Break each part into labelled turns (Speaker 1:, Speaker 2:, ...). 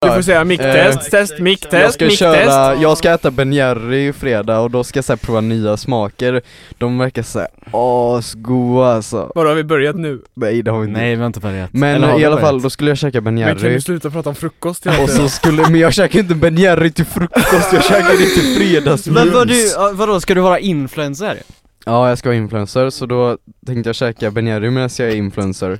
Speaker 1: Du får säga micktest,
Speaker 2: Eh,
Speaker 1: test, micktest,
Speaker 2: Jag ska
Speaker 1: micktest.
Speaker 2: köra, jag ska äta Ben Jerry fredag och då ska jag så här, prova nya smaker De verkar såhär asgoda alltså
Speaker 1: Vadå, har vi börjat nu?
Speaker 2: Nej det har vi inte
Speaker 3: Nej vi har inte börjat.
Speaker 2: Men
Speaker 3: Eller har
Speaker 2: i
Speaker 3: vi
Speaker 2: alla
Speaker 3: börjat?
Speaker 2: fall, då skulle jag käka Ben
Speaker 1: Men kan
Speaker 2: Jerry
Speaker 1: du sluta prata om frukost
Speaker 2: och
Speaker 1: egentligen?
Speaker 2: så skulle, men jag käkar inte Ben Jerry till frukost, jag käkar det till fredagsmys
Speaker 4: Men vad du, ja, vadå, ska du vara influencer?
Speaker 2: Ja, jag ska vara influencer, så då tänkte jag käka Ben Jerry medan jag är influencer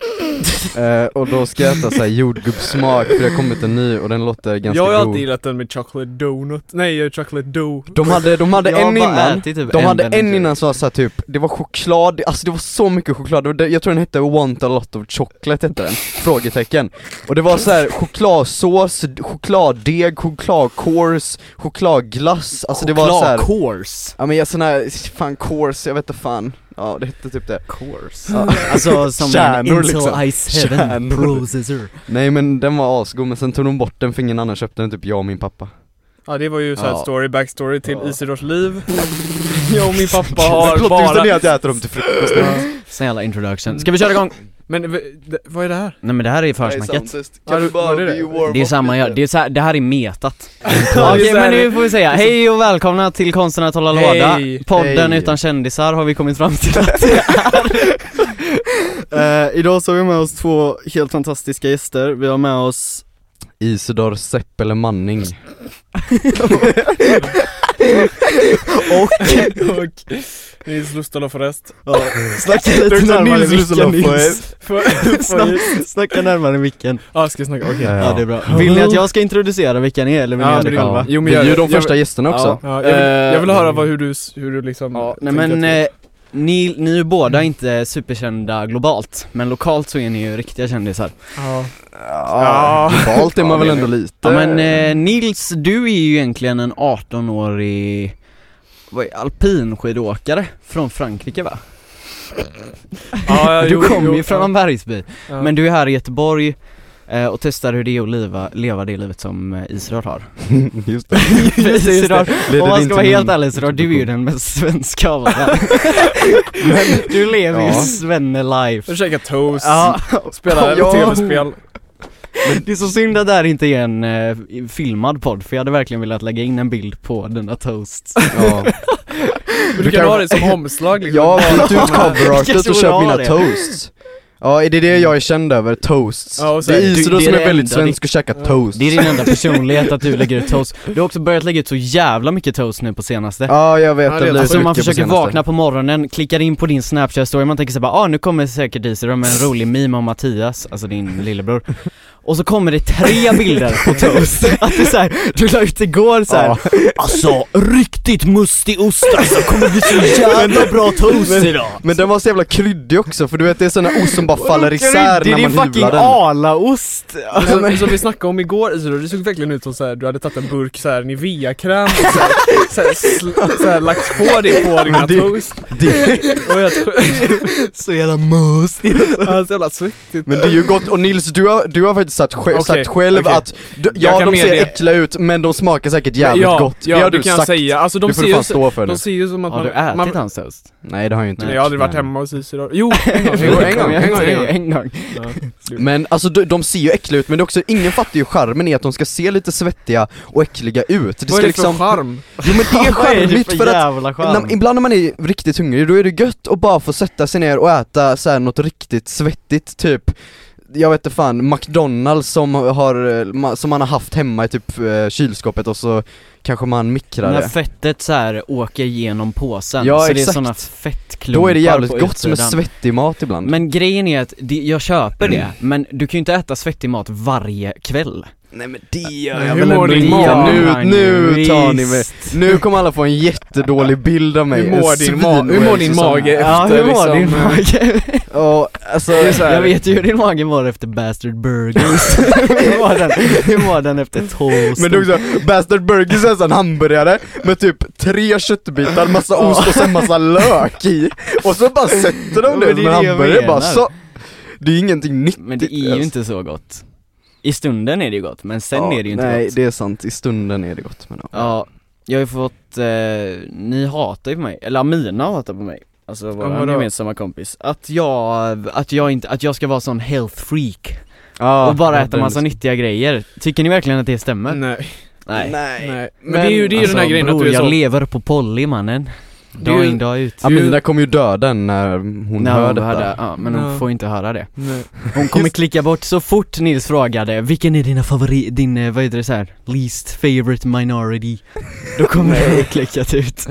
Speaker 2: eh, Och då ska jag äta såhär jordgubbssmak, för det har kommit en ny och den låter ganska
Speaker 1: Jag har
Speaker 2: god
Speaker 1: alltid gillat den med chocolate donut, nej eh, chocolate dough
Speaker 2: De hade, de hade
Speaker 4: Jag har
Speaker 2: en
Speaker 4: bara
Speaker 2: innan
Speaker 4: ätit typ
Speaker 2: De hade
Speaker 4: Ben
Speaker 2: en
Speaker 4: Jerry.
Speaker 2: innan som var såhär typ, det var choklad, alltså det var så mycket choklad, Det var det- jag tror den hette Want a lot of chocolate hette den, frågetecken Och det var så här: chokladsås, chokladdeg, chokladkors, chokladglass, alltså det var såhär
Speaker 4: Course.
Speaker 2: Ja men jag sån här, fan course, jag vet inte fan Ja det hette typ det
Speaker 4: Course.
Speaker 2: ja.
Speaker 4: Alltså som en
Speaker 2: Kärnor,
Speaker 4: Intel
Speaker 2: liksom.
Speaker 4: i7
Speaker 2: Kärnor.
Speaker 4: processor.
Speaker 2: Nej men den var asgod men sen tog de bort den för ingen annan köpte den, typ jag och min pappa
Speaker 1: Ja det var ju såhär
Speaker 2: Ja.
Speaker 1: story, backstory till
Speaker 2: Ja.
Speaker 1: Isidors liv Jag och min pappa
Speaker 2: Men
Speaker 1: har
Speaker 2: Plottisen är
Speaker 1: bara
Speaker 2: att jag äter dem till frukost
Speaker 4: Snälla introduction. Ska vi köra igång?
Speaker 1: Men v- d- vad är det här?
Speaker 4: Nej men det här är försnacket.
Speaker 1: Kan du bara be warm
Speaker 4: Det är samma, jag- det, är så här, det här är metat.
Speaker 1: Ja, det
Speaker 4: Okej
Speaker 1: är så
Speaker 4: men
Speaker 1: här-
Speaker 4: nu får vi säga, hej och välkomna till Konsten att hålla
Speaker 1: Hej.
Speaker 4: låda. Podden
Speaker 2: Hej.
Speaker 4: utan kändisar har vi kommit fram till att
Speaker 3: Eh, idag så har vi med oss två helt fantastiska gäster. Vi har med oss
Speaker 2: Isidor Seppele Manning
Speaker 1: Och Nils Lustala Forest
Speaker 3: Ja, snacka lite
Speaker 2: Dr.
Speaker 3: närmare
Speaker 2: Nils
Speaker 3: micken
Speaker 2: Lusseloff och
Speaker 3: Nils.
Speaker 1: Får-
Speaker 3: Snack,
Speaker 1: får-
Speaker 3: snacka närmare micken.
Speaker 1: Ja ska jag snacka, okej
Speaker 2: Ja.
Speaker 3: Ja det är bra. Vill ni att jag ska introducera vilka ni är eller vill ni
Speaker 1: Ja,
Speaker 3: göra
Speaker 1: men
Speaker 3: det
Speaker 1: det-
Speaker 3: själva?
Speaker 1: Jo, men
Speaker 2: Vi
Speaker 1: gör
Speaker 2: är ju
Speaker 1: det.
Speaker 2: de
Speaker 1: Jag-
Speaker 2: första gästerna också
Speaker 1: Ja, jag, vill, jag vill
Speaker 3: Eh,
Speaker 1: höra vad, hur, du, s- hur du liksom
Speaker 4: Ja, nej
Speaker 1: tänker
Speaker 4: men
Speaker 1: att
Speaker 4: eh, ni, ni är ju båda inte superkända globalt, men lokalt så är ni ju riktiga kändisår.
Speaker 1: du- ja.
Speaker 2: Ja, Valt är man väl ändå lite
Speaker 4: Ja men eh, Nils, du är ju egentligen en 18-årig vad är, alpinskidåkare från Frankrike va?
Speaker 1: Ja, ja, jo,
Speaker 4: du kommer
Speaker 1: jo,
Speaker 4: ju från
Speaker 1: ja.
Speaker 4: en bergsby,
Speaker 1: Ja.
Speaker 4: men du är här i Göteborg eh, och testar hur det är att leva, leva det livet som eh, Israel har
Speaker 2: Just det
Speaker 4: Just det, Israel,
Speaker 2: Leder
Speaker 4: om
Speaker 2: det
Speaker 4: man
Speaker 2: in
Speaker 4: ska vara
Speaker 2: till
Speaker 4: helt
Speaker 2: min
Speaker 4: ärlig Israel, du är ju den mest svenska av alla Du lever ju
Speaker 2: Ja.
Speaker 4: svenne-life
Speaker 1: Jag käkar toast,
Speaker 4: Ja,
Speaker 1: spelar
Speaker 2: Ja.
Speaker 1: tv-spel
Speaker 4: det är så synd att det här inte är en eh, filmad podd för jag hade verkligen velat lägga in en bild på denna toast
Speaker 2: Ja,
Speaker 1: Men du
Speaker 2: Du
Speaker 1: kan
Speaker 2: kan-
Speaker 1: ha det som omslag liksom
Speaker 2: jag har bytt ut
Speaker 4: Vilka
Speaker 2: coverartet
Speaker 4: tror
Speaker 2: och
Speaker 4: jag
Speaker 2: köpt mina
Speaker 4: det?
Speaker 2: toasts Ja, är det det jag är känd över? Toasts?
Speaker 1: Ja, och så
Speaker 2: det är
Speaker 1: här- du-
Speaker 2: Isidor
Speaker 4: det
Speaker 2: som
Speaker 4: är
Speaker 2: är
Speaker 4: det
Speaker 2: väldigt
Speaker 4: enda
Speaker 2: svensk och käkar
Speaker 1: Ja.
Speaker 2: toasts
Speaker 4: Det är din enda personlighet att du lägger ut toast Du har också börjat lägga ut så jävla mycket toast nu på senaste
Speaker 2: Ja, jag vet,
Speaker 1: Ja, det
Speaker 2: det
Speaker 1: är
Speaker 2: har blivit
Speaker 4: Alltså
Speaker 2: mycket
Speaker 4: man
Speaker 2: på
Speaker 4: försöker
Speaker 2: senaste.
Speaker 4: vakna på morgonen, klickar in på din snapchat story, man tänker såhär bara ah nu kommer säkert Isidor med en rolig meme om Mattias, alltså din lillebror Och så kommer det tre bilder på toast, att det är såhär, du la ut igår såhär
Speaker 2: Ja.
Speaker 4: Alltså riktigt mustig ost alltså, kommer bli så jävla bra toast idag!
Speaker 2: Men den var så jävla kryddig också, för du vet det är sån här ost som bara faller isär
Speaker 3: Det är
Speaker 2: när
Speaker 3: din
Speaker 2: man
Speaker 3: fucking
Speaker 2: hyvlar den
Speaker 3: alaost!
Speaker 1: Som, som vi snackade om igår Isidor, det såg verkligen ut som såhär, du hade tagit en burk såhär Nivea-kräm och såhär, såhär, sl- såhär lagt på det på dina
Speaker 2: det-
Speaker 1: toast
Speaker 2: det,
Speaker 1: Och jag tror,
Speaker 3: Så jävla mustigt.
Speaker 1: han är så jävla svettig
Speaker 2: Men det är ju gott, och Nils du har, du har faktiskt sagt, sj-
Speaker 1: Okej,
Speaker 2: sagt själv
Speaker 1: okej.
Speaker 2: att, du,
Speaker 1: Jag
Speaker 2: ja
Speaker 1: kan
Speaker 2: de ser
Speaker 1: medge.
Speaker 2: äckliga ut men de smakar säkert jävligt
Speaker 1: ja,
Speaker 2: gott,
Speaker 1: Ja,
Speaker 2: det har
Speaker 1: det
Speaker 2: du
Speaker 1: kan
Speaker 2: sagt,
Speaker 1: jag säga, alltså de
Speaker 2: du
Speaker 1: ser
Speaker 2: får
Speaker 1: ju
Speaker 2: fan
Speaker 1: så,
Speaker 2: stå för nu
Speaker 1: de ser ju som att
Speaker 4: Har
Speaker 1: man,
Speaker 4: du ätit
Speaker 1: man
Speaker 4: hans toast?
Speaker 2: Nej det har jag inte
Speaker 1: Nej jag har aldrig varit hemma hos Isidor, jo en gång,
Speaker 2: Jo, en gång, en gång,
Speaker 1: en gång.
Speaker 4: en gång
Speaker 1: Ja, slut.
Speaker 2: Men alltså de, de ser ju äckliga ut men det är också, ingen fattar ju charmen i att de ska se lite svettiga och äckliga ut Det
Speaker 1: Vad är det
Speaker 2: ska
Speaker 1: för
Speaker 2: liksom,
Speaker 1: charm?
Speaker 2: jo men det är charmigt för att
Speaker 4: jävla
Speaker 2: när, ibland när man är riktigt hungrig, då är det gött att bara få sätta sig ner och äta så här något riktigt svettigt, typ jag vet inte fan, McDonalds som, har, eh, ma- som man har haft hemma i typ eh, kylskåpet och så kanske man mikrar
Speaker 4: När
Speaker 2: det
Speaker 4: fettet så här åker genom påsen,
Speaker 2: Ja,
Speaker 4: så det är
Speaker 2: exakt.
Speaker 4: såna fettklumpar
Speaker 2: Då är det
Speaker 4: på
Speaker 2: jävligt gott med
Speaker 4: utsidan.
Speaker 2: svettig mat ibland
Speaker 4: Men grejen är att, det, jag köper det, men du kan ju inte äta svettig mat varje kväll
Speaker 2: Nej men det gör
Speaker 1: jag Hur väl mår ändå din inte.
Speaker 2: Ja,
Speaker 1: mag?
Speaker 2: nu,
Speaker 4: Han
Speaker 2: nu
Speaker 4: visst.
Speaker 2: tar ni mig Nu kommer alla få en jättedålig bild av mig
Speaker 1: Hur mår
Speaker 2: En
Speaker 1: din ma- hur mår din
Speaker 2: svinoasis som-
Speaker 1: mage?
Speaker 4: Ja
Speaker 1: Efter
Speaker 4: hur mår
Speaker 1: liksom,
Speaker 4: din
Speaker 1: eh,
Speaker 4: mage?
Speaker 2: Ja, alltså
Speaker 4: Jag vet ju hur din mage mår efter bastard burgers Hur mår den, hur mår den efter toast?
Speaker 2: Men du också, Bastard Burgers är en sån hamburgare med typ tre köttbitar, massa
Speaker 4: Ja.
Speaker 2: ost och sen massa lök i Och så bara sätter
Speaker 4: Ja,
Speaker 2: de
Speaker 4: men
Speaker 2: det
Speaker 4: det är
Speaker 2: som
Speaker 4: det
Speaker 2: en
Speaker 4: jag
Speaker 2: hamburgare
Speaker 4: menar.
Speaker 2: bara så Det är ingenting nyttigt
Speaker 4: Men det är ju
Speaker 2: alltså.
Speaker 4: inte så gott I stunden är det ju gott, men sen
Speaker 2: Ja,
Speaker 4: är det ju inte
Speaker 2: Nej
Speaker 4: gott
Speaker 2: det är sant, i stunden är det gott men ja.
Speaker 4: Ja, jag har ju fått, eh, ni hatar ju på mig, eller Amina hatar på mig Alltså vår
Speaker 1: vadå?
Speaker 4: gemensamma kompis, att jag, att jag inte, att jag ska vara sån health freak
Speaker 2: Ja,
Speaker 4: och bara
Speaker 2: ja,
Speaker 4: äta
Speaker 2: den-
Speaker 4: massa nyttiga grejer. Tycker ni verkligen att det stämmer?
Speaker 1: liksom- Nej,
Speaker 4: Nej.
Speaker 1: nej. Men, det är ju, det är ju den här grejen att
Speaker 4: alltså, bror,
Speaker 1: du är
Speaker 4: jag
Speaker 1: så...
Speaker 4: lever på Polly mannen.
Speaker 1: Det är
Speaker 4: Dag
Speaker 1: ju-
Speaker 4: in dag ut.
Speaker 1: Ja, men-
Speaker 2: Amina kommer ju dö den när hon
Speaker 4: Nej,
Speaker 2: hör detta
Speaker 4: hörde, ja, men hon
Speaker 1: Ja.
Speaker 4: får inte höra det.
Speaker 1: Nej.
Speaker 4: Hon kommer klicka bort så fort Nils frågade 'Vilken är dina favorit, din, eh, vad heter det så här? least favorite minority' Då kommer hon klickat ut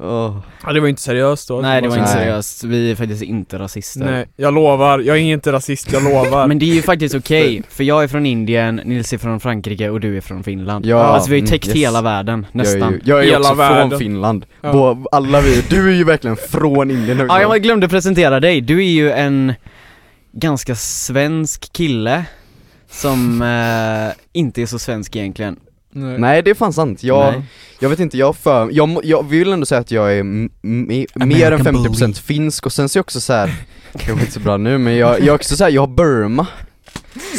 Speaker 2: Åh.
Speaker 1: Ja, det var inte seriöst då.
Speaker 4: Nej det var
Speaker 2: Nej.
Speaker 4: inte seriöst, vi är faktiskt inte rasister
Speaker 1: Nej, jag lovar. Jag är inte rasist, jag lovar.
Speaker 4: Men det är ju faktiskt okej, för jag är från Indien, Nils är från Frankrike och du är från Finland
Speaker 2: Ja,
Speaker 4: Alltså vi har ju
Speaker 2: mm,
Speaker 4: täckt
Speaker 2: yes.
Speaker 4: hela världen,
Speaker 2: Jag är
Speaker 4: nästan
Speaker 2: ju, jag är ju
Speaker 1: Hela
Speaker 2: också
Speaker 1: världen.
Speaker 2: från Finland,
Speaker 1: Ja.
Speaker 2: Bå, alla vi, du är ju verkligen från Indien
Speaker 4: Ja jag glömde presentera dig, du är ju en ganska svensk kille som eh, inte är så svensk egentligen
Speaker 1: Nej.
Speaker 2: Nej det är fan sant, jag,
Speaker 4: Nej.
Speaker 2: jag vet inte, jag har för, jag, må- jag vill ändå säga att jag är m- m- mer än
Speaker 4: American
Speaker 2: 50% finsk och sen så är jag också så här. kanske inte så bra nu men jag, jag är också så här, jag har Burma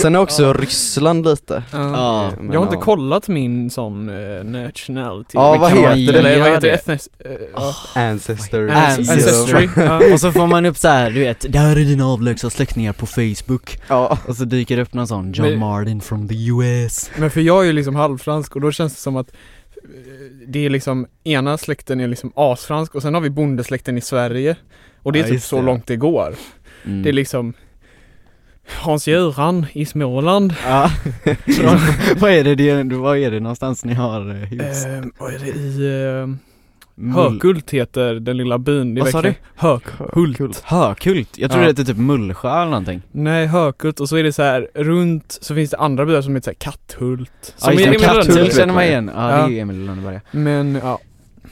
Speaker 2: Sen är också Ryssland lite
Speaker 1: Ja.
Speaker 4: Ja.
Speaker 2: Men
Speaker 1: Jag har inte
Speaker 2: ja.
Speaker 1: kollat min sån uh, nationality.
Speaker 2: Ja, vad
Speaker 1: Vilken-
Speaker 2: heter det?
Speaker 1: Eller vad
Speaker 4: Gör
Speaker 1: heter det?
Speaker 4: det?
Speaker 1: Ethnic... eh, ja.
Speaker 2: Ancestor
Speaker 4: Ancestry.
Speaker 1: Ancestry. Ja.
Speaker 4: Och så får man upp så här, du vet, där är dina avlägsna släktingar på Facebook
Speaker 2: Ja,
Speaker 4: Och så dyker det upp någon sån, John
Speaker 1: Men-
Speaker 4: Martin from the US
Speaker 1: Men för jag är ju liksom halvfransk och då känns det som att eh, det är liksom, ena släkten är liksom asfransk och sen har vi bondesläkten i Sverige Och det är
Speaker 4: Ja,
Speaker 1: typ
Speaker 4: just
Speaker 1: så
Speaker 4: det.
Speaker 1: långt det går
Speaker 4: mm.
Speaker 1: Det är liksom Hans-Göran i Småland
Speaker 4: Ja, vad är det, det är, vad är det någonstans ni har eh, hus?
Speaker 1: ehm, Vad är det i ehm,
Speaker 4: Mull-
Speaker 1: Hökult heter den lilla byn det är
Speaker 4: Vad sa
Speaker 1: verkligen- Hökhult
Speaker 4: Hökult? Jag tror
Speaker 1: Ja.
Speaker 4: det heter typ Mullsjö eller någonting
Speaker 1: Nej Hökult och så är det så här runt så finns det andra byar som heter så här Katthult
Speaker 4: Ja
Speaker 1: Som
Speaker 4: just
Speaker 1: är
Speaker 4: det,
Speaker 1: Emil i
Speaker 2: Katthult.
Speaker 4: Katthult
Speaker 1: Lönneberga.
Speaker 4: känner man igen, ja det
Speaker 1: Ja.
Speaker 4: är ju Emil i Lönneberga
Speaker 1: Men ja,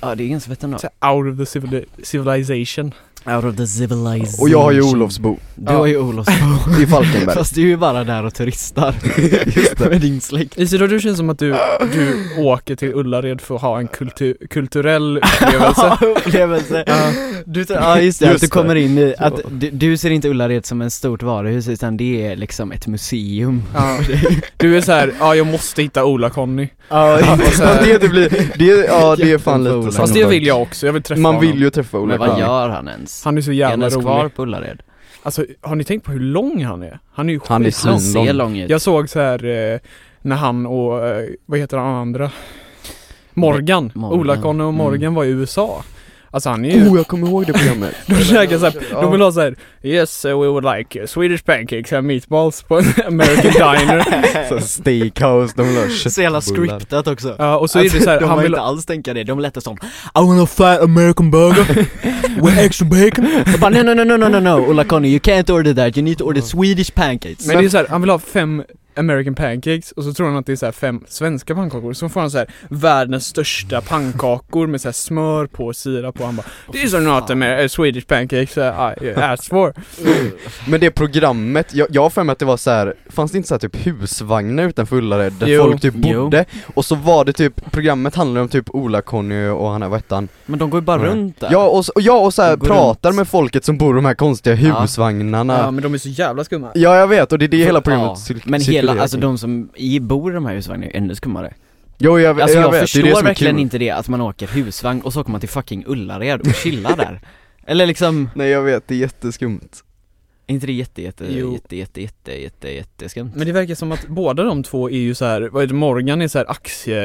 Speaker 4: Ja det är ganska fett ändå
Speaker 1: så här out of the civili- civilization
Speaker 4: Out of the civilization
Speaker 2: och jag har ju Olofsbo
Speaker 4: Du har ju Olofsbo
Speaker 2: i Falkenberg
Speaker 4: Fast du är ju bara där och turistar
Speaker 2: Just det.
Speaker 4: Med din släkt
Speaker 1: Isidor, du känns som att du, du åker till Ullared för att ha en kultu- kulturell upplevelse.
Speaker 4: upplevelse
Speaker 1: Ja.
Speaker 4: Du, tar- ja just det,
Speaker 2: Just
Speaker 4: att du
Speaker 2: det.
Speaker 4: kommer in i, att du, du ser inte Ullared som ett stort varuhus utan det är liksom ett museum
Speaker 1: Ja. Du är så här, ja jag måste hitta Ola-Conny.
Speaker 2: Ja,
Speaker 1: och så här-
Speaker 2: det, det blir, det, ja det är fan lite
Speaker 4: Fast
Speaker 2: sant.
Speaker 1: Fast det vill jag också, jag vill träffa
Speaker 2: Man vill
Speaker 1: honom.
Speaker 2: ju träffa Ola
Speaker 4: Men vad
Speaker 2: Kahn.
Speaker 4: gör han ens?
Speaker 1: Han är så
Speaker 4: är han
Speaker 1: jävla
Speaker 4: ens
Speaker 1: rolig.
Speaker 4: kvar på Ullared?
Speaker 1: Alltså, har ni tänkt på hur lång han är? Han är ju
Speaker 2: Han är
Speaker 1: skit-
Speaker 2: så-
Speaker 4: Han
Speaker 2: Lång,
Speaker 4: ser
Speaker 2: lång.
Speaker 4: lång ut
Speaker 1: Jag såg så här eh, när han och, eh, vad heter han andra? Morgan.
Speaker 4: Morgan.
Speaker 1: Ola-Conny och Morgan
Speaker 4: Mm. Oh,
Speaker 1: var i USA. Alltså han är ju...
Speaker 2: Oh, jag kommer ihåg det programmet
Speaker 1: De käkar såhär,
Speaker 2: Ja.
Speaker 1: de vill ha såhär Yes, uh, we would like uh, Swedish pancakes and meatballs på en American diner
Speaker 2: Så steakhouse, de vill ha
Speaker 4: Så jävla
Speaker 2: köttbullar.
Speaker 4: scriptat också Alltså,
Speaker 1: Ja, och så är det såhär,
Speaker 4: de
Speaker 1: han
Speaker 4: har
Speaker 1: vill
Speaker 4: inte alls tänka det, de lät som I want a fat American burger with extra bacon Jag bara no no no no no no no Ola Conny you can't order that, you need to order Swedish pancakes
Speaker 1: Men det är såhär, han vill ha fem American pancakes och så tror han att det är såhär fem svenska pannkakor, så får han såhär världens största pannkakor med såhär smör på och sirap på han bara These are not Amer- uh, Swedish pancakes uh, I uh, asked for
Speaker 2: Men det programmet, jag, jag har för mig att det var så här. fanns det inte så här typ husvagnar utanför Ullared där
Speaker 1: Jo.
Speaker 2: folk typ
Speaker 4: Jo.
Speaker 2: bodde? Och så var det typ, programmet handlade om typ Ola-Conny och han här, vad hette han?
Speaker 4: Men de går ju bara
Speaker 2: Nej.
Speaker 4: runt där
Speaker 2: Ja och, så- och jag och så här
Speaker 4: De går
Speaker 2: pratar med folket som bor i de här konstiga
Speaker 4: Ja.
Speaker 2: husvagnarna
Speaker 1: Ja
Speaker 2: Ja,
Speaker 1: men de är så jävla skumma
Speaker 2: jag vet och det är det hela programmet
Speaker 4: Ja,
Speaker 2: cirk-
Speaker 4: Men hela,
Speaker 2: cirkulerar
Speaker 4: alltså
Speaker 2: kring.
Speaker 4: de som i, bor i de här husvagnarna är ju ännu skummare
Speaker 2: Jo jag,
Speaker 4: Alltså jag,
Speaker 2: jag, vet,
Speaker 4: förstår
Speaker 2: det är det som är
Speaker 4: verkligen
Speaker 2: kul.
Speaker 4: inte det, att man åker husvagn och så åker man till fucking Ullared och chillar där Eller liksom,
Speaker 2: Nej jag vet, det är jätteskumt
Speaker 4: är inte det jätte jätte
Speaker 1: Jo.
Speaker 4: jätte jätte jätte jätte jätteskumt?
Speaker 1: Men det verkar som att båda de två är ju så här, vad är det, Morgan är så här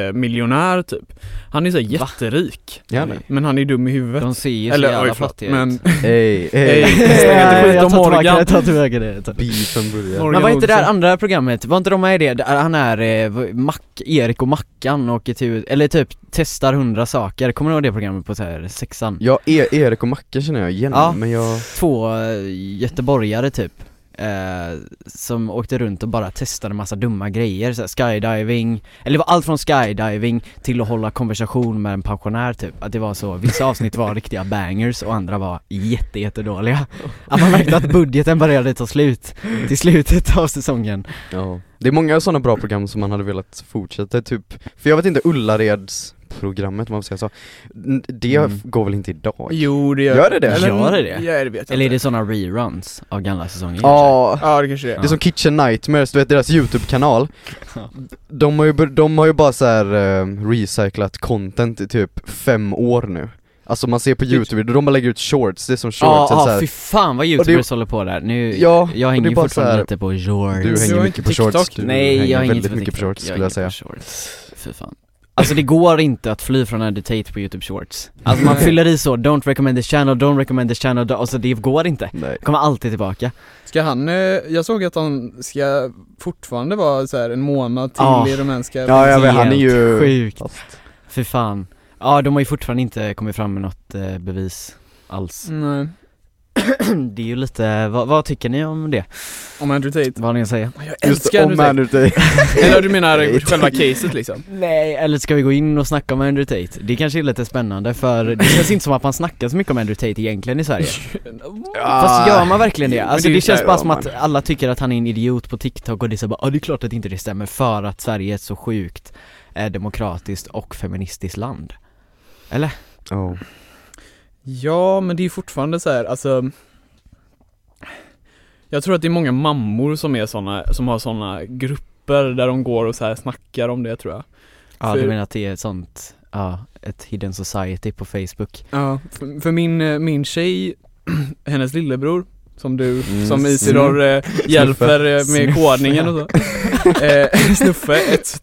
Speaker 1: aktiemiljonär typ Han är så här
Speaker 4: Va?
Speaker 1: jätterik
Speaker 2: Ja, nej.
Speaker 1: Men han är dum i huvudet
Speaker 4: De ser ju så
Speaker 1: Eller,
Speaker 4: jävla
Speaker 1: oj, förlåt,
Speaker 4: flottiga
Speaker 1: men-
Speaker 4: ut
Speaker 2: Ey,
Speaker 1: Ey, snacka inte
Speaker 4: Nej,
Speaker 1: skit
Speaker 4: jag
Speaker 1: om
Speaker 4: tar tillbaka
Speaker 1: Morgan.
Speaker 4: det, tar tillbaka det, jag tar-
Speaker 2: Beefen börjar
Speaker 1: Morgan
Speaker 4: Men vad heter det här
Speaker 1: Olsson.
Speaker 4: andra programmet? Var inte de med i det? Där han är, eh, v- Mac, Erik och Mackan åker till, eller typ testar hundra saker, kommer du ihåg det programmet på så här sexan?
Speaker 2: Ja, e Erik och Macke känner jag igen,
Speaker 4: Ja.
Speaker 2: men jag...
Speaker 4: Två eh, göteborgare typ, eh, som åkte runt och bara testade massa dumma grejer, så här skydiving, eller det var allt från skydiving till att hålla konversation med en pensionär typ, att det var så, vissa avsnitt var riktiga bangers och andra var jätte, jättedåliga Att man märkte att budgeten började ta slut, till slutet av säsongen
Speaker 2: Ja. Det är många sådana bra program som man hade velat fortsätta, typ, för jag vet inte Ullareds programmet om man får säga så, N- det
Speaker 4: Mm.
Speaker 2: går väl inte idag?
Speaker 1: Jo det gör,
Speaker 2: Gör det det?
Speaker 4: Gör det det?
Speaker 1: Ja det vet jag
Speaker 4: Eller är
Speaker 1: inte
Speaker 4: det såna reruns av gamla säsonger?
Speaker 2: Ja,
Speaker 1: Ja det kanske det är
Speaker 2: det är som Kitchen Nightmares, du vet deras YouTube-kanal
Speaker 4: Ja.
Speaker 2: ehm, De har ju, bör- de har ju bara så här eh, recyclat content i typ fem år nu Alltså man ser på youtube, de bara lägger ut shorts, det är som
Speaker 4: Ja,
Speaker 2: shorts eller så
Speaker 4: ja
Speaker 2: här.
Speaker 4: fy fan vad youtubers håller på där, nu,
Speaker 2: Ja,
Speaker 4: jag
Speaker 2: och det
Speaker 4: hänger
Speaker 2: är
Speaker 4: ju
Speaker 2: bara
Speaker 4: fortfarande
Speaker 2: så här-
Speaker 4: lite på shorts
Speaker 2: Du hänger
Speaker 1: har
Speaker 2: mycket på
Speaker 1: inte TikTok.
Speaker 2: shorts, du
Speaker 4: Nej jag
Speaker 2: hänger
Speaker 4: hänger inte
Speaker 2: väldigt
Speaker 4: på
Speaker 2: mycket på
Speaker 4: TikTok.
Speaker 2: shorts
Speaker 4: jag
Speaker 2: skulle jag
Speaker 4: hänger
Speaker 2: säga
Speaker 4: på shorts. Fy fan Alltså det går inte att fly från Andy Tate på youtube shorts Alltså man fyller i så, don't recommend this channel, don't recommend this channel, don't- alltså det går inte
Speaker 2: Nej.
Speaker 4: Kommer alltid tillbaka
Speaker 1: Ska han, eh, jag såg att han ska fortfarande vara så här en månad till
Speaker 4: Ja.
Speaker 1: i rumänska
Speaker 2: Ja, jag vet, han är
Speaker 4: Helt
Speaker 2: ju...
Speaker 4: Sjukt,
Speaker 2: fast.
Speaker 4: fy fan Ja de har ju fortfarande inte kommit fram med något eh, bevis alls
Speaker 1: Nej,
Speaker 4: Det är ju lite, vad, vad tycker ni om det?
Speaker 1: om Andrew Tate
Speaker 4: Vad har ni att säga?
Speaker 1: Jag
Speaker 3: Just
Speaker 1: älskar
Speaker 3: om
Speaker 1: Andrew Tate
Speaker 3: Andrew Tate.
Speaker 1: Eller du menar själva caset liksom?
Speaker 4: Nej, eller ska vi gå in och snacka om Andrew Tate? Det kanske är lite spännande för det känns inte som att man snackar så mycket om Andrew Tate egentligen i Sverige
Speaker 2: Ah.
Speaker 4: Fast gör man verkligen det? Alltså
Speaker 3: det
Speaker 4: det, känns
Speaker 3: gör
Speaker 4: bara som
Speaker 3: man.
Speaker 4: att alla tycker att han är en idiot på TikTok och det är så bara, ja det är klart att inte det stämmer för att Sverige är ett så sjukt eh, demokratiskt och feministiskt land
Speaker 2: Ja.
Speaker 1: Ja, men det är fortfarande så här, alltså Jag tror att det är många mammor som är såna, som har såna grupper där de går och så här snackar om det tror jag
Speaker 4: Ja
Speaker 1: För-
Speaker 4: du menar att det är ett sånt, ja, ett hidden society på Facebook
Speaker 1: Ja, för, för min, eh, min tjej, hennes lillebror som du,
Speaker 2: Mm,
Speaker 1: som Isidor eh, hjälper eh, med
Speaker 4: Snuffe.
Speaker 1: kodningen och så eh, Snuffe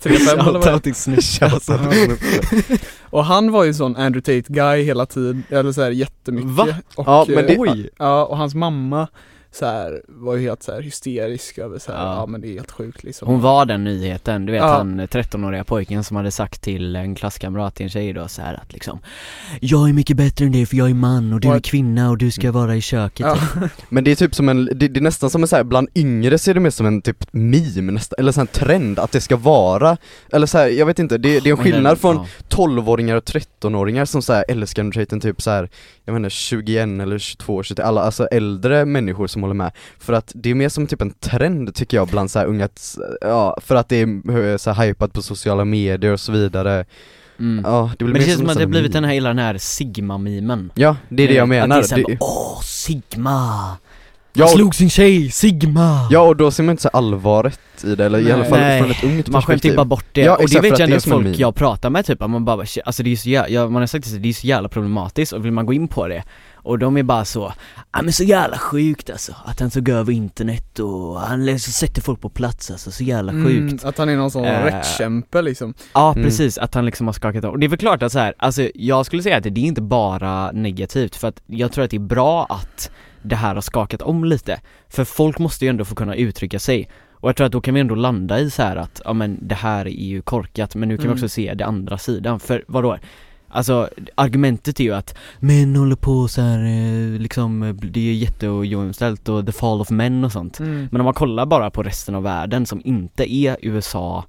Speaker 1: 135 eller vad det är.
Speaker 4: Shoutout till Snuff.
Speaker 1: Och han var ju sån Andrew Tate guy hela tiden, eller såhär jättemycket
Speaker 4: Va?
Speaker 1: Och,
Speaker 2: Ja, men det-
Speaker 1: eh, oj. ja, och hans mamma så här, var ju helt så här hysterisk över så här, ja.
Speaker 4: Ja.
Speaker 1: men det är helt sjukt liksom
Speaker 4: Hon var den nyheten, du vet
Speaker 1: Ja.
Speaker 4: han eh, 13-åriga pojken som hade sagt till en klasskamrat till en tjej då så här att liksom Jag är mycket bättre än dig för jag är man och du är
Speaker 1: What?
Speaker 4: kvinna och du ska vara i köket
Speaker 1: ja.
Speaker 2: Men det är typ som en, det, det är nästan som en så här, bland yngre ser det mer som en typ meme nästan, eller så här en trend att det ska vara, eller så här, jag vet inte, det, det är en
Speaker 4: Men den-
Speaker 2: skillnad från
Speaker 4: ja.
Speaker 2: 12-åringar och 13-åringar som så här älskar Andrew Tate, typ så här, jag menar 21 eller 22, 23, alla alltså äldre människor som håller med. För att det är mer som typ en trend tycker jag bland så här unga, att s- ja, för att det är eh, så här hypat på sociala medier och så vidare.
Speaker 4: Mm.
Speaker 2: Ja, det blir
Speaker 4: Men det
Speaker 2: mer
Speaker 4: känns som att
Speaker 2: nästan
Speaker 4: det
Speaker 2: en
Speaker 4: blivit
Speaker 2: meme.
Speaker 4: den här, hela den här sigma-mimen
Speaker 2: Ja, det är det jag menar.
Speaker 4: Eh, Att det är
Speaker 2: Det-
Speaker 4: såhär, åh sigma!
Speaker 2: Ja,
Speaker 4: Han
Speaker 2: och-
Speaker 4: slog sin tjej, sigma!
Speaker 2: Ja och då ser man inte så allvaret i det, eller i
Speaker 1: Nej.
Speaker 2: alla fall
Speaker 4: Nej.
Speaker 2: från ett ungt
Speaker 4: Typ, Man skämtar
Speaker 2: perspektiv
Speaker 4: ju bara bort det,
Speaker 2: typ- Ja,
Speaker 4: och det
Speaker 2: exakt, för
Speaker 4: vet
Speaker 2: att
Speaker 4: jag
Speaker 2: det är
Speaker 4: ändå
Speaker 2: som en
Speaker 4: folk
Speaker 2: meme.
Speaker 4: jag pratar med typ, att man bara, alltså det är så jävla, jag- man har sagt det, det är så jävla problematiskt och vill man gå in på det och de är bara så, ja men så jävla sjukt alltså, att han tog över internet och han liksom sätter folk på plats alltså, så jävla
Speaker 1: Mm,
Speaker 4: sjukt
Speaker 1: att han är någon sån
Speaker 4: Eh.
Speaker 1: rättskämpe liksom
Speaker 4: Ja
Speaker 2: Mm.
Speaker 4: precis, att han liksom har skakat om, och det är väl klart att så här, alltså jag skulle säga att det, det är inte bara negativt för att jag tror att det är bra att det här har skakat om lite, för folk måste ju ändå få kunna uttrycka sig och jag tror att då kan vi ändå landa i så här att, ja men det här är ju korkat, men nu kan
Speaker 1: Mm.
Speaker 4: vi också se det andra sidan, för vadå? Alltså argumentet är ju att män håller på så här, eh, liksom, eh, det är jätteojämställt och the fall of men och sånt
Speaker 1: Mm.
Speaker 4: men om man kollar bara på resten av världen som inte är USA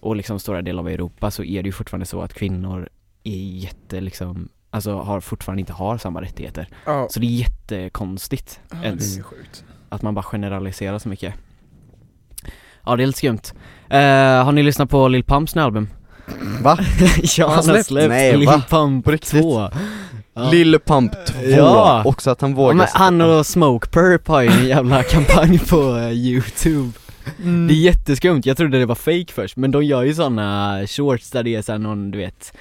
Speaker 4: och liksom stora delar av Europa så är det ju fortfarande så att kvinnor är jätte liksom, alltså har fortfarande inte har samma rättigheter.
Speaker 1: Ja,
Speaker 4: Så det är jättekonstigt
Speaker 1: Ja, det
Speaker 4: ens
Speaker 1: är sjukt
Speaker 4: att man bara generaliserar så mycket. Ja det är lite skumt. Eh, har ni lyssnat på Lil Pumps nya album?
Speaker 2: Va?
Speaker 4: ja
Speaker 1: han
Speaker 4: han har
Speaker 1: släppt?
Speaker 4: släppt
Speaker 2: Nej,
Speaker 4: Lil
Speaker 2: va?
Speaker 4: Pump
Speaker 2: På riktigt?
Speaker 4: 2 Ja.
Speaker 2: Lille Pump 2,
Speaker 4: Ja.
Speaker 2: också att han
Speaker 4: Ja,
Speaker 2: vågar
Speaker 4: men han och Smoke Purp har ju en jävla kampanj på eh, youtube
Speaker 2: Mm.
Speaker 4: Det är jätteskumt, jag trodde det var fake först men de gör ju såna eh, shorts där det är såhär någon du vet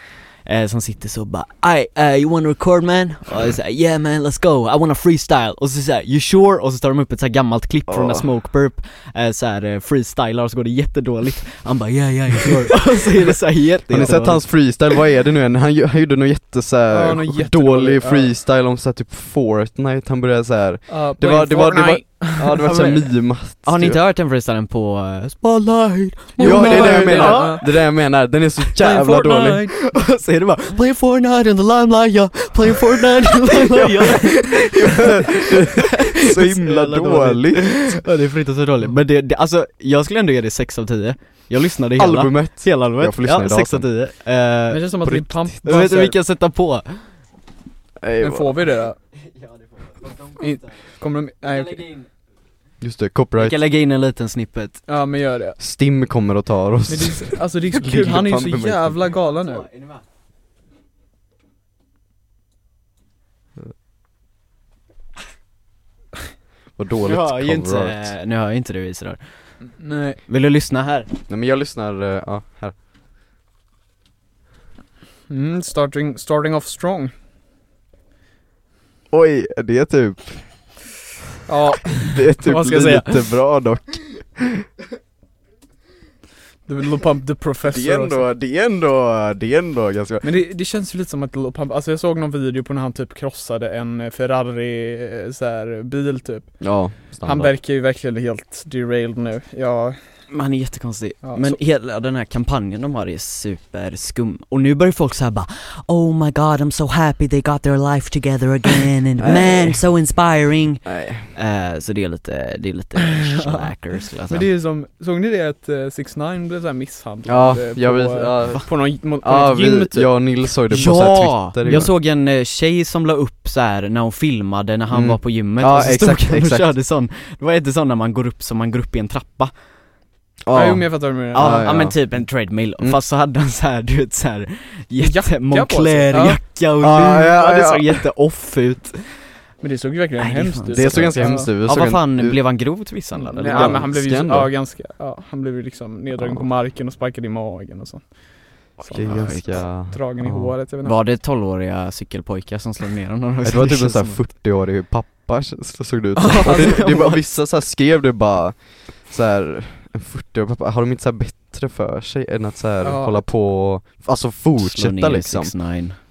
Speaker 4: eh, Som sitter så och bara I, uh, you wanna record man? Och jag säger yeah man let's go, I wanna freestyle Och så säger you sure? Och så tar de upp ett såhär gammalt klipp från när
Speaker 2: Åh.
Speaker 4: Smoke Burp eh, såhär eh, freestylar och så går det jättedåligt Han bara yeah yeah you sure Och så är det såhär jätte
Speaker 2: Har ni sett hans freestyle, vad är det nu än? Han, gö- han gjorde någon jätte så här,
Speaker 1: Ja, någon jättedålig,
Speaker 2: dålig
Speaker 1: ja.
Speaker 2: freestyle om så här, typ Fortnite, han började så här.
Speaker 1: Ja,
Speaker 2: Det
Speaker 1: playing
Speaker 2: var- det var- det var-
Speaker 1: Fortnite.
Speaker 2: ja det var såhär mimat
Speaker 4: Har ni
Speaker 2: typ.
Speaker 4: inte hört den freestylen på eh, Spotlight?
Speaker 2: Ja det är det jag
Speaker 1: Fortnite,
Speaker 2: menar,
Speaker 1: ja.
Speaker 2: det är det jag menar, den är så
Speaker 1: Playing
Speaker 2: jävla
Speaker 1: Fortnite.
Speaker 2: dålig
Speaker 4: Och så är det bara Playing Fortnite in the limelight yeah, playing Fortnite in the limelight yeah
Speaker 2: Så himla dåligt,
Speaker 4: Ja det är fruktansvärt dåligt, men det, det, alltså jag skulle ändå ge det 6 av 10 Jag lyssnade hela
Speaker 2: albumet
Speaker 4: Hela albumet,
Speaker 2: Jag får lyssna
Speaker 4: ja,
Speaker 2: idag
Speaker 4: 6
Speaker 2: sen.
Speaker 4: av 10
Speaker 1: Men Det
Speaker 4: uh,
Speaker 1: känns som att Alltså,
Speaker 2: På
Speaker 1: Lil Pump bara
Speaker 4: Vet
Speaker 1: så
Speaker 4: du
Speaker 1: här-
Speaker 4: vilka jag sätter på?
Speaker 2: Nej,
Speaker 1: Men
Speaker 2: va.
Speaker 1: får vi det då?
Speaker 4: Ja det får
Speaker 1: de Kommer de, nej okej.
Speaker 4: jag
Speaker 2: Just det,
Speaker 4: Vi
Speaker 2: copyright
Speaker 4: kan lägga in en liten snippet
Speaker 1: Ja men gör det
Speaker 2: Stim kommer och tar
Speaker 1: men
Speaker 2: oss
Speaker 1: det är, så- alltså det är så kul,
Speaker 2: Lil
Speaker 1: han är ju
Speaker 2: Pump är
Speaker 1: så
Speaker 2: med.
Speaker 1: jävla galen nu
Speaker 2: Vad
Speaker 4: Nu
Speaker 2: dåligt
Speaker 4: hör ju
Speaker 2: copyright
Speaker 4: inte, eh, nu hör ju inte du Isidor
Speaker 1: Nej,
Speaker 4: Vill du lyssna här?
Speaker 2: Nej men jag lyssnar, eh, ja här
Speaker 1: mm, starting, starting off strong
Speaker 2: Oj, det är typ,
Speaker 1: Ja,
Speaker 2: det är typ
Speaker 1: Vad ska jag säga?
Speaker 2: lite bra dock
Speaker 1: det är väl Lil Pump the Professor
Speaker 2: Det är
Speaker 1: också.
Speaker 2: ändå, det är ändå, det är ändå ganska
Speaker 1: Men det, det känns ju lite som att Lil Pump, alltså jag såg någon video på när han typ krossade en eh, Ferrari eh, så här, bil typ
Speaker 2: Ja,
Speaker 1: Han verkar ju verkligen helt derailed nu, ja,
Speaker 4: Men han är jättekonstig.
Speaker 1: Ja,
Speaker 4: men
Speaker 1: så-
Speaker 4: hela den här kampanjen de har är superskum. Och nu börjar folk såhär bara Oh my god I'm so happy they got their life together again and
Speaker 2: Nej.
Speaker 4: man so inspiring.
Speaker 2: Nej.
Speaker 4: Eh, så det är lite, det är lite slacker skulle jag
Speaker 1: Men
Speaker 4: säga.
Speaker 1: det är ju som, såg ni det att 6 9 blev såhär misshandlad?
Speaker 2: Ja,
Speaker 1: eh,
Speaker 2: jag
Speaker 1: på,
Speaker 2: vet,
Speaker 1: eh,
Speaker 2: ja.
Speaker 1: på någon, på något
Speaker 2: Ja,
Speaker 1: gym
Speaker 2: vi,
Speaker 1: typ
Speaker 2: jag och Nils såg det på så här
Speaker 4: Ja!
Speaker 2: Twitter igår.
Speaker 4: Jag såg en eh, tjej som la upp så här när hon filmade när han
Speaker 2: Mm.
Speaker 4: var på gymmet
Speaker 2: Ja,
Speaker 4: och så stod
Speaker 2: exakt,
Speaker 4: han och
Speaker 2: exakt.
Speaker 4: körde sån Det var inte sån när man går upp som man går upp i en trappa
Speaker 1: Ja, jo men jag fattar vad du menar
Speaker 4: Ja,
Speaker 2: Ja,
Speaker 4: ja,
Speaker 2: ja.
Speaker 4: men typ en treadmill,
Speaker 2: Mm.
Speaker 4: fast så hade han så här, du vet så här
Speaker 1: Jacka på
Speaker 4: jätte
Speaker 1: sig.
Speaker 4: Moncler
Speaker 1: Ja.
Speaker 4: jacka och
Speaker 2: Ja,
Speaker 4: luva,
Speaker 2: ja,
Speaker 4: det
Speaker 2: ja.
Speaker 4: såg jätte off ut
Speaker 1: Men det såg ju verkligen
Speaker 4: Nej, det är
Speaker 1: hemskt
Speaker 4: fan-
Speaker 1: ut
Speaker 2: Det såg ganska
Speaker 1: Ja.
Speaker 2: hemskt ut,
Speaker 4: Ja
Speaker 2: Jag såg
Speaker 4: vad
Speaker 2: en-
Speaker 4: fan, blev han grovt misshandlad
Speaker 1: Mm, Nej,
Speaker 4: eller?
Speaker 1: ja, men han blev ju, så-
Speaker 2: ganska
Speaker 1: ja,
Speaker 2: ändå.
Speaker 1: ganska, ja, han blev ju liksom neddragen
Speaker 2: Ja.
Speaker 1: på marken och sparkad i magen och sånt
Speaker 2: Det är ganska
Speaker 1: Dragen i
Speaker 2: Ja.
Speaker 1: håret, jag vet inte
Speaker 4: Var det 12-åriga cykelpojkar som slog ner honom?
Speaker 2: Det var typ en sån här 40-årig pappa så såg det ut
Speaker 4: Ja,
Speaker 2: Och det, det var,
Speaker 4: det-
Speaker 2: vissa så här skrev det bara så här en 40-årig pappa, har de inte så här bättre för sig än att så här
Speaker 1: Ja.
Speaker 2: hålla på och, alltså fortsätta liksom?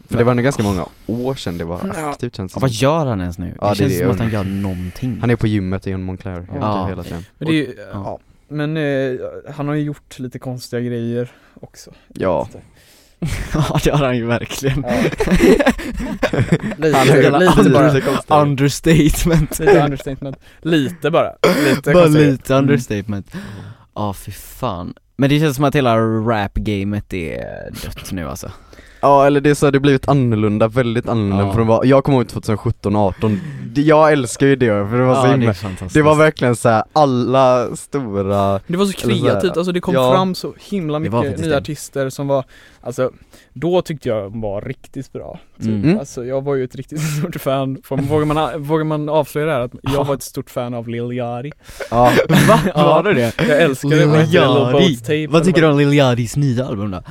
Speaker 2: För det var nog ganska många år sedan det var
Speaker 1: Ja.
Speaker 2: aktivt känns
Speaker 4: Ja,
Speaker 2: det
Speaker 4: vad
Speaker 2: som.
Speaker 4: gör han ens nu?
Speaker 2: Ja, det är
Speaker 4: det känns
Speaker 2: det
Speaker 4: som
Speaker 2: jag
Speaker 4: att han gör någonting
Speaker 2: Han är på gymmet i en Moncler typ
Speaker 1: Ja.
Speaker 2: hela tiden
Speaker 1: Men det är ju,
Speaker 4: ja.
Speaker 1: ja. Men eh, han har ju gjort lite konstiga grejer också
Speaker 2: Ja,
Speaker 4: Ja det har han ju verkligen
Speaker 1: Ja.
Speaker 2: han
Speaker 1: lite,
Speaker 2: är
Speaker 1: lite, lite bara
Speaker 2: lite konstig
Speaker 4: Understatement
Speaker 1: Lite understatement, lite bara, lite Mm.
Speaker 4: Bara
Speaker 1: konstiga-
Speaker 4: lite understatement Ja fy fan Men det känns som att hela rap-gamet är dött nu alltså
Speaker 2: Ja eller det är så här, det har blivit annorlunda, väldigt annorlunda
Speaker 4: Ja.
Speaker 2: från vad, jag kommer ihåg 2017, 18 Det- Jag älskar ju det för det var så
Speaker 4: ja,
Speaker 2: himla
Speaker 4: är
Speaker 2: det,
Speaker 4: fantastiskt
Speaker 2: var verkligen så här, alla stora
Speaker 1: Det var så
Speaker 2: Eller så här,
Speaker 1: kreativt, alltså det kom
Speaker 2: ja.
Speaker 1: fram så himla
Speaker 4: Det var
Speaker 1: mycket
Speaker 4: faktiskt
Speaker 1: nya
Speaker 4: det.
Speaker 1: artister som var Alltså, då tyckte jag de var riktigt bra typ.
Speaker 4: Mm.
Speaker 2: Mm.
Speaker 1: Alltså jag var ju ett riktigt stort fan, Får- vågar man, vågar man avslöja det här att jag var ett stort fan av Lil Yari?
Speaker 2: Ja,
Speaker 4: Va?
Speaker 1: Ja.
Speaker 4: Var du det?
Speaker 1: Jag älskade
Speaker 4: Lil
Speaker 1: vad heter det? Lil
Speaker 4: Yachty.
Speaker 1: Bones Tape,
Speaker 4: Vad tycker
Speaker 1: eller
Speaker 4: du om Lil Yardis nya album då?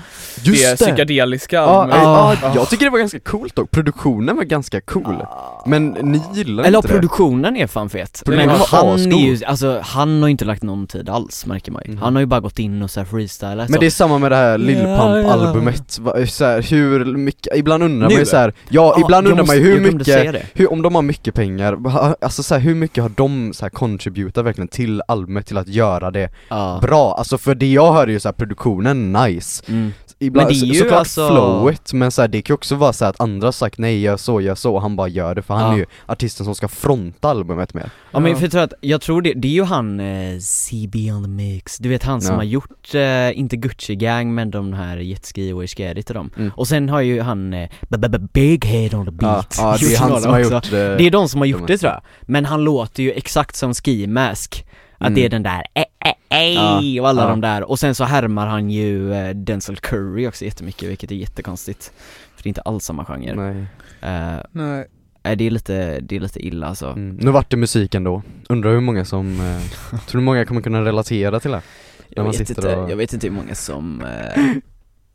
Speaker 1: Det är psykedeliska
Speaker 2: Ja,
Speaker 1: albumet.
Speaker 2: ja,
Speaker 1: Ja.
Speaker 2: jag tycker det var ganska coolt dock, produktionen var ganska cool
Speaker 4: Ah.
Speaker 2: Men ni gillar
Speaker 4: Eller
Speaker 2: inte det?
Speaker 4: produktionen är fan fet, men
Speaker 1: Produktionen
Speaker 2: var
Speaker 4: han
Speaker 2: ascool.
Speaker 4: är ju, alltså han har ju inte lagt någon tid alls märker man ju
Speaker 2: Mm.
Speaker 4: Han har ju bara gått in och så här freestylat
Speaker 2: Men det är samma med det här Lil
Speaker 4: alltså. Ja,
Speaker 2: Pump-albumet, Va- så här, hur mycket, ibland undrar man
Speaker 4: Nu?
Speaker 2: ju så här, ja ibland undrar man ju hur mycket,
Speaker 4: det.
Speaker 2: hur, om de har mycket pengar, ha- alltså så här, hur mycket har de så här contributat verkligen till albumet, till att göra det
Speaker 4: Ja.
Speaker 2: bra? Alltså för det jag hör är ju så här, produktionen nice,
Speaker 4: Mm.
Speaker 2: ibland,
Speaker 4: Men det är
Speaker 2: så-
Speaker 4: ju
Speaker 2: såklart
Speaker 4: alltså-
Speaker 2: flowet, men så här, det kan ju också vara så här att andra har sagt nej, gör så, gör så, och han bara gör det för han
Speaker 4: Ja.
Speaker 2: är ju artisten som ska fronta albumet med
Speaker 4: Ja men
Speaker 1: Ja.
Speaker 4: för jag tror att, jag tror det, det är ju han eh, CB on the mix, du vet han som
Speaker 2: Ja.
Speaker 4: har gjort, eh, inte Gucci gang men de här Jetski och Iskadit och dem
Speaker 2: Mm.
Speaker 4: Och sen har ju han eh, b- b- b- Big Head on the
Speaker 2: Ja,
Speaker 4: beat
Speaker 2: ja det
Speaker 4: gjort
Speaker 2: är han
Speaker 4: några
Speaker 2: som har
Speaker 4: också.
Speaker 2: gjort eh, det,
Speaker 4: Det är de som har
Speaker 2: de-
Speaker 4: gjort det tror jag, men han låter ju exakt som Ski Mask Att
Speaker 2: Mm.
Speaker 4: det är den där eh, eh, ej
Speaker 2: Ja,
Speaker 4: och alla
Speaker 2: ja.
Speaker 4: de där, och sen så härmar han ju eh, Denzel Curry också jättemycket vilket är jättekonstigt För det är inte alls samma genre
Speaker 2: Nej.
Speaker 4: Eh,
Speaker 1: Nej.
Speaker 4: nej, det, är lite, det är lite illa alltså
Speaker 2: Mm. Nu vart det musik ändå, undrar hur många som, eh, tror du många kommer kunna relatera till det?
Speaker 4: Jag
Speaker 2: man
Speaker 4: vet,
Speaker 2: sitter
Speaker 4: inte,
Speaker 2: och-
Speaker 4: jag vet inte hur många som... Eh,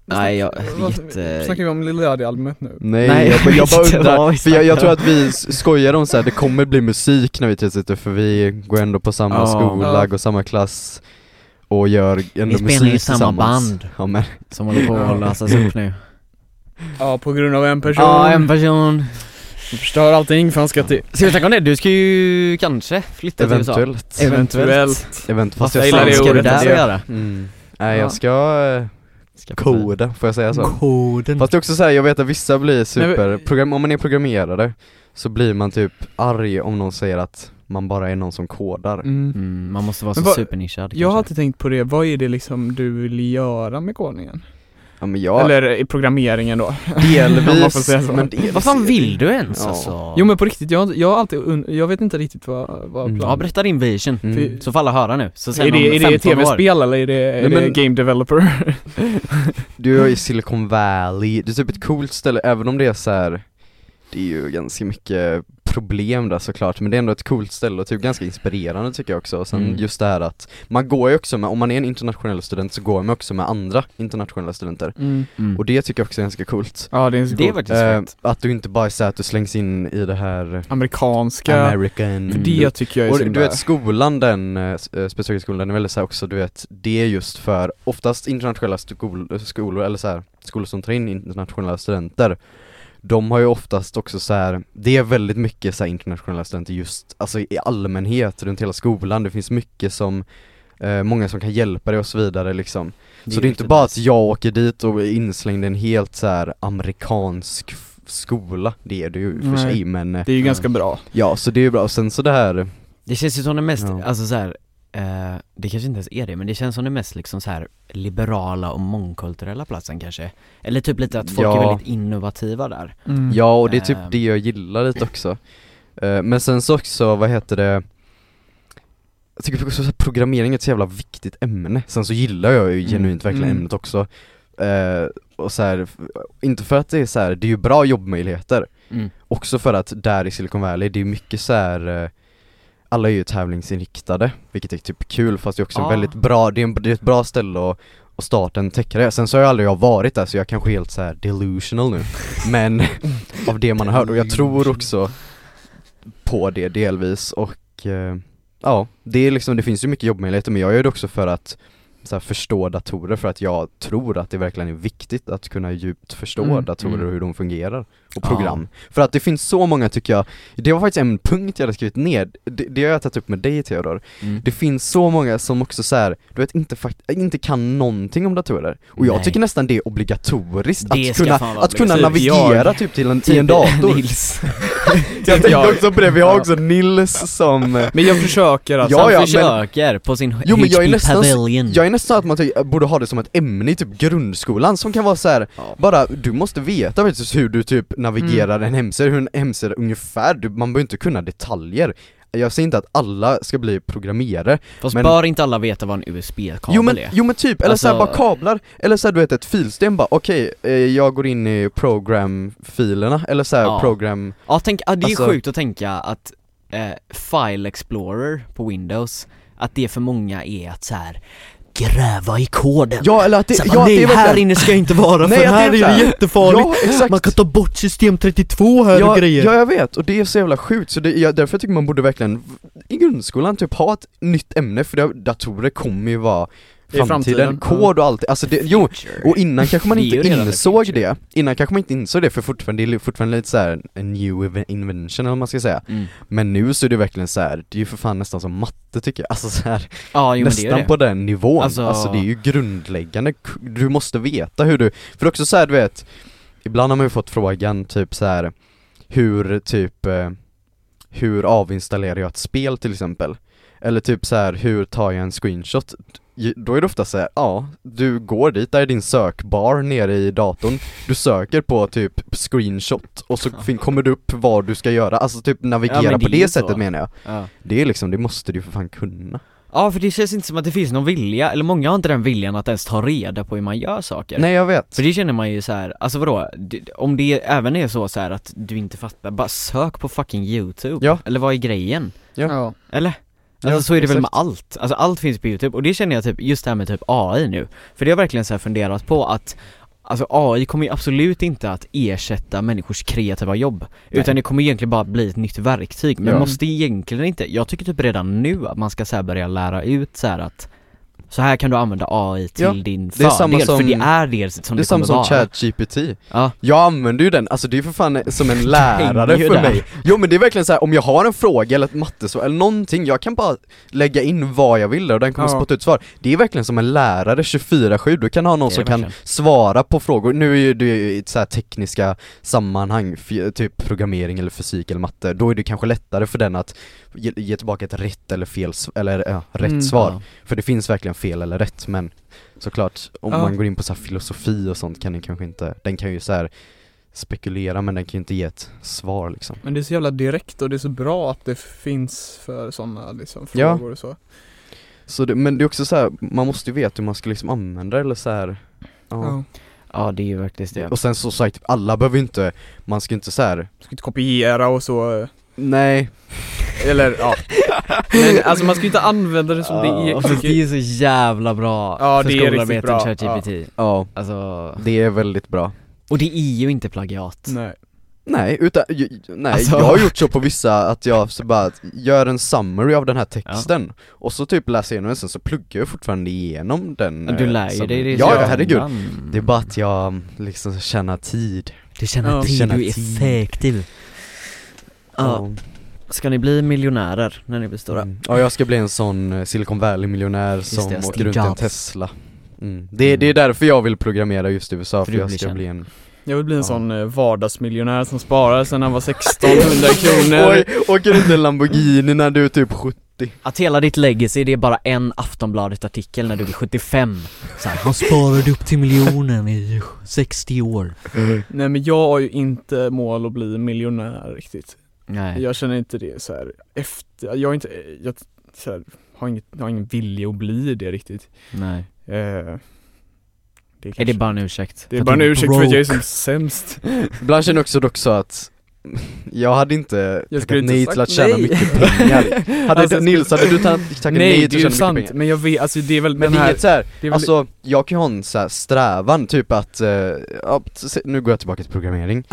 Speaker 4: nej, jag
Speaker 1: Vad-
Speaker 4: jätte...
Speaker 1: Snackar vi om Lil Yari-albumet nu?
Speaker 2: Nej,
Speaker 4: Nej,
Speaker 2: jag, bara- jag bara
Speaker 4: inte vad vi
Speaker 2: undrar, för jag, jag
Speaker 4: snackar
Speaker 2: tror
Speaker 4: om.
Speaker 2: att vi s- skojar om så här, det kommer bli musik när vi tre sitter för vi går ändå på samma
Speaker 4: Ja.
Speaker 2: skola,
Speaker 1: Ja.
Speaker 2: går samma klass och gör ändå
Speaker 4: spelar
Speaker 2: musik
Speaker 4: ju i samma
Speaker 2: tillsammans.
Speaker 4: band.
Speaker 2: Ja men,
Speaker 4: Som håller på att lösas upp nu.
Speaker 1: Ja, på grund av en person
Speaker 4: Ja, en person.
Speaker 1: som förstör allting för han ska till
Speaker 4: Ska vi snacka om det? Du ska ju kanske flytta till USA.
Speaker 2: eventuellt,
Speaker 1: Eventuellt
Speaker 2: eventuellt, fast
Speaker 4: Vad
Speaker 2: jag
Speaker 1: gillar
Speaker 4: fan
Speaker 1: det
Speaker 4: ska du
Speaker 1: ordet,
Speaker 4: där och
Speaker 1: alltså.
Speaker 4: göra?
Speaker 2: Mm. Nej
Speaker 4: Ja.
Speaker 2: jag ska, eh, koda, får jag säga så?
Speaker 4: Koden.
Speaker 2: Fast det är också såhär, jag vet att vissa blir
Speaker 1: Nej, men-
Speaker 2: super, program, om man är programmerare så blir man typ arg om någon säger att man bara är någon som kodar
Speaker 1: mm.
Speaker 4: Mm, man måste vara så
Speaker 1: Men vad-
Speaker 4: supernischad
Speaker 1: Jag har
Speaker 4: kanske.
Speaker 1: alltid tänkt på det, vad är det liksom du vill göra med kodningen?
Speaker 2: Ja men jag,
Speaker 1: Eller eh, i programmeringen då? om man får
Speaker 2: delvis,
Speaker 1: säga så.
Speaker 2: men delvis
Speaker 4: Vad fan
Speaker 2: är-
Speaker 4: vill du ens
Speaker 2: Ja.
Speaker 4: alltså?
Speaker 1: Jo men på riktigt, jag, jag har alltid und- jag vet inte riktigt vad, vad
Speaker 2: Mm.
Speaker 4: Ja,
Speaker 1: planen
Speaker 4: berätta din vision.
Speaker 2: Mm.
Speaker 4: Så får alla höra nu. Så sen
Speaker 1: är. Det, är
Speaker 4: om
Speaker 1: det
Speaker 4: 15 år.
Speaker 1: tv-spel eller är det, är
Speaker 2: Nej, men-
Speaker 1: det game developer?
Speaker 2: Du är i Silicon Valley, det är typ ett coolt ställe även om det är så här. Det är ju ganska mycket problem där såklart, men det är ändå ett coolt ställe och typ ganska inspirerande tycker jag också. Och sen
Speaker 4: Mm.
Speaker 2: just det här att man går ju också med, om man är en internationell student så går man också med andra internationella studenter.
Speaker 1: Mm.
Speaker 4: Mm.
Speaker 2: Och det tycker jag också är ganska coolt.
Speaker 1: Ja det är så
Speaker 4: Det är
Speaker 1: coolt.
Speaker 4: faktiskt
Speaker 2: Eh,
Speaker 4: fett.
Speaker 2: att du inte bara är så här att du slängs in i det här eh,
Speaker 1: Amerikanska,
Speaker 2: American Mm.
Speaker 1: för det tycker jag är
Speaker 2: Och
Speaker 1: så
Speaker 2: du
Speaker 1: himla-
Speaker 2: vet skolan den, eh, s- eh, specifika skolan den är väldigt såhär också du vet, det är just för oftast internationella skol, skolor, eller såhär, skolor som tar in internationella studenter de har ju oftast också så här, det är väldigt mycket så här internationella studenter just, alltså i allmänhet runt hela skolan, det finns mycket som, eh, många som kan hjälpa dig och så vidare liksom. så det är inte
Speaker 4: riktigt
Speaker 2: bara
Speaker 4: nice.
Speaker 2: att jag åker dit och är inslängd i en helt så här amerikansk f- skola, det är det ju i och för
Speaker 1: Nej.
Speaker 2: sig men, eh,
Speaker 1: Det är ju ganska bra.
Speaker 2: ja så det är ju bra, och sen så det här
Speaker 4: Det känns ju som det mest,
Speaker 2: Ja.
Speaker 4: alltså så här, eh, det kanske inte ens är det, men det känns som det mest liksom så här liberala och mångkulturella platsen kanske. Eller typ lite att folk
Speaker 2: Ja.
Speaker 4: är väldigt innovativa där.
Speaker 2: Ja, och det är typ
Speaker 4: Ehm.
Speaker 2: det jag gillar lite också. Eh, men sen så också, vad heter det? Jag tycker också att programmering är ett så jävla viktigt ämne. Sen så gillar jag ju
Speaker 4: Mm.
Speaker 2: genuint verkligen
Speaker 1: Mm.
Speaker 2: ämnet också. Eh, och så här, f- inte för att det är så här, det är ju bra jobbmöjligheter.
Speaker 4: Mm.
Speaker 2: Också för att där i Silicon Valley, det är mycket så här eh, alla är ju tävlingsinriktade, vilket är typ kul fast det är också en
Speaker 4: Ja.
Speaker 2: väldigt bra, det är, en, det är ett bra ställe att, att starta en techkarriär. Sen så har jag aldrig jag varit där så jag kanske är helt så här delusional nu Men av det man har hört och jag tror också på det delvis och eh, ja, det är liksom, det finns ju mycket jobbmöjligheter men jag gör det också för att så här, förstå datorer för att jag tror att det verkligen är viktigt att kunna djupt förstå
Speaker 1: Mm,
Speaker 2: datorer
Speaker 4: mm.
Speaker 2: och hur de fungerar och
Speaker 4: Ja.
Speaker 2: program. För att det finns så många tycker jag, det var faktiskt en punkt jag hade skrivit ner, det, det har jag tagit upp med dig Theodor,
Speaker 4: Mm.
Speaker 2: det finns så många som också så här, du vet inte, fakt- inte kan någonting om datorer. Och jag
Speaker 4: Nej.
Speaker 2: tycker nästan det är obligatoriskt
Speaker 4: Det
Speaker 2: att
Speaker 4: ska
Speaker 2: kunna,
Speaker 4: fan vara
Speaker 2: att kunna
Speaker 1: obligatoriskt.
Speaker 2: navigera typ till en, i en dator.
Speaker 4: Nils.
Speaker 2: jag tänkte också på det, vi har också Nils som eh,
Speaker 1: Men jag försöker alltså.
Speaker 2: Ja,
Speaker 4: Han
Speaker 2: ja, men-
Speaker 4: försöker på sin
Speaker 2: Jo, men jag är
Speaker 4: HP
Speaker 2: nästan-
Speaker 4: Pavilion.
Speaker 2: Jag är nästan så att man ty- borde ha det som ett ämne i typ grundskolan som kan vara så här, bara du måste veta precis hur du typ navigerar
Speaker 4: Mm.
Speaker 2: en hemsida, hur en hemsida ungefär, du, man behöver inte kunna detaljer jag säger inte att alla ska bli programmerare,
Speaker 4: Fast
Speaker 2: men-
Speaker 4: bör inte alla veta vad en USB-kabel
Speaker 2: jo men,
Speaker 4: är?
Speaker 2: jo men typ, eller så här,
Speaker 4: Alltså-
Speaker 2: bara kablar, eller så här, du vet ett filsystem bara okej, eh, jag går in i programfilerna, eller så här,
Speaker 4: Ja.
Speaker 2: program,
Speaker 4: Ja, tänk, ja det är
Speaker 2: Alltså-
Speaker 4: sjukt att tänka att eh, File Explorer på Windows, att det för många är att så här gräva i koden.
Speaker 2: ja eller att det,
Speaker 4: Så här,
Speaker 2: ja,
Speaker 4: nej,
Speaker 2: det är
Speaker 4: här
Speaker 2: verkligen-
Speaker 4: inne ska jag inte vara
Speaker 2: Nej,
Speaker 4: för
Speaker 2: att det
Speaker 4: här är
Speaker 2: är så
Speaker 4: det
Speaker 2: här.
Speaker 4: jättefarligt.
Speaker 2: Ja exakt!
Speaker 4: Man kan ta bort system 32 här och
Speaker 2: ja,
Speaker 4: grejer.
Speaker 2: ja jag vet, och det är så jävla sjukt, så det, jag, därför tycker man borde verkligen i grundskolan typ ha ett nytt ämne, för det, datorer kommer ju vara
Speaker 1: Det är
Speaker 2: framtiden,
Speaker 1: framtiden, ja.
Speaker 2: kod och allt, alltså det, jo, och innan kanske man
Speaker 4: Det är
Speaker 2: inte
Speaker 4: ju redan the
Speaker 2: insåg
Speaker 4: future.
Speaker 2: det, innan kanske man inte insåg det för fortfarande, det är fortfarande lite såhär en new inven- invention eller vad man ska säga
Speaker 4: Mm.
Speaker 2: Men nu så är det verkligen så här, det är ju för fan nästan som matte tycker jag, alltså så här,
Speaker 4: Ja, jo, men det
Speaker 2: nästan
Speaker 4: är det.
Speaker 2: på den nivån, alltså...
Speaker 4: Alltså-
Speaker 2: det är ju grundläggande, K- du måste veta hur du, för det är också så här, du vet, ibland har man ju fått frågan typ så här hur typ, eh, hur avinstallerar jag ett spel till exempel? Eller typ så här, hur tar jag en screenshot? Ju- Då är det ofta så här, ja, du går dit, där är din sökbar nere i datorn, du söker på typ screenshot och så fin- kommer det upp vad du ska göra, alltså typ navigera
Speaker 4: men
Speaker 2: på
Speaker 4: det är
Speaker 2: det
Speaker 4: ju
Speaker 2: sättet
Speaker 4: så.
Speaker 2: menar jag.
Speaker 4: Ja.
Speaker 2: Det är liksom, det måste du ju för fan kunna.
Speaker 4: ja, för det känns inte som att det finns någon vilja, eller många har inte den viljan att ens ta reda på hur man gör saker.
Speaker 2: Nej jag vet.
Speaker 4: För det känner man ju så här, alltså vadå, Det- om det även är så, så här att du inte fattar, bara sök på fucking youtube,
Speaker 2: Ja.
Speaker 4: eller vad är grejen?
Speaker 1: Ja.
Speaker 4: Eller? Alltså
Speaker 2: Ja,
Speaker 4: så är det väl med
Speaker 2: exakt.
Speaker 4: allt, alltså allt finns på youtube och det känner jag typ, just det här med typ AI nu, för det har jag verkligen så här funderat på att Alltså AI kommer ju absolut inte att ersätta människors kreativa jobb Utan det kommer egentligen bara bli ett nytt verktyg, men
Speaker 2: Ja.
Speaker 4: måste egentligen inte, jag tycker typ redan nu att man ska så här börja lära ut så här att Så här kan du använda AI till
Speaker 2: Ja,
Speaker 4: din
Speaker 2: det är
Speaker 4: fördel,
Speaker 2: samma
Speaker 4: för
Speaker 2: som-
Speaker 4: det är det som
Speaker 2: Det är
Speaker 4: det,
Speaker 2: samma
Speaker 4: kommer
Speaker 2: som
Speaker 4: vara
Speaker 2: ChatGPT.
Speaker 4: Ja.
Speaker 2: Jag använder ju den, alltså det är ju för fan som en lärare
Speaker 4: hänger ju
Speaker 2: för
Speaker 4: där.
Speaker 2: mig. Jo men det är verkligen så här, om jag har en fråga eller ett mattesvar eller någonting, jag kan bara lägga in vad jag vill där och den kommer
Speaker 1: Ja.
Speaker 2: spotta ut svar. Det är verkligen som en lärare 24-7, du kan ha någon
Speaker 4: Det är
Speaker 2: som
Speaker 4: det
Speaker 2: kan
Speaker 4: verkligen.
Speaker 2: svara på frågor. Nu är ju det i ett så här tekniska sammanhang, f- typ programmering eller fysik eller matte, då är det kanske lättare för den att ge, ge tillbaka ett rätt eller fel, s- eller ja, rätt
Speaker 1: Mm.
Speaker 2: svar.
Speaker 4: Ja.
Speaker 2: För det finns verkligen fel eller rätt men såklart om
Speaker 1: Ja.
Speaker 2: man går in på så här filosofi och sånt kan den kanske inte, den kan ju så här spekulera men den kan ju inte ge ett svar liksom.
Speaker 1: Men det är så jävla direkt och det är så bra att det finns för sådana liksom,
Speaker 2: Ja.
Speaker 1: frågor och så.
Speaker 2: Så det, men det är också så här, man måste ju veta hur man ska liksom använda det eller så här. Ja.
Speaker 1: Ja.
Speaker 4: Ja det är ju faktiskt det.
Speaker 2: typ, Och sen så sagt, alla behöver ju inte, man ska ju inte så här.
Speaker 1: Ska inte kopiera och så. eh,
Speaker 2: Nej,
Speaker 1: Eller ja. Men alltså man ska ju inte använda det som det
Speaker 4: Ja,
Speaker 1: är.
Speaker 4: fast Alltså, det är så jävla bra
Speaker 1: Ja,
Speaker 4: för
Speaker 1: det är
Speaker 4: skolarbeten,
Speaker 1: riktigt bra.
Speaker 4: ChatGPT.
Speaker 2: ja,
Speaker 4: Alltså,
Speaker 2: det är väldigt bra
Speaker 4: och det är ju inte plagiat.
Speaker 1: Nej.
Speaker 2: Nej, utan, ju- ju- nej
Speaker 4: Alltså-
Speaker 2: jag har gjort så på vissa att jag så bara gör en summary av den här texten och så typ läser jag igenom den, sen så pluggar jag fortfarande igenom den
Speaker 4: Du
Speaker 2: eh,
Speaker 4: lär ju
Speaker 2: som-
Speaker 4: dig det i
Speaker 2: Ja, ja
Speaker 4: slutändan.
Speaker 2: herregud Det är bara att jag liksom tjänar tid
Speaker 4: Du känner
Speaker 1: Ja.
Speaker 4: att
Speaker 2: Du känner
Speaker 4: du är
Speaker 2: tid.
Speaker 4: effektiv. Ja, ska ni bli miljonärer när ni blir stora?
Speaker 2: Mm. Ja jag ska bli en sån eh, Silicon Valley-miljonär
Speaker 4: Just
Speaker 2: som
Speaker 4: det, Steve
Speaker 2: åker runt i en
Speaker 4: Jobs.
Speaker 2: Tesla mm. det, det är därför jag vill programmera just i USA,
Speaker 4: För
Speaker 2: för,
Speaker 4: du
Speaker 2: jag
Speaker 4: blir
Speaker 2: ska
Speaker 4: känd.
Speaker 2: bli en
Speaker 1: Jag vill bli en
Speaker 2: Ja.
Speaker 1: sån eh, vardagsmiljonär som sparar sen han var 1600 kronor.
Speaker 2: Oj, åker inte en Lamborghini när du är typ 70
Speaker 4: Att hela ditt legacy, det är bara en Aftonbladet-artikel när du blir 75 så här, Han sparade upp till miljonen i 60 år
Speaker 1: Nej men jag har ju inte mål att bli miljonär riktigt.
Speaker 4: Nej,
Speaker 1: Jag känner inte det så här efter, jag är inte, jag så här, har, inget, har ingen vilja att bli det riktigt.
Speaker 4: nej
Speaker 1: Eh, det är,
Speaker 4: Är det
Speaker 1: kanske-
Speaker 4: bara en ursäkt?
Speaker 1: det är
Speaker 4: Att
Speaker 1: bara en
Speaker 4: du
Speaker 1: ursäkt för att jag är
Speaker 4: broke?
Speaker 1: som sämst.
Speaker 2: Ibland känner jag också dock så att jag hade inte
Speaker 1: Jag skulle
Speaker 2: tackat
Speaker 1: inte
Speaker 2: nej
Speaker 1: sagt
Speaker 2: till att tjäna
Speaker 1: nej.
Speaker 2: mycket pengar hade
Speaker 1: Alltså, jag
Speaker 2: Nils, hade du ta- tackat nej,
Speaker 1: Nej det
Speaker 2: till
Speaker 1: är
Speaker 2: att
Speaker 1: ju
Speaker 2: tjäna mycket
Speaker 1: sant,
Speaker 2: pengar?
Speaker 1: men jag vet, alltså det är väl
Speaker 2: Men
Speaker 1: den
Speaker 2: det är
Speaker 1: här,
Speaker 2: inget såhär,
Speaker 1: det är väl,
Speaker 2: alltså jag kan ju ha en så här strävan typ att, eh, ja, se- nu går jag tillbaka till programmering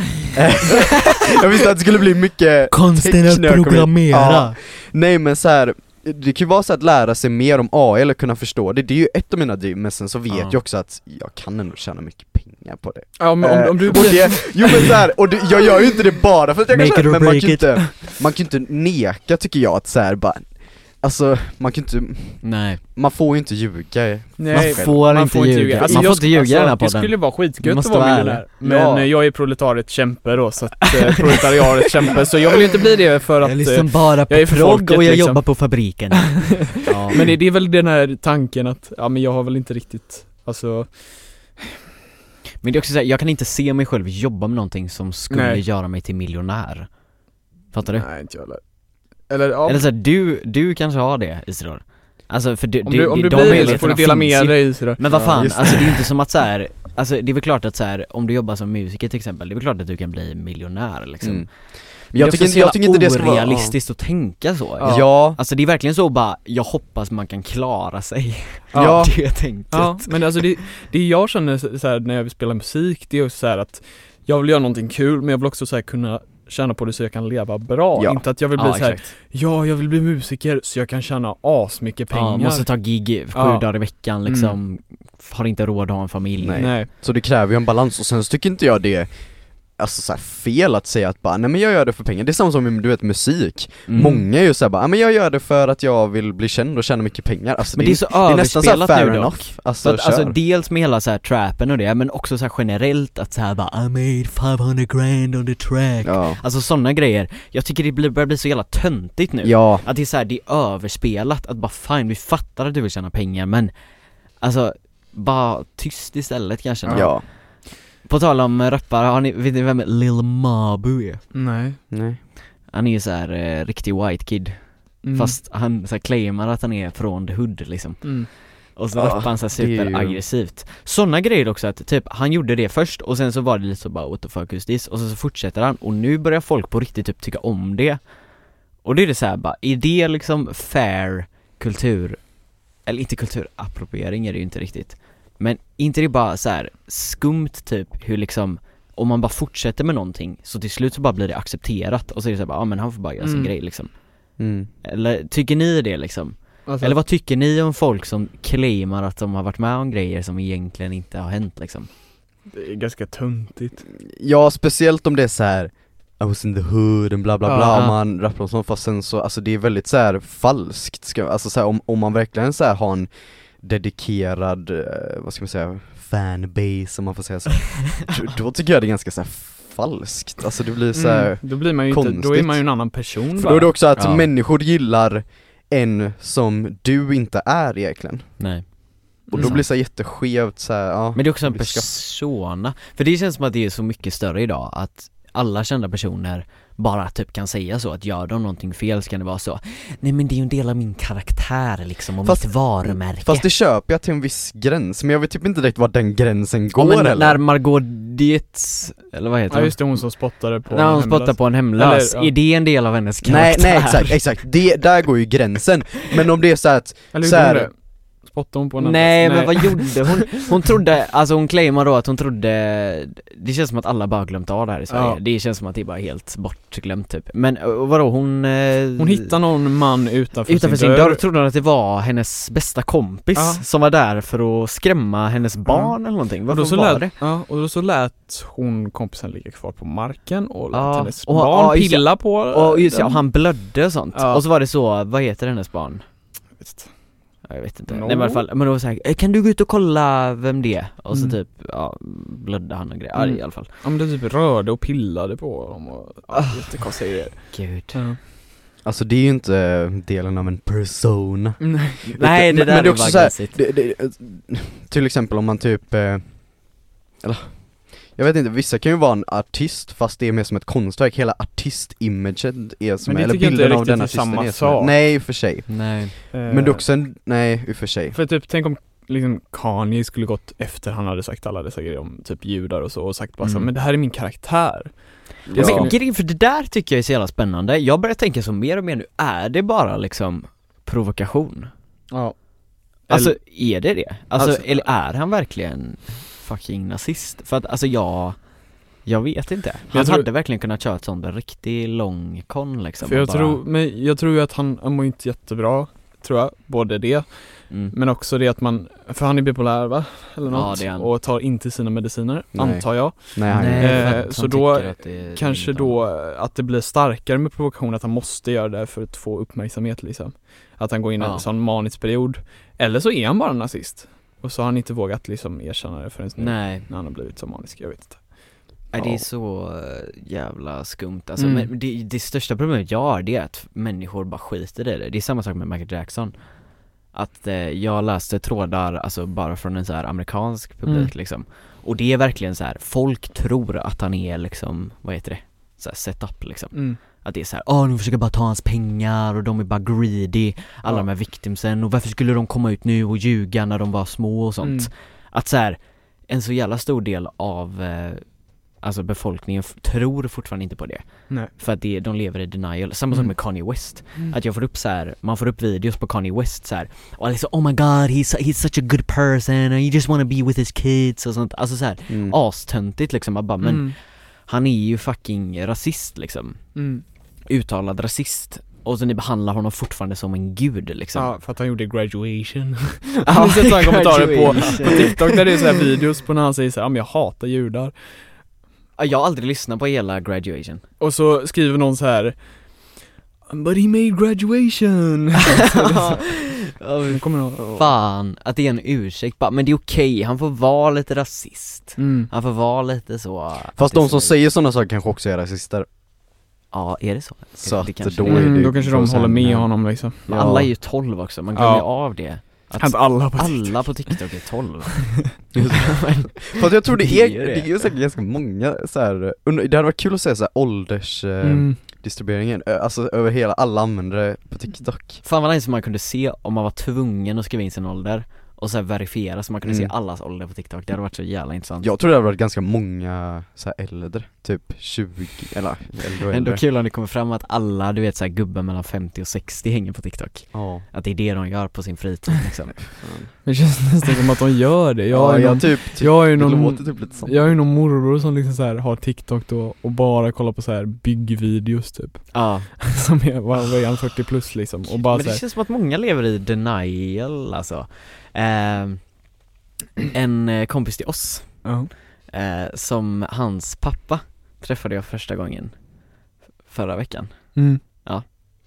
Speaker 2: Jag visste att det skulle bli mycket
Speaker 4: Konsten att
Speaker 2: Technörd kommer-
Speaker 4: programmera!
Speaker 2: Ja. Nej men så här. Det kan ju vara så att lära sig mer om AI eller kunna förstå det, det är ju ett av mina driv, men sen så vet
Speaker 4: Ja.
Speaker 2: jag också att jag kan ändå tjäna mycket pengar på det
Speaker 1: ja, men om, om du
Speaker 2: Eh, och det, Jo men så här, och det, jag gör ju inte det bara för att jag
Speaker 4: Make
Speaker 2: kan
Speaker 4: it or
Speaker 2: tjäna, men man
Speaker 4: break
Speaker 2: kan ju
Speaker 4: it.
Speaker 2: inte, man kan ju inte neka tycker jag att så här, bara Alltså, man kan ju inte,
Speaker 4: Nej,
Speaker 2: man får ju inte ljuga
Speaker 1: Nej,
Speaker 4: man får inte ljuga, man får
Speaker 1: jag sk-
Speaker 4: inte ljuga
Speaker 1: alltså,
Speaker 4: i den här
Speaker 1: Det
Speaker 4: podden
Speaker 1: skulle vara skitgött att
Speaker 4: måste
Speaker 1: vara
Speaker 4: vara
Speaker 1: miljonär.
Speaker 2: ärlig.
Speaker 1: Men
Speaker 2: Ja.
Speaker 1: eh, jag är proletariet kämpe då, så att eh, proletariatet kämpe, så jag vill ju inte bli det för att... eh,
Speaker 4: bara
Speaker 1: jag är för folket, liksom.
Speaker 4: på fabriken ja.
Speaker 1: men det, det är väl den här tanken att, ja men jag har väl inte riktigt, alltså...
Speaker 4: Men det är också såhär, jag kan inte se mig själv jobba med någonting som skulle
Speaker 1: Nej.
Speaker 4: göra mig till miljonär Fattar du?
Speaker 1: Nej, inte jag heller. Eller ja,
Speaker 4: Eller såhär, du, du kanske har det Isidor Alltså för du,
Speaker 1: om du, om du
Speaker 4: de
Speaker 1: blir det så får
Speaker 4: möjligheterna
Speaker 1: du dela
Speaker 4: finns
Speaker 1: med
Speaker 4: ju.
Speaker 1: dig så där.
Speaker 4: Men vad
Speaker 2: Ja,
Speaker 4: fan,
Speaker 2: just det.
Speaker 4: alltså det är inte som att så här, alltså det är väl klart att så här, om du jobbar som musiker till exempel, det är väl klart att du kan bli miljonär liksom
Speaker 2: Mm.
Speaker 4: Men
Speaker 2: Jag
Speaker 4: det är
Speaker 2: tycker
Speaker 4: också
Speaker 2: inte, jag
Speaker 4: så
Speaker 2: tycker inte det ska
Speaker 4: jävla
Speaker 2: vara
Speaker 4: orealistiskt att tänka så
Speaker 2: Ja, ja,
Speaker 4: Alltså det är verkligen så bara, jag hoppas man kan klara sig
Speaker 2: Ja.
Speaker 4: Det är tänket
Speaker 1: Ja, men alltså det, det jag känner så så här, när jag vill spela musik, det är också så här att jag vill göra någonting kul, men jag vill också så här, kunna tjäna på det så jag kan leva bra.
Speaker 2: Ja.
Speaker 1: Inte att jag vill bli
Speaker 4: Ja,
Speaker 1: så här,
Speaker 4: exakt.
Speaker 1: ja jag vill bli musiker så jag kan tjäna asmycket pengar.
Speaker 4: Ja, måste ta gig sju
Speaker 1: Ja.
Speaker 4: dagar i veckan liksom, har inte råd att ha en familj
Speaker 2: Mm. Nej.
Speaker 1: Nej.
Speaker 2: så det kräver ju en balans och sen så tycker inte jag det är Alltså så här fel att säga att bara, nej men jag gör det för pengar, det är samma som med, du vet musik
Speaker 4: Mm.
Speaker 2: Många är ju såhär bara, "Ja, men jag gör det för att jag vill bli känd och tjäna mycket pengar alltså,
Speaker 4: Men det är så
Speaker 2: det är nästan såhär
Speaker 4: överspelat
Speaker 2: fair
Speaker 4: nu dock
Speaker 2: enough, alltså,
Speaker 4: Så att,
Speaker 2: kör.
Speaker 4: alltså dels med hela så här trappen och det, men också så här generellt att så här bara I made 500 grand on the track
Speaker 2: ja.
Speaker 4: Alltså sådana grejer, jag tycker det blir- börjar bli så jävla töntigt nu
Speaker 2: ja,
Speaker 4: Att det är så här, det är överspelat, att bara fine, vi fattar att du vill tjäna pengar men Alltså, bara tyst istället kanske
Speaker 2: ja,
Speaker 4: På tal om rappare, har ni, vet ni vem Lil Mabu är?
Speaker 1: Nej.
Speaker 2: Nej.
Speaker 4: Han är ju så här eh, riktig white kid,
Speaker 1: Mm.
Speaker 4: fast han så här, claimar att han är från the hood liksom
Speaker 1: Mm.
Speaker 4: Och så
Speaker 2: Ja,
Speaker 4: rappade han såhär
Speaker 2: det är ju-
Speaker 4: superaggressivt Såna grejer också att typ, han gjorde det först och sen så var det lite så bara what the fuck is this? Och så, så fortsätter han och nu börjar folk på riktigt typ tycka om det Och det är det såhär bara, är det liksom fair kultur? Eller inte kulturappropriering är det ju inte riktigt Men är inte det bara så här skumt typ hur liksom om man bara fortsätter med någonting så till slut så bara blir det accepterat och så är det såhär bara, ja ah, men han får bara göra sin
Speaker 1: Mm.
Speaker 4: grej liksom
Speaker 2: Mm.
Speaker 4: Eller tycker ni det liksom?
Speaker 1: Alltså,
Speaker 4: Eller vad tycker ni om folk som claimar att de har varit med om grejer som egentligen inte har hänt liksom?
Speaker 1: Det är ganska töntigt.
Speaker 2: Ja, speciellt om det är så här I was in the hood and bla bla bla,
Speaker 4: Ja.
Speaker 2: om man rappar om sånt fast sen så, alltså det är väldigt så här falskt, ska, alltså så här, om, om man verkligen så här har en dedikerad, eh, vad ska man säga, fanbase om man får säga så, då, då tycker jag det är ganska så här falskt, alltså det blir så här,
Speaker 1: Mm. Då blir man ju inte, då är
Speaker 2: konstigt.
Speaker 1: man ju en annan person
Speaker 2: för då är det också att
Speaker 4: Mm. Ja.
Speaker 2: människor gillar en som du inte är egentligen,
Speaker 4: Nej
Speaker 2: och då
Speaker 1: Mm.
Speaker 2: blir det så här jätteskevt så här, ja
Speaker 4: Liksom. Men det är också en
Speaker 2: Det blir skaff.
Speaker 4: persona, för det känns som att det är så mycket större idag att alla kända personer bara typ kan säga så, att gör de någonting fel så kan det vara så Nej men det är ju en del av min karaktär liksom och
Speaker 2: Fast-
Speaker 4: mitt varumärke
Speaker 2: Fast det köper jag till en viss gräns, men jag vet typ inte direkt var den gränsen
Speaker 4: Ja,
Speaker 2: går
Speaker 4: men
Speaker 2: heller
Speaker 4: när Margot Dietz, eller vad heter
Speaker 1: Ja
Speaker 4: hon?
Speaker 1: just det, hon som spottade på
Speaker 4: när hon
Speaker 1: hemlös.
Speaker 4: spottar på en hemlös,
Speaker 1: Eller, ja.
Speaker 4: är det en del av hennes
Speaker 2: Nej,
Speaker 4: karaktär?
Speaker 2: nej exakt, exakt, det, där går ju gränsen Men om det är så att,
Speaker 1: Eller
Speaker 2: så
Speaker 1: gjorde
Speaker 2: här-
Speaker 1: hon det? Spottade hon på en
Speaker 4: Nej,
Speaker 1: hemlös?
Speaker 4: men vad gjorde hon? Hon trodde, alltså hon claimar då att hon trodde Det känns som att alla bara glömt av det här i Sverige,
Speaker 1: Ja.
Speaker 4: det känns som att det är bara helt bortglömt typ Men eh, vadå hon... eh,
Speaker 1: Hon hittade någon man utanför,
Speaker 4: Utanför sin dörr trodde hon att det var hennes bästa kompis
Speaker 1: Ja.
Speaker 4: som var där för att skrämma hennes barn eller någonting,
Speaker 1: Och då,
Speaker 4: varför
Speaker 1: så
Speaker 4: var
Speaker 1: lät,
Speaker 4: det?
Speaker 1: ja, och då så lät hon kompisen ligga kvar på marken och lät
Speaker 4: Ja,
Speaker 1: hennes
Speaker 4: och-
Speaker 1: barn
Speaker 4: ja, just det.
Speaker 1: pilla på
Speaker 4: Och just det,
Speaker 1: den.
Speaker 4: och han blödde och sånt,
Speaker 1: Ja.
Speaker 4: och så var det så, vad heter hennes barn? Ja, Jag vet inte,
Speaker 1: No.
Speaker 4: nej men i alla fall, men då var det så här, "Eh, kan du gå ut och kolla vem det är? Och så
Speaker 1: Mm.
Speaker 4: typ, ja, blödde han och grejer,
Speaker 1: Mm.
Speaker 4: arg i alla fall
Speaker 1: Ja men det typ rörde och pillade på dem och ja,
Speaker 4: Ah.
Speaker 1: jättekonstiga grejer Eh,
Speaker 4: Gud
Speaker 2: alltså det är ju inte delen av en persona
Speaker 1: Nej.
Speaker 4: Nej
Speaker 2: Men-
Speaker 4: det
Speaker 2: men det
Speaker 4: där
Speaker 2: är
Speaker 4: var
Speaker 2: också så här-
Speaker 4: glasigt
Speaker 2: det, det, Till exempel om man typ, eh, eller jag vet inte, vissa kan ju vara en artist fast det är mer som ett konstverk, hela artistimagen är som,
Speaker 1: Men det
Speaker 2: eller
Speaker 1: tycker jag inte
Speaker 2: bilden av
Speaker 1: riktigt
Speaker 2: den
Speaker 1: är
Speaker 2: artisten
Speaker 1: samma
Speaker 2: är som,
Speaker 1: sak. Eh.
Speaker 2: nej i och för sig
Speaker 4: Nej
Speaker 2: Men det är också en, nej i och för sig
Speaker 1: För typ, tänk om liksom Kanye skulle gått efter han hade sagt alla dessa grejer om typ judar och så och sagt bara så,
Speaker 4: Mm.
Speaker 1: men det här är min karaktär.
Speaker 2: Ja.
Speaker 4: Men grejen, för det där tycker jag är så jävla spännande, jag börjar tänka så mer och mer nu, är det bara liksom provokation?
Speaker 1: Ja.
Speaker 4: Alltså är det det? Alltså,
Speaker 2: Alltså-
Speaker 4: eller är han verkligen fucking nazist? För att alltså jag, jag vet inte Han
Speaker 1: jag tror-
Speaker 4: hade verkligen kunnat köra ett sånt en riktig lång kon liksom
Speaker 1: För jag,
Speaker 4: och bara-
Speaker 1: tror, men jag tror ju att han, han mår inte jättebra, tror jag. Både det,
Speaker 4: mm.
Speaker 1: men också det att man, för han är bipolär va? Eller
Speaker 4: Ja,
Speaker 1: något.
Speaker 4: det är han.
Speaker 1: Och tar inte sina mediciner,
Speaker 2: Nej.
Speaker 1: antar jag.
Speaker 2: Nej, han,
Speaker 1: Nej. Eh,
Speaker 4: för att han
Speaker 1: så då
Speaker 4: tycker att det är
Speaker 1: Kanske
Speaker 4: inget
Speaker 1: då eh, att det blir starkare med provokation, att han måste göra det för att få uppmärksamhet liksom. Att han går in i
Speaker 4: Ja.
Speaker 1: en sån manisk period. Eller så är han bara nazist. Och så har han inte vågat liksom erkänna det förrän nu.
Speaker 4: Nej,
Speaker 1: När han har blivit så manisk, jag vet inte.
Speaker 4: nej, det
Speaker 1: Ja.
Speaker 4: är så eh, jävla skumt alltså,
Speaker 1: Mm.
Speaker 4: men det, det största problemet jag har det är att människor bara skiter i det, det är samma sak med Michael Jackson Att eh, jag läste trådar, alltså bara från en så här amerikansk publik
Speaker 1: Mm.
Speaker 4: liksom Och det är verkligen så här, folk tror att han är liksom, vad heter det? Så här setup liksom
Speaker 1: Mm.
Speaker 4: Att det är så här, åh de försöker bara ta hans pengar och de är bara greedy Alla
Speaker 1: Ja.
Speaker 4: de här victimsen och varför skulle de komma ut nu och ljuga när de var små och sånt
Speaker 1: Mm.
Speaker 4: Att så här, en så jävla stor del av eh, Alltså befolkningen f- tror fortfarande inte på det
Speaker 1: Nej.
Speaker 4: För att det, de lever i denial, samma sak
Speaker 1: Mm.
Speaker 4: med Kanye West Att jag får upp så här, man får upp videos på Kanye West så här Och alla är så, oh my god he's, he's such a good person and you just wanna be with his kids och sånt Alltså så här,
Speaker 2: mm.
Speaker 4: astöntigt liksom, man bara, men
Speaker 1: Mm.
Speaker 4: han är ju fucking rasist liksom
Speaker 1: Mm.
Speaker 4: uttalad rasist och så ni behandlar honom fortfarande som en gud liksom
Speaker 1: Ja, för att han gjorde graduation.
Speaker 4: Ja,
Speaker 1: Jag har sett sådana kommentarer på,
Speaker 4: graduation.
Speaker 1: på TikTok där det är sådana här videos på när han säger såhär, ja men jag hatar judar.
Speaker 4: Ja, Jag har aldrig lyssnat på hela graduation
Speaker 1: Och så skriver någon så här But he made graduation! Nu kommer någon-
Speaker 4: Fan, att det är en ursäkt bara, men det är okej, han får vara lite rasist
Speaker 1: Mm.
Speaker 4: Han får vara lite så
Speaker 2: Fast de som
Speaker 4: antisemit.
Speaker 2: säger sådana saker kanske också är rasister
Speaker 4: Ja, är det så?
Speaker 2: Så
Speaker 4: Det
Speaker 2: att
Speaker 4: kanske
Speaker 2: då
Speaker 4: det är.
Speaker 2: är det
Speaker 1: Mm,
Speaker 2: ju
Speaker 1: då kanske de håller med
Speaker 2: procenten.
Speaker 1: honom liksom.
Speaker 4: Men
Speaker 2: Ja.
Speaker 4: alla är ju 12 också, man glömmer
Speaker 1: Ja.
Speaker 4: ju av det att
Speaker 1: Att alla på
Speaker 4: alla på TikTok är 12
Speaker 2: Fast jag tror det
Speaker 4: Det
Speaker 2: är,
Speaker 4: är ju det.
Speaker 2: det är ju säkert ganska många så här, under- det hade varit kul att se så här åldersdistribueringen,
Speaker 1: Mm.
Speaker 2: alltså över hela, alla användare på TikTok
Speaker 4: Fan vad nice om man kunde se om man var tvungen att skriva in sin ålder och så här verifiera så man kunde
Speaker 2: Mm.
Speaker 4: se allas ålder på TikTok, det hade varit så jävla intressant
Speaker 2: Jag tror det hade varit ganska många så här äldre, typ 20, eller äldre och
Speaker 4: Ändå
Speaker 2: äldre
Speaker 4: kul om det kommer fram att alla, du vet såhär gubbar mellan 50 och 60 hänger på TikTok
Speaker 2: Ja,
Speaker 4: Att det är det de gör på sin fritid liksom
Speaker 1: Det känns nästan som att de gör det. Jag
Speaker 2: ja
Speaker 1: har ju
Speaker 2: jag
Speaker 1: någon,
Speaker 2: typ, typ
Speaker 1: jag har ju
Speaker 2: det
Speaker 1: någon,
Speaker 2: låter typ lite sånt
Speaker 1: jag har ju någon morbror som liksom så här har TikTok då och bara kollar på så här byggvideos typ.
Speaker 4: Ja,
Speaker 1: Som är, vad vad är han, 40 plus liksom? Och bara
Speaker 4: men
Speaker 1: så
Speaker 4: det
Speaker 1: här,
Speaker 4: känns som att många lever i denial alltså Ehm, En eh, kompis till oss,
Speaker 1: ja.
Speaker 4: eh, som hans pappa träffade jag första gången förra veckan
Speaker 1: Mm.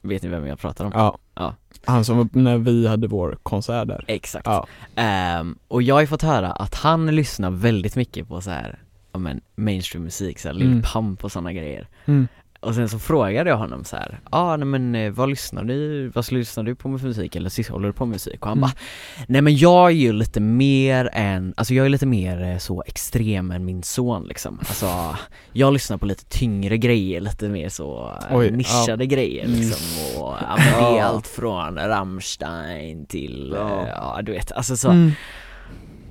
Speaker 4: Vet ni vem jag pratar om?
Speaker 1: ja.
Speaker 4: Ja.
Speaker 1: Han som var när vi hade vår konsert där.
Speaker 4: Exakt
Speaker 1: Ja.
Speaker 4: Ehm, och jag har ju fått höra att han lyssnar väldigt mycket på så här, ja men mainstream musik, så här Lil
Speaker 1: Mm.
Speaker 4: Pump och sådana grejer
Speaker 1: Mm.
Speaker 4: Och sen så frågade jag honom så här, ah, nej men eh, vad lyssnar du, vad lyssnar du på med musik eller sist håller du på med musik? Och han
Speaker 1: Mm.
Speaker 4: bara, nej men jag är ju lite mer än, alltså jag är lite mer eh, så extrem än min son liksom Alltså, jag lyssnar på lite tyngre grejer, lite mer så eh,
Speaker 1: Oj, ja.
Speaker 4: nischade grejer
Speaker 1: Mm.
Speaker 4: liksom och ja, men det är
Speaker 3: Ja.
Speaker 4: allt från Rammstein till, ja,
Speaker 3: Ja.
Speaker 4: ja du vet, alltså så
Speaker 1: Mm.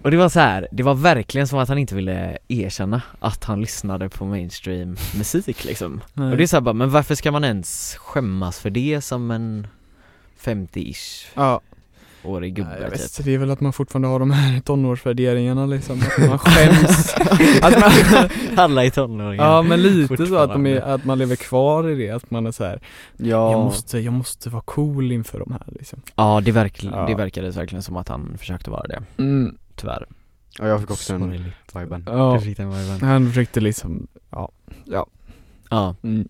Speaker 4: och det var så här, det var verkligen som att han inte ville erkänna att han lyssnade på mainstream musik liksom
Speaker 1: Nej.
Speaker 4: Och det är såhär bara, men varför ska man ens skämmas för det som en 50-ish
Speaker 1: Ja,
Speaker 4: årig
Speaker 1: Nej, jag
Speaker 4: gubbe
Speaker 1: vet
Speaker 4: typ?
Speaker 1: inte, det är väl att man fortfarande har de här tonårsvärderingarna liksom, att man skäms att man,
Speaker 4: Alla är tonåringar
Speaker 1: Ja men lite så att, de är,
Speaker 4: Fortfarande.
Speaker 1: att man lever kvar i det, att man är så här.
Speaker 2: Ja,
Speaker 1: jag, måste, jag måste vara cool inför de här liksom
Speaker 4: Ja, det, verkl-
Speaker 1: Ja.
Speaker 4: det verkade verkligen som att han försökte vara det,
Speaker 1: mm.
Speaker 4: tyvärr
Speaker 2: ja jag fick också den
Speaker 4: Sorgligt.
Speaker 2: viben
Speaker 1: Ja,
Speaker 4: Du fick den viben.
Speaker 1: han försökte liksom
Speaker 4: Ja,
Speaker 1: mm.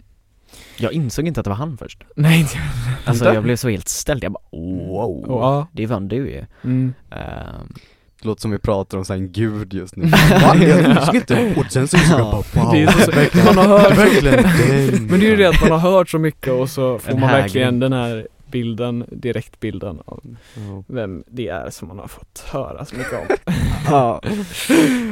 Speaker 4: jag insåg inte att det var han först
Speaker 1: Nej inte
Speaker 4: Alltså
Speaker 2: Inte?
Speaker 4: jag blev så helt ställd, jag bara wow,
Speaker 1: Och ja,
Speaker 4: det är fan du ju
Speaker 1: mm.
Speaker 4: Ehm,
Speaker 2: Det låter som vi pratar om sån här gud just nu Va? Jag lyssnade inte och sen så insåg jag bara wow
Speaker 1: Det är så-
Speaker 2: verkligen,
Speaker 1: man har hört-
Speaker 2: verkligen den.
Speaker 1: Men det är ju det att man har hört så mycket och så får
Speaker 4: En
Speaker 1: man
Speaker 4: hägring.
Speaker 1: verkligen den här bilden, direktbilden av
Speaker 2: Ja.
Speaker 1: vem det är som man har fått höra så mycket om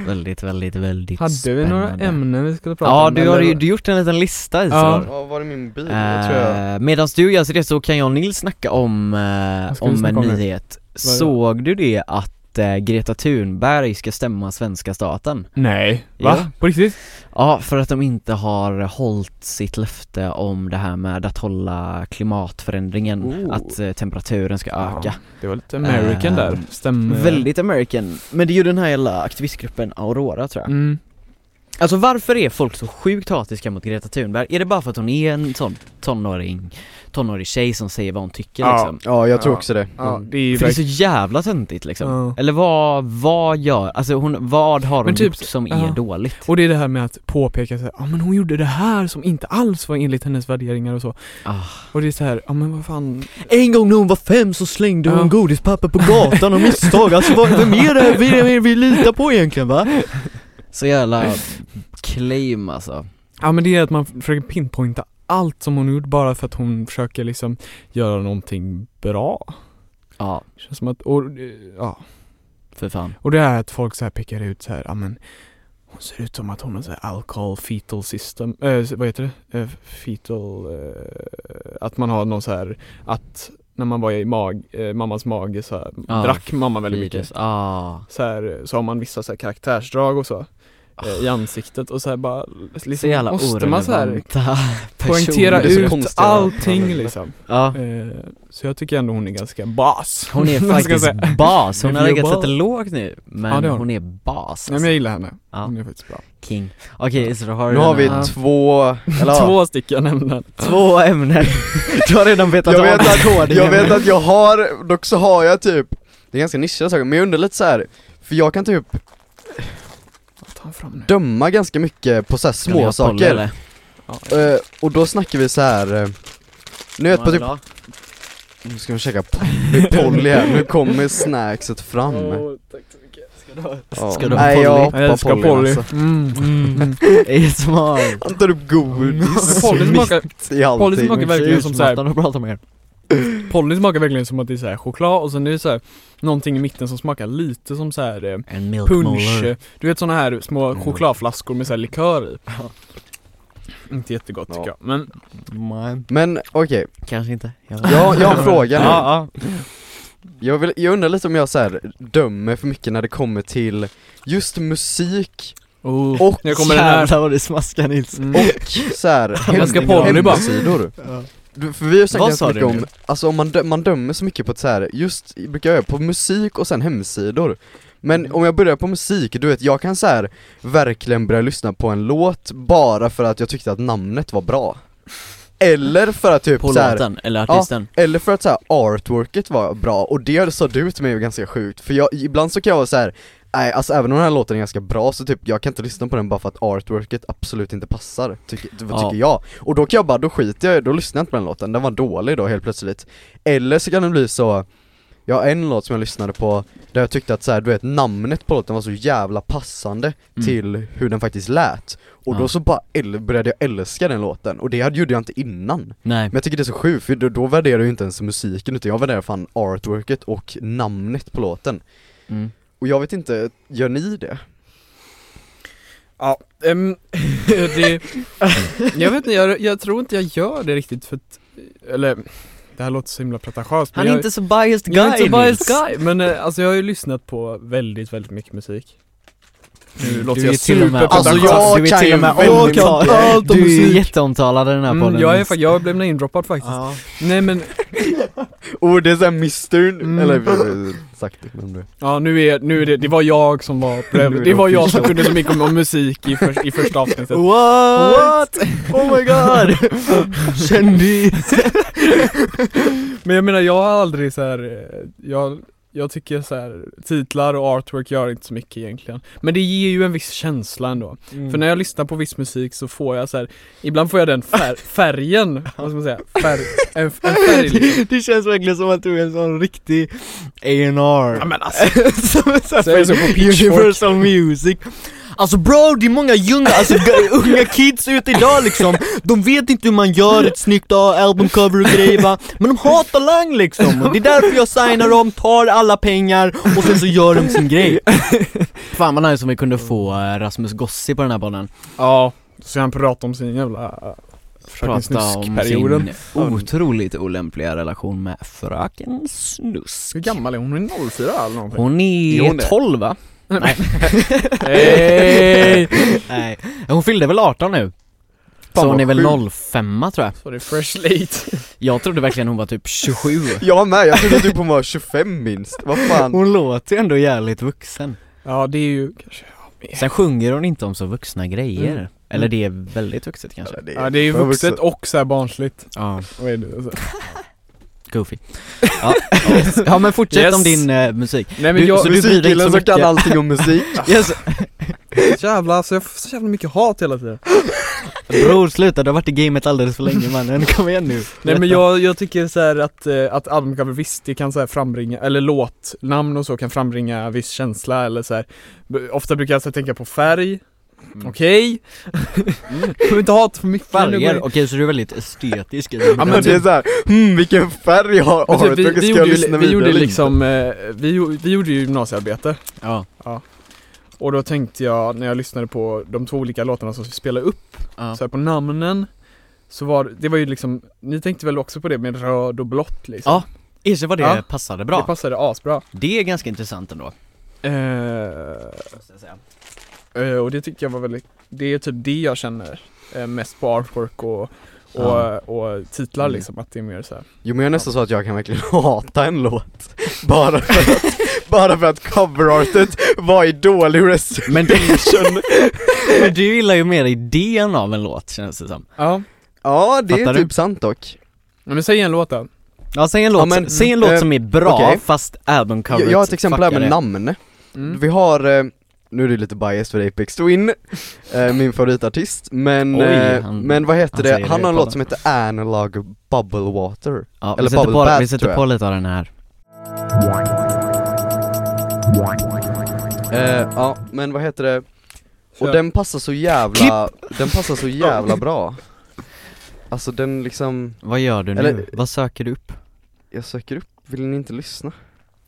Speaker 4: Väldigt, väldigt, väldigt
Speaker 1: Hade vi några
Speaker 4: spännande.
Speaker 1: ämnen vi skulle prata
Speaker 4: Ja,
Speaker 1: om?
Speaker 4: du har
Speaker 1: eller?
Speaker 4: ju du gjort en liten lista
Speaker 1: Ja.
Speaker 4: Isidor
Speaker 2: Ja, var är min bil? Jag tror jag
Speaker 4: Eh, Medan du gör det så kan jag och Nils snacka om, eh,
Speaker 1: ska vi
Speaker 4: om en
Speaker 1: snacka om nu?
Speaker 4: nyhet
Speaker 1: Vad är det?
Speaker 4: Såg du det att eh, Greta Thunberg ska stämma svenska staten?
Speaker 1: Nej,
Speaker 4: Va?
Speaker 1: va? På riktigt?
Speaker 4: Ja, för att de inte har hållit sitt löfte om det här med att hålla klimatförändringen,
Speaker 1: Oh.
Speaker 4: att eh, temperaturen ska öka
Speaker 1: Det var lite American
Speaker 4: Eh,
Speaker 1: där, Ehm, stämmer
Speaker 4: Väldigt American, men det är ju den här jävla aktivistgruppen Aurora tror jag
Speaker 1: mm.
Speaker 4: Alltså varför är folk så sjukt hatiska mot Greta Thunberg? Är det bara för att hon är en sån tonåring, tonårig tjej som säger vad hon tycker
Speaker 1: Ja.
Speaker 4: liksom?
Speaker 2: Ja, jag tror
Speaker 1: Ja.
Speaker 2: också det Mm.
Speaker 1: Ja, det är ju
Speaker 4: För det är så
Speaker 1: verkligen-
Speaker 4: jävla töntigt liksom.
Speaker 1: Ja.
Speaker 4: Eller vad, vad gör, alltså hon, vad har hon
Speaker 1: Men typ-
Speaker 4: gjort som är
Speaker 1: ja.
Speaker 4: dåligt?
Speaker 1: Och det är det här med att påpeka så här, ja men hon gjorde det här som inte alls var enligt hennes värderingar och så
Speaker 4: Ah.
Speaker 1: Och det är så här, ja men vad fan
Speaker 4: En gång när hon var fem så slängde
Speaker 1: hon
Speaker 4: godispapper på gatan av misstag, alltså vad, vem är det vi, vi litar på egentligen va? Så jävla claim alltså.
Speaker 1: Ja men det är att man försöker pinpointa allt som hon har gjort bara för att hon försöker liksom göra någonting bra
Speaker 4: Ja,
Speaker 1: Känns som att, och, eh, ja
Speaker 4: för fan.
Speaker 1: Och det är att folk så här pekar ut så här, ja men hon ser ut som att hon har så här alcohol fetal system, eh, vad heter det? Eh, fetal, eh, att man har någon så här att när man var i mag, eh, mammas mage så här,
Speaker 4: Ja,
Speaker 1: drack mamma väldigt mycket.
Speaker 4: Virus. Ah.
Speaker 1: Så, här, så har man vissa så här karaktärsdrag och så eh, i ansiktet och så här bara
Speaker 4: Ah. Så
Speaker 1: liksom,
Speaker 4: jävla
Speaker 1: måste man så här
Speaker 4: orelevanta personer.
Speaker 1: poängtera
Speaker 2: det är så
Speaker 1: ut
Speaker 2: konstiga
Speaker 1: allting
Speaker 2: paralleller.
Speaker 1: liksom.
Speaker 4: Ja.
Speaker 1: Eh, så jag tycker ändå hon är ganska bas.
Speaker 4: Hon är
Speaker 1: Vad ska jag säga?
Speaker 4: faktiskt bas, hon
Speaker 1: Vi
Speaker 4: har
Speaker 1: är
Speaker 4: legat
Speaker 1: bas.
Speaker 4: lite lågt nu men
Speaker 1: Ja, det har
Speaker 4: hon.
Speaker 1: hon.
Speaker 4: är bas
Speaker 1: Nej men
Speaker 4: alltså.
Speaker 1: jag gillar henne.
Speaker 4: Ja.
Speaker 1: Hon är faktiskt bra.
Speaker 4: King Okej Isidor, har
Speaker 2: Nu
Speaker 4: du
Speaker 2: har
Speaker 4: någon
Speaker 2: vi
Speaker 4: annan?
Speaker 2: två, eller ja,
Speaker 1: Två stycken ämnen.
Speaker 4: två ämnen Du har redan betat
Speaker 2: jag vet,
Speaker 4: av
Speaker 2: att,
Speaker 4: kodningen.
Speaker 2: jag vet att jag har, dock så har jag typ Det är ganska nischade saker, men jag undrar lite så här. För jag kan typ
Speaker 1: Ta fram nu.
Speaker 2: döma ganska mycket på så här
Speaker 4: Ska vi ha
Speaker 2: små
Speaker 4: poll,
Speaker 2: saker
Speaker 4: eller?
Speaker 2: Eh, Och då snackar vi så här. eh, Nu vet på typ, nu ska vi käka po- Polly här, nu kommer snackset fram
Speaker 1: tack så mycket.
Speaker 2: Ja.
Speaker 4: Ska du ha
Speaker 2: Nej jag
Speaker 4: Polly?
Speaker 1: Jag älskar
Speaker 2: hoppar Polly,
Speaker 1: Polly.
Speaker 2: Alltså.
Speaker 1: Mm.
Speaker 4: Mm, ASMR
Speaker 2: Han tar upp godis
Speaker 1: Polly smakar,
Speaker 2: i allting
Speaker 1: Polly smakar verkligen som såhär,
Speaker 4: och prata med er
Speaker 1: Polly smakar verkligen som att det är såhär choklad och sen är det såhär någonting i mitten som smakar lite som såhär eh,
Speaker 4: En milk
Speaker 1: punsch. Du vet såna här små
Speaker 2: Mm.
Speaker 1: chokladflaskor med såhär likör i.
Speaker 4: Ja.
Speaker 1: Inte jättegott tycker
Speaker 2: Ja.
Speaker 1: jag, men
Speaker 4: molar
Speaker 2: Men okej,
Speaker 4: Kanske inte Jag
Speaker 2: jag, jag har en fråga nu
Speaker 4: Ja, ja.
Speaker 2: Jag, vill, jag undrar lite om jag så här dömer för mycket när det kommer till just musik
Speaker 1: oh.
Speaker 2: och,
Speaker 1: nu kommer den här.
Speaker 4: Jävlar vad du smaskar Nils
Speaker 1: Mm.
Speaker 2: och så här
Speaker 1: Jag ska
Speaker 2: hem-
Speaker 1: Polly bara.
Speaker 2: hemsidor.
Speaker 4: Ja.
Speaker 2: Du, För vi har ju
Speaker 4: Vad
Speaker 2: snackat ganska
Speaker 4: sa
Speaker 2: mycket
Speaker 4: du
Speaker 2: om,
Speaker 4: nu?
Speaker 2: alltså om man, dö, man dömer så mycket på ett så här, just brukar jag göra på musik och sen hemsidor men om jag börjar på musik, du vet jag kan så här verkligen börja lyssna på en låt bara för att jag tyckte att namnet var bra Eller för att typ
Speaker 4: På
Speaker 2: så här,
Speaker 4: låten, eller artisten
Speaker 2: Eller för att så här, artworket var bra, och det sa du till mig var ganska sjukt, för jag, ibland så kan jag vara så här. Nej, alltså även om den här låten är ganska bra så typ, jag kan inte lyssna på den bara för att artworket absolut inte passar, tycker, det- vad
Speaker 4: Ja.
Speaker 2: tycker jag. Och då kan jag bara, då skiter jag i- då lyssnar jag inte på den låten, den var dålig då helt plötsligt. Eller så kan det bli så, Jag har en låt som jag lyssnade på där jag tyckte att så här, du vet namnet på låten var så jävla passande
Speaker 4: Mm.
Speaker 2: till hur den faktiskt lät Och
Speaker 4: Ja.
Speaker 2: då så bara äl- började jag älska den låten, och det hade- gjorde jag inte innan
Speaker 4: Nej,
Speaker 2: Men jag tycker det är så sjukt, för då, då värderar jag ju inte ens musiken utan jag värderar fan artworket och namnet på låten
Speaker 4: mm.
Speaker 2: Och jag vet inte, gör ni det?
Speaker 1: Ja, ehm, det, jag vet inte, jag, jag tror inte jag gör det riktigt för att, eller det här låter så himla pretentiöst men
Speaker 4: Han är
Speaker 1: jag,
Speaker 4: inte så biased guy
Speaker 1: jag är inte bara
Speaker 4: Nils.
Speaker 1: guy, men eh, alltså jag har ju lyssnat på väldigt, väldigt mycket musik Nu låter
Speaker 4: Du är
Speaker 1: jag
Speaker 4: till och med
Speaker 2: Alltså,
Speaker 1: superpretentiös
Speaker 2: jag
Speaker 4: du är
Speaker 2: kan
Speaker 4: till
Speaker 2: ju
Speaker 4: och med
Speaker 2: väldigt
Speaker 4: omtalad.
Speaker 1: mycket. Allt om
Speaker 4: Du är ju
Speaker 1: musik.
Speaker 4: jätteomtalad i den här podden
Speaker 1: mm, jag, är,
Speaker 4: Nils.
Speaker 1: fak- jag blev indroppad faktiskt Nej men,
Speaker 2: Och det är såhär mister nu,
Speaker 1: Mm.
Speaker 2: eller eh, sagt det men du
Speaker 1: ja nu är, nu är det, det var jag som var på det, det var jag som kunde så mycket om, om musik i, för, i första avsnittet
Speaker 4: What?
Speaker 1: What?
Speaker 4: Oh my god! Kändis!
Speaker 1: Men jag menar jag har aldrig så här, eh, jag, jag tycker så här, titlar och artwork gör inte så mycket egentligen Men det ger ju en viss känsla ändå För när jag lyssnar på viss musik så får jag så här, ibland får jag den fär, färgen, vad ska man säga, färg, en, en färg liksom.
Speaker 4: Det känns verkligen som att du är en sån riktig A&R
Speaker 1: Ja, men alltså,
Speaker 4: Som en sån
Speaker 1: Så jag är så på
Speaker 4: här
Speaker 1: Pitchfork.
Speaker 4: Universal Music Alltså bro, det är många unga, alltså, g- unga kids ute idag liksom De vet inte hur man gör ett snyggt ah, albumcover och grejer va Men de har talang liksom, och det är därför jag signar dem, tar alla pengar och sen så gör de sin grej Fan vad nice om vi kunde få eh, Rasmus Gossi på den här banan
Speaker 1: Ja, så han pratar om sin jävla Fröken
Speaker 4: prata om
Speaker 1: Snusk-perioden
Speaker 4: sin otroligt olämpliga relation med fröken Snusk.
Speaker 1: Hur gammal är hon? Hon är 04 eller någonting?
Speaker 4: Hon
Speaker 2: Jo, hon
Speaker 4: är
Speaker 2: är-
Speaker 4: 12 va? Nej.
Speaker 1: Hey!
Speaker 4: Nej, hon fyllde väl 18 nu?
Speaker 2: Fan,
Speaker 4: Så hon
Speaker 2: vad
Speaker 4: är väl
Speaker 2: sjukt.
Speaker 4: 05 tror jag.
Speaker 1: Så det är fresh late
Speaker 4: Jag trodde verkligen hon var typ 27.
Speaker 2: Jag med, jag trodde typ hon var 25 minst, vad fan
Speaker 4: Hon låter ju ändå jävligt vuxen.
Speaker 1: Ja det är ju kanske
Speaker 4: Sen sjunger hon inte om så vuxna grejer.
Speaker 1: Mm.
Speaker 4: Eller det är väldigt vuxet kanske.
Speaker 2: det
Speaker 1: Ja det är ju
Speaker 2: för
Speaker 1: vuxet och så här barnsligt
Speaker 4: Ja,
Speaker 1: Vad är det? Alltså.
Speaker 4: goofy. Ja, ja men fortsätt
Speaker 1: Yes.
Speaker 4: om din eh, musik.
Speaker 1: Nej
Speaker 4: Du-
Speaker 1: men jag,
Speaker 4: så bryr dig inte
Speaker 2: Musikkillen
Speaker 4: så
Speaker 2: som kan
Speaker 4: mycket.
Speaker 2: allting om musik
Speaker 4: Yes.
Speaker 1: Jävlar alltså jag får så jävla mycket hat hela tiden
Speaker 4: Bror sluta, du har varit i gamet alldeles för länge mannen. Kom igen nu.
Speaker 1: Nej
Speaker 4: Berätta.
Speaker 1: men jag, jag tycker så här att, eh, att albumcover visst det kan så här frambringa, eller låtnamn och så kan frambringa viss känsla eller så här. B- Ofta brukar jag så här tänka på färg
Speaker 4: Mm.
Speaker 1: Okej? Kommer inte ha för mycket nu går
Speaker 4: Färger,
Speaker 1: jag-
Speaker 4: okej så du är väldigt estetisk i
Speaker 1: Ja,
Speaker 4: din
Speaker 1: men
Speaker 2: Men det är såhär, hmm vilken färg har
Speaker 1: Men typ,
Speaker 2: artworken,
Speaker 1: vi, vi,
Speaker 2: ska jag
Speaker 1: gjorde ju,
Speaker 2: lyssna
Speaker 1: vi
Speaker 2: vidare
Speaker 1: gjorde
Speaker 2: eller
Speaker 1: liksom, eh, vi, gjo- vi gjorde ju gymnasiearbete
Speaker 4: Ja,
Speaker 1: och då tänkte jag när jag lyssnade på de två olika låtarna som vi spelade upp
Speaker 4: ja.
Speaker 1: så här på namnen Så var det var ju liksom, ni tänkte väl också på det med röd och blått liksom?
Speaker 4: Ja, Erkänn vad det
Speaker 1: Ja.
Speaker 4: passade
Speaker 1: Det
Speaker 4: bra.
Speaker 1: passade asbra
Speaker 4: Det är ganska intressant ändå.
Speaker 1: eh,
Speaker 4: måste jag säga.
Speaker 1: Eh, och det tycker jag var väldigt, det är typ det jag känner eh, mest på artwork och, och,
Speaker 4: Ja.
Speaker 1: och titlar
Speaker 4: Mm.
Speaker 1: liksom, att det är mer så här.
Speaker 2: Jo men jag är nästan så att jag kan verkligen hata en låt Bara för att, bara för att coverartet var i dålig resolution
Speaker 4: Men du, men du gillar ju mer idén av en låt känns det som.
Speaker 1: Ja,
Speaker 2: Ja det
Speaker 4: Fattar
Speaker 2: är
Speaker 4: du?
Speaker 2: typ sant dock
Speaker 1: men säg en låt då.
Speaker 4: Ja, säg en låt,
Speaker 2: Ja, men-
Speaker 4: säg en låt
Speaker 2: eh,
Speaker 4: som är bra
Speaker 2: okej.
Speaker 4: fast albumcoveret
Speaker 2: jag, jag har ett exempel här
Speaker 4: fuckar
Speaker 2: med
Speaker 4: det.
Speaker 2: namn
Speaker 1: Mm.
Speaker 2: Vi har, eh, nu är det lite bias för Apex Twin, eh, min favoritartist, men,
Speaker 4: Oj,
Speaker 2: eh,
Speaker 4: han-
Speaker 2: men vad heter
Speaker 4: han
Speaker 2: det,
Speaker 4: säger
Speaker 2: han
Speaker 4: det
Speaker 2: har en
Speaker 4: på
Speaker 2: låt som heter Analog Bubble Water
Speaker 4: Ja, vi
Speaker 2: eller
Speaker 4: sätter,
Speaker 2: Bubble
Speaker 4: på,
Speaker 2: Bath,
Speaker 4: vi sätter
Speaker 2: tror jag.
Speaker 4: på lite av den här.
Speaker 2: eh, Ja, men vad heter det, och
Speaker 1: Kör.
Speaker 2: den passar så jävla, den passar så jävla bra Alltså den liksom,
Speaker 4: Vad gör du nu?
Speaker 2: Eller-
Speaker 4: Vad söker du upp?
Speaker 2: jag söker upp, vill ni inte lyssna?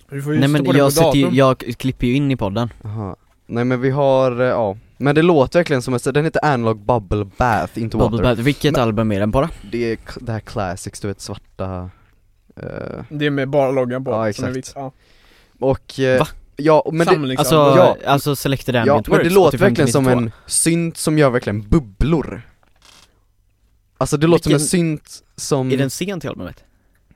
Speaker 1: Du får ju
Speaker 4: Nej
Speaker 1: sätta
Speaker 4: men
Speaker 1: på den på
Speaker 4: jag, sätter ju,
Speaker 1: datorn.
Speaker 4: jag klipper ju in i podden.
Speaker 2: Aha. Nej men vi har, eh, ja, men det låter verkligen som, en- den heter Analog Bubble Bath, inte
Speaker 4: Bubble
Speaker 2: Water
Speaker 4: Bath. Vilket
Speaker 2: Men- Liksom,
Speaker 4: album är den på då?
Speaker 2: Det är k- det här classics, du vet svarta eh,
Speaker 1: Det är med bara loggan på,
Speaker 2: Ja,
Speaker 1: som är
Speaker 2: exakt.
Speaker 1: vitt. Ja.
Speaker 2: Och, eh,
Speaker 4: Va?
Speaker 2: ja men det,
Speaker 1: Samling,
Speaker 4: Alltså,
Speaker 1: liksom.
Speaker 2: Ja.
Speaker 4: alltså Selected
Speaker 2: ja,
Speaker 4: Ambient
Speaker 2: men det
Speaker 4: Works, typ
Speaker 2: låter
Speaker 4: 85
Speaker 2: verkligen som
Speaker 4: 92.
Speaker 2: en synt som gör verkligen bubblor Alltså det låter som en
Speaker 4: Vilken-
Speaker 2: synt som,
Speaker 4: Är den sen till albumet?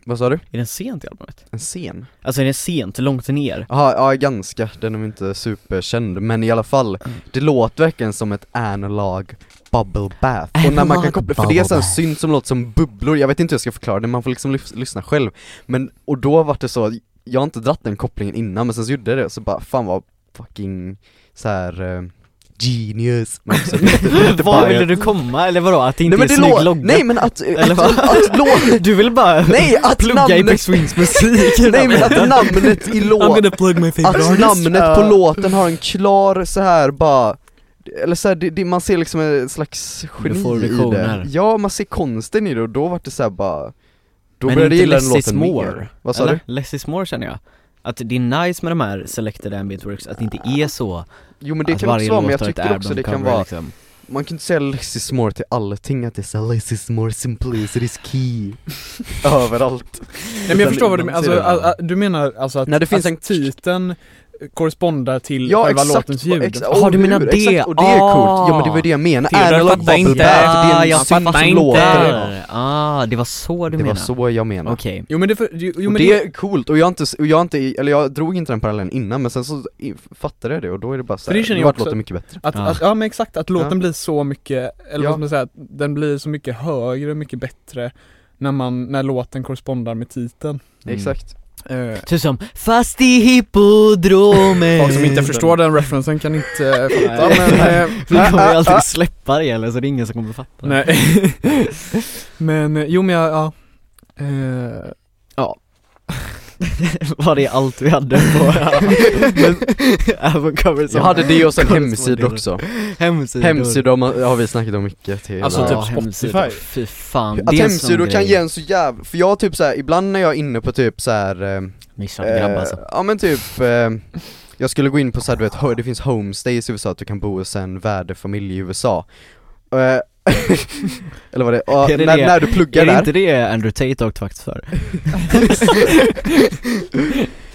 Speaker 2: vad sa du?
Speaker 4: Är den sen till albumet?
Speaker 2: En scen?
Speaker 4: Alltså är den sent, långt ner?
Speaker 2: Jaha, ja ganska, den är nog inte superkänd men i alla fall Det låter verkligen som ett analog bubble bath Och när man
Speaker 4: Analog
Speaker 2: kan koppla, för det är
Speaker 4: bubble
Speaker 2: sån
Speaker 4: bath.
Speaker 2: synt som låter som bubblor, jag vet inte hur jag ska förklara det, man får liksom lys- lyssna själv Men, och då vart det så, jag har inte dratt den kopplingen innan men sen så gjorde jag det och så bara fan vad fucking så här eh, genius Men också-
Speaker 4: Vad ville du komma? Eller vadå? Att det inte
Speaker 2: Nej men
Speaker 4: är
Speaker 2: det
Speaker 4: snygg
Speaker 2: låter,
Speaker 4: logga?
Speaker 2: nej men att,
Speaker 4: Eller
Speaker 2: att,
Speaker 4: vad?
Speaker 2: att, att låt,
Speaker 4: Du vill bara
Speaker 2: nej att
Speaker 4: plugga i
Speaker 2: namnet,
Speaker 4: Beck Swings musik?
Speaker 2: nej men att namnet i låt
Speaker 1: plug my favorite
Speaker 2: Att Alltså, namnet på låten har en klar så här bara eller så här, det, det, man ser liksom en slags geni
Speaker 4: får
Speaker 2: i
Speaker 4: visioner.
Speaker 2: det Ja, man ser konsten i det och då vart det såhär bara Då
Speaker 4: Men
Speaker 2: började
Speaker 4: inte
Speaker 2: jag gilla den
Speaker 4: less is
Speaker 2: låten
Speaker 4: more,
Speaker 2: mer Vad sa du?
Speaker 4: Eller? Less is more känner jag Att det är nice med de här selected ambient works, att det inte är så
Speaker 2: Jo men det
Speaker 4: att
Speaker 2: kan också
Speaker 4: varje
Speaker 2: vara, men
Speaker 4: låt
Speaker 2: jag
Speaker 4: har ett
Speaker 2: tycker också det kan
Speaker 4: albumcover,
Speaker 2: vara
Speaker 4: liksom.
Speaker 2: Man kan inte säga less is more till allting, att det är såhär less is more simplicity is key Överallt
Speaker 1: Nej men jag förstår vad du menar, alltså, a, a, du menar alltså att,
Speaker 2: När det finns
Speaker 1: att
Speaker 2: en-
Speaker 1: titeln korrespondar till
Speaker 2: Ja
Speaker 1: själva
Speaker 2: exakt,
Speaker 1: låtens ljud?
Speaker 2: exakt,
Speaker 4: Jaha, du
Speaker 2: och
Speaker 4: menar
Speaker 2: hur,
Speaker 4: det?
Speaker 2: Exakt, och det är coolt, ja men det var det jag menade, Analog Bubble Bath, det är en
Speaker 4: jag
Speaker 2: synt
Speaker 4: fattar
Speaker 2: som
Speaker 4: inte!
Speaker 2: låter
Speaker 4: Ah, det var så du
Speaker 2: Det var
Speaker 4: menade?
Speaker 2: så jag menade
Speaker 4: Okej,
Speaker 1: Jo men det, för, jo, jo,
Speaker 2: och
Speaker 1: men
Speaker 2: det är coolt, och jag har inte, och jag har inte, eller jag drog inte den parallellen innan men sen så i- fattade jag det och då är det bara
Speaker 1: För det
Speaker 2: såhär,
Speaker 1: känner
Speaker 2: nu
Speaker 1: jag
Speaker 2: vart
Speaker 1: också.
Speaker 2: låten mycket bättre
Speaker 1: Att,
Speaker 4: Ja.
Speaker 1: Att, ja men exakt, att låten
Speaker 2: Ja.
Speaker 1: blir så mycket, eller
Speaker 2: Ja.
Speaker 1: vad ska man säga, att den blir så mycket högre, mycket bättre när man, när låten korrespondar med titeln
Speaker 4: Mm.
Speaker 2: Exakt
Speaker 1: eh,
Speaker 4: typ som 'Fast i hippodromen'
Speaker 1: Folk som inte förstår den referensen kan inte eh, fatta
Speaker 4: Nej.
Speaker 1: men, eh,
Speaker 4: Vi kommer ju aldrig släppa det heller så det är ingen som kommer fatta
Speaker 1: nej Men, eh, jo men jag, ja eh,
Speaker 4: Var det allt vi hade på album covers
Speaker 2: Jag hade det och sen
Speaker 4: Korrespondent.
Speaker 2: hemsidor också,
Speaker 4: hemsidor
Speaker 2: hemsidor har man- har vi snackat om mycket till
Speaker 1: Alltså
Speaker 2: Ja.
Speaker 1: typ
Speaker 4: Ja, hemsidor.
Speaker 1: Spotify.
Speaker 4: Fy fan,
Speaker 2: Att
Speaker 4: det är en sån
Speaker 2: hemsidor kan
Speaker 4: grej.
Speaker 2: ge en så jävla, för jag typ såhär, ibland när jag är inne på typ såhär eh,
Speaker 4: Missat grabb
Speaker 2: eh,
Speaker 4: alltså
Speaker 2: Ja men typ, eh, jag skulle gå in på såhär du vet, hö- det finns homestays i USA att du kan bo hos en värdefamilj i USA Eh, Eller vad det ja,
Speaker 4: Är det
Speaker 2: när,
Speaker 4: det?
Speaker 2: när du pluggar
Speaker 4: Är det
Speaker 2: Eh, där
Speaker 4: inte det Andrew Tate åkt vakt för?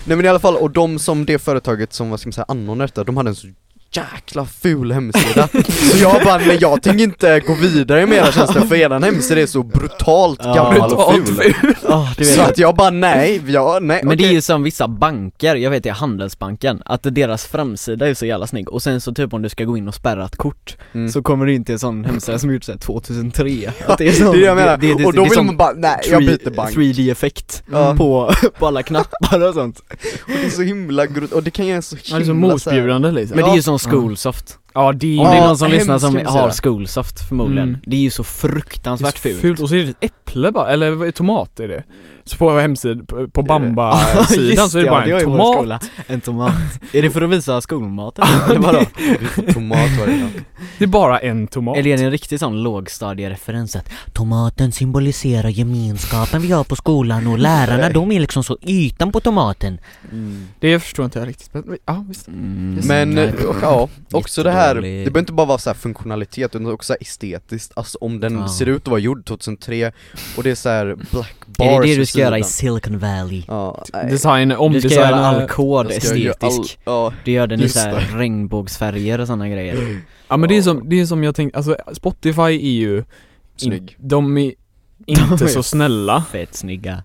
Speaker 2: Nej men i alla fall, och de som det företaget som vad ska man säga, anordnade detta, de hade en så jäkla ful hemsida Så jag bara, nej jag tänker inte gå vidare med era tjänster för eran hemsida är så brutalt
Speaker 4: Ja.
Speaker 2: gammal och
Speaker 1: brutalt
Speaker 2: ful
Speaker 1: ful.
Speaker 4: Ja, du vet.
Speaker 2: Så att jag bara, nej, jag, nej,
Speaker 4: Men det
Speaker 2: okej.
Speaker 4: är ju som vissa banker, jag vet i Handelsbanken, att deras framsida är så jävla snygg och sen så typ om du ska gå in och spärra ett kort
Speaker 2: Mm.
Speaker 4: så kommer du in till en sån hemsida som är gjord såhär 2003 Att det är
Speaker 2: det
Speaker 4: sån,
Speaker 2: är det jag menar,
Speaker 4: det- det-
Speaker 2: och då
Speaker 4: det är
Speaker 2: vill
Speaker 4: sån
Speaker 2: man bara, nej jag
Speaker 4: 3-
Speaker 2: byter bank
Speaker 4: 3D-effekt
Speaker 2: Ja. Mm.
Speaker 4: på, på alla knappar och sånt
Speaker 2: Det är så himla grot och det kan göra så
Speaker 1: Ja,
Speaker 2: himla
Speaker 1: det är så motbjudande liksom
Speaker 4: Men det är ju som Schoolsoft
Speaker 1: Ja det
Speaker 2: Alltså-
Speaker 4: Om
Speaker 2: Ja,
Speaker 4: det är någon som
Speaker 2: hemskt
Speaker 4: lyssnar som
Speaker 2: hemskt
Speaker 4: har
Speaker 2: är det.
Speaker 4: Schoolsoft förmodligen,
Speaker 1: Mm.
Speaker 4: det är ju så fruktansvärt
Speaker 1: Det är
Speaker 4: fult,
Speaker 1: så Och så är det ett äpple bara, eller vad är tomat är det? Så på hemsidan, på, på Bamba-sidan så är det bara en tomat
Speaker 4: En tomat. är det för att visa skolmaten? Eller vadå?
Speaker 2: Tomat var det då.
Speaker 1: Det är bara en tomat
Speaker 4: Eller är det en riktig sån lågstadiereferens att
Speaker 5: Tomaten symboliserar gemenskapen vi har på skolan och lärarna de är liksom så ytan på tomaten.
Speaker 1: Det förstår inte jag riktigt men, ja visst
Speaker 2: Men eh,
Speaker 4: nej.
Speaker 2: ja, också det här, det
Speaker 4: Jättedålig.
Speaker 2: behöver inte bara vara så här funktionalitet utan också så här estetiskt, alltså om den
Speaker 4: Ja.
Speaker 2: ser ut att vara gjord 2003 och det är så här black bars
Speaker 4: Är det det
Speaker 2: på
Speaker 4: du ska göra i
Speaker 2: sidan.
Speaker 5: Silicon Valley.
Speaker 2: Ja, nej.
Speaker 1: Design,
Speaker 4: Du ska göra all
Speaker 1: omdesign
Speaker 4: kod
Speaker 2: eh, Jag ska göra all-
Speaker 4: estetisk,
Speaker 2: Ja,
Speaker 4: du gör den i
Speaker 2: Just Mm.
Speaker 4: såhär regnbågsfärger och sådana grejer
Speaker 1: Ja men det är som, det är som jag tänkte, alltså Spotify är ju in-
Speaker 2: snygg
Speaker 1: De är inte
Speaker 4: De är-
Speaker 1: så snälla
Speaker 4: Fett snygga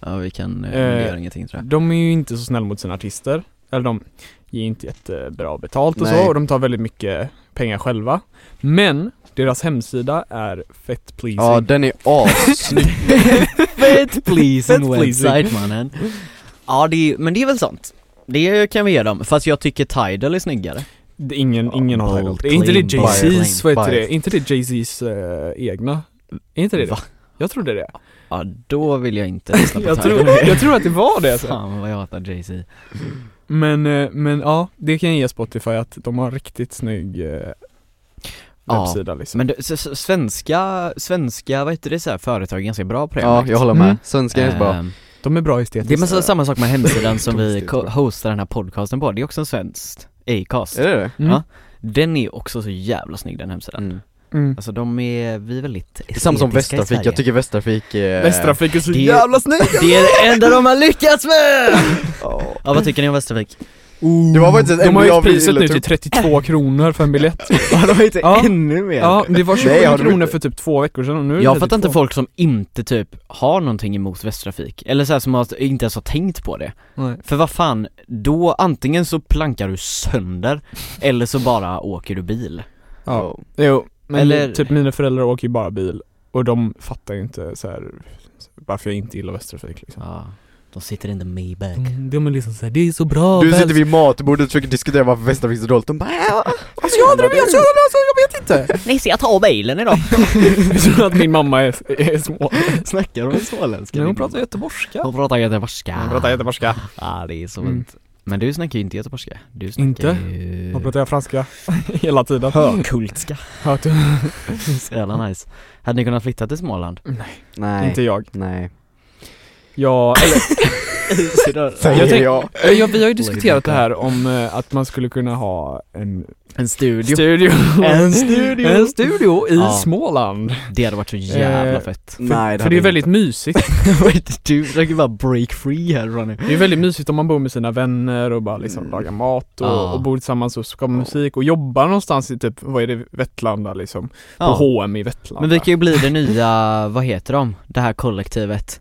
Speaker 4: Ja vi kan, eh,
Speaker 1: Eh,
Speaker 4: det gör ingenting tror jag
Speaker 1: De är ju inte så snälla mot sina artister Eller de ger inte jättebra betalt och
Speaker 2: Nej.
Speaker 1: så och de tar väldigt mycket pengar själva Men deras hemsida är fett pleasing
Speaker 2: Ja den är assnygg
Speaker 4: Fett pleasing
Speaker 1: Fett
Speaker 4: website mannen Ja det är, men det är väl sånt Det kan vi ge dem, fast jag tycker Tidal är snyggare
Speaker 1: Det är ingen, ingen har Tidal.
Speaker 4: Bold
Speaker 1: Det är inte det
Speaker 4: claim, bold
Speaker 1: Jay-Z's, vad heter
Speaker 2: claim.
Speaker 1: det? Är inte det Jay-Z's eh, egna? Är inte det det?
Speaker 4: Va?
Speaker 1: Jag trodde det.
Speaker 4: Ja då vill jag inte lyssna på
Speaker 1: Jag
Speaker 4: Tidal
Speaker 1: tror, jag tror att det var det alltså.
Speaker 4: Fan vad jag hatar Jay-Z
Speaker 1: Men, eh, men ja, det kan jag ge Spotify att de har riktigt snygg eh,
Speaker 4: Ja,
Speaker 1: webbsida liksom.
Speaker 4: Men det, s- s- svenska, svenska, vad heter det, så här, företag är ganska bra på det har
Speaker 2: Ja
Speaker 4: märkt.
Speaker 2: jag håller med,
Speaker 1: Mm.
Speaker 2: svenskan är så bra
Speaker 4: Ehm,
Speaker 1: De är bra
Speaker 4: Det är men
Speaker 1: estetiskt.
Speaker 4: så, samma sak med hemsidan som vi
Speaker 2: Konstigt,
Speaker 4: ko-
Speaker 2: bra.
Speaker 4: hostar den här podcasten på, det är också en svensk Acast
Speaker 2: Är det det?
Speaker 1: Mm.
Speaker 4: Ja. Den är också så jävla snygg den hemsidan
Speaker 2: Mm.
Speaker 1: Mm.
Speaker 4: Alltså de är, vi är väldigt
Speaker 2: Det är samma som
Speaker 4: estetiska i
Speaker 2: Västtrafik,
Speaker 4: Sverige.
Speaker 2: jag tycker Västtrafik är...
Speaker 1: Västtrafik är så
Speaker 4: det-
Speaker 1: jävla snyggt!
Speaker 4: Det är det enda de har lyckats med!
Speaker 2: Ja.
Speaker 4: Ja vad tycker ni om Västervik?
Speaker 2: Det var faktiskt ett
Speaker 1: De har
Speaker 2: ämne
Speaker 1: ju
Speaker 2: jag
Speaker 1: priset
Speaker 2: ville
Speaker 1: nu
Speaker 2: ta
Speaker 1: till
Speaker 2: upp.
Speaker 1: 32 kronor för en biljett.
Speaker 4: Ja de har inte
Speaker 1: typ- Ja.
Speaker 4: ännu mer
Speaker 1: Ja, det var 27
Speaker 2: Nej, har de
Speaker 1: kronor
Speaker 2: inte.
Speaker 1: för typ två veckor sedan och nu är det
Speaker 4: Jag fattar inte
Speaker 1: 32.
Speaker 4: folk som inte typ har någonting emot Västtrafik, eller så här, som har, inte ens har tänkt på det
Speaker 1: Nej.
Speaker 4: För vad fan, då antingen så plankar du sönder, eller så bara åker du bil
Speaker 1: Ja.
Speaker 2: Ja.
Speaker 1: Jo, men
Speaker 4: Oh. Eller-
Speaker 1: typ mina föräldrar åker ju bara bil och de fattar ju inte så här varför jag inte gillar Västtrafik liksom.
Speaker 4: ja.
Speaker 5: De sitter in the Maybach.
Speaker 1: Mm, de är liksom såhär, det är så bra
Speaker 2: Du
Speaker 1: väl-
Speaker 2: sitter vid matbordet och försöker diskutera varför västar finns dolt, de bara "Äh,
Speaker 1: Alltså jag undrar, jag, jag, alltså, jag vet inte!
Speaker 5: Nisse jag tar bilen idag.
Speaker 1: Jag tror att min mamma är, är små.
Speaker 4: Snackar de småländska?
Speaker 1: Men
Speaker 4: din
Speaker 1: hon
Speaker 4: mamma?
Speaker 1: pratar göteborgska.
Speaker 4: Hon pratar göteborgska
Speaker 1: Hon pratar göteborgska.
Speaker 4: Ja det är så
Speaker 1: Mm.
Speaker 4: ont. Men du snackar ju inte göteborgska Du snackar
Speaker 1: Inte?
Speaker 4: ju...
Speaker 1: Hon pratar franska. Hela tiden.
Speaker 4: Kultska
Speaker 1: Hört du?
Speaker 4: Så jävla nice Hade ni kunnat flytta till Småland?
Speaker 2: Nej,
Speaker 1: Inte jag.
Speaker 2: nej
Speaker 1: Jag,
Speaker 2: Säger
Speaker 1: Jag
Speaker 2: jag,
Speaker 1: tänk- eller, ja, vi har ju diskuterat det här om eh, att man skulle kunna ha en
Speaker 4: En studio
Speaker 1: studio.
Speaker 4: En studio!
Speaker 1: En studio i
Speaker 4: Ja.
Speaker 1: Småland.
Speaker 4: Det hade varit så jävla
Speaker 1: Eh,
Speaker 4: fett
Speaker 2: Nej
Speaker 1: För det är ju väldigt mysigt.
Speaker 4: Du försöker bara break free här Ronny
Speaker 1: Det är ju väldigt mysigt om man bor med sina vänner och bara liksom
Speaker 2: Mm.
Speaker 1: lagar mat och,
Speaker 4: Ja.
Speaker 1: och bor tillsammans och skapar musik och jobbar någonstans i typ, vad är det, Vetlanda liksom? På H&M i Vetlanda.
Speaker 4: Men vi kan ju bli det nya, vad heter de? Det här kollektivet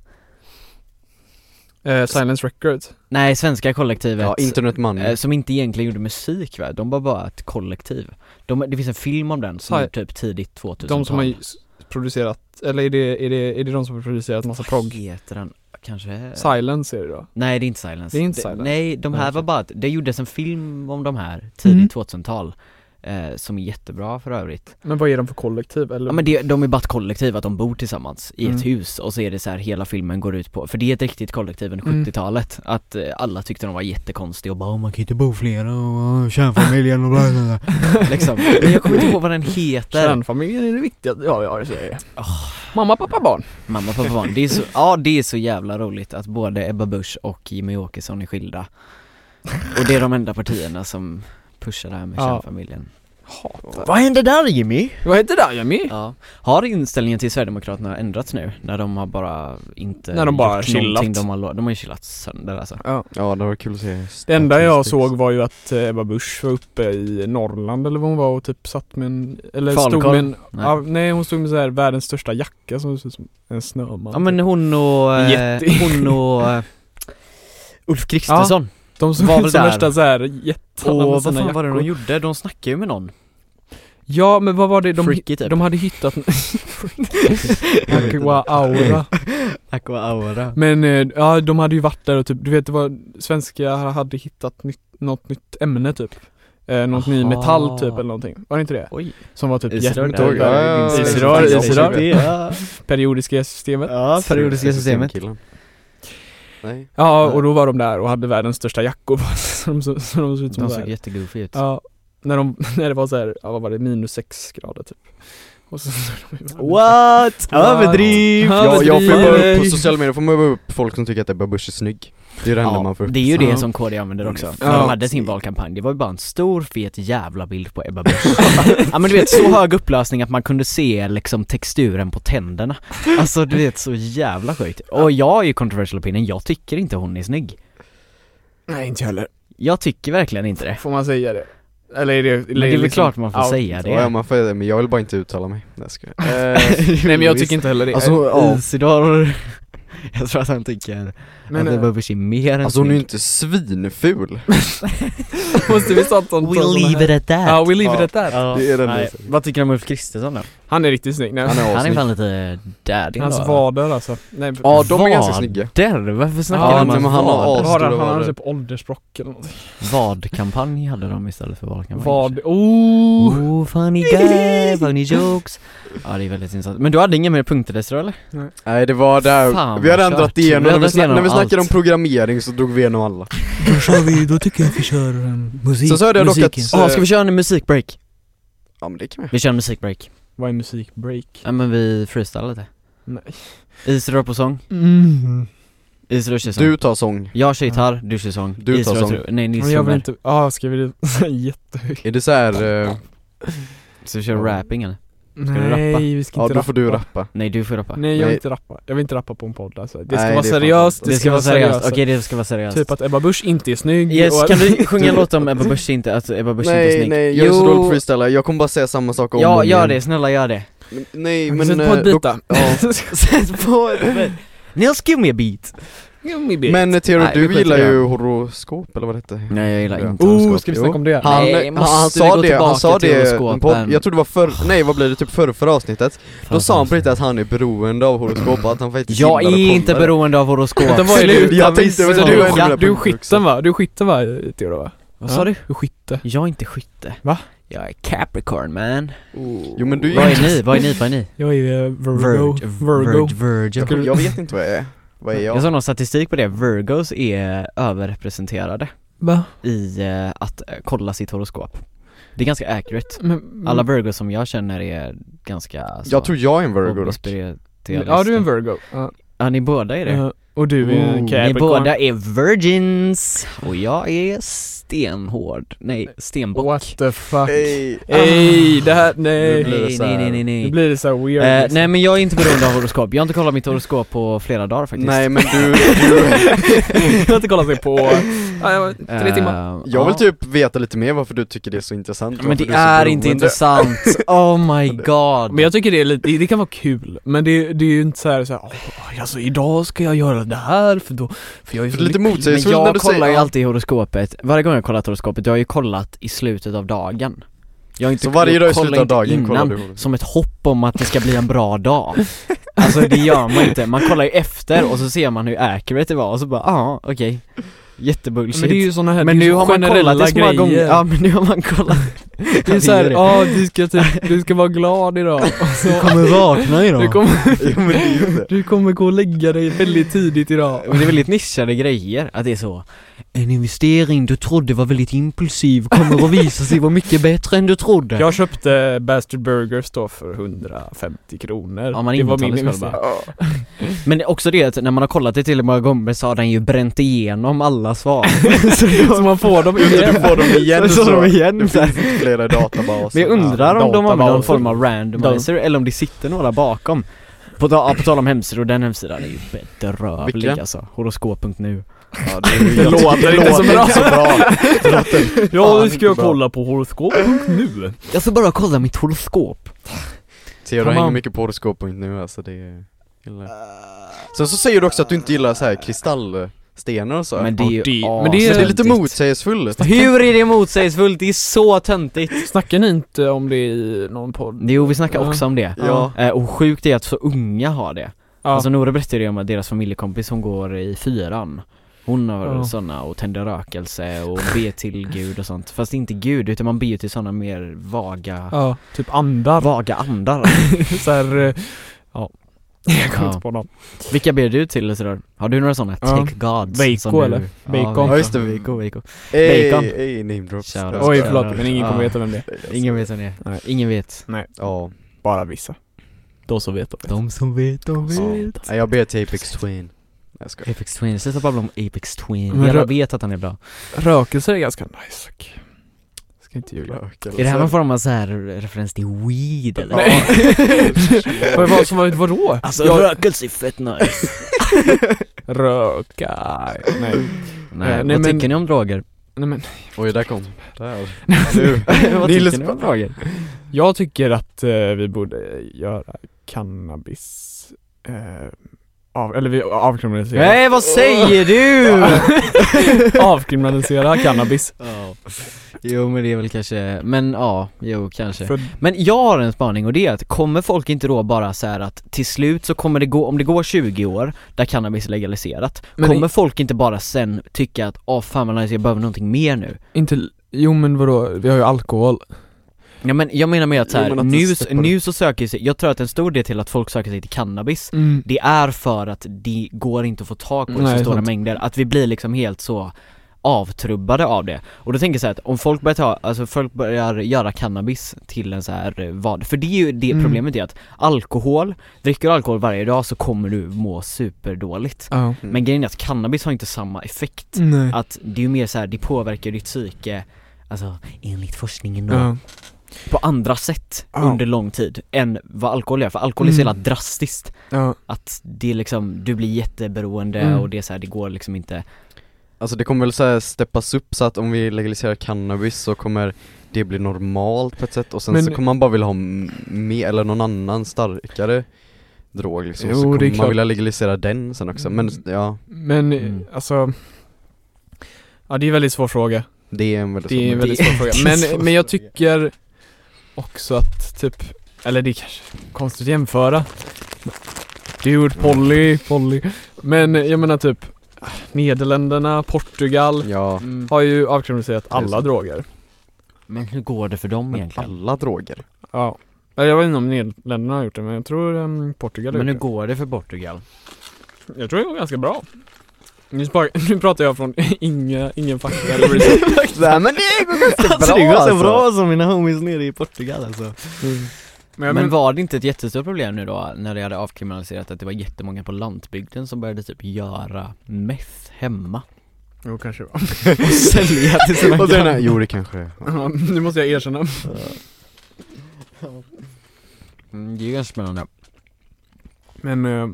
Speaker 1: Eh, Silence Records.
Speaker 4: Nej, svenska kollektivet
Speaker 2: Ja, internet money
Speaker 4: eh, Som inte egentligen gjorde musik va? De var bara ett kollektiv de, Det finns en film om den som
Speaker 1: Sa-
Speaker 4: är typ tidigt 2000
Speaker 1: De som har ju s- producerat, eller är det, är det, är det de som har producerat massa
Speaker 4: Vad
Speaker 1: progg?
Speaker 4: heter den? Kanske...
Speaker 1: Silence är det då.
Speaker 4: Nej det är inte Silence.
Speaker 1: Det är inte
Speaker 4: Det-
Speaker 1: Silence.
Speaker 4: Nej, de här
Speaker 1: Nej,
Speaker 4: var
Speaker 1: okej.
Speaker 4: bara, att- det gjordes en film om de här tidigt
Speaker 1: Mm.
Speaker 4: 2000-tal eh, Som är jättebra för övrigt.
Speaker 1: Men vad är de för kollektiv eller?
Speaker 4: Ja men det, de är bara ett kollektiv, att de bor tillsammans i
Speaker 1: Mm.
Speaker 4: ett hus och så är det så här hela filmen går ut på, för det är ett riktigt kollektiv under
Speaker 1: Mm.
Speaker 4: 70-talet, att eh, alla tyckte de var jättekonstiga och bara
Speaker 5: Bara, man kan inte bo flera och och kärnfamiljen och bla bla bla.
Speaker 4: liksom, men jag kommer inte ihåg vad den heter
Speaker 1: Kärnfamiljen är det viktigaste ja, vi har i Sverige. Mamma, pappa, barn.
Speaker 4: Mamma, pappa, barn. Det är så, ja det är så jävla roligt att både Ebba Busch och Jimmy Åkesson är skilda Och det är de enda partierna som pushar det här med
Speaker 1: Ja.
Speaker 4: kärnfamiljen
Speaker 1: Hatar.
Speaker 4: Vad hände där Jimmy?
Speaker 1: Vad heter det där Jimmy?
Speaker 4: Ja. Har inställningen till Sverigedemokraterna ändrats nu? När de har bara inte
Speaker 1: När de bara
Speaker 4: gjort
Speaker 1: chillat.
Speaker 4: någonting De har, lo- de har ju chillat sönder alltså
Speaker 2: Ja det var kul att se
Speaker 1: Det enda jag såg var ju att eh, Ebba Busch var uppe i Norrland eller vad hon var och typ satt med en, eller stod
Speaker 4: Falukorv?
Speaker 1: med en, nej.
Speaker 4: Nej.
Speaker 1: Ja, nej hon stod med så här världens största jacka som såg ut som en snöman typ.
Speaker 4: Ja men hon och, eh,
Speaker 1: Jätte-
Speaker 4: hon och eh, Ulf Kristersson
Speaker 1: De som
Speaker 4: var
Speaker 1: var
Speaker 4: väl
Speaker 1: som
Speaker 4: där.
Speaker 1: värsta såhär jättarna
Speaker 4: Och
Speaker 1: med
Speaker 4: vad
Speaker 1: sina
Speaker 4: fan
Speaker 1: jackor
Speaker 4: var det de gjorde? De snackade ju med någon
Speaker 1: Ja men vad var det de,
Speaker 4: Freaky typ
Speaker 1: de hade hittat Aqua Aura
Speaker 4: Aqua Aura
Speaker 1: Men eh, ja de hade ju varit där och typ, du vet det var svenskar hade hittat nytt, något nytt ämne typ Eh, något ny
Speaker 4: Aha.
Speaker 1: metall typ eller någonting, var det inte det?
Speaker 4: Oj,
Speaker 1: Som var typ
Speaker 4: Isrör
Speaker 1: jätte-
Speaker 4: där.
Speaker 2: Ja, ja, ja.
Speaker 1: Isrör,
Speaker 2: Ja,
Speaker 1: isrör.
Speaker 2: det-
Speaker 1: periodiska systemet
Speaker 4: Ja, periodiska systemet
Speaker 2: Nej
Speaker 1: Ja, och då var de där och hade världens största jackor på sig, så de, så, så de såg ut som
Speaker 4: De
Speaker 1: så
Speaker 4: såg
Speaker 1: här.
Speaker 4: jättegoofy ut
Speaker 1: Ja, när, de, när det var så här, ja vad var det, minus sex grader typ Och så såg de ju-
Speaker 4: What? Överdriv!
Speaker 2: jag, jag får ju bara upp på
Speaker 1: Överdrivet.
Speaker 2: sociala medier, får man ju bara upp folk som tycker att Ebba Busch är snygg Det är det enda man får upp
Speaker 4: det är ju det
Speaker 1: Ja.
Speaker 4: som KD använder också,
Speaker 1: Mm. Ja.
Speaker 4: när de hade sin valkampanj, det var ju bara en stor fet jävla bild på Ebba Busch Ja men du vet, så hög upplösning att man kunde se liksom texturen på tänderna Alltså du vet, så jävla sjukt. Och jag är ju controversial opinion, jag tycker inte hon är snygg
Speaker 1: Nej inte jag heller,
Speaker 4: Jag tycker verkligen inte det
Speaker 1: får man säga det? Eller är det, eller
Speaker 4: Men det är väl
Speaker 1: liksom-
Speaker 4: klart man får
Speaker 1: out.
Speaker 4: säga
Speaker 2: Ja, ja,
Speaker 4: det
Speaker 2: man får, men jag vill bara inte uttala mig, nej jag skojar
Speaker 1: Nej men jag tycker inte heller det Eh,
Speaker 2: Alltså, ja.
Speaker 4: Isidor, jag tror att han tycker
Speaker 1: Men
Speaker 4: att
Speaker 1: eh,
Speaker 4: Ebba Busch är mer än
Speaker 2: Alltså hon är ju
Speaker 4: snygg
Speaker 2: inte svinful
Speaker 1: måste vi satsa på
Speaker 5: We'll leave it at that.
Speaker 1: Ja, we leave it
Speaker 2: Ja.
Speaker 1: at that
Speaker 4: Ja,
Speaker 2: Det är den
Speaker 4: nej.
Speaker 2: där.
Speaker 4: Vad tycker du om Ulf Kristersson då?
Speaker 1: Han är riktigt snygg, nej
Speaker 2: Han är
Speaker 4: Han är
Speaker 2: assnygg
Speaker 4: fan lite daddy
Speaker 1: Hans
Speaker 4: ändå, va?
Speaker 1: vader alltså, nej men-
Speaker 2: Ja de är ganska
Speaker 4: Vad?
Speaker 2: snygga
Speaker 4: Där, varför snackar
Speaker 1: Ja,
Speaker 4: de
Speaker 1: nej,
Speaker 4: om
Speaker 2: men han har
Speaker 4: vad?
Speaker 1: Vad har han,
Speaker 2: stora
Speaker 1: han har
Speaker 2: vader.
Speaker 1: typ åldersbrock eller någonting
Speaker 4: Vad-kampanj hade de istället för valkampanj
Speaker 1: Vad, oh!
Speaker 4: Oh funny guy, funny jokes Ja det är väldigt intressant, men du hade inga mer punkter Desirée eller?
Speaker 2: Nej det var där,
Speaker 4: Fan,
Speaker 2: vi hade
Speaker 4: vad
Speaker 2: ändrat
Speaker 4: kört. Vi
Speaker 2: igenom,
Speaker 4: hade
Speaker 2: när vi, snack,
Speaker 4: igenom
Speaker 2: när vi snackade om
Speaker 4: allt.
Speaker 2: programmering så drog vi igenom alla
Speaker 5: Då kör vi, då tycker jag vi kör um, musik.
Speaker 2: Sen så hörde jag dock
Speaker 5: musiken.
Speaker 2: att-
Speaker 4: Ja, ska vi köra en musikbreak?
Speaker 2: Ja men det kan vi
Speaker 4: Vi kör en musikbreak
Speaker 1: Vad är musikbreak?
Speaker 4: Ja men vi freestylar lite
Speaker 1: Nej
Speaker 4: Isidor på sång,
Speaker 1: mm.
Speaker 4: Isidor kör sång
Speaker 2: Du tar sång,
Speaker 4: Jag kör gitarr, du kör sång
Speaker 2: Du tar
Speaker 4: Isidor
Speaker 2: sång.
Speaker 4: tror- Nej Nils
Speaker 1: Men jag vill
Speaker 4: trummor
Speaker 1: inte, ja ah, ska vi det jättehögt?
Speaker 2: är det såhär, eh,
Speaker 4: Så vi kör rapping eller? du
Speaker 1: Nej
Speaker 4: rappa?
Speaker 1: vi ska
Speaker 2: ja
Speaker 1: inte
Speaker 2: då får du rappa
Speaker 4: Nej du får rappa
Speaker 1: Nej jag vill
Speaker 2: Nej.
Speaker 1: inte rappa, jag vill inte rappa på en podd alltså. Det ska
Speaker 2: Nej,
Speaker 1: vara
Speaker 2: det är fan
Speaker 1: seriöst,
Speaker 2: sant.
Speaker 4: Det ska vara seriöst, okej det ska vara seriöst
Speaker 1: Typ att Ebba Busch inte är snygg
Speaker 4: Yes,
Speaker 1: och-
Speaker 4: kan du sjunga en låt om Ebba Busch inte, att Ebba Busch inte är
Speaker 2: Nej
Speaker 4: snygg?
Speaker 2: nej, jag är så dålig på freestyla, jag kommer bara säga samma sak om och
Speaker 4: Ja,
Speaker 2: om
Speaker 4: gör
Speaker 2: igen.
Speaker 4: det, snälla gör det
Speaker 2: Men- Nej
Speaker 1: Men
Speaker 2: men...
Speaker 1: Sätt på
Speaker 2: eh,
Speaker 1: ett beat då.
Speaker 2: ja.
Speaker 4: Sätt på Nils, give me a beat
Speaker 2: Men Theodor,
Speaker 4: Nej, vi
Speaker 2: du
Speaker 4: skiter
Speaker 2: gillar
Speaker 4: i det.
Speaker 2: ju horoskop eller vad det hette?
Speaker 4: Nej jag gillar
Speaker 2: Ja.
Speaker 4: inte
Speaker 1: Oh,
Speaker 4: horoskop.
Speaker 1: ska vi
Speaker 2: Jo.
Speaker 1: snacka om det?
Speaker 2: Han,
Speaker 4: Nej,
Speaker 2: han,
Speaker 4: måste
Speaker 2: han
Speaker 4: vi
Speaker 2: sa
Speaker 4: gå
Speaker 2: det, han
Speaker 4: tillbaka
Speaker 2: sa
Speaker 4: till
Speaker 2: det, på,
Speaker 4: horoskopen?
Speaker 2: jag tror det var förr, nej vad blir det, typ förra förra avsnittet?
Speaker 4: Oh,
Speaker 2: Då sa han på riktigt att han är beroende av horoskop, att han faktiskt
Speaker 4: Jag
Speaker 2: gillar att
Speaker 4: är inte
Speaker 2: kolla det.
Speaker 4: beroende av horoskop.
Speaker 1: Vänta, vad är det?
Speaker 4: Sluta
Speaker 2: Jag tänkte väl
Speaker 1: Vänta,
Speaker 2: det
Speaker 1: du,
Speaker 2: var ändå
Speaker 1: du,
Speaker 2: det
Speaker 1: du
Speaker 2: punkten också.
Speaker 1: skitten va? Du skitten va, Theodor va?
Speaker 4: Vad sa du?
Speaker 1: Du skitte.
Speaker 4: Jag är inte skytte.
Speaker 1: Va?
Speaker 4: Jag är Capricorn man.
Speaker 2: Jo men du
Speaker 4: Vad är ni? Vad är ni? Vad är ni?
Speaker 1: Jag är eh, Virgo.
Speaker 4: Virg-
Speaker 1: Virgo.
Speaker 4: Virg- Virgo.
Speaker 2: jag, jag vet inte vad jag är, vad är
Speaker 4: Jag
Speaker 2: jag?
Speaker 4: såg någon statistik på det, Virgos är överrepresenterade
Speaker 1: Va?
Speaker 4: i eh, att eh, kolla sitt horoskop. Det är ganska accurate.
Speaker 1: Men,
Speaker 4: Alla Virgos som jag känner är ganska så
Speaker 2: Jag tror jag är en virgo dock
Speaker 1: Ja du är en Virgo. Ja.
Speaker 4: Ja ni båda är det.
Speaker 1: Eh, Och du är en
Speaker 4: ni
Speaker 1: Capricorn.
Speaker 4: båda är virgins och jag är stenhård, nej stenbock.
Speaker 1: What the fuck?
Speaker 2: Ey,
Speaker 1: Ej, det här,
Speaker 2: Ah. Nu
Speaker 1: nej.
Speaker 2: blir det
Speaker 4: Nej,
Speaker 2: så här-
Speaker 4: nej, nej, nej,
Speaker 1: Nu
Speaker 4: nej.
Speaker 1: blir det så här weird.
Speaker 4: Eh,
Speaker 1: liksom.
Speaker 4: nej men jag är inte beroende av horoskop, jag har inte kollat mitt horoskop på flera dagar faktiskt.
Speaker 2: Nej men du, du
Speaker 1: jag har inte kollat det på, ja, jag- tre
Speaker 4: Eh,
Speaker 1: timmar.
Speaker 2: jag vill
Speaker 4: Ah, ja.
Speaker 2: typ veta lite mer varför du tycker det är så intressant
Speaker 4: Men
Speaker 2: varför
Speaker 4: det
Speaker 2: du så
Speaker 4: är inte
Speaker 2: beroende.
Speaker 4: intressant, oh my god.
Speaker 1: Men jag tycker det är lite, det kan vara kul, men det, det är ju inte så här, så här "Åh, alltså idag ska jag göra det här för då, för jag är
Speaker 2: Det
Speaker 1: så
Speaker 2: är lite
Speaker 1: lycklig."
Speaker 4: Men
Speaker 2: motsägelsefullt när
Speaker 4: jag
Speaker 2: du
Speaker 4: kollar ju
Speaker 2: säger allt
Speaker 4: alltid i horoskopet, varje gång jag kollat horoskopet, jag har ju kollat i slutet av dagen jag har inte
Speaker 2: Så varje
Speaker 4: jag
Speaker 2: dag i
Speaker 4: kollar
Speaker 2: slutet av
Speaker 4: inte
Speaker 2: dagen
Speaker 4: innan,
Speaker 2: kollar du
Speaker 4: Som ett hopp om att det ska bli en bra dag Alltså det gör man inte, man kollar ju efter och så ser man hur accurate det var och så bara ja okej Jättebullshit
Speaker 1: Men det är ju såna här,
Speaker 4: Men
Speaker 1: det är
Speaker 4: nu
Speaker 1: ju
Speaker 4: har man
Speaker 1: generella
Speaker 4: kollat det så många
Speaker 1: grejer.
Speaker 4: gånger, ja men nu har man kollat
Speaker 1: Det är så här, ja du ska typ, du ska vara glad idag och så,
Speaker 4: kommer vakna
Speaker 1: du, kommer,
Speaker 2: Jo men det är ju det
Speaker 1: du kommer gå och lägga dig väldigt tidigt idag
Speaker 4: Men det är väldigt nischade grejer, att det är så En investering du trodde var väldigt impulsiv kommer att visa sig vara mycket bättre än du trodde
Speaker 1: Jag köpte Bastard Burgers då för 150 kronor
Speaker 4: Ja, man
Speaker 1: Det var
Speaker 4: inbetalar
Speaker 1: min
Speaker 4: sig väl
Speaker 1: investering.
Speaker 4: bara. Men också det att när man har kollat det tillräckligt många gånger så har den ju bränt igenom alla svar
Speaker 1: Så man får dem
Speaker 2: Du
Speaker 1: igen
Speaker 2: får dem igen
Speaker 4: Så
Speaker 2: och så,
Speaker 4: de igen,
Speaker 2: det
Speaker 4: så här.
Speaker 2: finns inte flera databaser
Speaker 4: Men jag undrar om de använder någon
Speaker 1: databaser.
Speaker 4: form av randomizer eller om det sitter några bakom på, ta- ja, på tal om hemsidor, den hemsidan är ju bedrövlig
Speaker 2: Vilken?
Speaker 4: alltså, horoskop.nu
Speaker 2: Ja, det, är ju-
Speaker 1: Det låter inte så bra.
Speaker 2: Det låter-
Speaker 1: Ja
Speaker 2: Fan,
Speaker 1: nu ska jag
Speaker 2: bra.
Speaker 1: kolla på horoskop.nu
Speaker 4: Jag ska bara kolla mitt horoskop
Speaker 2: Theodor
Speaker 1: Come
Speaker 2: hänger
Speaker 1: on.
Speaker 2: mycket på horoskop.nu alltså det är... gillar. Sen så säger du också att du inte gillar så här kristallstenar och så
Speaker 4: Men det är ju
Speaker 1: Ja, det-
Speaker 4: as-
Speaker 1: men det
Speaker 2: Men det är lite
Speaker 4: töntigt.
Speaker 2: motsägelsefullt
Speaker 4: Hur är det motsägelsefullt? Det är så töntigt!
Speaker 1: Snackar ni inte om det i någon podd?
Speaker 4: Jo vi snackar
Speaker 1: Ja.
Speaker 4: också om det
Speaker 2: Ja.
Speaker 4: Eh, Och sjukt är att så unga har det
Speaker 1: Ja.
Speaker 4: Alltså Nora berättade ju om att deras familjekompis som går i fyran Hon har
Speaker 1: Ja.
Speaker 4: såna och tänder rökelse och ber till gud och sånt Fast inte gud utan man ber ju till såna mer vaga
Speaker 1: Ja, typ andar.
Speaker 4: Vaga andar
Speaker 1: så här, eh, ja. Jag kommer
Speaker 4: Ja.
Speaker 1: inte på någon.
Speaker 4: Vilka ber du till sådär? Har du några såna
Speaker 1: Ja.
Speaker 4: take gods?
Speaker 1: Veiko,
Speaker 4: som du-
Speaker 1: eller?
Speaker 4: Ja,
Speaker 1: Bacon.
Speaker 4: Veiko.
Speaker 2: Ja, just det.
Speaker 4: Veiko, Veiko
Speaker 2: Ey,
Speaker 4: Bacon.
Speaker 2: ey, name drops
Speaker 4: Shout
Speaker 2: Jag
Speaker 4: out.
Speaker 2: skojar.
Speaker 1: Oj förlåt men ingen
Speaker 4: Ja.
Speaker 1: kommer veta vem det är.
Speaker 4: Ingen vet vem det är,
Speaker 1: Nej.
Speaker 4: ingen vet
Speaker 2: Ja,
Speaker 1: Bara vissa. De som vet de vet.
Speaker 4: De som vet, de
Speaker 2: vet. Nej, jag ber till Apex Twin Nej, Jag skojar
Speaker 4: Apex Twin, sluta babbla om Apex Twin,
Speaker 1: Men
Speaker 4: vi alla
Speaker 1: då-
Speaker 4: vet att han är bra
Speaker 1: Rökelser är ganska nice. Och... Ska inte ljuga.
Speaker 4: Är det här någon form av så här referens till weed eller?
Speaker 1: Nej. Vad vad som var vadå?
Speaker 4: Alltså
Speaker 1: Jag-
Speaker 4: rökelse är fett nice
Speaker 1: Röka. Nej.
Speaker 4: Nej,
Speaker 1: Eh, nej,
Speaker 4: vad
Speaker 1: men-
Speaker 4: tycker ni om droger?
Speaker 1: Nej men
Speaker 2: Oj, där kom Där Nu.
Speaker 4: vad
Speaker 2: Nils-
Speaker 4: tycker ni om droger?
Speaker 1: Typ. jag tycker att eh, vi borde göra cannabis eh, av, eller vi avkriminalisera.
Speaker 4: Nej vad säger du?
Speaker 1: avkriminalisera cannabis.
Speaker 4: Ja. Jo men det är väl kanske, men ja, jo kanske
Speaker 1: För,
Speaker 4: Men jag har en spaning och det är att kommer folk inte då bara så här att till slut så kommer det gå, om det går 20 år där cannabis är legaliserat
Speaker 1: Men
Speaker 4: Kommer
Speaker 1: i-
Speaker 4: folk inte bara sen tycka att åh fan vad nice, jag behöver någonting mer nu?
Speaker 1: inte, jo men vadå, vi har ju alkohol. typ.
Speaker 4: Ja men jag menar med att så här,
Speaker 2: Jo, men att
Speaker 4: nu,
Speaker 2: det släpper
Speaker 4: nu så söker sig, jag tror att en stor del till att folk söker sig till cannabis
Speaker 1: Mm.
Speaker 4: Det är för att det går inte att få tag på i
Speaker 1: Nej,
Speaker 4: så stora
Speaker 1: sant.
Speaker 4: mängder, att vi blir liksom helt så avtrubbade av det. Och då tänker jag så här att om folk börjar ta, alltså folk börjar göra cannabis till en så här eh, vad, för det är ju det
Speaker 1: Mm.
Speaker 4: problemet är att alkohol, dricker du alkohol varje dag så kommer du må superdåligt.
Speaker 1: Ja.
Speaker 2: Mm.
Speaker 4: Men grejen är att cannabis har inte samma effekt.
Speaker 1: Nej.
Speaker 4: Att det är ju mer så här, det påverkar ditt psyke, alltså enligt forskningen då,
Speaker 1: Ja.
Speaker 4: på andra sätt
Speaker 1: Ja.
Speaker 4: under lång tid än vad alkohol gör, för alkohol är så
Speaker 1: Mm.
Speaker 4: jävla drastiskt
Speaker 1: Ja.
Speaker 4: att det är liksom, du blir jätteberoende
Speaker 1: Mm.
Speaker 4: och det är så här, det går liksom inte
Speaker 2: Alltså det kommer väl såhär steppas upp så att om vi legaliserar cannabis så kommer det bli normalt på ett sätt och sen
Speaker 1: Men-
Speaker 2: så kommer man bara vilja ha m- mer, eller någon annan starkare drog liksom,
Speaker 1: Jo,
Speaker 2: så
Speaker 1: det är
Speaker 2: kommer man
Speaker 1: klart.
Speaker 2: vilja legalisera den sen också, men
Speaker 1: Mm.
Speaker 2: ja,
Speaker 1: Men eh,
Speaker 4: Mm.
Speaker 1: alltså Ja det är en väldigt svår fråga
Speaker 2: det är en väldigt
Speaker 1: Det är en
Speaker 2: svår-
Speaker 1: väldigt svår fråga
Speaker 4: en svår
Speaker 1: Men, men jag
Speaker 4: fråga.
Speaker 1: tycker också att typ Eller det är kanske konstigt att jämföra Dude, Polly, Polly Men jag menar typ Nederländerna, Portugal
Speaker 2: Ja,
Speaker 4: Mm.
Speaker 1: Har ju avkriminaliserat alla
Speaker 2: så.
Speaker 1: droger
Speaker 4: Men hur går det för dem
Speaker 2: men
Speaker 4: egentligen?
Speaker 2: alla droger
Speaker 1: Ja Eller jag vet inte om Nederländerna har gjort det men jag tror um, Portugal har
Speaker 4: Men hur
Speaker 1: gjort
Speaker 4: går det för Portugal?
Speaker 1: det Jag tror det går ganska bra nu, spar- nu pratar jag från inga, ingen fakta eller research.
Speaker 2: Nej men det går ganska
Speaker 4: Alltså det
Speaker 2: bra
Speaker 4: går så
Speaker 2: alltså.
Speaker 4: bra som mina homies nere i Portugal alltså
Speaker 1: Men jag
Speaker 4: Men,
Speaker 1: men-
Speaker 4: var det inte ett jättestort problem nu då när det hade avkriminaliserat att det var jättemånga på landsbygden som började typ göra meth hemma
Speaker 1: Jo kanske det var
Speaker 4: och sälja till sina
Speaker 2: Och sen,
Speaker 4: grannar?
Speaker 2: jo det kanske det är.
Speaker 1: Ja, Nu måste jag erkänna
Speaker 4: Mm, det är ju ganska spännande
Speaker 1: Men, eh,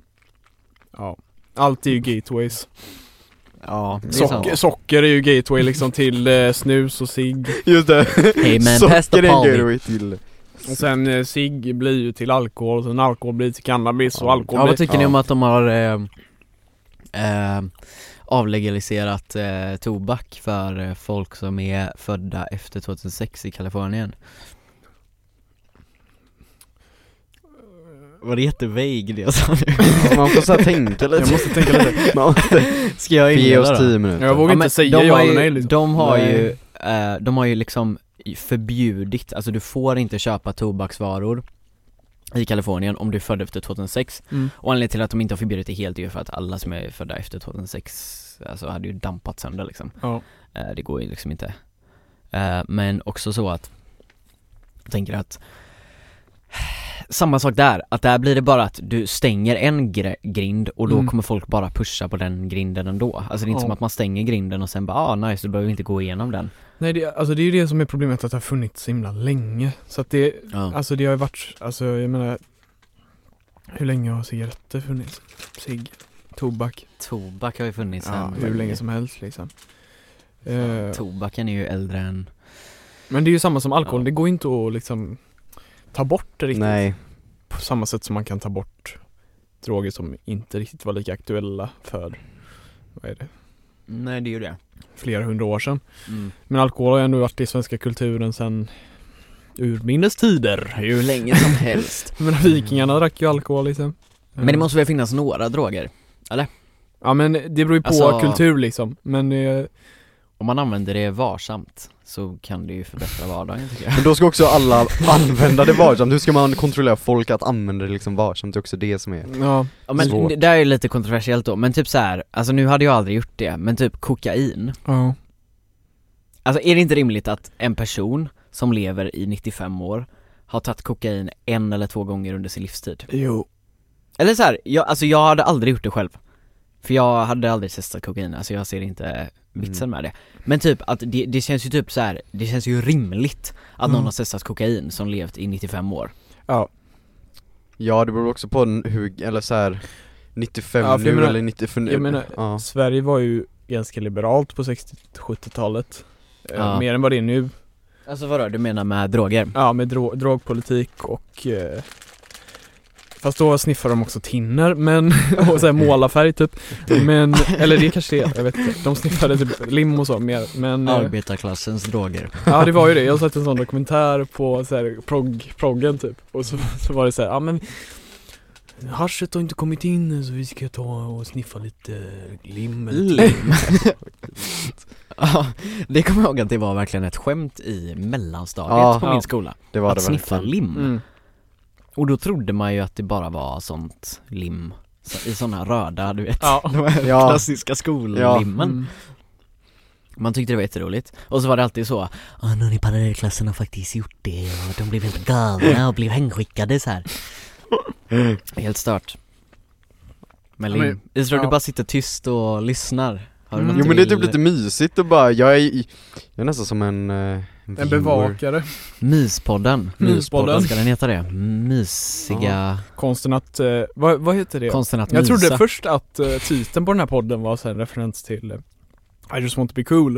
Speaker 1: ja. Allt är ju gateways.
Speaker 4: Ja, det är sant
Speaker 1: Socker, socker är ju gateway liksom till eh, snus och cigg.
Speaker 2: Just det,
Speaker 4: Hey man, pass the
Speaker 2: socker är en
Speaker 4: Polly.
Speaker 2: gateway till
Speaker 1: Och sen eh, cigg blir ju till alkohol, och sen alkohol blir till cannabis och
Speaker 2: Ja.
Speaker 1: alkohol
Speaker 4: Ja vad
Speaker 1: blir...
Speaker 4: tycker ni
Speaker 2: Ja.
Speaker 4: om att de har eh, eh, avlegaliserat eh, tobak för eh, folk som är födda efter 2006 i Kalifornien? Var det jättevague det jag sa nu?
Speaker 2: Man får såhär tänka lite
Speaker 1: Jag måste tänka lite.
Speaker 2: Man måste
Speaker 4: Ska jag
Speaker 2: ge oss
Speaker 4: inleda då?
Speaker 2: tio minuter
Speaker 1: Jag vågar
Speaker 4: Ja, men
Speaker 1: inte säga
Speaker 4: de
Speaker 1: ja
Speaker 4: har
Speaker 1: eller
Speaker 4: ju-
Speaker 1: nej liksom.
Speaker 4: De har
Speaker 2: Nej.
Speaker 4: ju, eh, de har ju liksom förbjudit, alltså du får inte köpa tobaksvaror i Kalifornien om du är född efter 2006
Speaker 1: Mm.
Speaker 4: Och anledningen till att de inte har förbjudit det helt är ju för att alla som är födda efter 2006 Alltså hade ju dampat sönder liksom
Speaker 1: Ja.
Speaker 4: Eh, Det går ju liksom inte Eh, Men också så att Jag tänker att Samma sak där, att där blir det bara att du stänger en gre- grind och då
Speaker 1: Mm.
Speaker 4: kommer folk bara pusha på den grinden ändå Alltså det är inte
Speaker 1: Ja.
Speaker 4: som att man stänger grinden och sen bara ah nice, då behöver vi inte gå igenom den
Speaker 1: Nej det, alltså det är ju det som är problemet, att det har funnits så himla länge. Så att det,
Speaker 4: ja.
Speaker 1: alltså det har ju varit, alltså jag menar Hur länge har cigaretter funnits? Cigg, tobak,
Speaker 4: Tobak har ju funnits
Speaker 1: ja,
Speaker 4: sen
Speaker 1: hur länge som helst liksom. Eh,
Speaker 4: Tobaken är ju äldre än
Speaker 1: Men det är ju samma som alkohol,
Speaker 4: Ja.
Speaker 1: det går inte att liksom ta bort det riktigt
Speaker 2: Nej,
Speaker 1: på samma sätt som man kan ta bort droger som inte riktigt var lika aktuella för, vad är det,
Speaker 4: Nej det är ju det
Speaker 1: flera hundra år sedan.
Speaker 4: mm.
Speaker 1: Men alkohol har ju ändå varit i svenska kulturen sedan urminnes tider.
Speaker 4: Hur länge som helst
Speaker 1: Men vikingarna drack ju alkohol liksom.
Speaker 4: Men det måste väl finnas några droger?
Speaker 1: Ja men det beror ju på
Speaker 4: Alltså-
Speaker 1: kultur liksom, men det,
Speaker 4: Om man använder det varsamt så kan det ju förbättra vardagen tycker jag
Speaker 2: men då ska också alla använda det varsamt, hur ska man kontrollera folk att använda det liksom varsamt? Det är också det som är
Speaker 1: ja.
Speaker 4: Ja men
Speaker 2: Svårt.
Speaker 4: det där är ju lite kontroversiellt då, men typ så här, alltså nu hade jag aldrig gjort det, men typ kokain
Speaker 1: ja.
Speaker 4: Alltså är det inte rimligt att en person som lever i 95 år har tagit kokain en eller två gånger under sin livstid?
Speaker 1: Jo.
Speaker 4: Eller så här, jag, alltså jag hade aldrig gjort det själv För jag hade aldrig testat kokain, alltså jag ser inte vitsen med det Men typ att det, det känns ju typ så här, det känns ju rimligt att någon
Speaker 1: Mm.
Speaker 4: har testat kokain som levt i 95 år
Speaker 1: Ja.
Speaker 2: Ja det beror också på n- hur, eller så här 95
Speaker 1: Ja, för jag
Speaker 2: nu
Speaker 1: menar-
Speaker 2: eller 95 nu
Speaker 1: jag menar-
Speaker 2: ja.
Speaker 1: Sverige var ju ganska liberalt på 60-70-talet. Eh,
Speaker 4: Ja.
Speaker 1: Mer än vad det är nu.
Speaker 4: Alltså vadå, du menar med droger?
Speaker 1: Ja, med dro- drogpolitik och eh, Fast då sniffar de också tinner, men, och såhär målarfärg typ Men, eller det kanske det är, jag vet inte De sniffade typ lim och så mer, men eh,
Speaker 4: Arbetarklassens droger
Speaker 1: Ja det var ju det, jag satt en sån dokumentär på såhär prog, proggen typ Och så, så var det såhär, ja men Haschet har inte kommit in så vi ska ta och sniffa lite lim eller typ.
Speaker 4: Lim. Ja, det kommer jag ihåg att det var verkligen ett skämt i mellanstadiet
Speaker 2: Ja.
Speaker 4: på min
Speaker 1: Ja.
Speaker 4: skola.
Speaker 2: det var
Speaker 4: att
Speaker 2: det
Speaker 4: sniffa
Speaker 2: verkligen
Speaker 4: lim.
Speaker 1: mm.
Speaker 4: Och då trodde man ju att det bara var sånt lim, så, i såna röda, du vet.
Speaker 1: Ja,
Speaker 4: De här
Speaker 2: Ja.
Speaker 4: klassiska skollimmen.
Speaker 1: mm.
Speaker 4: Man tyckte det var jätteroligt. Och så var det alltid så,
Speaker 5: Ja, någon i parallellklassen har faktiskt gjort det och de blev helt galna och blev hängskickade så här.
Speaker 4: helt stört. Med
Speaker 1: Ja,
Speaker 4: lim.
Speaker 1: men-
Speaker 4: jag tror du
Speaker 1: ja.
Speaker 4: bara sitter tyst och lyssnar. Har du
Speaker 1: Mm.
Speaker 4: något
Speaker 2: Jo
Speaker 4: du
Speaker 2: men det är typ
Speaker 4: vill-
Speaker 2: lite mysigt och bara, jag är, i- jag är nästan som en, eh, viewer.
Speaker 1: En bevakare
Speaker 2: Mm.
Speaker 4: Myspodden.
Speaker 1: Myspodden.
Speaker 4: Ska den heta det? Mysiga
Speaker 1: Konsten att, eh, vad, vad heter det?
Speaker 4: konsten att
Speaker 1: Jag
Speaker 4: mysa.
Speaker 1: trodde först att eh, titeln på den här podden var så här en referens till eh, I just want to be cool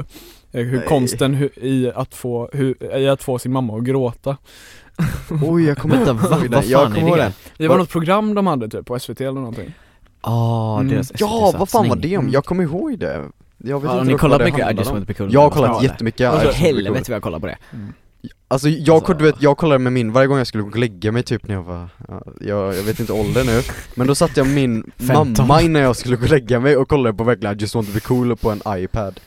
Speaker 1: Eh, hur
Speaker 2: Nej.
Speaker 1: konsten hu, i, att få, hur, i att få sin mamma att gråta
Speaker 2: Oj jag kommer inte
Speaker 4: Vänta, va?
Speaker 2: ihåg
Speaker 4: Vad
Speaker 2: den, jag
Speaker 4: fan
Speaker 2: kommer
Speaker 4: är
Speaker 2: ihåg
Speaker 4: det?
Speaker 2: den
Speaker 1: Det var något program de hade typ på SVT eller någonting
Speaker 4: Ah,
Speaker 1: Mm.
Speaker 4: deras
Speaker 2: Ja, vad fan var det om?
Speaker 4: Mm.
Speaker 2: Jag kommer ihåg det Jag vet
Speaker 4: Har
Speaker 2: inte
Speaker 4: ni
Speaker 2: vad
Speaker 4: kollat
Speaker 2: det
Speaker 4: mycket
Speaker 2: handlade om.
Speaker 4: Adjustment Become
Speaker 2: Jag har kollat jättemycket
Speaker 4: Alltså
Speaker 2: Adjustment Become.
Speaker 4: helvete vad jag kollar på det
Speaker 2: Alltså jag,
Speaker 4: Alltså-
Speaker 2: du vet, jag kollade med min varje gång jag skulle gå och lägga mig typ när jag var, ja, jag, jag vet inte ålder nu Men då satte jag min
Speaker 4: 15.
Speaker 2: mamma innan jag skulle gå och lägga mig och kollade på verkligen I just want to be cool på en iPad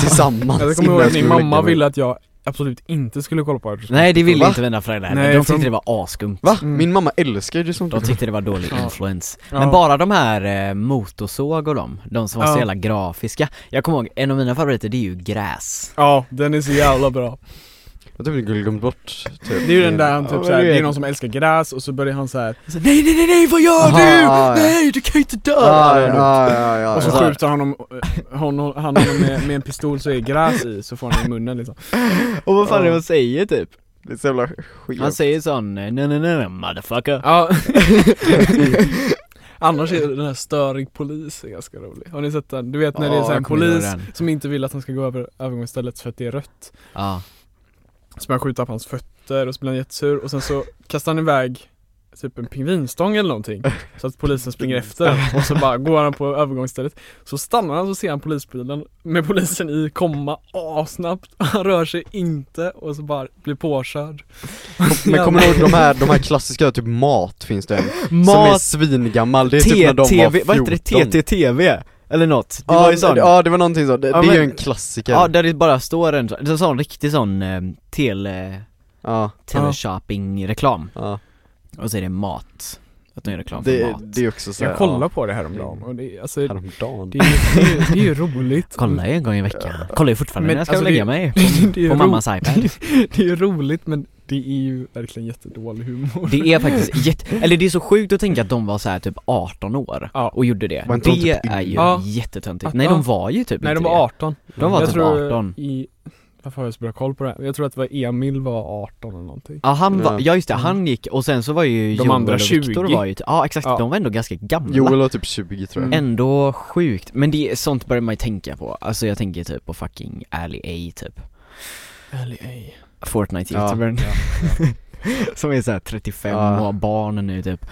Speaker 2: Tillsammans
Speaker 1: Jag kommer
Speaker 2: innan
Speaker 1: ihåg att
Speaker 2: skulle
Speaker 1: min
Speaker 2: gå och lägga
Speaker 1: mamma
Speaker 2: mig.
Speaker 1: ville att jag absolut inte skulle kolla på Adjustment
Speaker 4: Nej det ville
Speaker 2: Va?
Speaker 4: inte mina föräldrar heller,
Speaker 1: Nej,
Speaker 4: de tyckte
Speaker 1: för-
Speaker 4: det var asskumt
Speaker 2: Va?
Speaker 1: Mm.
Speaker 2: Min mamma älskar just want to
Speaker 4: De
Speaker 2: be cool
Speaker 4: tyckte det var dålig
Speaker 1: Ja.
Speaker 4: influens
Speaker 1: Ja.
Speaker 4: Men bara de här eh, motorsåg och de, de som var
Speaker 1: Ja.
Speaker 4: så jävla grafiska Jag kommer ihåg, en av mina favoriter det är ju gräs
Speaker 1: Ja, den är så jävla bra
Speaker 2: Jag typ glömt bort typ
Speaker 1: Det är ju den där han
Speaker 2: Ja,
Speaker 1: typ
Speaker 2: men
Speaker 1: såhär,
Speaker 2: du
Speaker 1: det är
Speaker 2: vet.
Speaker 1: någon som älskar gräs och så börjar han såhär
Speaker 2: Alltså,
Speaker 4: Så, Nej nej nej nej vad gör
Speaker 2: Aha,
Speaker 4: du?
Speaker 2: ja, ja.
Speaker 4: Nej du kan ju inte dö!
Speaker 2: Ah, Ja, ja, ja, ja,
Speaker 1: Och så
Speaker 2: ja.
Speaker 1: skjuter han honom, eh, honom, han honom med, med en pistol så är det gräs i, så får han det i munnen liksom
Speaker 4: Och vad fan är det
Speaker 1: Ja.
Speaker 4: man säger typ?
Speaker 2: Det är så jävla skit
Speaker 4: Han säger sån, eh, nej nej nej nej motherfucker
Speaker 1: Ja Annars är den här störig polis är ganska rolig Har ni sett den? Du vet när det är
Speaker 4: Ja,
Speaker 1: så här en
Speaker 4: jag kommer ihåg
Speaker 1: polis
Speaker 4: den.
Speaker 1: som inte vill att han ska gå över övergångsstället för att det är rött
Speaker 4: Ja,
Speaker 1: Så börjar han skjuta på hans fötter och så blir han jättesur och sen så kastar han iväg typ en pingvinstång eller någonting Så att polisen springer efter den och så bara går han på övergångsstället Så stannar han så ser han polisbilen med polisen i komma assnabbt Han rör sig inte och så bara blir påkörd
Speaker 2: Men kommer du ihåg de här, de här klassiska, typ mat finns det en Som är
Speaker 4: mat,
Speaker 2: svingammal, det är typ när de var
Speaker 4: TTV,
Speaker 2: 14
Speaker 4: vad heter det? TTTV? Eller något, det
Speaker 2: Ja,
Speaker 4: var ju sån
Speaker 2: ja det var någonting så, det,
Speaker 4: Ja,
Speaker 2: det är ju
Speaker 4: men-
Speaker 2: en klassiker
Speaker 4: Ja, där det bara står en, en sån riktig sån eh, tele,
Speaker 2: Ja,
Speaker 4: teleshopping-reklam
Speaker 2: ja.
Speaker 4: Och så är det mat, att de gör reklam för
Speaker 2: Det,
Speaker 4: mat
Speaker 2: det är också så här,
Speaker 1: Jag kollade på det här om dagen och det, alltså,
Speaker 2: ja, häromdagen
Speaker 1: Det är, ju, det, är, ju- det är ju roligt
Speaker 4: Kollar ju en gång i veckan, kollar ju fortfarande
Speaker 1: Men
Speaker 4: när jag ska
Speaker 1: alltså
Speaker 4: lägga
Speaker 1: det-
Speaker 4: mig
Speaker 1: det, är ju
Speaker 4: på
Speaker 1: ro-
Speaker 4: mammas iPad
Speaker 1: det är ju roligt men det är ju verkligen jättedålig humor
Speaker 4: Det är faktiskt jätte, eller det är så sjukt att tänka att de var så här typ 18 år
Speaker 1: Ja.
Speaker 4: och gjorde det
Speaker 2: Var inte
Speaker 4: Det
Speaker 2: de typ
Speaker 4: är ju
Speaker 1: yngre?
Speaker 4: jättetöntigt,
Speaker 1: Att-
Speaker 4: nej
Speaker 1: ja.
Speaker 4: de var ju typ
Speaker 1: Nej de
Speaker 4: inte
Speaker 1: var 18
Speaker 4: det. de var
Speaker 1: Jag
Speaker 4: typ
Speaker 1: tror
Speaker 4: 18
Speaker 1: i, varför har jag så bra koll på det här? Jag tror att det var Emil var 18 eller någonting
Speaker 4: Ja han var,
Speaker 2: Nej.
Speaker 4: ja just det, han gick, och sen så var ju
Speaker 1: De
Speaker 4: Joel
Speaker 1: andra
Speaker 4: och Viktor
Speaker 1: 20.
Speaker 4: var ju, ja exakt,
Speaker 1: Ja.
Speaker 4: de var ändå ganska gamla
Speaker 2: Joel var typ 20 tror jag
Speaker 1: Mm.
Speaker 4: Ändå sjukt, men det, sånt börjar man ju tänka på, alltså jag tänker typ på fucking Ali A typ
Speaker 1: Eller ej
Speaker 4: Fortnite-youtubern Som är såhär 35
Speaker 2: Ja.
Speaker 4: och har barn nu typ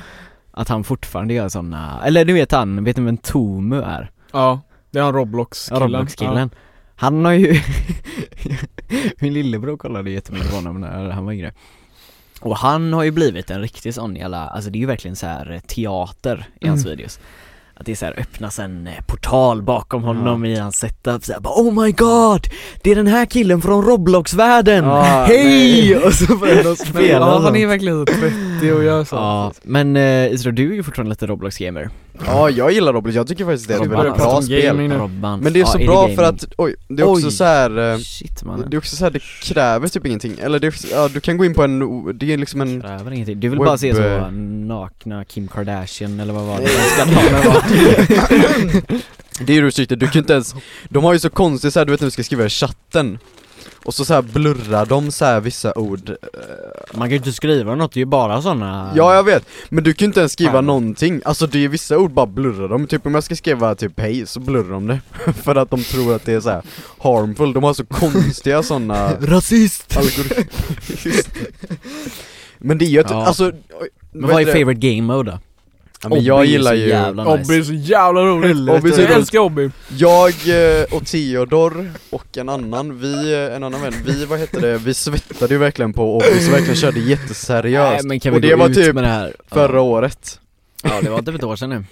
Speaker 4: Att han fortfarande gör såna eller du vet han, vet du vem Tomu är?
Speaker 1: Ja, det är han Roblox-killen
Speaker 4: Roblox-killen Han har ju Min lillebror kollade jättemycket på honom när han var yngre Och han har ju blivit en riktig sån jävla, alltså det är ju verkligen så här teater i hans
Speaker 1: Mm.
Speaker 4: videos att det är så här öppnas en eh, portal bakom honom i hans setup så här, bara, Oh my god! Det är den här killen från Roblox-världen!
Speaker 2: Ah,
Speaker 4: Hej!
Speaker 2: nej.
Speaker 4: Och så börjar de
Speaker 1: Ja. Men,
Speaker 4: spela
Speaker 1: ja, han
Speaker 4: sånt.
Speaker 1: är verkligen så 30 och gör sånt
Speaker 4: Ja, men eh, Isra du är ju fortfarande lite Roblox-gamer
Speaker 2: Ja, jag gillar Roblox, jag tycker faktiskt det är
Speaker 1: Vi
Speaker 2: ett
Speaker 1: börjar
Speaker 2: väldigt
Speaker 1: prata
Speaker 2: bra
Speaker 1: om gaming
Speaker 2: spel
Speaker 1: nu
Speaker 4: Robban
Speaker 2: Men det är så
Speaker 4: alltså, Ja,
Speaker 2: bra
Speaker 4: Ellie
Speaker 2: för
Speaker 4: Gaming.
Speaker 2: att, oj, det är också
Speaker 4: Oj.
Speaker 2: så här. eh,
Speaker 4: Shit
Speaker 2: Det
Speaker 4: mannen,
Speaker 2: det är också så här, det kräver typ ingenting, eller det, är- ja, du kan gå in på en, det är liksom en
Speaker 4: kräver ingenting Du vill
Speaker 2: Webb-
Speaker 4: bara se så
Speaker 2: eh,
Speaker 4: nakna Kim Kardashian eller vad var det?
Speaker 2: Det är ju ursäkta, du kan ju inte ens, de har ju så konstigt såhär, du vet när vi ska skriva i chatten och så, så här blurrar de så här vissa ord
Speaker 4: Man kan ju inte skriva något, det är ju bara sådana
Speaker 2: Ja jag vet, men du kan ju inte ens skriva
Speaker 4: Fan.
Speaker 2: någonting, alltså det är vissa ord bara blurrar de, typ om jag ska skriva typ hej så blurrar de det För att de tror att det är så här harmful, de har så konstiga sådana
Speaker 4: Rasist!
Speaker 2: algoritmer Men det är ju ett,
Speaker 4: Ja.
Speaker 2: alltså
Speaker 4: Men vad är
Speaker 2: favorite?
Speaker 4: favorite game mode då?
Speaker 2: Ja, men jag
Speaker 4: Obby är
Speaker 2: gillar
Speaker 4: så
Speaker 2: ju,
Speaker 4: jävla nice.
Speaker 1: Obby är så jävla roligt!
Speaker 2: Helvete. Obby är så
Speaker 1: jag
Speaker 2: roligt.
Speaker 1: älskar Obby!
Speaker 2: jag eh, och Theodor och en annan, vi, eh, en annan vän, vi vad hette det, vi svettade ju verkligen på Obby så verkligen körde jätteseriöst
Speaker 4: Nej, men kan vi
Speaker 2: Och det
Speaker 4: gå
Speaker 2: var
Speaker 4: ut
Speaker 2: typ
Speaker 4: med det här?
Speaker 2: förra
Speaker 4: ja.
Speaker 2: året
Speaker 4: ja, det var typ ett år sedan nu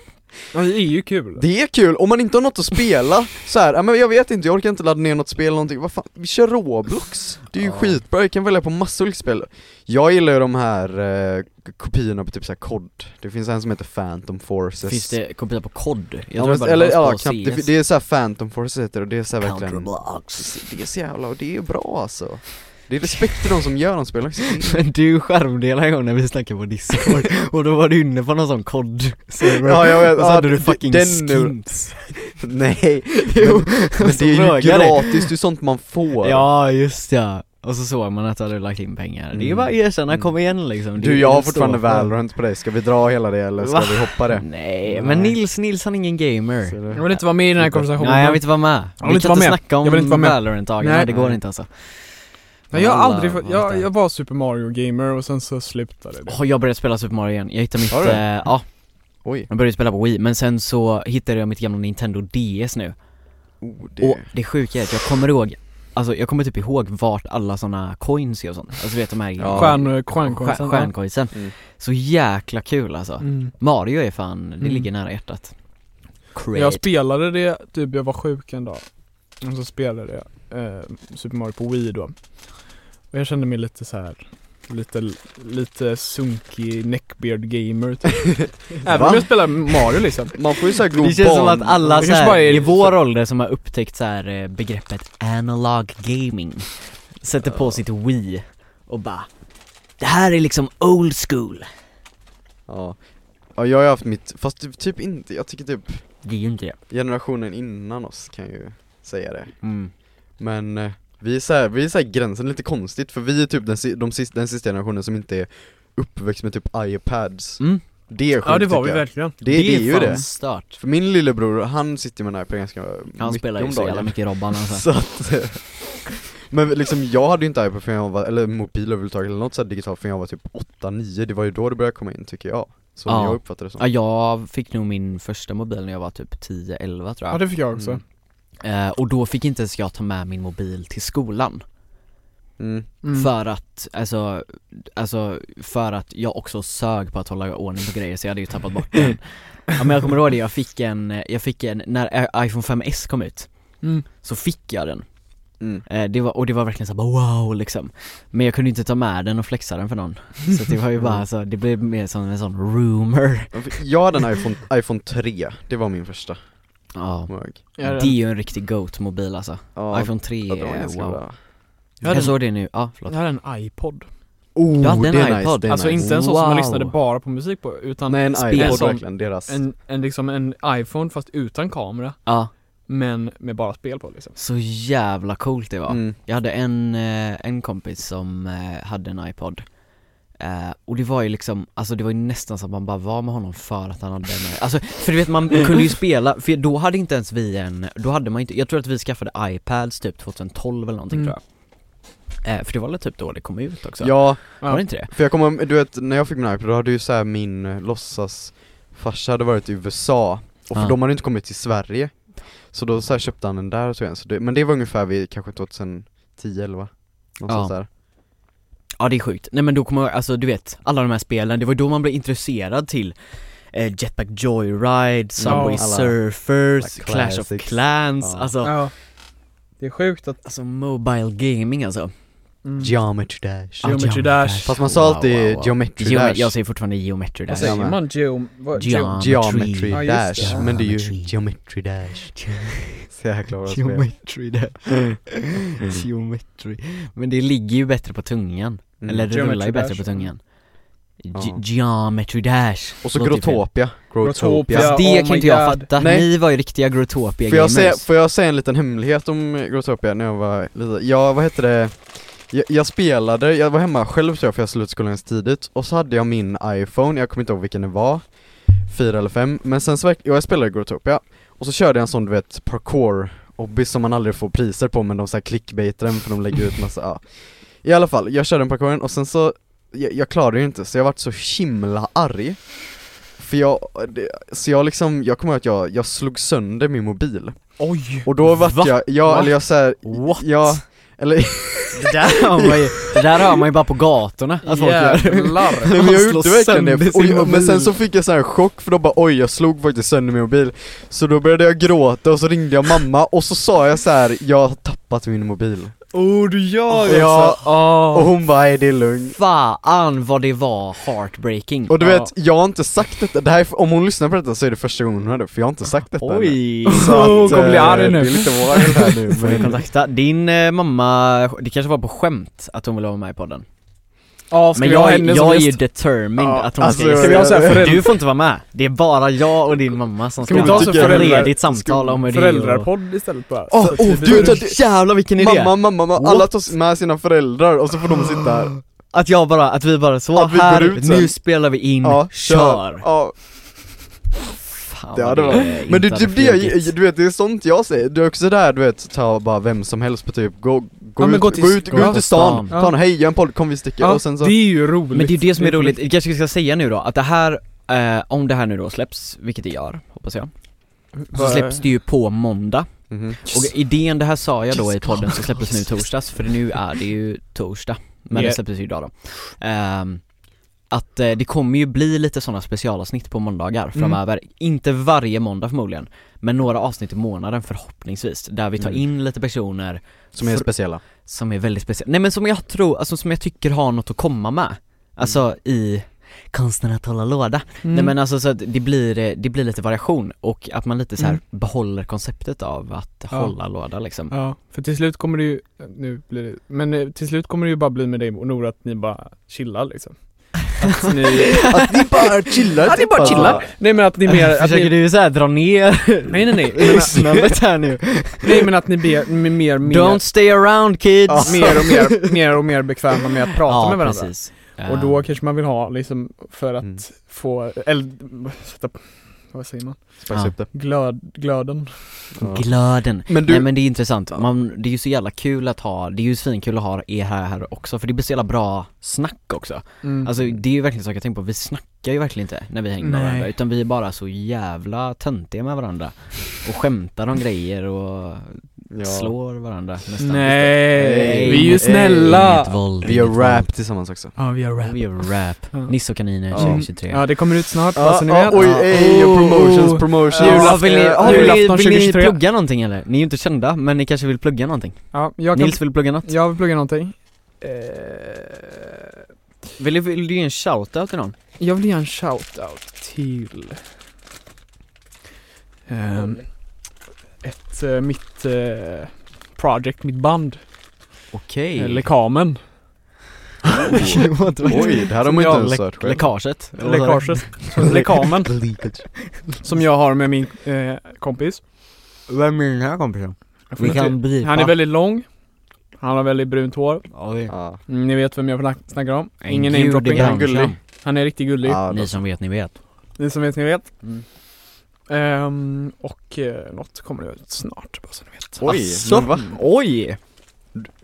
Speaker 1: Ja, det är ju kul!
Speaker 2: Det är kul, om man inte har något att spela så här, ja, men jag vet inte, jag orkar inte ladda ner något spel eller någonting, vad fan, vi kör Roblox! Det är ju
Speaker 4: Ja.
Speaker 2: skitbra, jag kan välja på massa olika spel Jag gillar ju de här eh, k- kopiorna på typ såhär COD, det finns en som heter Phantom Forces
Speaker 4: Finns det kopia på COD? Jag
Speaker 2: Ja,
Speaker 4: tror
Speaker 2: men,
Speaker 4: bara det
Speaker 2: eller
Speaker 4: fanns
Speaker 2: ja,
Speaker 4: på
Speaker 2: knappt,
Speaker 4: CS.
Speaker 2: det, det är såhär Phantom Forces heter det, och det är såhär verkligen
Speaker 4: Counterblocks
Speaker 2: Det är så jävla, och det är bra alltså Det är respekt till de som gör de spelen också
Speaker 4: Men du skärmdelade en gång när vi snackade på discord och då var du inne på någon sån kod
Speaker 2: Ja jag vet,
Speaker 4: Och så
Speaker 2: ja,
Speaker 4: hade du
Speaker 2: d-
Speaker 4: fucking
Speaker 2: den nu,
Speaker 4: skins
Speaker 2: nej, Alltså,
Speaker 4: Jo,
Speaker 2: men
Speaker 4: så
Speaker 2: det är ju
Speaker 4: frågade jag dig.
Speaker 2: gratis, det är sånt man får
Speaker 4: Ja just ja, och så såg man att du hade lagt in pengar, det är ju
Speaker 2: Mm.
Speaker 4: bara att erkänna,
Speaker 2: Mm.
Speaker 4: kom igen liksom Det är
Speaker 2: Du,
Speaker 4: ju
Speaker 2: jag har
Speaker 4: att stå
Speaker 2: fortfarande
Speaker 4: för.
Speaker 2: Valorant på dig, ska vi dra hela det eller ska
Speaker 4: Va?
Speaker 2: vi hoppa det?
Speaker 4: Nej, men
Speaker 2: Nej.
Speaker 4: Nils, Nils han är ingen gamer
Speaker 2: Ser
Speaker 1: Jag
Speaker 2: du?
Speaker 1: vill inte vara med i den här konversationen
Speaker 4: Nej jag vill inte vara med,
Speaker 1: vill
Speaker 4: vi
Speaker 1: inte
Speaker 4: kan
Speaker 1: vara
Speaker 4: inte
Speaker 1: med.
Speaker 4: snacka om
Speaker 1: Jag vill inte vara med.
Speaker 4: Valorant-dagarna,
Speaker 1: Nej.
Speaker 4: det går
Speaker 2: Nej.
Speaker 4: inte alltså
Speaker 1: Nej, jag har
Speaker 4: Alla
Speaker 1: aldrig fått,
Speaker 4: var
Speaker 1: jag,
Speaker 4: där.
Speaker 1: jag var Super Mario-gamer och sen så slutade det
Speaker 4: Åh, jag började spela Super Mario igen, jag hittade mitt,
Speaker 2: Har du?
Speaker 4: eh, ja,
Speaker 2: Oj.
Speaker 4: jag började spela på Wii, men sen så hittade jag mitt gamla Nintendo DS nu
Speaker 2: Oh,
Speaker 4: Och det sjuka är att jag kommer ihåg, alltså jag kommer typ ihåg vart alla såna coins är och sånt, alltså du vet de här
Speaker 2: Ja.
Speaker 1: Stjärn,
Speaker 4: stjärn-
Speaker 1: stjärnkonsten
Speaker 4: stjärncoinsen
Speaker 2: Mm.
Speaker 4: Så jäkla kul alltså
Speaker 1: mm.
Speaker 4: Mario är fan, det
Speaker 1: Mm.
Speaker 4: ligger nära hjärtat Crazy.
Speaker 1: Jag spelade det, typ jag var sjuk en dag Och så spelade jag eh, Super Mario på Wii då Och jag kände mig lite så här Lite, lite sunkig neckbeard gamer typ. Även
Speaker 2: Va?
Speaker 1: om jag spelar Mario liksom
Speaker 2: Man får ju såhär god
Speaker 4: det känns som
Speaker 2: barn-
Speaker 4: att alla
Speaker 1: Det
Speaker 4: så
Speaker 1: kanske
Speaker 4: här,
Speaker 1: bara är-
Speaker 4: i vår ålder som har upptäckt så här eh, begreppet analog gaming Sätter på sitt Wii och bara Det här är liksom old school
Speaker 2: Ja. ja, jag har ju haft mitt, fast typ, typ inte, jag tycker typ
Speaker 4: Det är ju inte det
Speaker 2: generationen innan oss kan ju säga det
Speaker 4: mm.
Speaker 2: Men eh, vi är såhär, vi är såhär gränsen lite konstigt för vi är typ den, si- de sista, den sista generationen som inte är uppväxt med typ iPads
Speaker 4: Mm.
Speaker 2: Det är sjukt
Speaker 1: Ja det var vi
Speaker 2: tycker jag.
Speaker 1: verkligen
Speaker 2: det, det, är ju
Speaker 4: fan
Speaker 2: det
Speaker 4: stört
Speaker 2: För min lillebror, han sitter med en iPad ganska
Speaker 4: Han
Speaker 2: mycket
Speaker 4: spelar
Speaker 2: om
Speaker 4: ju så jävla
Speaker 2: dagen
Speaker 4: mycket Robban alltså
Speaker 2: Så att eh, Men liksom jag hade ju inte iPad för jag var, eller mobil överhuvudtaget eller något sådär digitalt för jag var typ 8-9, det var ju då det började komma in tycker jag Så
Speaker 4: Ja.
Speaker 2: jag uppfattar det som
Speaker 4: Ja, jag fick nog min första mobil när jag var typ 10-11 tror jag
Speaker 1: Ja det fick jag också
Speaker 2: Mm.
Speaker 4: eh, Och då fick inte ens jag ta med min mobil till skolan
Speaker 2: mm.
Speaker 1: Mm.
Speaker 4: För att, alltså, alltså, för att jag också sög på att hålla ordning på grejer så jag hade ju tappat bort den Ja men jag kommer ihåg det, jag fick en, jag fick en, när i- iPhone 5S kom ut
Speaker 1: Mm.
Speaker 4: Så fick jag den,
Speaker 2: Mm.
Speaker 4: eh, det var, och det var verkligen så här, bara wow liksom Men jag kunde inte ta med den och flexa den för någon Så det var ju bara så, det blev mer som en sån rumor
Speaker 2: Jag hade en iPhone, iPhone 3, det var min första
Speaker 4: Ja,
Speaker 2: kommer jag ihåg.
Speaker 1: Jag hade
Speaker 4: det är
Speaker 1: en-
Speaker 4: ju en riktig GOAT-mobil alltså
Speaker 2: Ja,
Speaker 4: iPhone 3
Speaker 2: ja, det var
Speaker 4: är
Speaker 2: ganska
Speaker 4: wow
Speaker 2: bra
Speaker 1: jag hade
Speaker 4: Jag
Speaker 1: en-
Speaker 4: såg det nu, ja förlåt
Speaker 1: jag hade en iPod
Speaker 2: Oh,
Speaker 4: Ja, den
Speaker 2: det är
Speaker 4: iPod.
Speaker 2: nice, det är
Speaker 1: Alltså
Speaker 2: nice.
Speaker 1: inte en sån som man
Speaker 4: Wow.
Speaker 1: lyssnade bara på musik på utan
Speaker 2: Nej en
Speaker 1: spel
Speaker 2: iPod
Speaker 1: som
Speaker 2: verkligen, deras
Speaker 1: en, en, liksom en iPhone fast utan kamera
Speaker 4: Ja,
Speaker 1: Men med bara spel på liksom
Speaker 4: så jävla coolt det var
Speaker 2: mm.
Speaker 4: Jag hade en, eh, en kompis som eh, hade en iPod Eh, och det var ju liksom, alltså det var ju nästan så att man bara var med honom för att han hade en Alltså, för du vet man kunde ju spela, för då hade inte ens vi en, då hade man inte, jag tror att vi skaffade iPads typ 2012 eller någonting
Speaker 1: Mm.
Speaker 4: tror jag Eh, För det var väl typ då det kom ut också?
Speaker 2: Ja,
Speaker 4: Var det inte det?
Speaker 2: för jag kommer du vet när jag fick min iPod då hade ju såhär min eh, låtsas farsa hade varit i USA och för
Speaker 4: Ah.
Speaker 2: de hade inte kommit till Sverige Så då så här köpte han den där och så en, så det, men det var ungefär vid kanske 2010 eller va? Någonstans
Speaker 4: Ja.
Speaker 2: där
Speaker 4: Ja det är sjukt, nej men då kommer jag, alltså du vet, alla de här spelen, det var ju då man blev intresserad till eh, Jetpack Joyride, Subway
Speaker 1: Ja,
Speaker 2: alla-
Speaker 4: Surfers,
Speaker 2: alla
Speaker 4: Clash of
Speaker 2: classics.
Speaker 4: Clans,
Speaker 2: Ja.
Speaker 4: alltså,
Speaker 1: Ja Det är sjukt att
Speaker 4: alltså mobile gaming alltså Ah,
Speaker 1: mm.
Speaker 2: Geometry Dash
Speaker 1: Geometry Dash.
Speaker 2: Fast man sa
Speaker 4: Wow,
Speaker 2: alltid
Speaker 4: wow, wow.
Speaker 2: Geometry
Speaker 4: Geome-
Speaker 2: Dash
Speaker 4: Jag säger fortfarande Geometry
Speaker 1: Vad
Speaker 4: Dash
Speaker 2: säger
Speaker 1: säger
Speaker 2: man?
Speaker 1: man? Geom... vad- geom-
Speaker 2: Geometry
Speaker 1: Ja, just det.
Speaker 2: Dash, men det är ju
Speaker 5: Geometry.
Speaker 2: Geometry Dash Så jäkla bra spel
Speaker 4: Geometry Dash Geometry Men det ligger ju bättre på tungan,
Speaker 2: Mm.
Speaker 4: eller det
Speaker 1: Geometry
Speaker 4: rullar ju bättre
Speaker 1: Dash.
Speaker 4: på tungan Ge-
Speaker 2: Ja.
Speaker 4: Geometry Dash
Speaker 2: Och så
Speaker 4: Låter ju fel.
Speaker 2: Grotopia, Grotopia.
Speaker 1: Grotopia.
Speaker 4: Fast det
Speaker 1: Oh
Speaker 4: kan
Speaker 1: my
Speaker 4: inte jag
Speaker 1: God.
Speaker 4: fatta,
Speaker 2: Nej.
Speaker 4: ni var ju riktiga Grotopia
Speaker 2: Får jag,
Speaker 4: gamers
Speaker 2: säga, får jag säga en liten hemlighet om eh, Grotopia när jag var liten? Ja, vad heter det? Jag, jag spelade, jag var hemma själv tror jag för jag slutade skolan ganska tidigt Och så hade jag min iPhone, jag kommer inte ihåg vilken det var Fyra eller fem, men sen så verk- jag spelade Grotopia Och så körde jag en sån du vet parkour Obbies som man aldrig får priser på men de så här clickbaitar den för de lägger ut massa, ja. I alla fall, jag körde den parkouren och sen så jag, jag klarade ju inte så jag vart så himla arg För jag, det, så jag liksom, jag kommer ihåg att jag, jag slog sönder min mobil
Speaker 1: Oj!
Speaker 2: och då vart
Speaker 4: Va?
Speaker 2: jag, ja
Speaker 4: Va?
Speaker 2: eller jag såhär,
Speaker 4: What?
Speaker 2: ja, eller
Speaker 4: Det där har man ju, det där har man ju bara på gatorna att folk gör
Speaker 1: Jävlar!
Speaker 2: Nej, men
Speaker 4: Han
Speaker 2: jag
Speaker 4: slår
Speaker 2: gjorde verkligen
Speaker 4: sönder
Speaker 2: det,
Speaker 4: sin
Speaker 2: och jag, men
Speaker 4: mobil.
Speaker 2: sen så fick jag så här chock för då bara oj jag slog faktiskt sönder min mobil Så då började jag gråta och så ringde jag mamma och så sa jag så här: jag har tappat min mobil
Speaker 1: Oh du gör det
Speaker 2: Ja,
Speaker 1: alltså!
Speaker 2: och hon bara nej det är lugnt
Speaker 4: Fan vad det var heartbreaking
Speaker 2: Och du
Speaker 1: Ja.
Speaker 2: vet, jag har inte sagt detta, det här är, om hon lyssnar på detta så är det första gången hon hör det, för jag har inte sagt detta ännu.
Speaker 4: Oj!
Speaker 2: Så att,
Speaker 1: Hon kommer bli
Speaker 2: eh,
Speaker 1: arg nu.
Speaker 2: Det är lite vagt här nu
Speaker 4: Får vi
Speaker 2: men
Speaker 4: kontakta din eh, mamma, det kanske var på skämt att hon ville vara med i podden
Speaker 1: Ja, ska
Speaker 4: Men
Speaker 1: vi ha
Speaker 4: jag, är-
Speaker 1: henne som
Speaker 4: jag är
Speaker 1: gäst?
Speaker 4: ju determined
Speaker 2: Ja,
Speaker 4: att hon
Speaker 2: alltså,
Speaker 4: ska gästa
Speaker 2: ska vi ha så här föräldrar-
Speaker 4: Du får inte vara med, det är bara jag och din mamma som
Speaker 1: Ska
Speaker 4: ska
Speaker 1: vi
Speaker 4: vara
Speaker 1: inte ha
Speaker 4: med
Speaker 1: så
Speaker 2: tycker jag-
Speaker 4: ett
Speaker 1: föräldrar...
Speaker 4: ledigt samtal om hur det är och...
Speaker 1: Föräldrapodd istället bara
Speaker 2: Åh,
Speaker 1: Så
Speaker 2: åh,
Speaker 1: att vi-
Speaker 2: du,
Speaker 1: vi-
Speaker 4: Jävlar vilken idé!
Speaker 2: Mamma, mamma, mamma, alla tar med sina föräldrar och så får de sitta här
Speaker 4: Mm. Att jag bara, att vi bara så,
Speaker 2: Att vi går
Speaker 4: här,
Speaker 2: ut sen.
Speaker 4: nu spelar vi in,
Speaker 2: Ja,
Speaker 4: kör!
Speaker 2: Ja,
Speaker 4: Fan,
Speaker 2: Det
Speaker 4: vad
Speaker 2: hade varit-
Speaker 4: är
Speaker 2: Men det,
Speaker 4: inte
Speaker 2: typ det, jag-
Speaker 4: flugit.
Speaker 2: du vet det är sånt jag säger, det är också där du vet, ta bara vem som helst på typ, gå, gå,
Speaker 1: Ja, men
Speaker 2: ut,
Speaker 1: gå
Speaker 2: gå,
Speaker 1: till-
Speaker 2: ut, gå
Speaker 1: gå
Speaker 2: ut
Speaker 1: till
Speaker 2: till stan,
Speaker 1: stan.
Speaker 2: ta en hej, gör en podd, kom vi sticker
Speaker 1: Ja,
Speaker 2: och sen så
Speaker 1: det är ju roligt.
Speaker 4: Men det är ju det som är roligt,
Speaker 1: roligt.
Speaker 4: vi kanske ska säga nu då, att det här, eh, om det här nu då släpps, vilket det gör, hoppas jag, så
Speaker 1: Bara-
Speaker 4: släpps det ju på måndag
Speaker 2: Mhm.
Speaker 4: Och idén, det här sa jag då i
Speaker 1: Yes,
Speaker 4: podden
Speaker 1: God,
Speaker 4: som släpptes nu i torsdags, för nu är det ju torsdag, men det
Speaker 1: Yeah.
Speaker 4: släpptes ju idag då Ehm, Att eh, det kommer ju bli lite sådana specialavsnitt på
Speaker 1: Mm.
Speaker 4: måndagar framöver, inte varje måndag förmodligen Men några avsnitt i månaden förhoppningsvis, där vi tar
Speaker 2: Mm.
Speaker 4: in lite personer
Speaker 2: Som är
Speaker 4: För-
Speaker 2: speciella
Speaker 4: som är väldigt speciella, nej men som jag tror, alltså som jag tycker har något att komma med Alltså i konsten att hålla låda
Speaker 1: Mm.
Speaker 4: Nej men alltså så att det blir, eh, det blir lite variation och att man lite så här
Speaker 1: Mm.
Speaker 4: behåller konceptet av att
Speaker 1: Ja.
Speaker 4: hålla låda liksom
Speaker 1: Ja, för till slut kommer det ju, nu blir det, men eh, till slut kommer det ju bara bli med dig och Nora att ni bara chillar liksom. Att ni,
Speaker 2: Att ni bara chillar
Speaker 1: Ja, ni
Speaker 2: typ,
Speaker 1: bara
Speaker 2: alltså.
Speaker 1: chillar. nej men att ni mer, att
Speaker 4: Försöker
Speaker 1: ni,
Speaker 4: du såhär dra ner
Speaker 1: nej nej nej, men, att-
Speaker 4: lyssnandet här nu?
Speaker 1: nej men att ni ber, med mer, mer,
Speaker 4: Don't stay around kids!
Speaker 1: mer och mer, mer och mer bekväma med att prata med varandra.
Speaker 4: precis
Speaker 1: Och då kanske man vill ha liksom för att
Speaker 2: Mm.
Speaker 1: få, eller sätta, vad säger man?
Speaker 2: Spice
Speaker 4: Ja.
Speaker 2: upp det.
Speaker 1: Glöd, glöden.
Speaker 2: Ja.
Speaker 4: Glöden!
Speaker 2: Men du,
Speaker 4: Nej men det är intressant, man, det är ju så jävla kul att ha, det är ju svinkul att ha er här, här också för det blir så jävla bra snack också
Speaker 1: Mm.
Speaker 4: Alltså det är ju verkligen saker jag tänker på, vi snackar ju verkligen inte när vi hänger med
Speaker 1: Nej.
Speaker 4: varandra utan vi är bara så jävla töntiga med varandra och skämtar om grejer och
Speaker 2: ja.
Speaker 4: slår varandra nästan
Speaker 1: nej, vi är ju
Speaker 2: Nej.
Speaker 1: snälla!
Speaker 5: Inget våld,
Speaker 2: vi gör
Speaker 5: inget
Speaker 2: rap tillsammans också
Speaker 1: Ja vi har
Speaker 4: våld. Vi
Speaker 1: rap.
Speaker 4: gör rap,
Speaker 1: Ja.
Speaker 4: Nisse och kaniner
Speaker 2: Ja.
Speaker 4: 2023
Speaker 1: Ja det kommer ut snart,
Speaker 2: Ja,
Speaker 1: bara så ni
Speaker 2: ja,
Speaker 1: vet.
Speaker 2: Ah, oj,
Speaker 1: Ja.
Speaker 2: ey,
Speaker 1: Oh.
Speaker 2: promotions, promotions
Speaker 4: Ja, vill ni,
Speaker 2: Ja,
Speaker 4: har ni-
Speaker 1: julafton
Speaker 4: vill ni
Speaker 1: 2023.
Speaker 4: plugga någonting eller? Ni är ju inte kända, men ni kanske vill plugga någonting?
Speaker 1: Ja, jag kan
Speaker 4: Nils vill plugga något?
Speaker 1: Jag vill plugga någonting. Eh,
Speaker 4: Vill du, vill du ge en shoutout till någon?
Speaker 1: Jag vill ge en shoutout till ehm, ett, eh, mitt eh, project, mitt band,
Speaker 4: Okej
Speaker 1: eh, Lekamen.
Speaker 2: Oj, det här har man
Speaker 1: Ja,
Speaker 2: inte ens
Speaker 1: läck-
Speaker 2: hört själv
Speaker 4: Läckaget?
Speaker 1: Läckaget. Lekamen,
Speaker 2: Leakage.
Speaker 1: som jag har med min eh, kompis.
Speaker 4: Vem är den här kompisen? Vi kan blipa
Speaker 1: Han är väldigt lång, han har väldigt brunt hår.
Speaker 4: Oj.
Speaker 2: Ja.
Speaker 1: Mm, Ni vet vem jag snack- snackar om.
Speaker 4: En
Speaker 1: Ingen
Speaker 4: gud i
Speaker 1: namedropping.
Speaker 4: branschen.
Speaker 2: Gullig.
Speaker 1: Han är riktigt gullig.
Speaker 2: Ja, då-
Speaker 4: Ni som vet, ni vet
Speaker 1: Ni som vet, ni vet.
Speaker 4: Mm.
Speaker 1: Ehm, och eh, något kommer det ut snart, bara så ni vet.
Speaker 2: Oj,
Speaker 4: Asså,
Speaker 2: men va?
Speaker 4: Oj!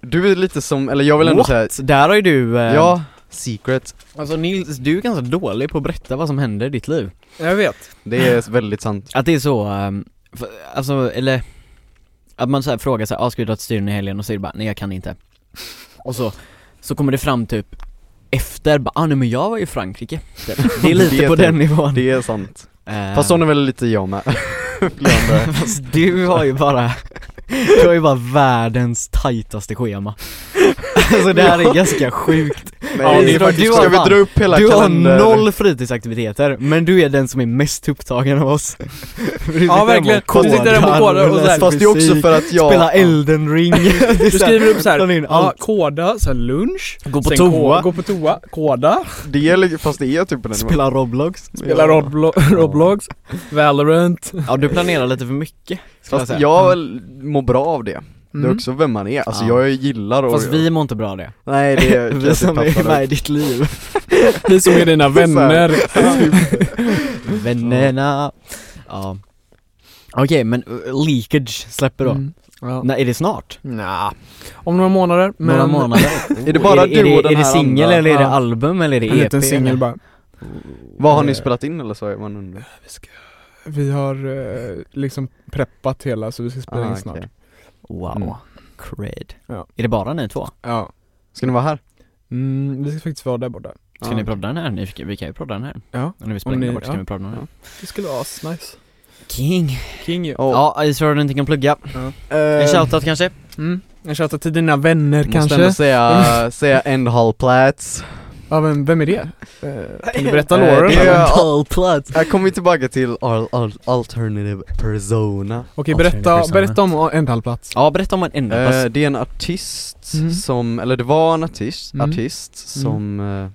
Speaker 2: Du är lite som, eller jag vill ändå
Speaker 4: What?
Speaker 2: säga
Speaker 4: Så Där har ju du, eh,
Speaker 2: Ja, secret.
Speaker 4: alltså Nils, du är ganska dålig på att berätta vad som händer i ditt liv
Speaker 1: Jag vet.
Speaker 2: Det är väldigt sant.
Speaker 4: Att det är så, ehm, för, alltså, eller Att man så här frågar såhär, ah, ska vi dra till studion i helgen? Och så är det bara, nej jag kan inte Och så, så kommer det fram typ efter, bara, ah, nej men jag var ju i Frankrike Typ. Det är lite
Speaker 2: Det är
Speaker 4: på
Speaker 2: typ-
Speaker 4: den nivån
Speaker 2: Det är sant.
Speaker 4: Eh,
Speaker 2: Fast sån är väl lite jag med. Glömde.
Speaker 4: fast du har ju bara Du har ju bara världens tajtaste schema Alltså det här är ganska sjukt
Speaker 1: Ja, det är
Speaker 2: Nej,
Speaker 4: faktiskt-
Speaker 2: Ska vi
Speaker 4: fan.
Speaker 2: dra upp hela
Speaker 4: Du har
Speaker 2: kalendern?
Speaker 4: noll fritidsaktiviteter, men du är den som är mest upptagen av oss
Speaker 1: Ja verkligen,
Speaker 4: Du
Speaker 1: du sitter hemma och kodar och såhär,
Speaker 2: Fast det är också för att jag...
Speaker 4: Spela Elden ring Du
Speaker 1: du skriver upp
Speaker 4: tar
Speaker 1: såhär,
Speaker 4: in
Speaker 1: ja,
Speaker 4: allt.
Speaker 1: koda, såhär lunch,
Speaker 4: Gå på
Speaker 1: sen
Speaker 4: toa.
Speaker 1: ko- gå på toa, koda,
Speaker 2: Det är, li- fast det är typ på den
Speaker 4: Spela Roblox
Speaker 1: spela Roblo- Roblox, Valorant.
Speaker 4: Ja du planerar lite för mycket skulle
Speaker 2: Fast
Speaker 4: säga.
Speaker 2: jag väl mår bra av det. Det är
Speaker 1: Mm.
Speaker 2: också vem man är. Alltså
Speaker 4: Mm. Ja.
Speaker 2: jag gillar och...
Speaker 4: Fast vi mår inte bra av det
Speaker 2: Nej det är...
Speaker 4: Vi som är
Speaker 2: tappar
Speaker 4: med
Speaker 2: det.
Speaker 4: i ditt liv
Speaker 1: Ni som är dina vänner.
Speaker 4: Vännerna Ja Okej men eh, Leakage släpper då
Speaker 1: Mm. Ja.
Speaker 4: Nej, är det snart?
Speaker 1: Nja, om några månader. Men
Speaker 4: Några månader?
Speaker 2: Är det bara
Speaker 4: är, är
Speaker 2: du
Speaker 4: det,
Speaker 2: och den
Speaker 4: Är det
Speaker 2: här
Speaker 4: singel
Speaker 2: andra?
Speaker 4: eller är det
Speaker 1: Ja.
Speaker 4: album eller är det EP?
Speaker 1: En liten singel
Speaker 4: eller?
Speaker 1: bara.
Speaker 2: Vad har ni spelat in eller så? är Man undrar.
Speaker 1: Vi, ska, vi har eh, liksom preppat hela så vi ska spela
Speaker 2: Ah,
Speaker 1: in
Speaker 2: okej.
Speaker 1: snart.
Speaker 4: Wow,
Speaker 2: Mm.
Speaker 4: cred
Speaker 1: Ja.
Speaker 4: Är det bara ni två?
Speaker 1: Ja.
Speaker 2: Ska ni vara här?
Speaker 1: Mm, vi ska faktiskt vara där borta.
Speaker 4: Ska
Speaker 2: Ja.
Speaker 4: ni prodda den här? Ni, vi kan ju prodda den här
Speaker 1: Ja.
Speaker 4: När vi spelar in
Speaker 1: ni-
Speaker 4: den bort ska
Speaker 1: ja.
Speaker 4: vi prodda den här
Speaker 2: Ja.
Speaker 1: Det skulle vara asnice.
Speaker 4: King
Speaker 1: King ju.
Speaker 2: Ja.
Speaker 4: Ja, Ice Road någonting kan plugga
Speaker 1: Eh,
Speaker 4: En shoutout kanske?
Speaker 1: Mm. Jag tjatar till dina vänner
Speaker 2: Eh, Måste ändå
Speaker 1: kanske.
Speaker 2: säga, säga Endhallplats
Speaker 1: Ja, men vem är det? Eh, kan du berätta
Speaker 2: Eh,
Speaker 1: Lauren?
Speaker 2: det är-
Speaker 1: eller?
Speaker 4: Talplats
Speaker 2: Här kommer vi tillbaka till al- al- alternative persona
Speaker 1: Okej,
Speaker 4: Alternative
Speaker 1: berätta,
Speaker 4: persona.
Speaker 1: berätta om en halvplats.
Speaker 4: Ja, berätta om en enda
Speaker 2: Eh,
Speaker 4: plats
Speaker 2: Det är en artist
Speaker 1: Mm.
Speaker 2: som, eller det var en artist,
Speaker 1: Mm.
Speaker 2: artist som eh,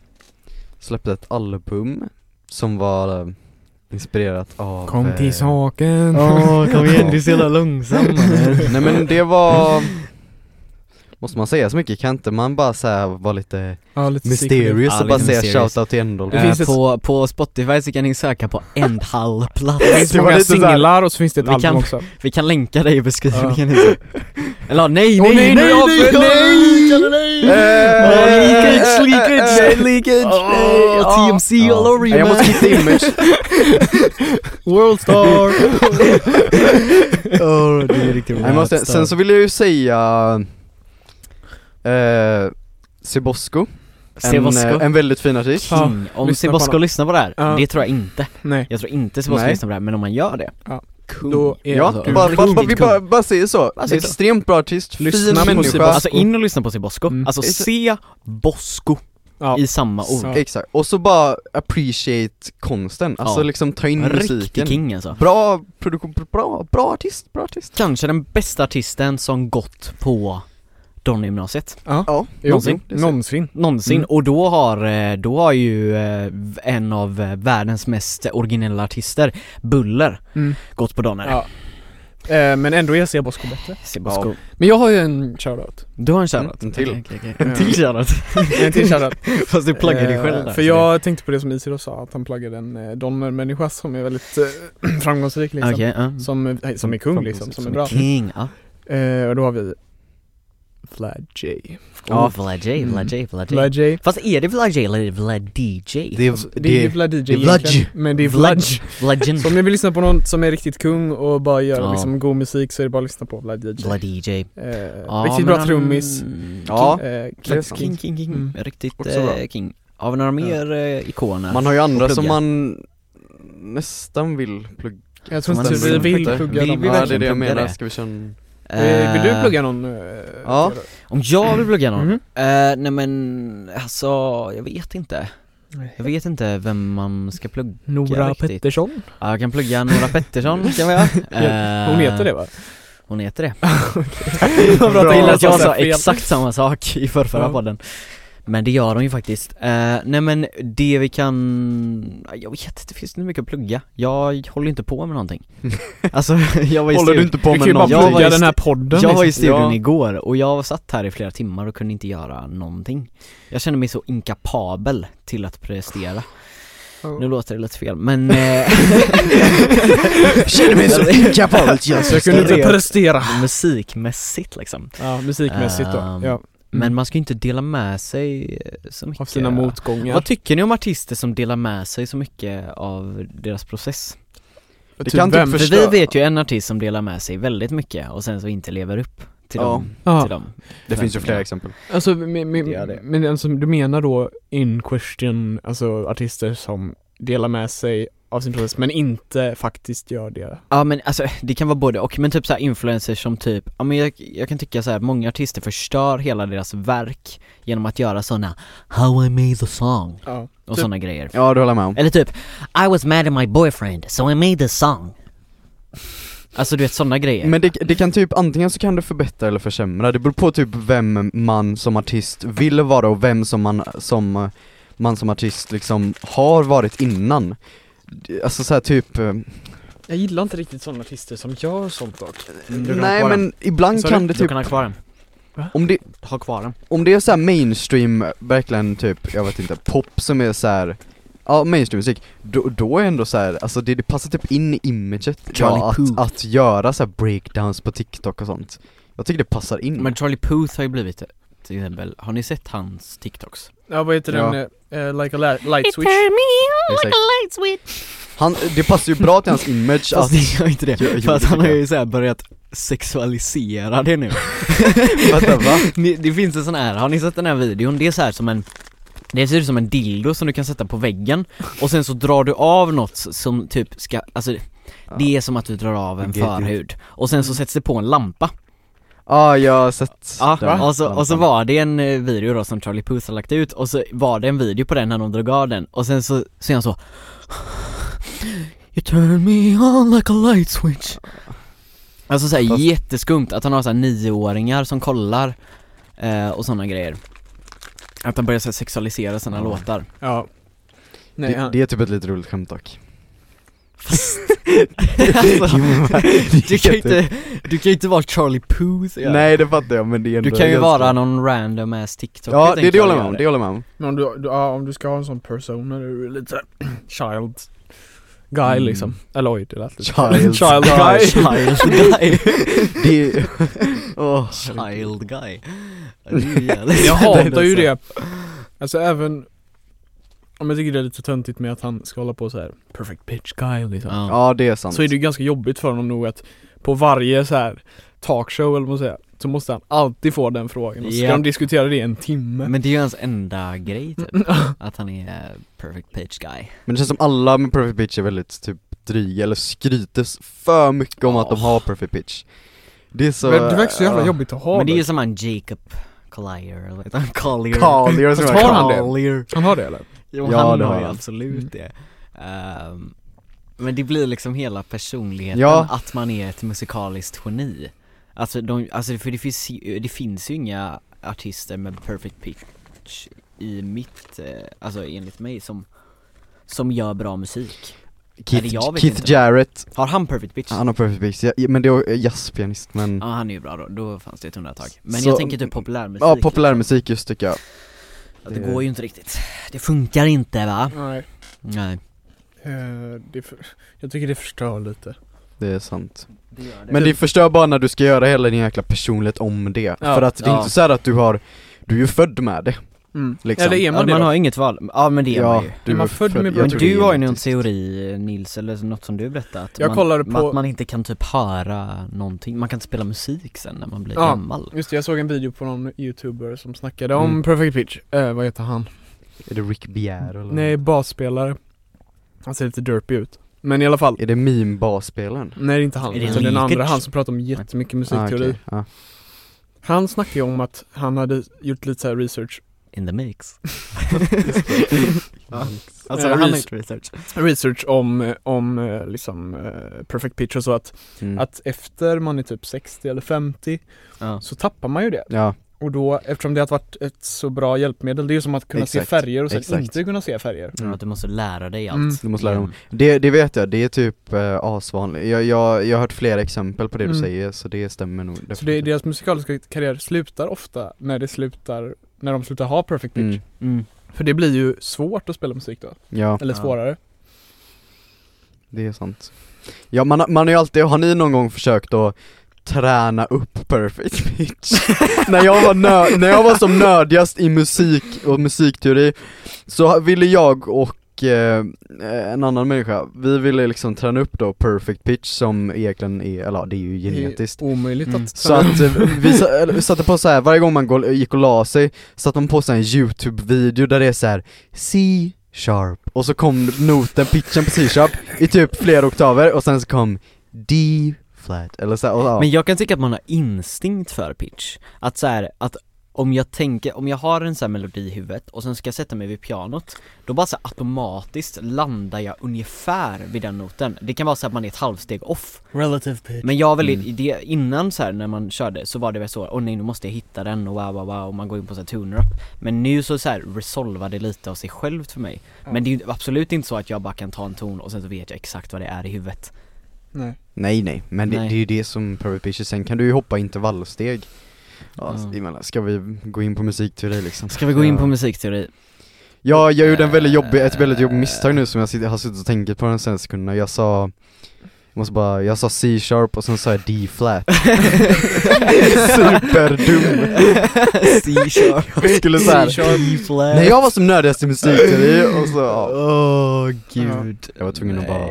Speaker 2: släppte ett album som var eh, inspirerat av
Speaker 1: Kom
Speaker 2: eh,
Speaker 1: till saken.
Speaker 4: Åh,
Speaker 2: kom igen, du är
Speaker 4: så jävla långsam
Speaker 2: Nej men det var Måste man säga så mycket? Kan inte man bara säga vara lite
Speaker 1: Ja, lite secret.
Speaker 2: mysterious
Speaker 4: Ja,
Speaker 2: och bara
Speaker 4: lite
Speaker 2: säga
Speaker 4: mysterious.
Speaker 2: shoutout till Endol?
Speaker 1: Det finns
Speaker 4: Eh,
Speaker 1: ett-
Speaker 4: på, på Spotify så kan ni söka på Endhallplats
Speaker 1: Det finns
Speaker 4: Vi
Speaker 1: många
Speaker 4: kan-
Speaker 1: singlar och så finns det ett
Speaker 4: Vi kan-
Speaker 1: album också.
Speaker 4: Vi kan länka dig i beskrivningen Eller ja, nej,
Speaker 1: Åh,
Speaker 4: nej,
Speaker 1: nej,
Speaker 4: nej, nej,
Speaker 1: nej,
Speaker 4: nej,
Speaker 1: nej,
Speaker 2: Eh,
Speaker 1: Eh,
Speaker 4: Leakage, leakage, leakage,
Speaker 3: Åh,
Speaker 4: TMC all over you
Speaker 2: eh, ah, Jag måste hitta image
Speaker 3: Worldstar!
Speaker 4: oh, det är riktigt
Speaker 2: Nej, måste, sen så vill jag ju säga eh, Sibosco, en, eh, en väldigt fin artist
Speaker 1: Ja,
Speaker 4: King, om
Speaker 1: lyssna på
Speaker 4: Sebosco
Speaker 1: honom.
Speaker 4: lyssnar på det här,
Speaker 1: Ja.
Speaker 4: det tror jag inte
Speaker 1: Nej.
Speaker 4: Jag tror inte Sebosco
Speaker 2: Nej.
Speaker 4: lyssnar på det här, men om man gör det
Speaker 1: Ja.
Speaker 4: Kung.
Speaker 1: Då är
Speaker 2: Ja,
Speaker 1: du
Speaker 2: bara, bara, bara, vi
Speaker 4: riktigt
Speaker 2: bara, bara säger så,
Speaker 4: Bara säger så.
Speaker 2: extremt bra artist,
Speaker 1: Lyssna på
Speaker 2: fin människa
Speaker 1: Sibosco.
Speaker 4: Alltså in och lyssna på Sebosco,
Speaker 1: Mm.
Speaker 4: alltså se Bosco
Speaker 1: Ja.
Speaker 4: i samma ord
Speaker 1: Så.
Speaker 2: Exakt, och så bara appreciate konsten, alltså
Speaker 4: Ja.
Speaker 2: liksom ta in
Speaker 4: Riktig
Speaker 2: musiken
Speaker 4: king alltså
Speaker 2: Bra produktion, bra, bra artist, bra artist
Speaker 4: Kanske den bästa artisten som gått på Donnegymnasiet
Speaker 2: Ja,
Speaker 1: Jo,
Speaker 4: någonsin.
Speaker 1: Någonsin.
Speaker 4: någonsin
Speaker 1: Mm.
Speaker 4: och då har, eh, då har ju eh, en av eh, världens mest originella artister, Buller,
Speaker 1: Mm.
Speaker 4: gått på Donner.
Speaker 1: Ja. Eh, men ändå är Sebosko bättre.
Speaker 4: Sebasco.
Speaker 1: Men jag har ju en shoutout.
Speaker 4: Du har en shoutout?
Speaker 2: Mm, en till.
Speaker 4: Okej, okej, okej.
Speaker 1: Mm.
Speaker 4: En till shoutout?
Speaker 1: En till shoutout.
Speaker 4: Fast du pluggar dig själv där.
Speaker 1: Eh, För jag tänkte på det som Isidor sa, att han pluggade en eh, donnermänniska som är väldigt eh, framgångsrik liksom.
Speaker 4: Ah, Okej, Mm. ja.
Speaker 1: Som, eh, som är kung liksom, som är bra.
Speaker 4: King, ja.
Speaker 1: Eh, och då har vi Vlad J.
Speaker 2: Ja.
Speaker 4: Oh, Vlad J,
Speaker 1: Mm.
Speaker 4: Vlad J, Vlad J.
Speaker 1: Vlad J.
Speaker 4: Fast är det Vlad J eller är det Vlad DJ?
Speaker 2: det,
Speaker 1: Det är
Speaker 2: alltså, det,
Speaker 1: Vlad DJ
Speaker 2: är Vlad J.
Speaker 1: egentligen, men det är Vlad J.
Speaker 4: Vlad J.
Speaker 1: Så om ni vill lyssna på någon som är riktigt kung och bara gör
Speaker 4: Ja.
Speaker 1: liksom god musik så är det bara att lyssna på Vlad J.
Speaker 4: Vlad DJ.
Speaker 1: Eh,
Speaker 4: Ja,
Speaker 1: riktigt
Speaker 4: men
Speaker 1: bra
Speaker 4: han- Mm.
Speaker 1: trummis.
Speaker 2: ja,
Speaker 1: Eh,
Speaker 2: det är
Speaker 1: klassisk
Speaker 2: sant.
Speaker 1: king.
Speaker 4: King, king, king.
Speaker 1: Mm.
Speaker 4: Riktigt
Speaker 2: Också bra.
Speaker 4: eh, king. Har vi några mer eh, ikoner?
Speaker 2: man har ju andra
Speaker 4: Och
Speaker 2: som
Speaker 4: plugga.
Speaker 2: man nästan vill plugga
Speaker 1: Jag tror
Speaker 4: Man
Speaker 1: inte vi
Speaker 2: vill
Speaker 1: vill
Speaker 2: inte.
Speaker 1: plugga
Speaker 4: Vill
Speaker 1: dem.
Speaker 4: vi
Speaker 2: Ja det är det jag
Speaker 4: verkligen plugga
Speaker 2: menar,
Speaker 4: det?
Speaker 2: ska vi känna
Speaker 1: Eh, Vill du
Speaker 4: Eh,
Speaker 1: plugga någon? eh,
Speaker 2: Ja.
Speaker 1: Theodor?
Speaker 4: Om jag vill plugga någon?
Speaker 1: Mhm.
Speaker 4: Eh, nej men alltså, jag vet inte. Jag vet inte vem man ska plugga.
Speaker 1: Nora
Speaker 4: riktigt.
Speaker 1: Pettersson?
Speaker 4: Ja, jag kan plugga Nora Pettersson kan vi göra. Eh,
Speaker 1: Hon heter det va?
Speaker 4: Hon heter det.
Speaker 1: Vad bra
Speaker 4: Jag gillar att jag
Speaker 1: sa
Speaker 4: sa
Speaker 1: fel.
Speaker 4: exakt samma sak i förrförra
Speaker 1: Ja.
Speaker 4: podden. Men det gör hon ju faktiskt. Eh, nej men det vi kan, jag vet inte, det finns inte mycket att plugga. Jag håller inte på med någonting. Alltså jag var
Speaker 2: Håller
Speaker 4: i
Speaker 2: du
Speaker 4: studion,
Speaker 2: inte på
Speaker 1: Vi kan
Speaker 2: med
Speaker 1: ju bara
Speaker 2: någon?
Speaker 4: Jag var
Speaker 1: plugga
Speaker 4: i
Speaker 1: den
Speaker 4: stu-
Speaker 1: här podden
Speaker 4: jag var i
Speaker 1: liksom.
Speaker 4: studion
Speaker 2: Ja.
Speaker 4: igår och jag satt här i flera timmar och kunde inte göra någonting. Jag kände mig så inkapabel till att prestera. Nu låter det lite fel men... eh,
Speaker 2: Känner mig så inkapabel
Speaker 1: Jag kunde inte
Speaker 4: Större.
Speaker 1: prestera. Mm.
Speaker 4: musikmässigt liksom.
Speaker 1: Ja, musikmässigt då.
Speaker 4: Ehm,
Speaker 1: Ja,
Speaker 4: Men man ska ju inte dela med sig eh, så mycket.
Speaker 1: av sina motgångar.
Speaker 4: Vad tycker ni om artister som delar med sig så mycket av deras process?
Speaker 2: Det kan typ
Speaker 1: vem?
Speaker 4: För
Speaker 2: förstå-
Speaker 4: vi vet ju en artist som delar med sig väldigt mycket och sen så inte lever upp till
Speaker 2: Ja.
Speaker 4: dem,
Speaker 1: Ja.
Speaker 4: till dem.
Speaker 2: Det finns ju flera exempel
Speaker 1: Alltså, men, men,
Speaker 4: Det gör det.
Speaker 1: men alltså, du menar då in question, alltså artister som delar med sig av sin process men inte faktiskt gör det.
Speaker 4: Ja men alltså det kan vara både och, men typ så här influencers som typ, ja men jag, jag kan tycka så här, många artister förstör hela deras verk genom att göra såna
Speaker 5: How I made the song.
Speaker 1: Ja.
Speaker 4: och
Speaker 1: Typ.
Speaker 4: såna grejer
Speaker 2: Ja det håller jag med om
Speaker 4: Eller typ,
Speaker 5: I was mad at my boyfriend, so I made this song.
Speaker 4: alltså du vet såna grejer
Speaker 2: Men det, det kan typ, antingen så kan det förbättra eller försämra, det beror på typ vem man som artist vill vara och vem som man som, eh, man som artist liksom har varit innan Det- Alltså såhär typ, eh,
Speaker 1: Jag gillar inte riktigt sådana artister som gör sånt dock.
Speaker 2: nej men ibland
Speaker 1: Sorry,
Speaker 2: kan det
Speaker 4: Du
Speaker 2: typ,
Speaker 4: kan ha kvar den,
Speaker 2: om det,
Speaker 4: ha kvar den
Speaker 2: om det är såhär mainstream, verkligen typ, jag vet inte, pop som är såhär Ja, mainstreammusik, då, då är ändå så här, alltså det, det passar typ in i imaget
Speaker 4: Charlie
Speaker 2: ja,
Speaker 4: Puth.
Speaker 2: att, att göra så här breakdowns på TikTok och sånt Jag tycker det passar in
Speaker 4: Men Charlie Puth har ju blivit till exempel, har ni sett hans TikToks?
Speaker 1: Ja vad heter
Speaker 2: Ja.
Speaker 1: den? eh, like a la- light switch?
Speaker 2: Exakt. Han, det passar ju bra till hans image att,
Speaker 4: Fast det gör inte det,
Speaker 2: Jo, jo,
Speaker 4: för att
Speaker 2: det
Speaker 4: han har
Speaker 2: tycker
Speaker 4: ju såhär börjat sexualisera det nu
Speaker 2: vänta va?
Speaker 4: Ni- Det finns en sån här, har ni sett den här videon? Det är så här som en det ser ut som en dildo som du kan sätta på väggen och sen så drar du av något som typ ska, alltså det är som att du drar av en
Speaker 2: Get it.
Speaker 4: förhud och sen så sätts det på en lampa
Speaker 2: Ja, jag har sett den.
Speaker 4: ja, och, så, och så var det en eh, video då som Charlie Puth har lagt ut och så var det en video på den när de drog av den och sen så ser han så You turn me on like a light switch Alltså såhär
Speaker 2: Fast-
Speaker 4: jätteskumt att han har såhär nioåringar som kollar eh, och sådana grejer Att han börjar så här sexualisera sina
Speaker 2: Ja.
Speaker 4: låtar
Speaker 1: Ja. Nej,
Speaker 2: det,
Speaker 1: han,
Speaker 2: det är typ ett lite roligt skämt dock
Speaker 4: Fast Alltså,
Speaker 2: du
Speaker 4: du kan ju inte, du kan ju inte vara Charlie Puth ja.
Speaker 2: Nej det fattar jag men det är ändå
Speaker 6: Du kan ju
Speaker 2: ganska-
Speaker 6: vara någon random ass TikTok
Speaker 2: Ja det, det håller jag med om, det håller jag med om
Speaker 1: Men om du, du, ja, om du ska ha en sån persona, du är lite såhär child guy
Speaker 2: Mm.
Speaker 1: liksom. Eller oj, det lät lite
Speaker 2: Child
Speaker 1: child guy.
Speaker 4: Child guy
Speaker 2: Det är, Åh.
Speaker 4: Child guy Ja, det är ju jävligt-
Speaker 1: Jag hatar ju det. Alltså även om jag tycker det är lite töntigt med att han ska hålla på så här perfect bitch guy liksom.
Speaker 4: Ja.
Speaker 2: Ja det är sant
Speaker 1: Så är det ju ganska jobbigt för honom nog att på varje så här talkshow eller vad man säger, så måste han alltid få den frågan och så ska
Speaker 4: Ja.
Speaker 1: de diskutera det i en timme.
Speaker 4: Men det är ju hans enda grej typ,
Speaker 1: Mm.
Speaker 4: att han är perfect page guy
Speaker 2: Men det känns som alla med perfect pitch är väldigt typ dryga eller skryter s- för mycket om att de har perfect pitch Det är så äh,
Speaker 1: Men det verkar så jävla
Speaker 2: ja.
Speaker 1: jobbigt att ha
Speaker 4: Men det är ju
Speaker 1: det.
Speaker 4: som han Jacob Collier, eller vad heter han? Collier
Speaker 2: Carl, jag
Speaker 1: Fast
Speaker 2: som
Speaker 1: har
Speaker 2: är
Speaker 1: han
Speaker 2: Carl.
Speaker 1: det? Han har det eller?
Speaker 4: Jo
Speaker 2: Ja,
Speaker 4: han
Speaker 2: det har
Speaker 4: har
Speaker 2: han.
Speaker 4: ju
Speaker 2: Mm.
Speaker 4: absolut det Ehm, Men det blir liksom hela personligheten,
Speaker 2: Ja.
Speaker 4: att man är ett musikaliskt geni Alltså, de, alltså för det finns, ju- det finns ju inga artister med perfect pitch i mitt, eh, alltså enligt mig som som gör bra musik. Eller jag
Speaker 2: Keith,
Speaker 4: vet
Speaker 2: Keith
Speaker 4: inte.
Speaker 2: Jarrett,
Speaker 4: Har han perfect pitch?
Speaker 2: han har perfect pitch, ja, men det är jazzpianist men
Speaker 4: Ja han är ju bra då, då fanns det ett undantag. Men
Speaker 2: Så-
Speaker 4: jag tänker typ populärmusik
Speaker 2: Ja, populärmusik just tycker jag
Speaker 4: liksom. Det går ju inte riktigt. Det funkar inte va?
Speaker 1: Nej. eh,
Speaker 4: Nej.
Speaker 1: det jag tycker det förstör lite.
Speaker 2: Det är sant Men det förstör bara när du ska göra hela din jäkla personlighet om det, för att det är
Speaker 4: Ja.
Speaker 2: inte så här att du har, du är ju född med det
Speaker 1: Mm.
Speaker 2: Liksom.
Speaker 1: Eller är man det
Speaker 4: man
Speaker 1: då?
Speaker 4: har inget val, ja men det är man ju.
Speaker 1: Är man född med-
Speaker 2: jag
Speaker 4: Men
Speaker 2: tror det
Speaker 4: du
Speaker 2: är
Speaker 4: har ju någon
Speaker 2: genetiskt.
Speaker 4: teori Nils, eller något som du berättade att,
Speaker 1: Jag kollade
Speaker 4: man,
Speaker 1: på-
Speaker 4: att man inte kan typ höra någonting, man kan inte spela musik sen när man blir
Speaker 1: Ja.
Speaker 4: gammal
Speaker 1: Just det, jag såg en video på någon youtuber som snackade
Speaker 2: Mm.
Speaker 1: om perfect pitch. Eh, vad heter han?
Speaker 2: Är det Rick Bjerre eller?
Speaker 1: Nej, basspelare. Han ser lite derpy ut. Men i alla fall.
Speaker 2: Är det meme-basspelaren?
Speaker 1: Nej det är inte han,
Speaker 4: Är det
Speaker 1: utan den
Speaker 4: Likert?
Speaker 1: andra, han som pratar om jättemycket musikteori.
Speaker 2: Ah, okej. ja.
Speaker 1: Han snackade ju om att han hade gjort lite så här research,
Speaker 4: in the mix
Speaker 1: Alltså, han har gjort
Speaker 4: research
Speaker 1: research om, eh, om eh, liksom eh, perfect pitch och så att,
Speaker 2: Mm.
Speaker 1: att efter man är typ 60 eller 50
Speaker 4: ja.
Speaker 1: så tappar man ju det.
Speaker 2: ja,
Speaker 1: Och då, eftersom det har varit ett så bra hjälpmedel, det är ju som att kunna
Speaker 2: Exakt,
Speaker 1: se färger och sen
Speaker 2: exakt.
Speaker 1: inte kunna se färger.
Speaker 4: Mm. Att du måste lära dig allt
Speaker 1: Mm.
Speaker 2: du måste lära dem det, det vet jag, det är typ eh, asvanligt, jag, jag, jag har hört flera exempel på det du
Speaker 1: Mm.
Speaker 2: säger så det stämmer nog
Speaker 1: Så det,
Speaker 2: definitivt.
Speaker 1: deras musikaliska karriär slutar ofta när det slutar, när de slutar ha perfect pitch.
Speaker 2: mm.
Speaker 4: Mm.
Speaker 1: För det blir ju svårt att spela musik då,
Speaker 2: Ja,
Speaker 1: eller
Speaker 4: Ja.
Speaker 1: svårare.
Speaker 2: det är sant Ja man, har- man har ju alltid, har ni någon gång försökt att träna upp perfect pitch? när, jag var nö- när jag var som nördigast i musik och musikteori så ville jag och eh, en annan människa, vi ville liksom träna upp då perfect pitch som egentligen är, eller ja, det är ju genetiskt
Speaker 1: Det är omöjligt
Speaker 4: Mm.
Speaker 1: att
Speaker 2: Så att eh, vi sa- eller, vi satte på så här varje gång man gå- gick och la sig, satte man på så här en youtube-video där det är så här C sharp, och så kom noten, pitchen på C sharp i typ flera oktaver, och sen så kom D flat, eller så här, och, ja.
Speaker 4: Men jag kan tycka att man har instinkt för pitch, att så här, att om jag tänker, om jag har en sån här melodi i huvudet och sen ska jag sätta mig vid pianot Då bara så här automatiskt landar jag ungefär vid den noten Det kan vara så att man är ett halvsteg off
Speaker 5: Relative pitch.
Speaker 4: Mm. Men jag var väldigt, det, innan så här när man körde så var det väl så, åh nej nu måste jag hitta den och wow wow wow och man går in på så här tuner-up Men nu så, så här resolvar det lite av sig självt för mig Men det är ju absolut inte så att jag bara kan ta en ton och sen så vet jag exakt vad det är i huvudet
Speaker 1: Nej.
Speaker 2: Nej nej, men det,
Speaker 4: Nej.
Speaker 2: det är ju det som perfect pitch är, sen kan du ju hoppa intervallsteg Ja,
Speaker 4: Ja.
Speaker 2: jag menar, ska vi gå in på musikteori liksom?
Speaker 4: Ska vi gå in på musikteori?
Speaker 2: Ja,
Speaker 4: Eh,
Speaker 2: jag gjorde en väldigt jobbig, ett väldigt jobbigt misstag nu som jag sitter, har suttit och tänkt på de senaste sekunderna, jag sa jag måste bara, jag sa C-sharp och sen sa jag D-flat Superdum!
Speaker 4: C-sharp
Speaker 2: Jag skulle såhär, när jag var som nördigast i musikteori och så, ja.
Speaker 4: Åh
Speaker 1: gud.
Speaker 2: Jag var tvungen att bara,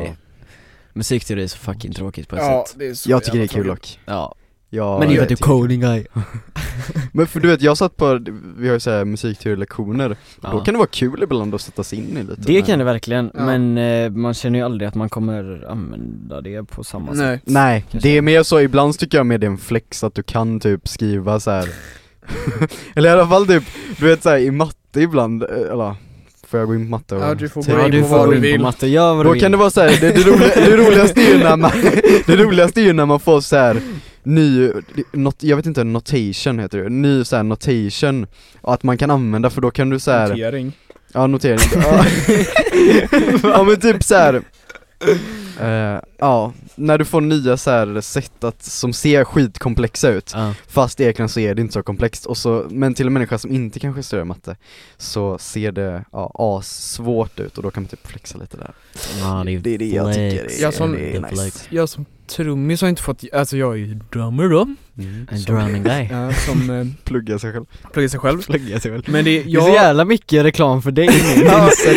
Speaker 4: Musikteori är så fucking tråkigt på ett sätt
Speaker 1: det är så
Speaker 2: jag tycker det
Speaker 1: jävla
Speaker 2: är kul
Speaker 1: tråkigt.
Speaker 2: dock
Speaker 4: Ja,
Speaker 2: Ja,
Speaker 4: men inte
Speaker 2: jag
Speaker 4: att du är typ-
Speaker 2: tycker-
Speaker 4: coding guy
Speaker 2: Men för du vet, jag satt på, vi har ju såhär musikteorilektioner,
Speaker 4: Ja.
Speaker 2: då kan det vara kul ibland att sätta sig in i lite
Speaker 4: Det
Speaker 2: Typ, men-
Speaker 4: kan det verkligen,
Speaker 1: Ja.
Speaker 4: men eh, man känner ju aldrig att man kommer använda det på samma sätt
Speaker 1: Nej.
Speaker 2: Nej,
Speaker 4: Kanske.
Speaker 2: det är mer så, ibland tycker jag med det är en flex att du kan typ skriva så här. Eller i alla fall typ, du vet såhär i matte ibland, eh, eller får jag gå in på matte? och-
Speaker 1: Ja, du får
Speaker 2: Tänk-
Speaker 1: gå
Speaker 4: Ja
Speaker 1: in
Speaker 4: du
Speaker 1: på
Speaker 4: får
Speaker 1: vad
Speaker 4: gå
Speaker 1: du
Speaker 4: in
Speaker 1: vill.
Speaker 4: på matte, gör vad du
Speaker 2: Då
Speaker 4: vill
Speaker 2: kan det vara såhär, det, det, roliga, det roligaste är ju när man, det roligaste är ju när man får så här ny, not, jag vet inte, notation heter det, ny så här notation, och att man kan använda för då kan du så här
Speaker 1: Notering.
Speaker 2: Ja notering, ja. ja men typ så här. Eh, ja, när du får nya så här sätt att, som ser skitkomplexa ut,
Speaker 4: Ja.
Speaker 2: fast egentligen så är det inte så komplext, och så, men till en människa som inte kanske studerar matte, så ser det ja, assvårt ut och då kan man typ flexa lite där.
Speaker 5: Ja, det är
Speaker 2: Det är det jag tycker
Speaker 5: flex.
Speaker 2: är,
Speaker 1: Jag som-
Speaker 2: det
Speaker 5: Det
Speaker 2: är
Speaker 5: är
Speaker 2: nice.
Speaker 5: flex.
Speaker 1: Jag som trummis har inte fått, alltså jag är ju drummer då,
Speaker 2: Mm.
Speaker 5: En drumming guy.
Speaker 1: ja, som eh,
Speaker 2: Plugga sig själv.
Speaker 1: pluggar sig själv.
Speaker 4: Plugga sig väl.
Speaker 1: Men det,
Speaker 4: Det är så
Speaker 1: jag,
Speaker 4: jävla mycket reklam för dig nu, inser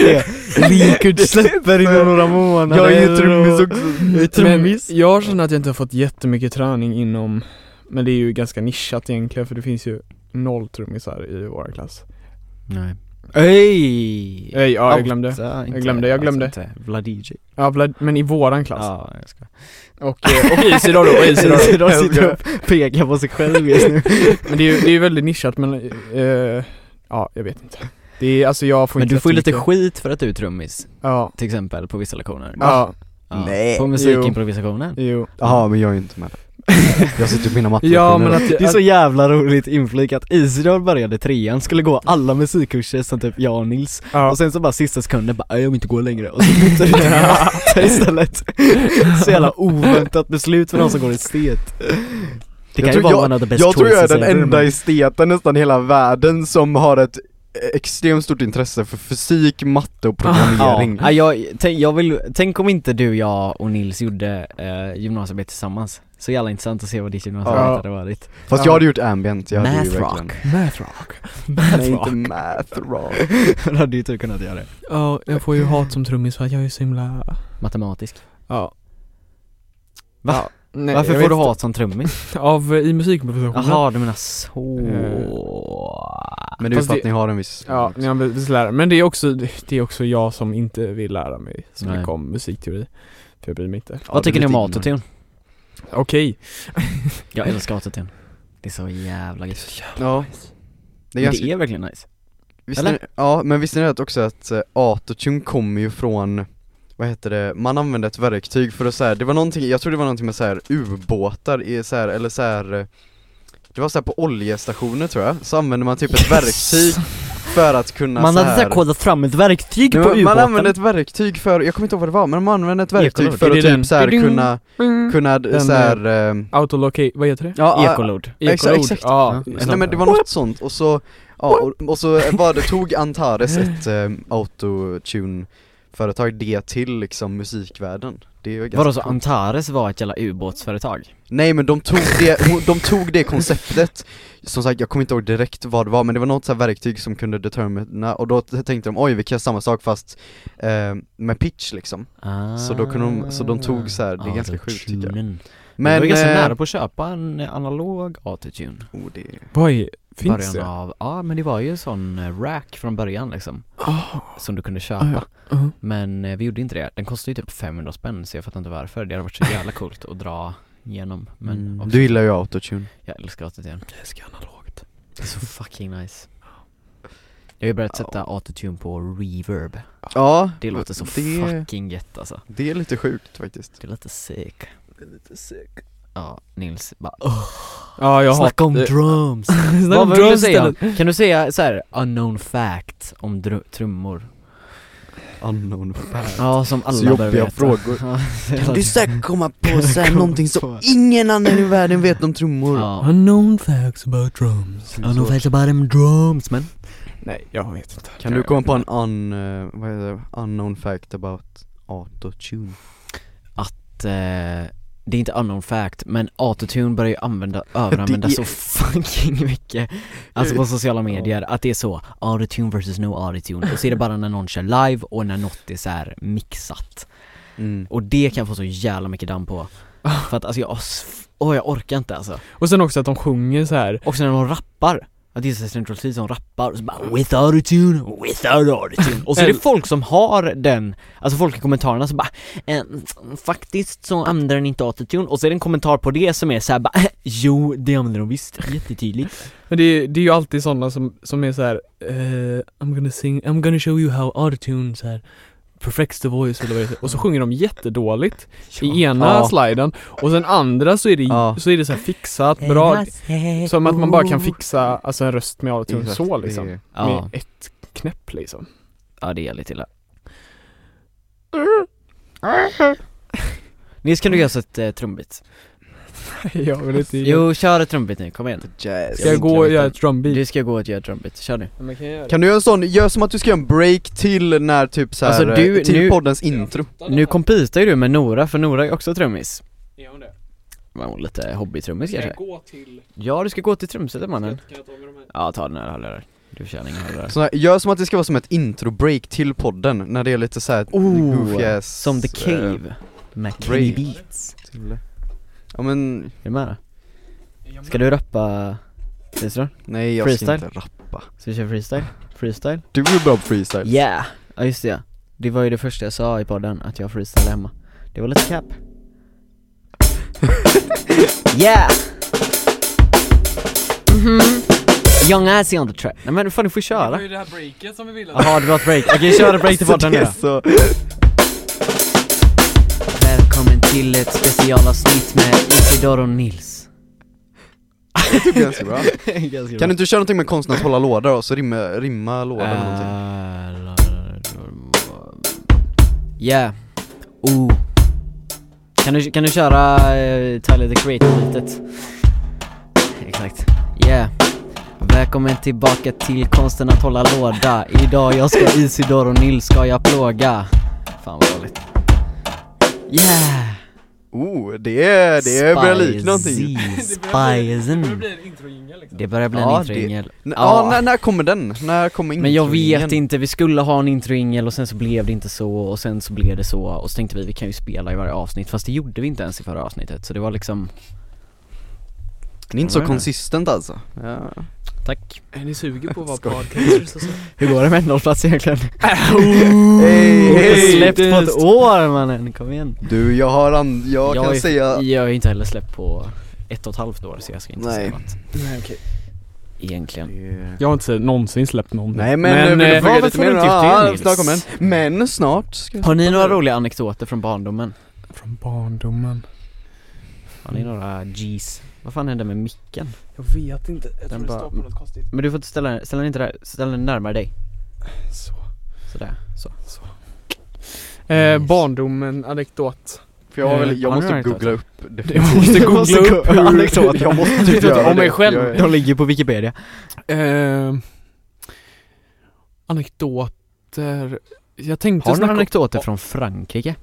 Speaker 4: det. Likud släpper inom några månader
Speaker 2: Jag är ju
Speaker 4: och-
Speaker 2: trummis också.
Speaker 4: Jag är
Speaker 1: men
Speaker 4: trummis.
Speaker 1: jag känner att jag inte har fått jättemycket träning inom, men det är ju ganska nischat egentligen för det finns ju noll trummisar i vår klass.
Speaker 4: Nej. Öj!
Speaker 1: Nej, ja jag glömde. Jag glömde, jag glömde.
Speaker 4: Vlad DJ.
Speaker 1: Ja, Vlad- men i våran klass.
Speaker 4: Ja, jag ska.
Speaker 1: Och, eh, och Isidor då, och Isidor.
Speaker 4: Isidor
Speaker 1: Jag
Speaker 4: sitter
Speaker 1: skojar.
Speaker 4: och pekar på sig själv just nu.
Speaker 1: Men det är ju det är ju väldigt nischat men, eh, ja jag vet inte. Det är, alltså jag får
Speaker 4: Men
Speaker 1: inte
Speaker 4: du får ju lite
Speaker 1: jättemycket-
Speaker 4: skit för att du är trummis,
Speaker 1: Ja,
Speaker 4: till exempel, på vissa lektioner.
Speaker 1: ja,
Speaker 4: Ja,
Speaker 2: Nej.
Speaker 4: På musikimprovisationen.
Speaker 1: jo.
Speaker 2: Jaha, men jag är ju inte med Jag sitter på mina mattor
Speaker 1: Ja men att,
Speaker 4: Det är
Speaker 1: att
Speaker 4: så jävla roligt inflik att Isidor började trean, skulle gå alla musikkurser som typ jag och Nils
Speaker 1: ja.
Speaker 4: Och sen så bara sista sekunden bara "Äh, jag vill inte gå längre och så bytte du till matte istället Så jävla oväntat beslut för någon som går i estet
Speaker 5: Det
Speaker 2: Jag
Speaker 5: kan ju
Speaker 2: tror
Speaker 5: vara
Speaker 2: jag-
Speaker 5: one of the best
Speaker 2: Jag tror jag är
Speaker 5: choices
Speaker 2: den
Speaker 5: ever,
Speaker 2: enda
Speaker 5: men-
Speaker 2: esteten nästan i hela världen som har ett extremt stort intresse för fysik, matte och programmering
Speaker 4: Ja, jag, tänk, jag vill, tänk om inte du, jag och Nils gjorde eh, gymnasiearbete tillsammans Så jävla intressant att se vad ditt gymnasiearbete
Speaker 1: Ja.
Speaker 4: hade varit
Speaker 2: Fast jag hade gjort ambient, jag hade ju
Speaker 5: Math
Speaker 2: verkligen
Speaker 5: rock.
Speaker 1: Math rock.
Speaker 2: Nej inte math rock
Speaker 4: Då hade ju typ kunnat göra det
Speaker 1: Ja, jag får ju hat som trummis för att jag är så himla,
Speaker 4: Matematisk
Speaker 1: ja.
Speaker 4: Va?
Speaker 1: Ja, nej,
Speaker 4: Varför
Speaker 1: jag
Speaker 4: får
Speaker 1: vet
Speaker 4: du
Speaker 1: inte.
Speaker 4: hat som trummis?
Speaker 1: Av, eh, i musikimprovisationen.
Speaker 4: Jaha, du menar så
Speaker 2: Eh. Men det är ju
Speaker 1: Fast
Speaker 2: för att
Speaker 1: det-
Speaker 2: ni har en viss
Speaker 1: Ja, ni har precis lära Men det är också, det är också jag som inte vill lära mig så
Speaker 4: Nej.
Speaker 1: mycket om musikteori. För jag bryr mig inte.
Speaker 4: Vad tycker ni om
Speaker 2: maten?
Speaker 4: autotune?
Speaker 1: Okej.
Speaker 4: Jag älskar autotune Det är så jävla gött
Speaker 2: Ja det är
Speaker 4: Men
Speaker 2: ganska,
Speaker 4: det är verkligen nice
Speaker 2: visste ni, ja men visste ni att också att eh, autotune kommer ju från vad heter det, man använde ett verktyg för att så här, det var någonting, jag tror det var någonting med så här ubåtar i så här, eller så här eh, Det var så här på oljestationer tror jag, så använde man typ ett verktyg för att kunna
Speaker 5: Man
Speaker 2: så
Speaker 5: hade
Speaker 2: här,
Speaker 5: såhär kodat fram ett verktyg
Speaker 2: Nej,
Speaker 5: på
Speaker 2: men Man använde
Speaker 5: ubåten.
Speaker 2: ett verktyg för, jag kommer inte ihåg vad det var, men man använde ett
Speaker 1: Ekolod.
Speaker 2: verktyg
Speaker 1: Är
Speaker 2: för
Speaker 1: det
Speaker 2: att typ
Speaker 1: den?
Speaker 2: så här
Speaker 1: Ding.
Speaker 2: kunna, kunna
Speaker 1: Den,
Speaker 2: så här, eh,
Speaker 1: Autolocate, vad heter det?
Speaker 2: ja, ja,
Speaker 4: Ekolod
Speaker 2: Exakt,
Speaker 1: Ekolod.
Speaker 2: exakt.
Speaker 1: Ja,
Speaker 4: Ja.
Speaker 1: ja.
Speaker 2: Nej men det var något sånt, och så, ja, och, och så var det, tog Antares ett eh, autotune-företag det till liksom musikvärlden det är ju ganska
Speaker 4: Vadå så
Speaker 2: coolt.
Speaker 4: Antares var ett jävla ubåtsföretag?
Speaker 2: Nej men de tog det, de tog det konceptet Som sagt, jag kommer inte ihåg direkt vad det var men det var något så här verktyg som kunde determina och då t- tänkte de oj vi kan göra samma sak fast eh, med pitch liksom Så då kunde de- så de tog så här, det är ganska sjukt, tycker jag.
Speaker 4: Ah, Autotunen. Men,
Speaker 2: Men,
Speaker 4: jag var ganska
Speaker 2: eh,
Speaker 4: nära på att köpa en analog autotune
Speaker 2: oh, det,
Speaker 1: Vad är, finns
Speaker 4: Början
Speaker 1: det?
Speaker 4: av, ja men det var ju en sån eh, rack från början liksom Som du kunde köpa
Speaker 1: Ah, Uh-huh.
Speaker 4: Men eh, vi gjorde inte det, den kostade ju typ 500 spänn så jag fattar inte varför Det hade varit så jävla coolt att dra igenom Men också,
Speaker 2: Mm. Du gillar ju autotune
Speaker 4: jag älskar autotune,
Speaker 1: Jag ska analogt.
Speaker 4: det är så fucking nice Jag har ju börjat sätta autotune på reverb
Speaker 2: Ja,
Speaker 4: Det låter så
Speaker 2: det,
Speaker 4: fucking gött alltså
Speaker 2: det är lite sjukt faktiskt
Speaker 4: Det låter sick Det låter sick Ja, Nils bara oh,
Speaker 1: Ja, jag Eh,
Speaker 4: Snacka om
Speaker 1: hatar-
Speaker 4: drums!
Speaker 1: Snacka
Speaker 4: Vad
Speaker 1: om
Speaker 4: vill du
Speaker 1: drums
Speaker 4: säga?
Speaker 1: istället.
Speaker 4: Kan du säga så här unknown fact om dr- trummor?
Speaker 2: Unknown fact
Speaker 4: Ja, som alla
Speaker 2: Så
Speaker 4: bör
Speaker 2: jobbiga
Speaker 4: veta
Speaker 2: frågor.
Speaker 4: ja,
Speaker 2: Kan du säkert komma på så här
Speaker 4: Komma
Speaker 2: någonting
Speaker 4: på.
Speaker 2: som ingen annan i världen vet om trummor?
Speaker 4: ja.
Speaker 5: Unknown facts about drums. Unknown facts about them drums man.
Speaker 1: Nej, jag vet inte.
Speaker 2: Kan du komma på en un, eh, vad heter det, unknown fact about autotune?
Speaker 4: Att, eh, det är inte unknown fact, men autotune börjar ju använda, överanvända
Speaker 2: Det är-
Speaker 4: så fucking mycket Alltså på sociala medier, att det är så autotune versus no autotune Och så är det bara när någon kör live och när något är så här mixat
Speaker 2: Mm.
Speaker 4: Och det kan jag få så jävla mycket damm på För att alltså jag, har s- åh jag orkar inte alltså
Speaker 1: Och sen också att de sjunger så här.
Speaker 4: Och sen när de rappar, att det är så här Central Cee som rappar och så bara 'With autotune, with autotune' Och så är det folk som har den, alltså folk i kommentarerna som bara eh, Faktiskt så använder den inte autotune, och så är det en kommentar på det som är såhär bara Jo, det använder de visst, jättetydligt
Speaker 1: Men det är, det är ju alltid sådana som, som är så här. eh, I'm gonna sing, I'm gonna show you how autotune så här perfects the voice eller vad det heter. Och så sjunger de jättedåligt i ena
Speaker 2: Ja.
Speaker 1: sliden och sen andra så är det,
Speaker 2: Ja.
Speaker 1: så är det så här fixat, bra. Som att man bara kan fixa alltså en röst med autotune
Speaker 2: Exakt,
Speaker 1: så
Speaker 2: det
Speaker 1: liksom.
Speaker 2: är-
Speaker 4: Ja,
Speaker 1: Med ett knäpp liksom.
Speaker 4: ja det är lite illa Nils kan du göra så ett eh, trumbit?
Speaker 1: Jag vill inte
Speaker 4: Jo, kör ett trumbit nu, kom igen
Speaker 2: Jazz.
Speaker 1: Ska jag gå och göra ett drumbeat?
Speaker 4: Du ska gå och göra ett trumbit, kör nu
Speaker 2: Kan du göra en sån, gör som att du ska göra en break till när typ så här,
Speaker 4: Alltså, du-
Speaker 2: eh, till
Speaker 4: nu-
Speaker 2: poddens intro
Speaker 4: Nu kompitar ju du med Nora, för Nora är också trummis Var hon lite hobbytrummis kanske?
Speaker 1: gå till...
Speaker 4: Ja, du ska gå till trumsetet mannen Ja, ta den här hörlurar Du tjänar inga hörlurar
Speaker 2: så här, Gör som att det ska vara som ett intro-break till podden, när det är lite såhär goofy
Speaker 4: Oh,
Speaker 2: ass,
Speaker 4: som The
Speaker 2: eh,
Speaker 4: Cave Med
Speaker 2: break.
Speaker 4: K-beats
Speaker 2: till- Eh, Ja men,
Speaker 4: Är du med då? Ska du rappa Tisdag?
Speaker 2: nej jag
Speaker 4: Freestyle?
Speaker 2: ska inte rappa
Speaker 4: Ska vi köra freestyle? Freestyle?
Speaker 2: Du är bra på freestyle Alltså,
Speaker 4: Yeah! Ja just det ja. Det var ju det första jag sa i podden, att jag freestylade hemma Det var lite cap Yeah! Mhm. Young Assy on the track Nej men fan du får köra
Speaker 1: ju det här breaket som vi ville
Speaker 4: Jaha det var ett break, okej kör ett break till podden nu då.
Speaker 2: Så,
Speaker 6: Välkommen till ett specialavsnitt med Isidor och Nils.
Speaker 2: det är ganska bra
Speaker 4: Ganska
Speaker 2: Kan du inte köra någonting med konsten att hålla låda då, så rimma, rimma låda eller
Speaker 4: Ah.
Speaker 2: någonting?
Speaker 6: Eh,
Speaker 4: Yeah. Oh. Kan du, kan du köra
Speaker 6: eh,
Speaker 4: uh, Tyler the Creator-bitet? Exakt. Yeah.
Speaker 6: Välkommen tillbaka till konsten att hålla låda. Idag jag ska Isidor och Nils ska jag plåga. Fan vad dåligt. Yeah!
Speaker 2: Oh, det är, det är börjar likna någonting
Speaker 6: Spicy, Spisen.
Speaker 1: en introjingel liksom
Speaker 6: Det börjar bli
Speaker 2: Alltså. Ja,
Speaker 6: en
Speaker 2: det-
Speaker 6: introingel.
Speaker 2: N-
Speaker 4: Ja.
Speaker 2: Ja, när, när kommer den? När kommer
Speaker 4: Ah. Men jag
Speaker 2: introingen?
Speaker 4: vet inte, vi skulle ha en introingel och sen så blev det inte så och sen så blev det så och så tänkte vi vi kan ju spela i varje avsnitt fast det gjorde vi inte ens i förra avsnittet så det var liksom,
Speaker 2: Den är inte så
Speaker 4: Vad är det?
Speaker 2: konsistent alltså ja.
Speaker 4: tack.
Speaker 1: Är ni sugen på att vara podcasters och så?
Speaker 4: Hur går det med nollplats egentligen?
Speaker 2: Hej, hej.
Speaker 4: Släppt på ett år mannen, kom igen.
Speaker 2: Du, jag har and- jag,
Speaker 4: Jag
Speaker 2: kan
Speaker 4: är-
Speaker 2: säga
Speaker 4: Jag har ju inte heller släppt på ett och ett halvt år så jag ska inte
Speaker 2: Nej.
Speaker 4: säga något
Speaker 1: Nej okej
Speaker 4: egentligen.
Speaker 1: Jag har inte någonsin släppt någonting
Speaker 2: Nej men,
Speaker 1: eh,
Speaker 2: men
Speaker 1: vad
Speaker 2: vad får
Speaker 1: får
Speaker 2: du
Speaker 1: du
Speaker 2: inte
Speaker 1: tycka till,
Speaker 2: ja,
Speaker 1: Nils?
Speaker 2: snart kommer den Men snart ska jag
Speaker 4: Har ni några roliga anekdoter från barndomen?
Speaker 1: Från barndomen
Speaker 4: Har ni några G's? Vad fan hände med micken?
Speaker 1: Jag vet inte, jag
Speaker 4: Den bara-
Speaker 1: något konstigt
Speaker 4: Men du får inte ställa, ställa den inte där, ställ den närmare dig.
Speaker 1: Så
Speaker 4: Sådär, så.
Speaker 1: Eh,
Speaker 4: Nice.
Speaker 1: barndomen, anekdot
Speaker 2: För jag, har väl,
Speaker 4: Har
Speaker 2: jag
Speaker 4: ni några
Speaker 2: måste
Speaker 4: anekdoter?
Speaker 2: googla upp det
Speaker 1: Du måste googla upp hur-
Speaker 2: Jag måste typ göra
Speaker 1: Om mig
Speaker 2: det.
Speaker 1: själv.
Speaker 2: Jag är-
Speaker 4: De ligger på Wikipedia.
Speaker 1: Eh, anekdoter Jag tänkte
Speaker 4: Har du några
Speaker 1: snacka om-
Speaker 4: anekdoter från Frankrike?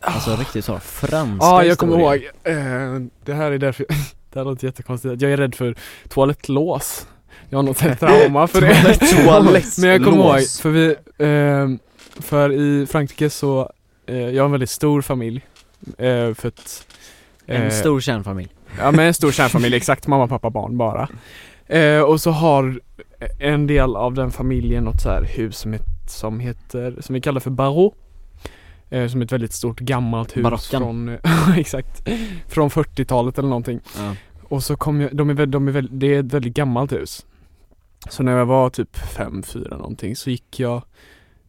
Speaker 4: Alltså riktigt så, franska
Speaker 1: Ah. Ja, Ah, jag kommer
Speaker 4: historier.
Speaker 1: ihåg. Eh, det här är därför, det här låter jättekonstigt, jag är rädd för toalettlås. Jag har något trauma för det.
Speaker 2: Toalettlås.
Speaker 1: Men jag kommer ihåg, för vi, ehm, för i Frankrike så, eh, jag har en väldigt stor familj. Eh, för att, eh,
Speaker 4: En stor kärnfamilj.
Speaker 1: Ja men en stor kärnfamilj, exakt mamma, pappa, barn bara. Eh, och så har en del av den familjen något så här hus som, het, som heter, som vi kallar för Barreau. Eh, som är ett väldigt stort gammalt hus
Speaker 4: Barockan.
Speaker 1: från, eh, exakt, från 40-talet eller någonting.
Speaker 4: Ja.
Speaker 1: Och så kom jag, de är, väl- de är väl, det är ett väldigt gammalt hus. Så när jag var typ 5-4 någonting så gick jag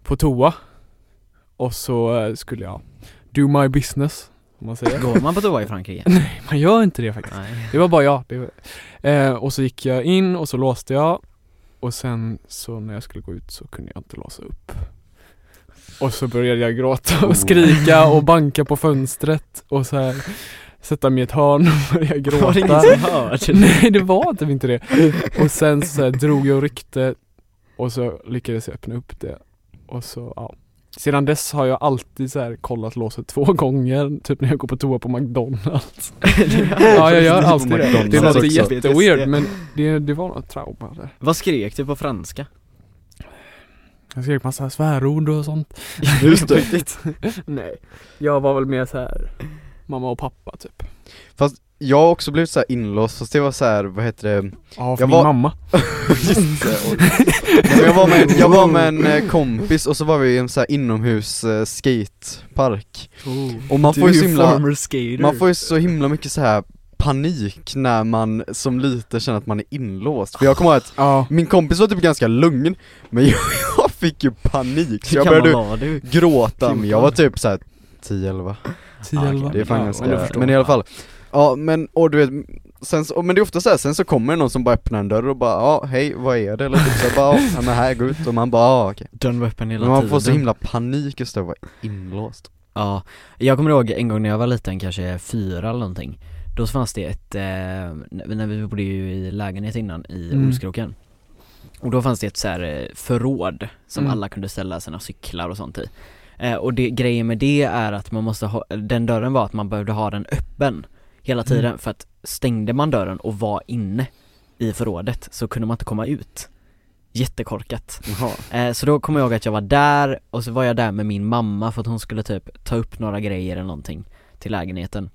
Speaker 1: på toa. Och så eh, skulle jag do my business, om man säger.
Speaker 4: Går man på toa i Frankrike?
Speaker 1: Nej, man gör inte det faktiskt.
Speaker 4: Nej.
Speaker 1: Det var bara jag. Det var... Eh, och så gick jag in och så låste jag. Och sen så när jag skulle gå ut så kunde jag inte låsa upp. Och så började jag gråta och skrika och banka på fönstret och så här sätta mig i ett hörn och börja
Speaker 4: Var det ingen
Speaker 1: gråta.
Speaker 4: som hörde?
Speaker 1: Nej det var typ inte det. Och sen så här, drog jag och ryckte och så lyckades jag öppna upp det. Och så ja. Sedan dess har jag alltid så här kollat låset två gånger, typ när jag går på toa på McDonalds. ja jag gör alltid det. Det låter
Speaker 2: också.
Speaker 1: jätteweird men det, det var något trauma där.
Speaker 4: Vad skrek du på franska?
Speaker 1: Jag skrek massa svärord och sånt.
Speaker 2: Just det.
Speaker 1: Nej, jag var väl mer så här mamma och pappa typ.
Speaker 2: Jag har också blivit såhär inlåst, fast det var såhär, vad heter det?
Speaker 1: Ja, för min
Speaker 2: Jag var-
Speaker 1: mamma.
Speaker 2: Just det, oj. Nej, men jag, var med, jag var med en eh, kompis och så var vi i en såhär inomhus eh, skatepark Och man
Speaker 3: Du
Speaker 2: får ju
Speaker 3: är
Speaker 2: så himla,
Speaker 3: former skater.
Speaker 2: man får ju så himla mycket så här panik när man som liten känner att man är inlåst För jag kommer ihåg att
Speaker 1: Ja.
Speaker 2: min kompis var typ ganska lugn, men jag, jag fick ju panik så jag
Speaker 4: Hur gammal
Speaker 2: började
Speaker 4: var du?
Speaker 2: gråta, men jag var typ såhär 10-11
Speaker 1: Tio,
Speaker 4: Ja, okej,
Speaker 1: elva.
Speaker 2: det är fan
Speaker 1: Ja, men jag
Speaker 2: ganska,
Speaker 1: förstår.
Speaker 2: men i alla fall Ja men, och du vet, sen så, men det är ofta såhär, sen så kommer det någon som bara öppnar en dörr och bara ja, hej vad är det? Eller typ såhär bara ja, men här, gå ut och man bara ja okej
Speaker 4: Dörren var öppen hela
Speaker 2: Men man
Speaker 4: tiden.
Speaker 2: får så himla panik just det, att vara inlåst
Speaker 4: Ja, jag kommer ihåg en gång när jag var liten, kanske fyra eller någonting Då fanns det ett, eh, när när vi bodde ju i lägenhet innan i
Speaker 1: Mm.
Speaker 4: Olskroken Och då fanns det ett så här eh, förråd som
Speaker 1: Mm.
Speaker 4: alla kunde ställa sina cyklar och sånt i eh, Och det, grejen med det är att man måste ha, den dörren var att man behövde ha den öppen
Speaker 1: Mm.
Speaker 4: hela tiden för att stängde man dörren och var inne i förrådet så kunde man inte komma ut Jättekorkat Eh, Så då kommer jag ihåg att jag var där och så var jag där med min mamma för att hon skulle typ ta upp några grejer eller någonting till lägenheten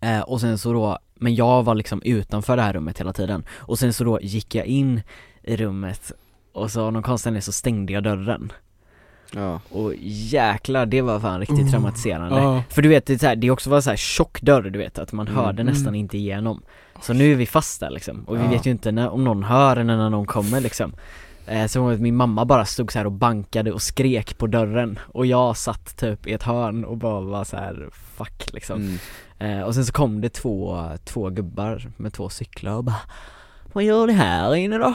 Speaker 4: eh, Och sen så då, men jag var liksom utanför det här rummet hela tiden Och sen så då gick jag in i rummet och så av någon konstig anledning så stängde jag dörren
Speaker 2: Ja.
Speaker 4: Och jäklar det var fan riktigt
Speaker 1: Oh.
Speaker 4: traumatiserande
Speaker 1: Ja.
Speaker 4: För du vet, det, är så här, det också var så här tjock dörr du vet, att man
Speaker 2: Mm.
Speaker 4: hörde nästan
Speaker 1: Mm.
Speaker 4: inte igenom Så nu är vi fast där liksom, och vi
Speaker 2: Ja.
Speaker 4: vet ju inte när, om någon hör eller när någon kommer liksom eh, Så var det att min mamma bara stod så här och bankade och skrek på dörren Och jag satt typ i ett hörn och bara var så här fuck liksom
Speaker 2: Mm.
Speaker 4: eh, Och sen så kom det två, två gubbar med två cyklar och bara vad gör ni här inne då?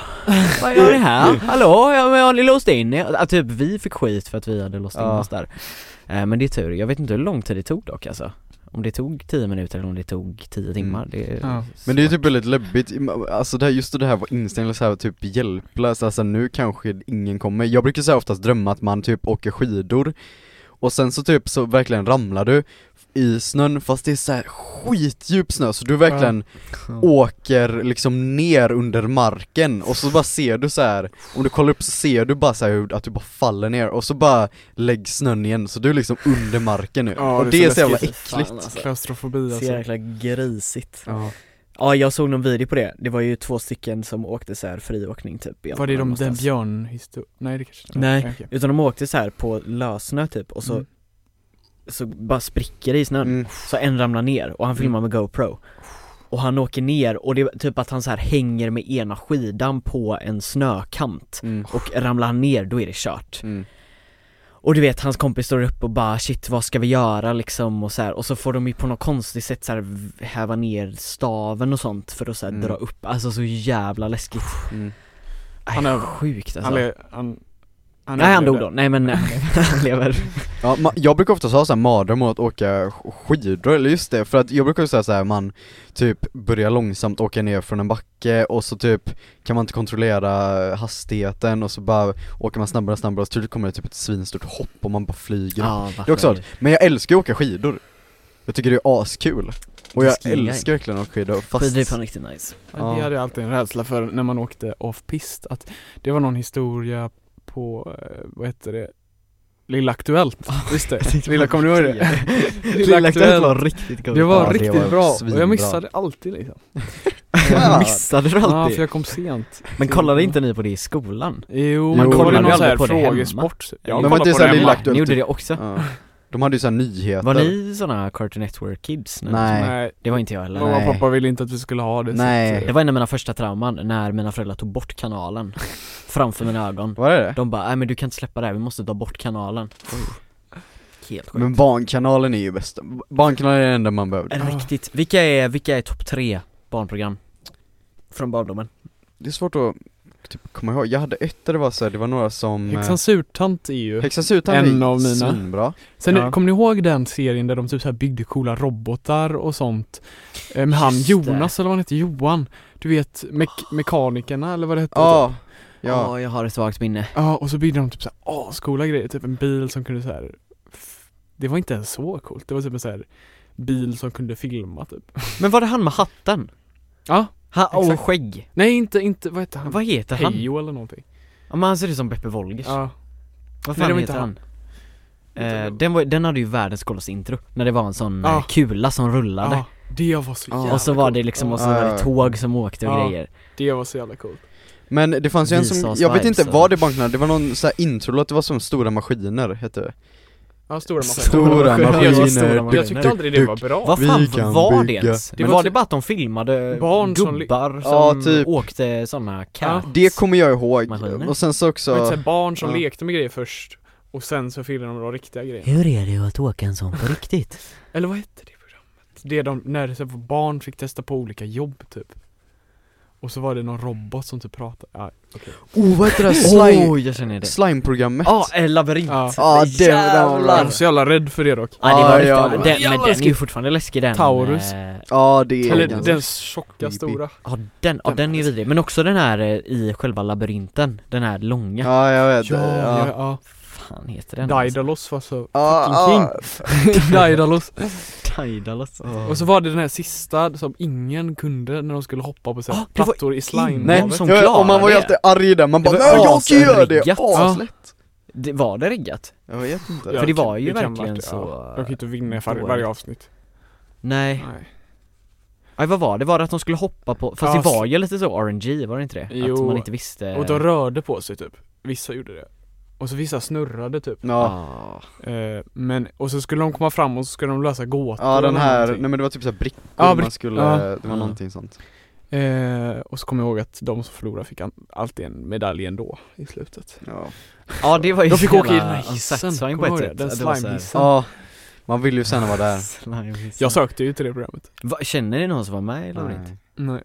Speaker 4: Vad gör ni här? Hallå? Ja, men har ni låst in er? Ja, typ vi fick skit för att vi hade låst in
Speaker 2: Ja.
Speaker 4: oss där Eh, Men det är tur, jag vet inte hur lång tid det tog dock alltså Om det tog 10 minuter eller om det tog 10 timmar, det är
Speaker 1: Ja.
Speaker 2: Mm. Men det är ju typ väldigt läbbigt, alltså det här, just det här var instängd så här typ hjälplös, alltså nu kanske ingen kommer. Jag brukar säga oftast drömma att man typ åker skidor och sen så typ så verkligen ramlar du i snön fast det är så här skitdjup snö så du verkligen åker liksom ner under marken och så bara ser du så här om du kollar upp så ser du bara så här hur, att du bara faller ner och så bara läggs snön igen så du är liksom under marken nu.
Speaker 1: Ja,
Speaker 2: och
Speaker 1: det är
Speaker 2: det är
Speaker 1: så
Speaker 2: så jävla
Speaker 1: läskigt.
Speaker 2: äckligt.
Speaker 1: Klaustrofobi
Speaker 7: Så
Speaker 1: alltså.
Speaker 7: jäkla grisigt
Speaker 2: Ja.
Speaker 7: Ja jag såg någon video på det, det var ju två stycken som åkte så här friåkning typ i
Speaker 1: Var det de
Speaker 7: Alperna
Speaker 1: den
Speaker 7: någonstans.
Speaker 1: björnhistorien? Nej det kanske inte
Speaker 7: Nej.
Speaker 1: okej.
Speaker 7: Utan de åkte så här på lössnö typ och så,
Speaker 1: Mm.
Speaker 7: så bara spricker det i snön
Speaker 2: Mm.
Speaker 7: Så en ramlar ner och han filmar
Speaker 1: Mm.
Speaker 7: med GoPro Och han åker ner och det är typ att han så här hänger med ena skidan på en snökant
Speaker 2: Mm.
Speaker 7: Och ramlar han ner då är det kört
Speaker 2: Mm.
Speaker 7: Och du vet hans kompis står upp och bara shit vad ska vi göra liksom och så här. och så får de ju på något konstigt sätt så här v- häva ner staven och sånt för att så här
Speaker 2: Mm.
Speaker 7: dra upp, alltså så jävla läskigt
Speaker 2: Mm.
Speaker 1: Han
Speaker 7: Han
Speaker 1: är-
Speaker 7: är sjukt alltså
Speaker 1: Han, le- han, han
Speaker 7: Nej han dog
Speaker 1: överlevde.
Speaker 7: då, nej men nej, han lever
Speaker 2: Ja, ma- jag brukar ofta ha såhär mardröm om att åka sk- skidor, eller just det, för att jag brukar säga såhär man typ börjar långsamt åka ner från en backe och så typ kan man inte kontrollera hastigheten och så bara åker man snabbare och snabbare och så tydligt kommer det typ ett svinstort hopp och man bara flyger upp.
Speaker 4: Ja,
Speaker 2: Det är också Men jag älskar ju att åka skidor. Jag tycker det är askul. Och jag
Speaker 4: Skiing, ja.
Speaker 2: älskar verkligen att åka skidor fast...
Speaker 4: Skidor är fan riktigt nice
Speaker 1: Ja. Det hade jag alltid en rädsla för när man åkte off-pist, att det var någon historia på, eh, vad heter det, Lilla Aktuellt, visst det? Lilla, kommer du ihåg det?
Speaker 7: Lilla Aktuellt var riktigt god
Speaker 1: Det var
Speaker 2: Ja, det
Speaker 1: riktigt
Speaker 2: var
Speaker 1: bra, och
Speaker 2: svinbra.
Speaker 1: jag missade alltid liksom.
Speaker 2: Ja.
Speaker 7: Missade du
Speaker 1: Ja,
Speaker 7: alltid?
Speaker 1: för jag kom sent.
Speaker 7: Men kollade inte ni på det i skolan?
Speaker 1: Jo,
Speaker 2: Man
Speaker 1: man
Speaker 2: kollade
Speaker 1: kollade
Speaker 2: ju
Speaker 1: någon sån här
Speaker 4: aldrig på det hemma.
Speaker 1: frågesport. Jag
Speaker 2: Men var
Speaker 1: kollade
Speaker 2: inte
Speaker 1: på
Speaker 2: så
Speaker 1: det
Speaker 2: här Lilla
Speaker 1: hemma.
Speaker 2: Aktuellt?
Speaker 4: Ni gjorde det också?
Speaker 2: Ja. De hade ju såhär nyheter.
Speaker 4: Var ni såna Cartoon Network kids? när ni-
Speaker 2: Nej.
Speaker 1: Nej,
Speaker 4: Det var inte jag heller
Speaker 2: Nej.
Speaker 1: mamma och pappa ville inte att vi skulle ha det. så
Speaker 2: Nej.
Speaker 1: att, eh,
Speaker 4: Det var en av mina första trauman, när mina föräldrar tog bort kanalen framför mina ögon
Speaker 2: Var det det?
Speaker 4: De bara, nej men du kan inte släppa det här, vi måste ta bort kanalen
Speaker 7: Oh.
Speaker 4: Helt sjukt
Speaker 2: Men Barnkanalen är ju bäst. Barnkanalen är det enda man behöver.
Speaker 4: En Riktigt, vilka är, vilka är topp tre barnprogram? Från barndomen?
Speaker 2: Det är svårt att typ, komma ihåg, jag hade ett där det var så här, det var några som eh,
Speaker 1: Häxans surtant är ju
Speaker 2: Häxans utan
Speaker 1: en av mina.
Speaker 2: svinbra
Speaker 1: Sen
Speaker 7: Ja.
Speaker 1: kommer ni ihåg den serien där de typ så här byggde coola robotar och sånt? Eh, Med han
Speaker 4: Just det. Ah.
Speaker 1: Jonas eller vad han hette, Johan? Du vet mek- mekanikerna eller vad det hette?
Speaker 2: Ja,
Speaker 4: Ja,
Speaker 2: ja,
Speaker 4: jag har ett svagt minne
Speaker 1: Ja, och så byggde de typ så här ascoola grejer, typ en bil som kunde så här. f- Det var inte ens så coolt, det var typ en så här bil som kunde filma typ.
Speaker 4: Men var det han med hatten?
Speaker 1: Ja,
Speaker 4: Han, och
Speaker 1: Exakt.
Speaker 4: skägg?
Speaker 1: nej inte, inte, vad hette han?
Speaker 4: Vad heter han?
Speaker 1: Hejo eller någonting.
Speaker 4: Ja men han ser ut som Beppe Wolgers
Speaker 1: Ja.
Speaker 4: Vad
Speaker 1: Nej,
Speaker 4: fan
Speaker 1: det var inte
Speaker 4: heter han?
Speaker 1: Inte
Speaker 4: Eh,
Speaker 1: då.
Speaker 4: den, var, den hade ju världens coolaste intro, när det var en sån
Speaker 1: Ja.
Speaker 4: eh, kula som rullade
Speaker 1: Ja, det var så jävla
Speaker 4: Och så var det
Speaker 1: coolt.
Speaker 4: liksom, och så
Speaker 2: Ja.
Speaker 4: var det tåg som åkte och
Speaker 1: Ja.
Speaker 4: grejer
Speaker 1: Det var så jävla coolt.
Speaker 2: Men det fanns ju en som,
Speaker 4: Visas
Speaker 2: jag vet
Speaker 4: vibes,
Speaker 2: inte vad
Speaker 4: eller?
Speaker 2: det Barnkanalen, det var någon så här introlåt, det var som Stora Maskiner hette det
Speaker 1: Ja, stora maskiner.
Speaker 2: Stora
Speaker 7: Stora
Speaker 2: Maskiner,
Speaker 7: maskiner.
Speaker 1: Jag tyckte aldrig det var bra.
Speaker 4: Vad
Speaker 2: Vi
Speaker 4: fan
Speaker 2: kan
Speaker 4: var det
Speaker 2: bygga.
Speaker 4: ens?
Speaker 1: Det
Speaker 4: men
Speaker 1: var
Speaker 4: var
Speaker 1: ty-
Speaker 4: det bara att de filmade
Speaker 1: Barn som li-
Speaker 4: gubbar som,
Speaker 2: Ja, typ.
Speaker 4: åkte såna cats?
Speaker 2: Det kommer jag ihåg,
Speaker 4: Maskiner.
Speaker 2: och sen så
Speaker 1: Men
Speaker 2: också
Speaker 1: så här, barn som
Speaker 2: ja.
Speaker 1: lekte med grejer först och sen så filmade de de riktiga grejerna.
Speaker 8: Hur är det att åka en sån på riktigt?
Speaker 1: Eller vad hette det programmet? Det de, när så här, barn fick testa på olika jobb typ. Och så var det någon robot som typ pratade, ja, okej
Speaker 2: Oh vad heter det? Slime,
Speaker 4: Oh, jag känner det.
Speaker 2: Slime-programmet?
Speaker 4: Ja, eh, labyrint.
Speaker 1: ja.
Speaker 2: Ja, det- det var bra.
Speaker 1: Jag var så jävla rädd för det dock
Speaker 4: Ja, det var
Speaker 2: Ja,
Speaker 4: riktigt-
Speaker 2: ja, det
Speaker 4: den,
Speaker 2: var-
Speaker 4: men den är ju fortfarande läskig den.
Speaker 1: Taurus.
Speaker 4: eh,
Speaker 2: Ja det är
Speaker 1: Eller
Speaker 2: ganska-
Speaker 1: den tjocka
Speaker 2: creepy.
Speaker 1: stora
Speaker 4: Ja den, ja, den är ju vidrig, men också den här eh, i själva labyrinten, den här långa,
Speaker 2: Ja jag vet,
Speaker 1: Ja, ja,
Speaker 2: ja Ah,
Speaker 1: ja,
Speaker 4: fan heter den? Alltså,
Speaker 1: Daidalos var så
Speaker 2: Ja,
Speaker 1: Daidalos
Speaker 4: Daidalos
Speaker 1: Och så var det den här sista som ingen kunde när de skulle hoppa på så här
Speaker 4: Ah, det var
Speaker 1: plattor i
Speaker 2: Nej,
Speaker 1: slime
Speaker 4: ingen som
Speaker 2: ja, och man var ju
Speaker 4: klarar
Speaker 2: alltid arg där, man bara
Speaker 1: Det var
Speaker 2: 'Nej jag kan göra det'
Speaker 4: asriggat.
Speaker 2: aslätt
Speaker 4: det, Var det riggat?
Speaker 2: Jag vet inte
Speaker 1: Ja,
Speaker 4: För det var ju
Speaker 1: det kan
Speaker 4: verkligen
Speaker 1: varit det,
Speaker 4: så... eh,
Speaker 1: Jag kan ju inte vinna i varje,
Speaker 4: dåligt.
Speaker 1: varje avsnitt
Speaker 4: Nej,
Speaker 1: Nej.
Speaker 4: Aj, vad var det? Var det att de skulle hoppa på, fast
Speaker 1: Ja,
Speaker 4: det var ju lite så RNG, var det inte det? att
Speaker 1: Jo.
Speaker 4: man inte visste
Speaker 1: Och de rörde på sig typ, vissa gjorde det Och så vissa snurrade typ
Speaker 2: Ja,
Speaker 4: ah.
Speaker 1: eh, Men, och så skulle de komma fram och så skulle de lösa gåtor
Speaker 2: ja den
Speaker 1: eller
Speaker 2: här,
Speaker 1: någonting.
Speaker 2: nej men det var typ såhär brickor
Speaker 1: Ja,
Speaker 2: man
Speaker 1: brick-
Speaker 2: skulle,
Speaker 1: ja.
Speaker 2: det var
Speaker 4: Ja.
Speaker 2: någonting sånt
Speaker 1: Eh, och så kommer jag ihåg att de som förlorade fick an- alltid en medalj ändå i slutet
Speaker 2: Ja,
Speaker 4: Ja det var ju
Speaker 1: De fick
Speaker 4: så
Speaker 1: åka i den
Speaker 4: jävla
Speaker 1: här hissen,
Speaker 4: unsatisfying
Speaker 1: på
Speaker 4: på
Speaker 1: ihåg
Speaker 4: ett
Speaker 1: det?
Speaker 4: sätt
Speaker 1: Den
Speaker 4: Att det var så här-
Speaker 1: slimehissen
Speaker 2: ja man vill ju gärna vara där
Speaker 4: Slimehissen.
Speaker 1: Jag sökte ju till det programmet
Speaker 4: Va, Känner ni någon som var med i labyrint?
Speaker 2: Nej.
Speaker 1: Nej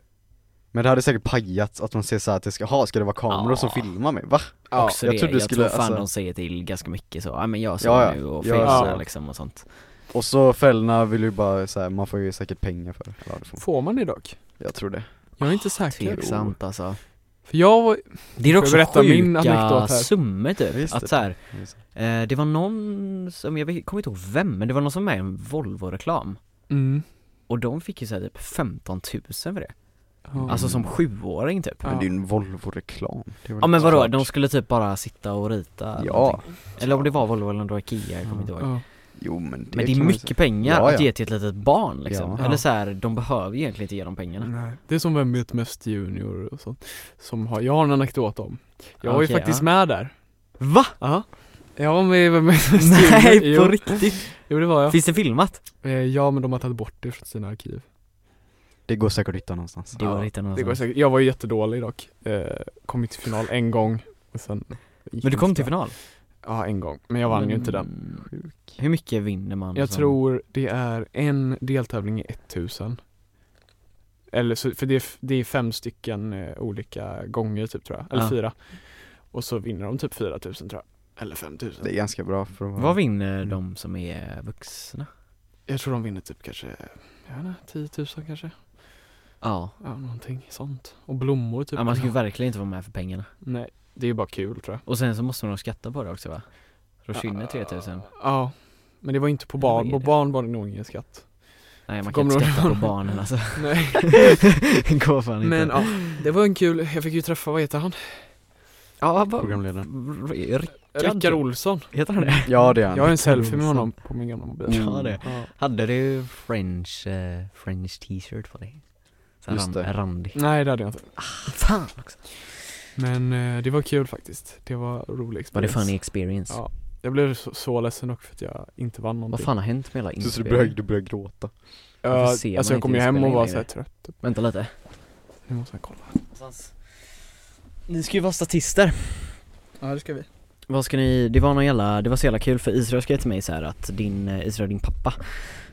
Speaker 2: Men det hade säkert pajats att man ser såhär att det ska, ha ska det vara kameror som
Speaker 4: Ja.
Speaker 2: filmar mig? Va?
Speaker 1: Ja,
Speaker 4: Också
Speaker 2: jag
Speaker 4: det,
Speaker 2: trodde det
Speaker 4: jag
Speaker 2: skulle-
Speaker 4: tror fan
Speaker 2: alltså-
Speaker 4: de säger till ganska mycket så, ja men jag sa
Speaker 2: Ja, ja.
Speaker 4: nu och
Speaker 2: Ja,
Speaker 4: fel
Speaker 1: ja.
Speaker 4: så liksom och sånt
Speaker 2: Och så föräldrarna vill ju bara såhär, man får ju säkert pengar för det, Eller, ja, det får man.
Speaker 1: Får man det dock?
Speaker 2: jag tror det
Speaker 1: Jag är inte säker
Speaker 4: Tveksamt alltså
Speaker 1: För jag var,
Speaker 4: Det är
Speaker 1: jag
Speaker 4: också
Speaker 1: berätta
Speaker 4: sjuka
Speaker 1: min anekdot här?
Speaker 4: summor typ,
Speaker 2: Visst.
Speaker 4: att så här,
Speaker 2: Just
Speaker 4: eh, det var någon som, jag vet- kommer inte ihåg vem, men det var någon som var med i en Volvo-reklam
Speaker 1: mm,
Speaker 4: Och de fick ju såhär typ 15 000 för det,
Speaker 1: ja.
Speaker 2: Mm.
Speaker 4: alltså som sjuåring typ
Speaker 1: Ja.
Speaker 2: Men det är ju en Volvo-reklam Det är väl
Speaker 4: Ja men
Speaker 2: klart.
Speaker 4: vadå, de skulle typ bara sitta och rita
Speaker 2: Ja.
Speaker 4: någonting. Eller om det var Volvo eller om det var Ikea, jag kommer inte ihåg
Speaker 1: ja.
Speaker 2: Jo men det
Speaker 4: Men det är
Speaker 2: kan man ju
Speaker 4: mycket pengar
Speaker 2: Ja,
Speaker 4: att
Speaker 2: ja.
Speaker 4: ge till ett litet barn liksom,
Speaker 1: Ja.
Speaker 4: eller så här, de behöver ju egentligen inte ge dem pengarna
Speaker 2: Mm.
Speaker 1: Nej. Det är som Vem vet mest junior och sånt Som har, jag har en anekdot om Jag var ju
Speaker 4: Okej,
Speaker 1: faktiskt
Speaker 4: ja.
Speaker 1: med där
Speaker 4: Va?
Speaker 1: Ja Jag var med i Vem vet mest
Speaker 4: Nej
Speaker 1: junior
Speaker 4: på
Speaker 1: jo.
Speaker 4: riktigt?
Speaker 1: jo det var jag
Speaker 4: Finns det filmat?
Speaker 1: eh, Ja men de har tagit bort det från sina arkiv
Speaker 4: Alltså.
Speaker 2: Det går säkert att hitta någonstans
Speaker 4: Det går att hitta
Speaker 1: Det går
Speaker 4: någonstans
Speaker 1: säkert, jag var ju jättedålig dock eh, Kom till final en gång och sen gick
Speaker 4: Men du
Speaker 1: det
Speaker 4: kom
Speaker 1: inte
Speaker 4: till
Speaker 1: bra.
Speaker 4: final? Mm.
Speaker 1: Ja en gång, men jag vann ju inte den
Speaker 4: Sjuk. Hur mycket vinner man?
Speaker 1: Jag
Speaker 4: som-
Speaker 1: tror det är en deltävling i 1000 Eller så, för det är, f- det är fem stycken eh, olika gånger typ tror jag, eller
Speaker 4: Ja.
Speaker 1: fyra Och så vinner de typ 4000 tror jag, eller 5000
Speaker 2: Det är ganska bra för att vara
Speaker 4: Vad vinner de som är vuxna?
Speaker 1: Jag tror de vinner typ kanske, jag vet inte, 10 000 kanske?
Speaker 4: Ja,
Speaker 1: Ja någonting sånt Och blommor typ
Speaker 4: ja man ska ju verkligen inte vara med för pengarna
Speaker 1: Nej, det är ju bara kul tror jag
Speaker 4: Och sen så måste man nog skatta på det också va? Då
Speaker 1: Ah.
Speaker 4: försvinner 3000
Speaker 1: Ja Men det var inte på
Speaker 4: Vad
Speaker 1: barn,
Speaker 4: är
Speaker 1: på
Speaker 4: det?
Speaker 1: barn var det nog ingen skatt
Speaker 4: Nej man kan
Speaker 1: Kommer
Speaker 4: inte
Speaker 1: du
Speaker 4: skatta på
Speaker 1: ihåg?
Speaker 4: barnen alltså
Speaker 1: Nej
Speaker 4: Det går fan inte
Speaker 1: Men ja, det var en kul, jag fick ju träffa, vad heter han?
Speaker 4: ja, bara,
Speaker 2: programledaren
Speaker 4: Rick- Rickard.
Speaker 1: Rickard Olsson
Speaker 4: heter han det?
Speaker 2: Ja det är han
Speaker 1: Jag har en selfie med honom på min gamla mobil
Speaker 2: Mm.
Speaker 4: Ja, det. Hade du french, eh, french t-shirt på dig? Så här
Speaker 2: Just
Speaker 4: ran-
Speaker 2: det.
Speaker 4: randig
Speaker 1: Nej det hade jag inte
Speaker 4: Fan också
Speaker 1: Men eh, det var kul faktiskt Det var rolig
Speaker 4: Var det
Speaker 1: experience
Speaker 4: funny experience?
Speaker 1: Ja. Jag blev så, så ledsen dock för att jag inte vann
Speaker 4: Vad
Speaker 1: någonting
Speaker 4: fan har hänt med hela
Speaker 2: Så du
Speaker 4: inspelningen?
Speaker 2: började, du började gråta
Speaker 1: Ja,
Speaker 4: Varför ser
Speaker 1: Alltså
Speaker 4: man
Speaker 1: jag kom ju
Speaker 4: inte
Speaker 1: hem och var
Speaker 4: inspelningen
Speaker 1: såhär
Speaker 4: längre?
Speaker 1: trött typ.
Speaker 4: Vänta lite
Speaker 1: Nu måste jag kolla
Speaker 4: Ni ska ju vara statister
Speaker 1: Ja det ska vi
Speaker 4: Vad ska ni, det var någon jävla, det var så jävla kul för Israel skrev till mig så här att din, eh, Israel din pappa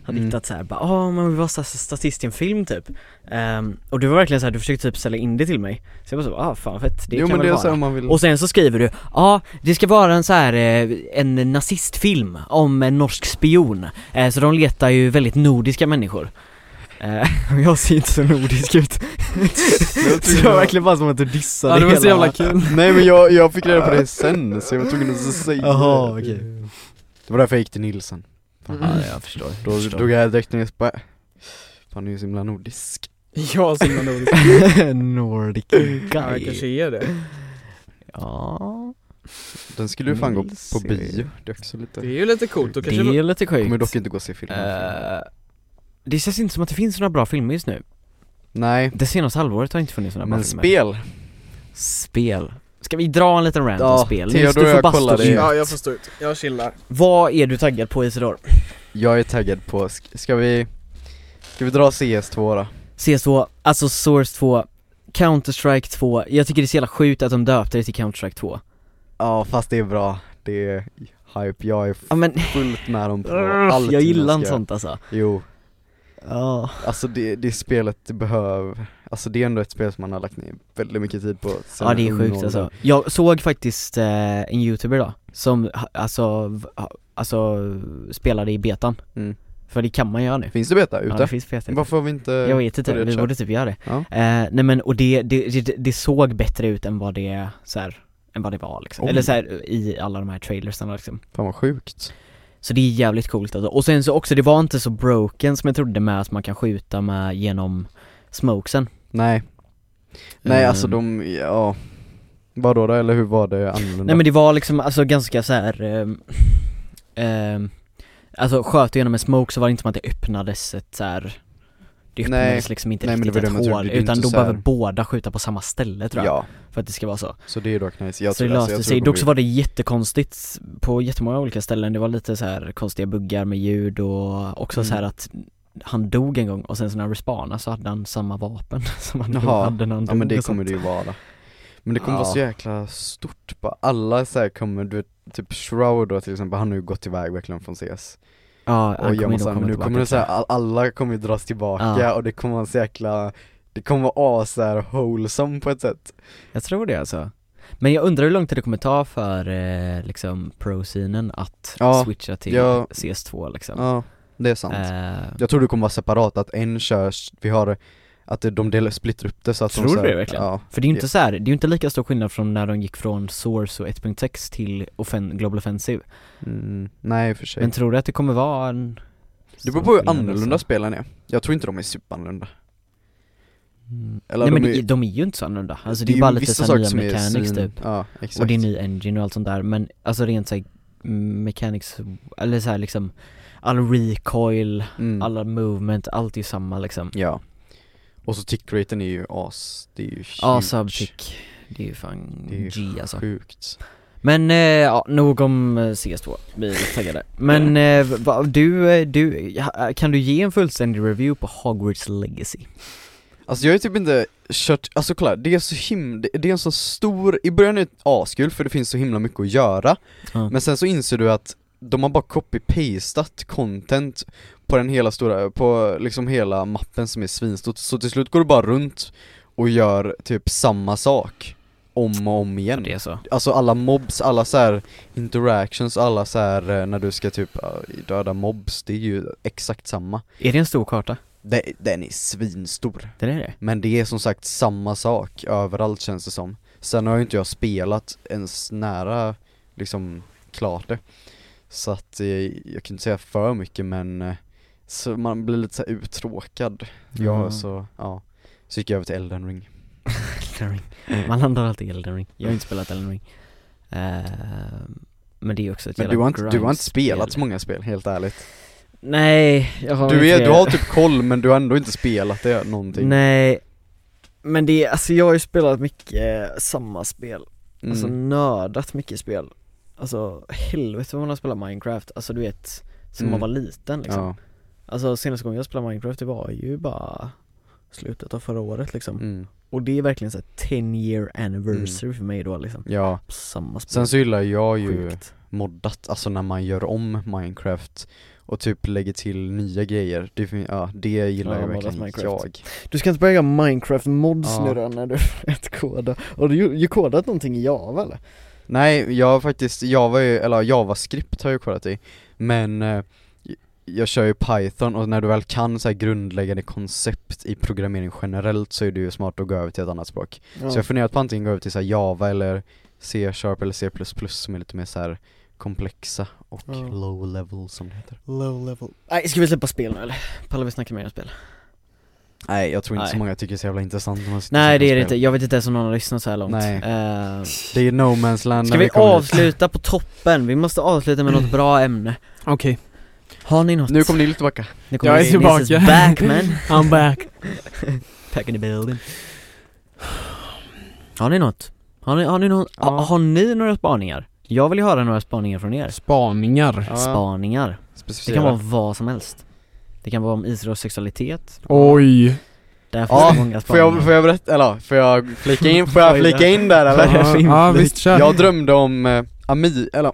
Speaker 4: hade
Speaker 2: Mm.
Speaker 4: hittat så här, bara ah men vi var sta- statist i en film typ Ehm, Och du var verkligen så här, du försökte typ sälja in det till mig Så jag bara så, ah fan fett, det
Speaker 2: Jo men
Speaker 4: kan väl
Speaker 2: det är
Speaker 4: vara
Speaker 2: så här man vill
Speaker 4: Och sen så skriver du, ja det ska vara en så här eh, en nazistfilm om en norsk spion Eh, Så de letar ju väldigt nordiska människor Eh, och jag ser inte så nordisk ut Så det var verkligen bara som att du dissade
Speaker 1: Ja det var så
Speaker 4: hela-
Speaker 1: jävla kul
Speaker 2: Nej men jag, jag fick reda på det sen så jag var tvungen att säga
Speaker 4: Jaha,
Speaker 2: det.
Speaker 4: okej. Mm.
Speaker 2: Det var därför jag gick till Nilsen
Speaker 4: Ja,
Speaker 1: Mm.
Speaker 4: jag förstår,
Speaker 2: Då
Speaker 4: förstår.
Speaker 2: drog jag direkt ner och bara äh, Fan du är ju så himla nordisk
Speaker 1: Jag som en nordisk
Speaker 4: Nordic
Speaker 1: Ja jag kanske
Speaker 4: guy
Speaker 1: är det
Speaker 4: Ja,
Speaker 2: Den skulle ju fan gå på
Speaker 4: Nils-
Speaker 2: bio, det är också
Speaker 1: Det
Speaker 2: lite
Speaker 1: är ju lite coolt, då
Speaker 4: det
Speaker 1: kanske
Speaker 4: är lite
Speaker 2: Kommer
Speaker 4: sjukt
Speaker 2: dock inte gå och se filmen
Speaker 4: Eh, Det känns inte som att det finns några bra filmer just nu
Speaker 2: Nej,
Speaker 4: Det senaste halvåret har inte funnits några bra
Speaker 2: men
Speaker 4: filmer
Speaker 2: spel
Speaker 4: Spel Ska vi dra en liten rant
Speaker 2: Ja,
Speaker 4: om spel?
Speaker 2: Theodor
Speaker 4: Nils, du
Speaker 2: och
Speaker 4: får
Speaker 2: jag
Speaker 4: bara
Speaker 2: kollar
Speaker 4: stå
Speaker 2: det.
Speaker 4: ut.
Speaker 2: Ja,
Speaker 1: jag får stå ut, jag chillar
Speaker 4: Vad är du taggad på Isidor?
Speaker 2: Jag är taggad på, sk- ska vi Ska vi dra CS2 då?
Speaker 4: CS2, alltså Source 2 Counter-Strike 2, jag tycker det är så jävla sjukt att de döpte det till Counter-Strike 2
Speaker 2: Ja fast det är bra, det är hype, jag är
Speaker 4: Ja men,
Speaker 2: fullt med dem på
Speaker 4: jag
Speaker 2: allting de
Speaker 4: gillar inte
Speaker 2: ska-
Speaker 4: sånt alltså
Speaker 2: Jo
Speaker 5: Ja.
Speaker 2: Alltså det, det spelet det behöver, alltså det är ändå ett spel som man har lagt ner väldigt mycket tid på sen
Speaker 4: Ja det är
Speaker 2: ung
Speaker 4: sjukt
Speaker 2: ålder.
Speaker 4: alltså. Jag såg faktiskt eh, en youtuber då, som ha- alltså, v- ha- alltså spelade i betan.
Speaker 2: Mm.
Speaker 4: För det kan man göra nu.
Speaker 2: Finns det beta
Speaker 4: Ja
Speaker 2: ute?
Speaker 4: det finns beta.
Speaker 2: Varför har vi inte
Speaker 4: Jag vet inte,
Speaker 2: börjat
Speaker 4: vi
Speaker 2: köra?
Speaker 4: borde typ göra det.
Speaker 2: Ja.
Speaker 4: Eh, nej men och det, det, det, det såg bättre ut än vad det, så här, än vad det var liksom.
Speaker 2: Oj.
Speaker 4: Eller så här, i alla de här trailersarna liksom.
Speaker 2: Fan vad sjukt
Speaker 4: Så det är jävligt coolt alltså. Och sen så också, det var inte så broken som jag trodde med att man kan skjuta med genom smokesen
Speaker 2: Nej Nej alltså
Speaker 4: Ehm.
Speaker 2: de, ja Vadå då eller hur var det annorlunda?
Speaker 4: Nej men det var liksom alltså ganska så här. ehm, ehm, Alltså sköt du genom en smoke så var det inte som att det öppnades ett så här. Det
Speaker 2: Nej.
Speaker 4: öppnades liksom inte
Speaker 2: Nej, men det
Speaker 4: riktigt
Speaker 2: var det man
Speaker 4: ett
Speaker 2: trodde.
Speaker 4: hål,
Speaker 2: Det är
Speaker 4: utan
Speaker 2: inte
Speaker 4: då
Speaker 2: så här-
Speaker 4: behöver båda skjuta på samma ställe tror jag,
Speaker 2: Ja,
Speaker 4: för att det ska vara så
Speaker 2: så det är dock nice, jag
Speaker 4: Så det
Speaker 2: tror, alltså,
Speaker 4: löste
Speaker 2: jag
Speaker 4: sig,
Speaker 2: tror
Speaker 4: dock så
Speaker 2: blir-
Speaker 4: var det jättekonstigt på jättemånga olika ställen, det var lite så här konstiga buggar med ljud och också så här
Speaker 2: Mm.
Speaker 4: att han dog en gång och sen så när han respawnade så hade han samma vapen som han
Speaker 2: Jaha.
Speaker 4: hade när han
Speaker 2: Ja men
Speaker 4: dog
Speaker 2: det
Speaker 4: och sånt.
Speaker 2: kommer det ju vara Men det kommer
Speaker 4: Ja.
Speaker 2: vara så jäkla stort bara, alla så här kommer, du vet, typ Shroud då till exempel, han har ju gått iväg verkligen från CS
Speaker 4: Ja,
Speaker 2: och
Speaker 4: han
Speaker 2: gör
Speaker 4: kommer
Speaker 2: massa,
Speaker 4: nog
Speaker 2: men
Speaker 4: komma
Speaker 2: nu
Speaker 4: tillbaka
Speaker 2: kommer det
Speaker 4: tror jag.
Speaker 2: såhär, all, alla kommer ju dras tillbaka
Speaker 4: Ja.
Speaker 2: och det kommer vara så jäkla Det kommer vara as såhär wholesome på ett sätt
Speaker 4: Jag tror det alltså Men jag undrar hur lång tid det kommer ta för eh, liksom pro-scenen att
Speaker 2: Ja,
Speaker 4: switcha till
Speaker 2: jag-
Speaker 4: CS2 liksom
Speaker 2: Ja, det är sant
Speaker 4: Eh,
Speaker 2: Jag tror det kommer vara separat, att en körs, vi har att de delar, splittrar upp det så att de
Speaker 4: Tror du
Speaker 2: så här-
Speaker 4: det verkligen?
Speaker 2: Ja,
Speaker 4: För det är ju
Speaker 2: Ja.
Speaker 4: inte så här, det är ju inte lika stor skillnad från när de gick från Source och 1.6 till offen, Global Offensive
Speaker 2: mm, nej i och för sig
Speaker 4: Men tror du att det kommer vara en
Speaker 2: Det beror på hur
Speaker 4: stor skillnad,
Speaker 2: annorlunda
Speaker 4: alltså?
Speaker 2: spelen är Jag tror inte de är superannorlunda
Speaker 4: Mm.
Speaker 2: Eller
Speaker 4: Nej
Speaker 2: de
Speaker 4: men
Speaker 2: är-
Speaker 4: de är, de är ju inte så annorlunda, alltså det är ju bara lite
Speaker 2: vissa
Speaker 4: så här nya
Speaker 2: saker som är
Speaker 4: mechanics
Speaker 2: svin-
Speaker 4: typ
Speaker 2: Ja, exakt
Speaker 4: Och det är ny engine och allt sånt där men alltså rent såhär mechanics, eller så här liksom All recoil,
Speaker 2: mm.
Speaker 4: alla movement, allt är ju samma liksom
Speaker 2: Ja Och så tickraten är ju as, det är ju
Speaker 4: Ja,
Speaker 2: huge.
Speaker 4: subtick. Det är ju fan
Speaker 2: Det är ju
Speaker 4: G alltså
Speaker 2: Sjukt
Speaker 4: Men eh, ja, nog om eh, CS2, vi är taggade Men eh, va, du, eh, du, ja, kan du ge en fullständig review på Hogwarts Legacy?
Speaker 2: Alltså jag har ju typ inte kört, alltså kolla, det är så himla, det är en så stor, i början är det askul för det finns så himla mycket att göra
Speaker 4: Ja.
Speaker 2: Men sen så inser du att de har bara copy-pastat content på den hela stora, på liksom hela mappen som är svinstort Så till slut går du bara runt och gör typ samma sak om och om igen
Speaker 4: är så
Speaker 2: Alltså alla mobs, alla så här interactions, alla så här eh, när du ska typ eh, döda mobs, det är ju exakt samma
Speaker 4: Är det en stor karta?
Speaker 2: Det- Den är svinstor
Speaker 4: Det är det?
Speaker 2: men det är som sagt samma sak överallt känns det som. Sen har ju inte jag spelat ens nära liksom klart det. Så att eh, jag kan inte säga för mycket men eh, så man blir lite så här uttråkad. Ja, alltså.
Speaker 4: Ja.
Speaker 2: så ja. Så gick jag över till Elden Ring.
Speaker 4: Elden Ring. Man landar alltid i Elden Ring, jag har inte spelat Elden Ring Eh, Men det är ju också ett
Speaker 2: Men du
Speaker 4: jävla
Speaker 2: har inte, du har inte
Speaker 4: grindspel.
Speaker 2: spelat så många spel helt ärligt.
Speaker 4: Nej, jag har
Speaker 2: Du, är,
Speaker 4: inte
Speaker 2: du har typ koll men du har ändå inte spelat det någonting.
Speaker 4: Nej Men det, är- alltså jag har ju spelat mycket eh, samma spel
Speaker 2: Mm.
Speaker 4: Alltså nördat mycket spel Alltså helvete vad man har spelat Minecraft, alltså du vet Sen
Speaker 2: Mm.
Speaker 4: man var liten liksom
Speaker 2: ja.
Speaker 4: Alltså senaste gången jag spelade Minecraft det var ju bara Slutet av förra året liksom
Speaker 2: Mm.
Speaker 4: Och det är verkligen såhär 10 year anniversary för mig då liksom
Speaker 2: ja.
Speaker 4: Samma spel
Speaker 2: Sen så gillar jag ju
Speaker 4: Sjukt
Speaker 2: moddat, alltså när man gör om Minecraft och typ lägger till nya grejer, det, fin- ja, det gillar
Speaker 4: Ja,
Speaker 2: jag
Speaker 4: moddat
Speaker 2: verkligen
Speaker 4: Minecraft.
Speaker 2: jag
Speaker 5: Du ska inte börja göra Minecraft mods
Speaker 2: Ja.
Speaker 5: nu då när du vet koda. Har du ju ju kodat någonting i Java eller?
Speaker 2: Nej, jag har faktiskt, Java, är ju- eller JavaScript har jag kollat i, men eh, j- jag kör ju Python och när du väl kan så här grundläggande koncept i programmering generellt så är det ju smart att gå över till ett annat språk
Speaker 5: Ja.
Speaker 2: Så jag har funderat på antingen gå över till så här Java eller C-sharp eller C++ som är lite mer så här komplexa och
Speaker 5: Ja.
Speaker 2: low level som det heter
Speaker 5: Low level.
Speaker 4: Nej ska vi släppa spel nu eller? Pallar vi snacka mer om spel?
Speaker 2: Nej jag tror inte
Speaker 4: Nej.
Speaker 2: så många tycker det är så jävla intressant när man sitter och
Speaker 4: Nej det är
Speaker 2: snackar
Speaker 4: det
Speaker 2: spel.
Speaker 4: inte, jag vet inte ens om någon har lyssnat så här långt
Speaker 2: Nej.
Speaker 4: Eh,
Speaker 2: Det är no man's land
Speaker 4: Ska
Speaker 2: när
Speaker 4: vi
Speaker 2: kommer dit.
Speaker 4: avsluta på toppen? Vi måste avsluta med något bra ämne
Speaker 1: Okej,
Speaker 4: Har ni något?
Speaker 2: Nu kommer Nils tillbaka
Speaker 4: Nu kommer
Speaker 1: Jag är
Speaker 4: Nils is
Speaker 1: tillbaka.
Speaker 4: back man
Speaker 1: I'm back
Speaker 4: Back in the building Har ni något? Har ni, har ni, någon,
Speaker 2: Ja.
Speaker 4: ha- har ni några spaningar? Jag vill ju höra några spaningar från er
Speaker 1: Spaningar
Speaker 4: Spaningar, det
Speaker 2: Specificera.
Speaker 4: kan vara vad som helst Det kan vara om Israels sexualitet,
Speaker 1: Oj
Speaker 4: där finns
Speaker 2: Ja,
Speaker 4: det
Speaker 2: Får
Speaker 4: många spaningar
Speaker 2: jag, får jag berätta, eller får jag flika in, får jag flika in där eller?
Speaker 1: Ja, ja visst kör
Speaker 2: Jag drömde om eh, Ami, eller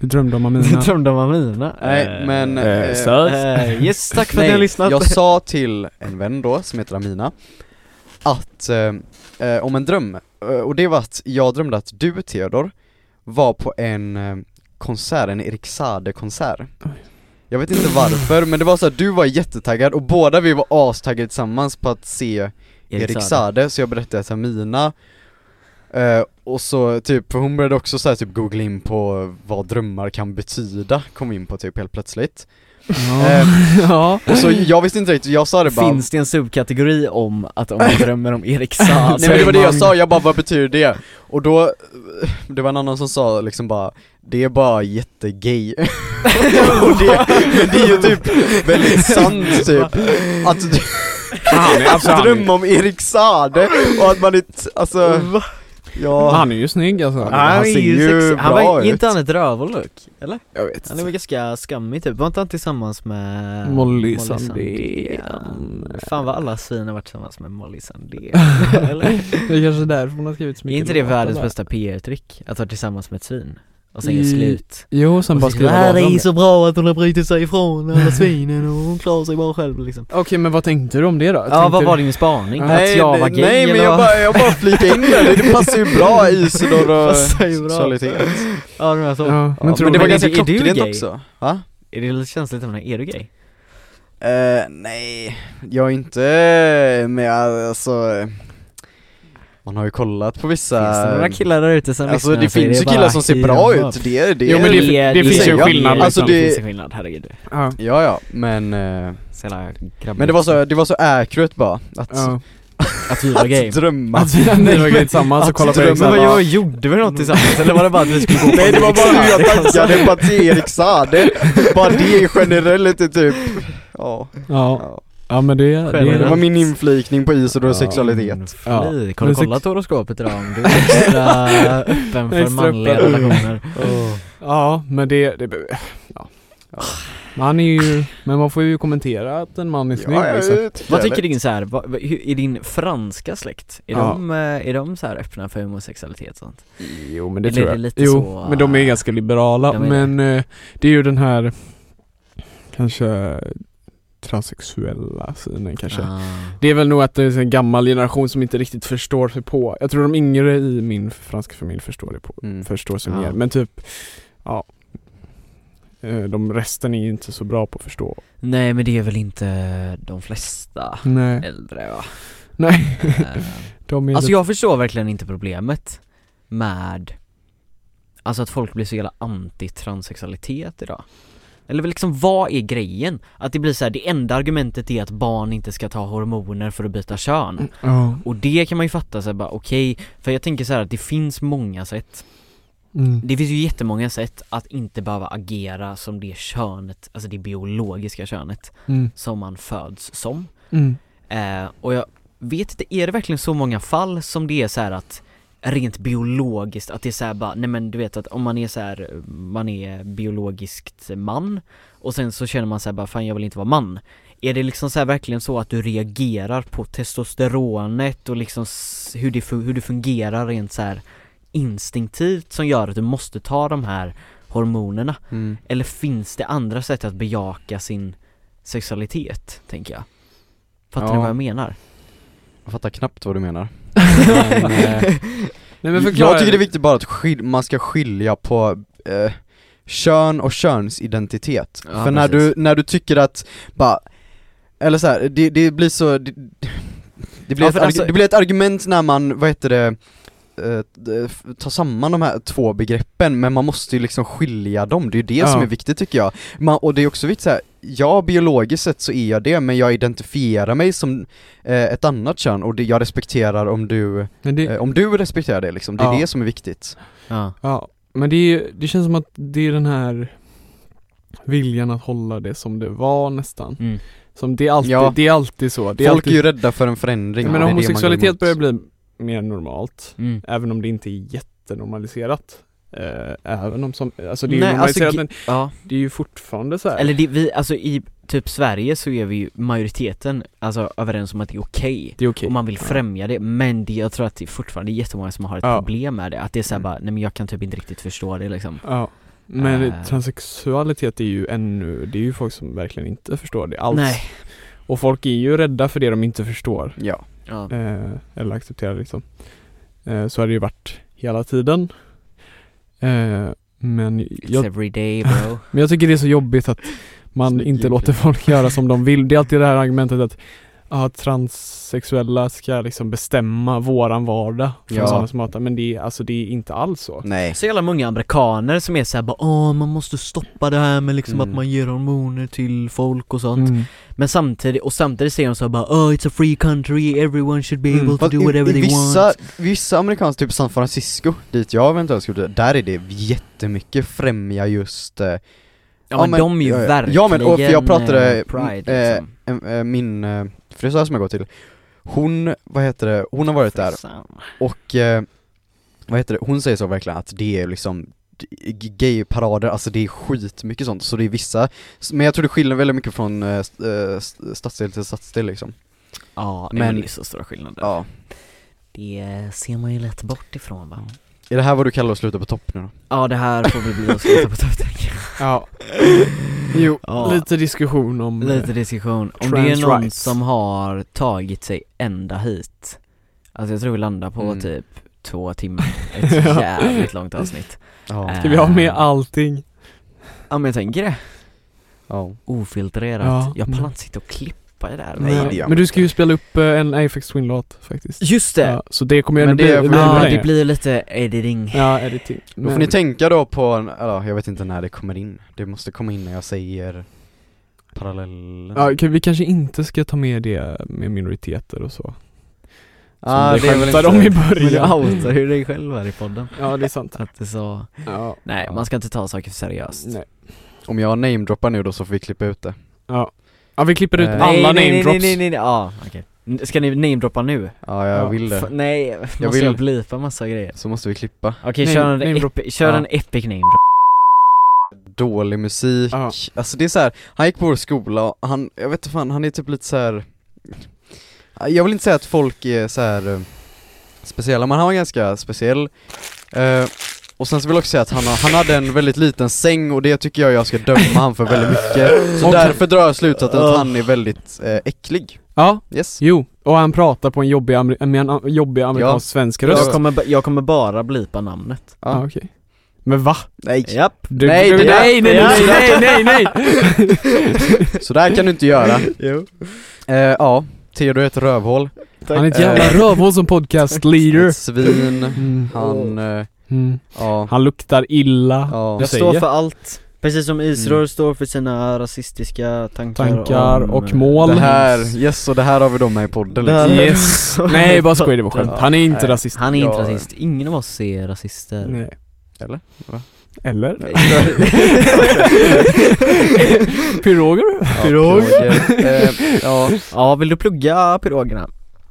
Speaker 1: Du drömde om
Speaker 4: Det
Speaker 1: Amina.
Speaker 4: drömde om Amina.
Speaker 2: Nej, men, eh,
Speaker 4: Eh,
Speaker 1: söt.
Speaker 4: eh, yes, tack för att ni har
Speaker 2: Nej,
Speaker 4: lyssnat.
Speaker 2: jag sa till en vän då, som heter Amina, att, eh, eh, om en dröm, eh, och det var att jag drömde att du Theodor var på en eh, konsert, en Erik Saade-konsert Jag vet inte varför, men det var så att du var jättetaggad och båda vi var astaggade tillsammans på att se Erik Saade, så jag berättade till Amina eh, och så typ, för hon började också så här, typ googla in på vad drömmar kan betyda, kom in på typ helt plötsligt Eh,
Speaker 4: ja.
Speaker 2: och så jag visste inte riktigt, jag sa det bara
Speaker 4: Finns det en subkategori om att om man drömmer om Erik Saade
Speaker 2: "Ah, Nej men det var det jag sa, jag bara vad betyder det? Och då, eh, det var en annan som sa liksom bara Det är bara jättegay Och det, men det är ju typ väldigt sant typ Att,
Speaker 1: Han, är, alltså,
Speaker 2: att
Speaker 1: han,
Speaker 2: drömma
Speaker 1: är,
Speaker 2: om Erik Saade och att man inte, alltså Ja,
Speaker 1: han är ju snygg alltså.
Speaker 2: Ja. han ser ju
Speaker 4: sexig. Han
Speaker 2: bra
Speaker 4: var,
Speaker 2: ut.
Speaker 4: inte han ett rövhålluck? Eller?
Speaker 2: jag vet
Speaker 4: Han är väl ganska skammig typ, var inte han tillsammans med
Speaker 1: Molly Sandén.
Speaker 4: Fan vad alla svin har varit tillsammans med Molly Sandén Eller?
Speaker 1: Det är kanske därför hon har skrivit så
Speaker 4: Är
Speaker 1: mycket.
Speaker 4: inte det
Speaker 1: låtar
Speaker 4: världens
Speaker 1: där.
Speaker 4: bästa PR-trick? Att vara tillsammans med ett svin? Och sen göra
Speaker 2: Mm.
Speaker 1: I-
Speaker 4: slut?
Speaker 1: Jo, sen bara
Speaker 4: Och sen, det
Speaker 1: skriva
Speaker 4: här
Speaker 1: låtar
Speaker 4: är
Speaker 1: om
Speaker 4: ju
Speaker 1: det.
Speaker 4: så bra att hon har brutit sig ifrån alla svinen och hon klarar sig bara själv liksom
Speaker 1: Okej men vad tänkte du om det då?
Speaker 4: Ja vad var din spaning?
Speaker 2: Nej,
Speaker 4: att jag var
Speaker 2: nej,
Speaker 4: gay
Speaker 2: nej men
Speaker 4: eller
Speaker 2: jag
Speaker 4: vad?
Speaker 2: bara, jag bara flikade in det, det passar ju bra i Isidor och eh,
Speaker 4: Passar ju bra.
Speaker 2: sexualitet
Speaker 4: Ja det var så
Speaker 1: Ja,
Speaker 2: Men,
Speaker 1: men tror
Speaker 2: det
Speaker 1: du
Speaker 2: var
Speaker 4: men
Speaker 2: ganska
Speaker 4: är du- är du
Speaker 2: klockrent
Speaker 4: gay?
Speaker 2: också Va?
Speaker 4: Är det känsligt om det? Är du gay?
Speaker 2: Äh, Eh, nej, jag är inte, men jag, alltså eh, Man har ju kollat på vissa
Speaker 4: Finns det några killar där ute som
Speaker 2: Alltså
Speaker 4: lyssnar
Speaker 2: det
Speaker 4: så är
Speaker 2: finns ju
Speaker 4: bara
Speaker 2: killar som ser
Speaker 4: att
Speaker 2: bra
Speaker 4: ge upp.
Speaker 2: ut, det är det,
Speaker 1: Jo, men det- det finns ju en
Speaker 4: ja,
Speaker 1: skillnad,
Speaker 4: det-
Speaker 2: alltså,
Speaker 4: liksom. det
Speaker 2: det-
Speaker 4: finns en skillnad, herregud
Speaker 1: ja.
Speaker 2: Ja ja, men eh,
Speaker 4: Så jävla grabbigt.
Speaker 2: Men det var så, det var så accurate bara, att,
Speaker 1: ja.
Speaker 4: Att vi var gay
Speaker 2: att drömma
Speaker 4: Alltså,
Speaker 1: Att vi ni var grejer tillsammans och kollade på
Speaker 2: drömma
Speaker 1: Eriksson.
Speaker 2: var
Speaker 1: Ja.
Speaker 2: jag-
Speaker 4: gjorde vi något tillsammans eller var det bara att vi skulle gå
Speaker 2: Nej det var bara hur jag taggade på att se Erik Saade, bara det generellt är typ, ja,
Speaker 1: Ja.
Speaker 2: ja.
Speaker 1: ja men det, det
Speaker 4: Generellt.
Speaker 2: Det var
Speaker 1: är
Speaker 2: min inflikning på Isidor och sexualitet
Speaker 1: Ja.
Speaker 4: Har du
Speaker 1: Men sex-
Speaker 4: kollat horoskopet idag om du är extra öppen för
Speaker 1: Extra
Speaker 4: manliga
Speaker 1: öppen.
Speaker 4: relationer?
Speaker 1: Oh. Ja men det, det be- ja. ja. Man är ju, men man får ju kommentera att en man är snygg
Speaker 2: Ja,
Speaker 1: liksom.
Speaker 2: jag tycker
Speaker 4: Vad tycker
Speaker 2: det.
Speaker 4: din så här, vad, vad- hur- är din franska släkt, är,
Speaker 1: Ja.
Speaker 4: de, eh, är de så här öppna för homosexualitet och sånt?
Speaker 1: Jo men det
Speaker 4: Eller
Speaker 1: tror
Speaker 4: är det
Speaker 1: jag.
Speaker 4: lite
Speaker 1: jo,
Speaker 4: så,
Speaker 1: men de är
Speaker 4: äh,
Speaker 1: ganska liberala.
Speaker 4: de är det.
Speaker 1: men eh, det är ju den här kanske transsexuella synen kanske.
Speaker 4: Ah.
Speaker 1: Det är väl nog att det är en gammal generation som inte riktigt förstår sig på. Jag tror de yngre i min franska familj förstår, det på,
Speaker 2: Mm.
Speaker 1: förstår sig
Speaker 4: Ja.
Speaker 1: mer. Men typ, ja. Eh, De resten är ju inte så bra på att förstå.
Speaker 4: Nej men det är väl inte de flesta
Speaker 1: Nej.
Speaker 4: äldre va?
Speaker 1: Nej.
Speaker 4: Eh,
Speaker 1: De är
Speaker 4: Alltså
Speaker 1: lite-
Speaker 4: jag förstår verkligen inte problemet med Alltså att folk blir så jävla anti-transsexualitet idag Eller väl liksom vad är grejen? Att det blir så här, det enda argumentet är att barn inte ska ta hormoner för att byta kön
Speaker 1: Ja.
Speaker 4: Och det kan man ju fatta sig bara okej, för jag tänker så här att det finns många sätt
Speaker 1: Mm.
Speaker 4: Det finns ju jättemånga sätt att inte behöva agera som det könet, alltså det biologiska könet
Speaker 1: Mm.
Speaker 4: som man föds som
Speaker 1: Mm.
Speaker 4: Eh, och jag vet inte, är det verkligen så många fall som det är så här att rent biologiskt, att det är så här bara, nej men du vet att om man är så här, man är biologiskt man och sen så känner man så här bara, fan jag vill inte vara man. Är det liksom så här verkligen så att du reagerar på testosteronet och liksom s- hur det, fu- hur det fungerar rent så här instinktivt som gör att du måste ta de här hormonerna?
Speaker 2: Mm.
Speaker 4: Eller finns det andra sätt att bejaka sin sexualitet, tänker jag? Fattar
Speaker 2: Ja.
Speaker 4: ni vad jag menar?
Speaker 2: Jag fattar knappt vad du menar
Speaker 1: Men, eh, Nej, men förklara.
Speaker 2: Jag tycker det är viktigt bara att skil- man ska skilja på eh, kön och könsidentitet.
Speaker 4: Ja,
Speaker 2: För när
Speaker 4: precis.
Speaker 2: du, när du tycker att, bara, eller så här, det, det blir så, det, det, blir
Speaker 4: Ja,
Speaker 2: ett,
Speaker 4: för
Speaker 2: arg-
Speaker 4: alltså-
Speaker 2: det blir ett argument när man, vad heter det, eh, d- f- ta samman de här två begreppen men man måste ju liksom skilja dem, det är ju det
Speaker 1: Ja.
Speaker 2: som är viktigt tycker jag. Man, och det är också viktigt så här, ja biologiskt sett så är jag det men jag identifierar mig som eh, ett annat kön och det, jag respekterar om du
Speaker 1: Men det,
Speaker 2: Eh, om du respekterar det liksom, det är
Speaker 1: Ja.
Speaker 2: det som är viktigt.
Speaker 4: Ja.
Speaker 1: Ja, men det, är, ju- det känns som att det är den här viljan att hålla det som det var nästan.
Speaker 4: Mm.
Speaker 1: Som det, är alltid,
Speaker 2: Ja.
Speaker 1: det är alltid så. Det är
Speaker 2: Folk
Speaker 1: alltid,
Speaker 2: är ju rädda för en förändring.
Speaker 1: jag menar,
Speaker 2: och det är det man går
Speaker 1: homosexualitet
Speaker 2: emot.
Speaker 1: börjar bli mer normalt,
Speaker 4: Mm.
Speaker 1: även om det inte är jättenormaliserat. Eh, även om som, alltså det är
Speaker 4: Nej,
Speaker 1: ju normaliserat
Speaker 4: alltså,
Speaker 1: men
Speaker 4: ja.
Speaker 1: det är ju fortfarande så här.
Speaker 4: Eller det, vi, alltså i typ Sverige så är vi ju majoriteten, alltså överens om att det är okej
Speaker 1: det är okej.
Speaker 4: och man vill
Speaker 1: Ja.
Speaker 4: främja det, men det, jag tror att det fortfarande är jättemånga som har ett
Speaker 1: Ja.
Speaker 4: problem med det, att det är såhär
Speaker 1: Mm.
Speaker 4: bara, nej men jag kan typ inte riktigt förstå det liksom
Speaker 1: Ja. Men
Speaker 4: Eh.
Speaker 1: transsexualitet är ju ännu, det är ju folk som verkligen inte förstår det alls.
Speaker 4: Nej.
Speaker 1: Och folk är ju rädda för det de inte förstår.
Speaker 2: Ja.
Speaker 4: Ja.
Speaker 1: eh, eller acceptera liksom. Eh, så har det ju varit hela tiden. Eh, men,
Speaker 4: It's
Speaker 1: jag,
Speaker 4: every day bro.
Speaker 1: men jag tycker det är så jobbigt att man
Speaker 2: Snygg
Speaker 1: inte
Speaker 2: ljud.
Speaker 1: låter folk göra som de vill. Det är alltid det här argumentet att ah, transsexuella ska liksom bestämma våran vardag. För
Speaker 2: Ja.
Speaker 1: sådana som hatar. Men det är, alltså, det är inte alls så.
Speaker 2: Nej.
Speaker 4: Så jävla många amerikaner som är såhär bara Åh man måste stoppa det här med liksom
Speaker 2: Mm.
Speaker 4: att man ger hormoner till folk och sånt
Speaker 1: Mm.
Speaker 4: Men samtidigt, och samtidigt säger de såhär bara Oh it's a free country, everyone should be
Speaker 1: Mm.
Speaker 4: able to
Speaker 2: Fast
Speaker 4: do whatever they
Speaker 2: vissa,
Speaker 4: want
Speaker 2: vissa amerikanska, typ San Francisco, dit jag eventuellt skulle flytta, där är det jättemycket främja just eh,
Speaker 4: Ja men, de är ju
Speaker 2: ja, ja.
Speaker 4: verkligen
Speaker 2: Ja men och för jag pratade,
Speaker 4: eh, Pride
Speaker 2: eh,
Speaker 4: liksom
Speaker 2: en- eh, min eh, frisör som jag går till, hon, vad heter det, hon har varit där och eh, vad heter det, hon säger så verkligen att det är liksom g- gayparader, alltså det är skitmycket sånt, så det är vissa, men jag tror det skiljer väldigt mycket från eh, st- eh, st- stadsdel till stadsdel liksom
Speaker 4: Ja,
Speaker 2: men-
Speaker 4: men det är så stora skillnader
Speaker 2: Ja
Speaker 9: Det eh, ser man ju lätt bort ifrån va?
Speaker 2: Är det här vad du kallar att sluta på topp nu då?
Speaker 4: Ja det här får väl bli att sluta på topptänk
Speaker 1: Ja. Jo,
Speaker 4: Ja.
Speaker 1: lite diskussion om eh,
Speaker 4: Lite diskussion, om det är
Speaker 1: Trans
Speaker 4: någon
Speaker 1: rights.
Speaker 4: som har tagit sig ända hit Alltså jag tror vi landar på
Speaker 2: Mm.
Speaker 4: typ två timmar, ett jävligt långt avsnitt
Speaker 2: Ja,
Speaker 1: Ska vi ha med allting?
Speaker 4: Ja men jag tänker det,
Speaker 2: ja.
Speaker 4: ofiltrerat,
Speaker 1: Ja.
Speaker 4: jag pallar inte sitta och klippa i det här
Speaker 2: Nej, det gör man
Speaker 1: men du ska ju spela upp eh, en Afex Twin-låt faktiskt.
Speaker 4: Just det!
Speaker 1: Ja, så det kommer ju
Speaker 2: Men
Speaker 1: ändå
Speaker 2: det
Speaker 1: bli,
Speaker 2: får
Speaker 1: blir
Speaker 2: vi-
Speaker 1: bra
Speaker 4: Ja, det
Speaker 1: grejer.
Speaker 4: blir lite editing
Speaker 1: Ja, typ. editing.
Speaker 2: Då får ni tänka då på, en- eller jag vet inte när det kommer in, det måste komma in när jag säger parallellen
Speaker 1: Ja, okej, vi kanske inte ska ta med det med minoriteter och så.
Speaker 2: Ah,
Speaker 1: som vi
Speaker 2: det är väl
Speaker 1: skämtade
Speaker 2: inte-
Speaker 1: om i
Speaker 4: Men du
Speaker 1: början.
Speaker 4: outar ju dig själv här i podden
Speaker 1: Ja, det är sant.
Speaker 4: Att det så,
Speaker 1: Ja.
Speaker 4: nej
Speaker 2: Ja.
Speaker 4: man ska inte ta saker för seriöst
Speaker 1: Nej.
Speaker 2: Om jag namedroppar nu då så får vi klippa ut det
Speaker 1: Ja. ja, vi klipper ut
Speaker 2: Eh.
Speaker 4: Nej,
Speaker 1: alla
Speaker 4: nej, nej,
Speaker 1: namedrops.
Speaker 4: Nej nej nej, ja okej N- Ska ni namedroppa nu?
Speaker 2: Ja jag
Speaker 1: Ja,
Speaker 2: vill
Speaker 4: F-
Speaker 2: det,
Speaker 4: nej, jag måste
Speaker 2: vill-
Speaker 4: jag blipa massa grejer?
Speaker 2: så måste vi klippa
Speaker 4: Okej,
Speaker 1: Name-
Speaker 4: kör, en,
Speaker 1: namedrop.
Speaker 4: epi, kör
Speaker 2: Ja.
Speaker 4: en epic namedrop
Speaker 2: Dålig musik,
Speaker 1: Ja.
Speaker 2: alltså det är så här. han gick på vår skola och han, jag vet inte fan, han är typ lite så här. Jag vill inte säga att folk är så här eh, speciella, men han var ganska speciell Eh, Och sen så vill jag också säga att han, har- han hade en väldigt liten säng och det tycker jag jag ska döma han för väldigt mycket Så därför drar jag slutsatsen att han är väldigt eh, äcklig,
Speaker 1: Ja,
Speaker 2: yes
Speaker 1: jo. Och han pratar på en jobbig, amer- med en a- jobbig amerikansk-svensk röst.
Speaker 4: jag kommer, ba- jag kommer bara blipa namnet
Speaker 1: Ja, okej. Men va?
Speaker 2: Nej!
Speaker 4: Japp!
Speaker 1: Du,
Speaker 2: Nej,
Speaker 1: du,
Speaker 2: det-
Speaker 1: nej, nej, nej, nej, nej, nej,
Speaker 2: Så där kan du inte göra Eh, Ja, Theodor är ett rövhål,
Speaker 1: Han är ett
Speaker 4: Eh.
Speaker 1: jävla rövhål som podcast-leader.
Speaker 2: ett svin,
Speaker 1: Mm.
Speaker 2: han, eh,
Speaker 1: Mm.
Speaker 2: ja,
Speaker 1: Han luktar illa.
Speaker 2: ja
Speaker 1: Jag
Speaker 4: Jag
Speaker 1: säger.
Speaker 4: står för allt Precis som Israel
Speaker 2: Mm.
Speaker 4: står för sina rasistiska tankar
Speaker 1: Tankar
Speaker 4: om,
Speaker 1: och
Speaker 4: eh,
Speaker 1: mål.
Speaker 2: Det här, yes och det här har vi då med i podden
Speaker 4: Det här-
Speaker 2: liksom.
Speaker 1: Yes. Nej, bara skoj, det var skönt. Han är inte
Speaker 2: Nej.
Speaker 1: rasist.
Speaker 4: Han är inte
Speaker 2: Ja.
Speaker 4: rasist, ingen av oss är rasister
Speaker 1: Nej.
Speaker 2: Eller? Va?
Speaker 1: Eller? Piroger?
Speaker 2: Ja, piroger. Eh, ja,
Speaker 4: Ja, vill du plugga pirogerna?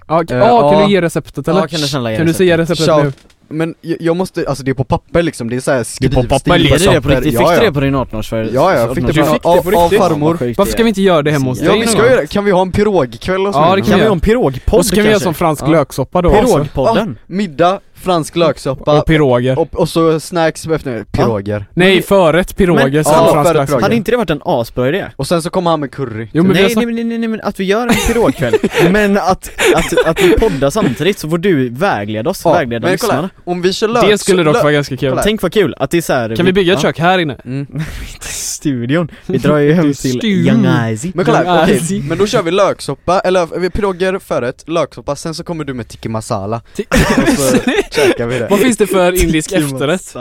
Speaker 1: Ja, k-
Speaker 2: Eh,
Speaker 1: ja, kan
Speaker 2: ja.
Speaker 1: du ge receptet eller?
Speaker 4: Ja, kan du snälla ge
Speaker 1: Kan du säga receptet
Speaker 2: Shout.
Speaker 1: nu?
Speaker 2: men jag jag måste, alltså det är på papper liksom, det är såhär
Speaker 1: är på
Speaker 2: skrivstil
Speaker 1: papper,
Speaker 4: Är det det på
Speaker 2: papper.
Speaker 4: riktigt? Fick
Speaker 2: Ja,
Speaker 4: du det
Speaker 2: ja.
Speaker 4: på din 18-årsfest?
Speaker 2: Ja, jag fick det
Speaker 1: Du
Speaker 2: på,
Speaker 1: fick det på
Speaker 2: av, av
Speaker 1: riktigt?
Speaker 2: farmor
Speaker 1: Varför ska vi inte göra det hemma hos dig?
Speaker 2: Ja vi ska
Speaker 1: någon
Speaker 2: ju
Speaker 1: gång?
Speaker 2: det, kan vi ha en pirogkväll och så?
Speaker 1: Ja, det kan vi göra.
Speaker 4: en pirogpodd
Speaker 1: Och så kan vi göra som fransk
Speaker 2: Ja.
Speaker 1: löksoppa då också.
Speaker 4: Pirogpodden?
Speaker 2: Middag, fransk löksoppa
Speaker 1: Mm. Och piroger.
Speaker 2: och, och så snacks på eftermiddagen, piroger
Speaker 1: Nej, förrätt, piroger,
Speaker 4: Men-
Speaker 1: sen
Speaker 2: Ja,
Speaker 1: fransk
Speaker 2: förrätt,
Speaker 1: löksoppa.
Speaker 2: piroger.
Speaker 4: Hade inte det varit en asbra idé?
Speaker 2: Och sen så kommer han med curry
Speaker 1: Jo men vi har
Speaker 4: nej, nej,
Speaker 1: sagt...
Speaker 4: nej, nej, nej, men att vi gör en pirogkväll, men att, att, att vi poddar samtidigt så får du vägleda oss,
Speaker 2: Ja,
Speaker 4: vägleda
Speaker 2: men kolla,
Speaker 4: lyssnarna
Speaker 2: Om vi kör lök
Speaker 1: Det skulle dock vara ganska kul.
Speaker 2: kolla här.
Speaker 4: Tänk vad kul, att det är så här,
Speaker 1: Kan vi bygga ett kök här inne?
Speaker 2: mm.
Speaker 4: Studion, vi drar ju hem till
Speaker 1: Studion.
Speaker 4: Young Easy
Speaker 2: Men kolla här,
Speaker 1: Ja,
Speaker 2: okej,
Speaker 1: si.
Speaker 2: men då kör vi löksoppa, eller vi- piroger, förrätt, löksoppa, sen så kommer du med tiki masala Och så käkar vi det
Speaker 1: Vad finns det för indisk efterrätt?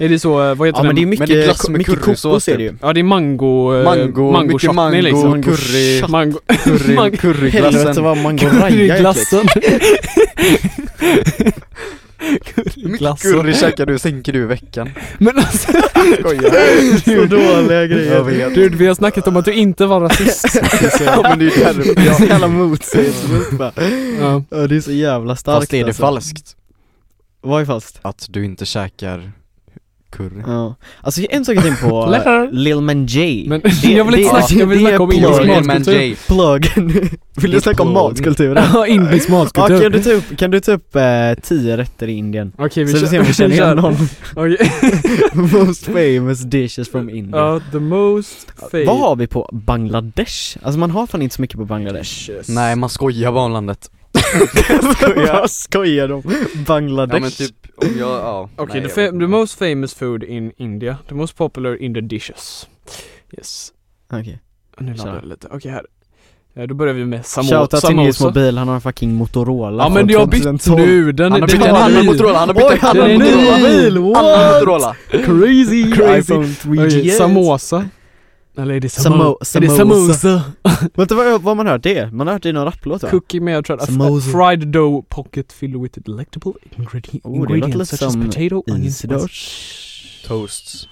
Speaker 1: Är det så, eh, vad heter
Speaker 4: Ja men det är
Speaker 1: den?
Speaker 4: mycket,
Speaker 2: Men det är glass med
Speaker 4: mycket
Speaker 2: currysås
Speaker 4: kokos är
Speaker 2: typ.
Speaker 4: det ju
Speaker 1: Ja det är mango... eh,
Speaker 2: Mango, mycket
Speaker 1: chutney
Speaker 2: mango,
Speaker 1: liksom.
Speaker 2: curry.
Speaker 1: Mango...
Speaker 2: Curry,
Speaker 1: Mango-
Speaker 4: Helvete
Speaker 2: curryglassen
Speaker 4: vad mangoraja är äckligt.
Speaker 2: Hur mycket
Speaker 1: Glassen.
Speaker 2: curry käkar du, sänker du i veckan?
Speaker 1: Men alltså,
Speaker 2: Skojar
Speaker 4: Så dåliga
Speaker 2: Jag
Speaker 4: grejer
Speaker 2: vet
Speaker 1: dude vi har snackat om att du inte var rasist.
Speaker 2: Ja men det är ju därför
Speaker 4: Det är så
Speaker 2: jag...
Speaker 4: jävla motsägelsefullt bara.
Speaker 1: Ja.
Speaker 4: Ja, Det är så jävla starkt
Speaker 2: Fast är det
Speaker 4: alltså.
Speaker 2: falskt?
Speaker 4: Vad är fast?
Speaker 2: Att du inte käkar curry
Speaker 4: Ja. Alltså en sak jag tänkte på, Lil Man J
Speaker 1: Men jag vill inte snacka, jag vill snacka om
Speaker 4: det är
Speaker 1: indisk
Speaker 4: plurgen,
Speaker 1: matkultur.
Speaker 4: Pluggen, vill du snacka om
Speaker 2: Plug.
Speaker 4: matkulturen?
Speaker 1: Ja, indisk
Speaker 4: Ja, kan
Speaker 1: matkultur.
Speaker 4: du ta upp, kan du ta upp eh, tio rätter i Indien?
Speaker 1: Okej
Speaker 4: Så vi
Speaker 1: kör-
Speaker 4: ser om vi känner
Speaker 1: kör.
Speaker 4: igen någon
Speaker 1: Okej.
Speaker 4: Most famous dishes from India
Speaker 1: Ja, the most favorite.
Speaker 4: Mm. Vad har vi på Bangladesh? Alltså man har fan inte så mycket på Bangladesh
Speaker 2: Nej man skojar bara om landet
Speaker 4: Vad skojar de? Bangladesh?
Speaker 2: Ja men typ, om jag, ja
Speaker 1: Okej,
Speaker 2: Nej,
Speaker 1: the,
Speaker 2: jag
Speaker 1: fa-
Speaker 2: vet
Speaker 1: the
Speaker 2: inte.
Speaker 1: most famous food in India, the most popular in the dishes. Yes.
Speaker 4: Okej.
Speaker 1: Nu laddar
Speaker 4: Kör.
Speaker 1: jag lite, okej här. Ja, då börjar vi med samo-
Speaker 4: Shoutout till Nils
Speaker 1: samosa.
Speaker 4: mobil, han har en fucking Motorola
Speaker 1: Ja men
Speaker 4: från
Speaker 1: jag har bytt
Speaker 4: 2012.
Speaker 1: nu, den
Speaker 2: Han har bytt
Speaker 1: den
Speaker 2: en
Speaker 1: är
Speaker 2: annan
Speaker 1: ny.
Speaker 2: Motorola, han har bytt
Speaker 4: Oj,
Speaker 2: en
Speaker 4: han har
Speaker 2: annan
Speaker 4: ny mobil!
Speaker 2: Annan
Speaker 4: What?
Speaker 2: Motorola!
Speaker 4: Crazy!
Speaker 1: Crazy.
Speaker 4: iPhone
Speaker 1: Okej,
Speaker 4: 3G
Speaker 1: Samosa. Eller är det samo-
Speaker 4: Samo-
Speaker 1: är det
Speaker 4: samosa.
Speaker 1: samosa?
Speaker 4: Vänta vad, vad man hört det? Man har hört det i någon rapplåt va?
Speaker 1: Cookie med jag tror att a
Speaker 4: Samosa.
Speaker 1: fried dough pocket filled with delectable ingredi-
Speaker 4: Oh, det låter
Speaker 1: ingredients
Speaker 4: lite
Speaker 1: such as
Speaker 4: som
Speaker 1: potato, onions,
Speaker 4: Isidor.
Speaker 1: Okej,
Speaker 2: Toasts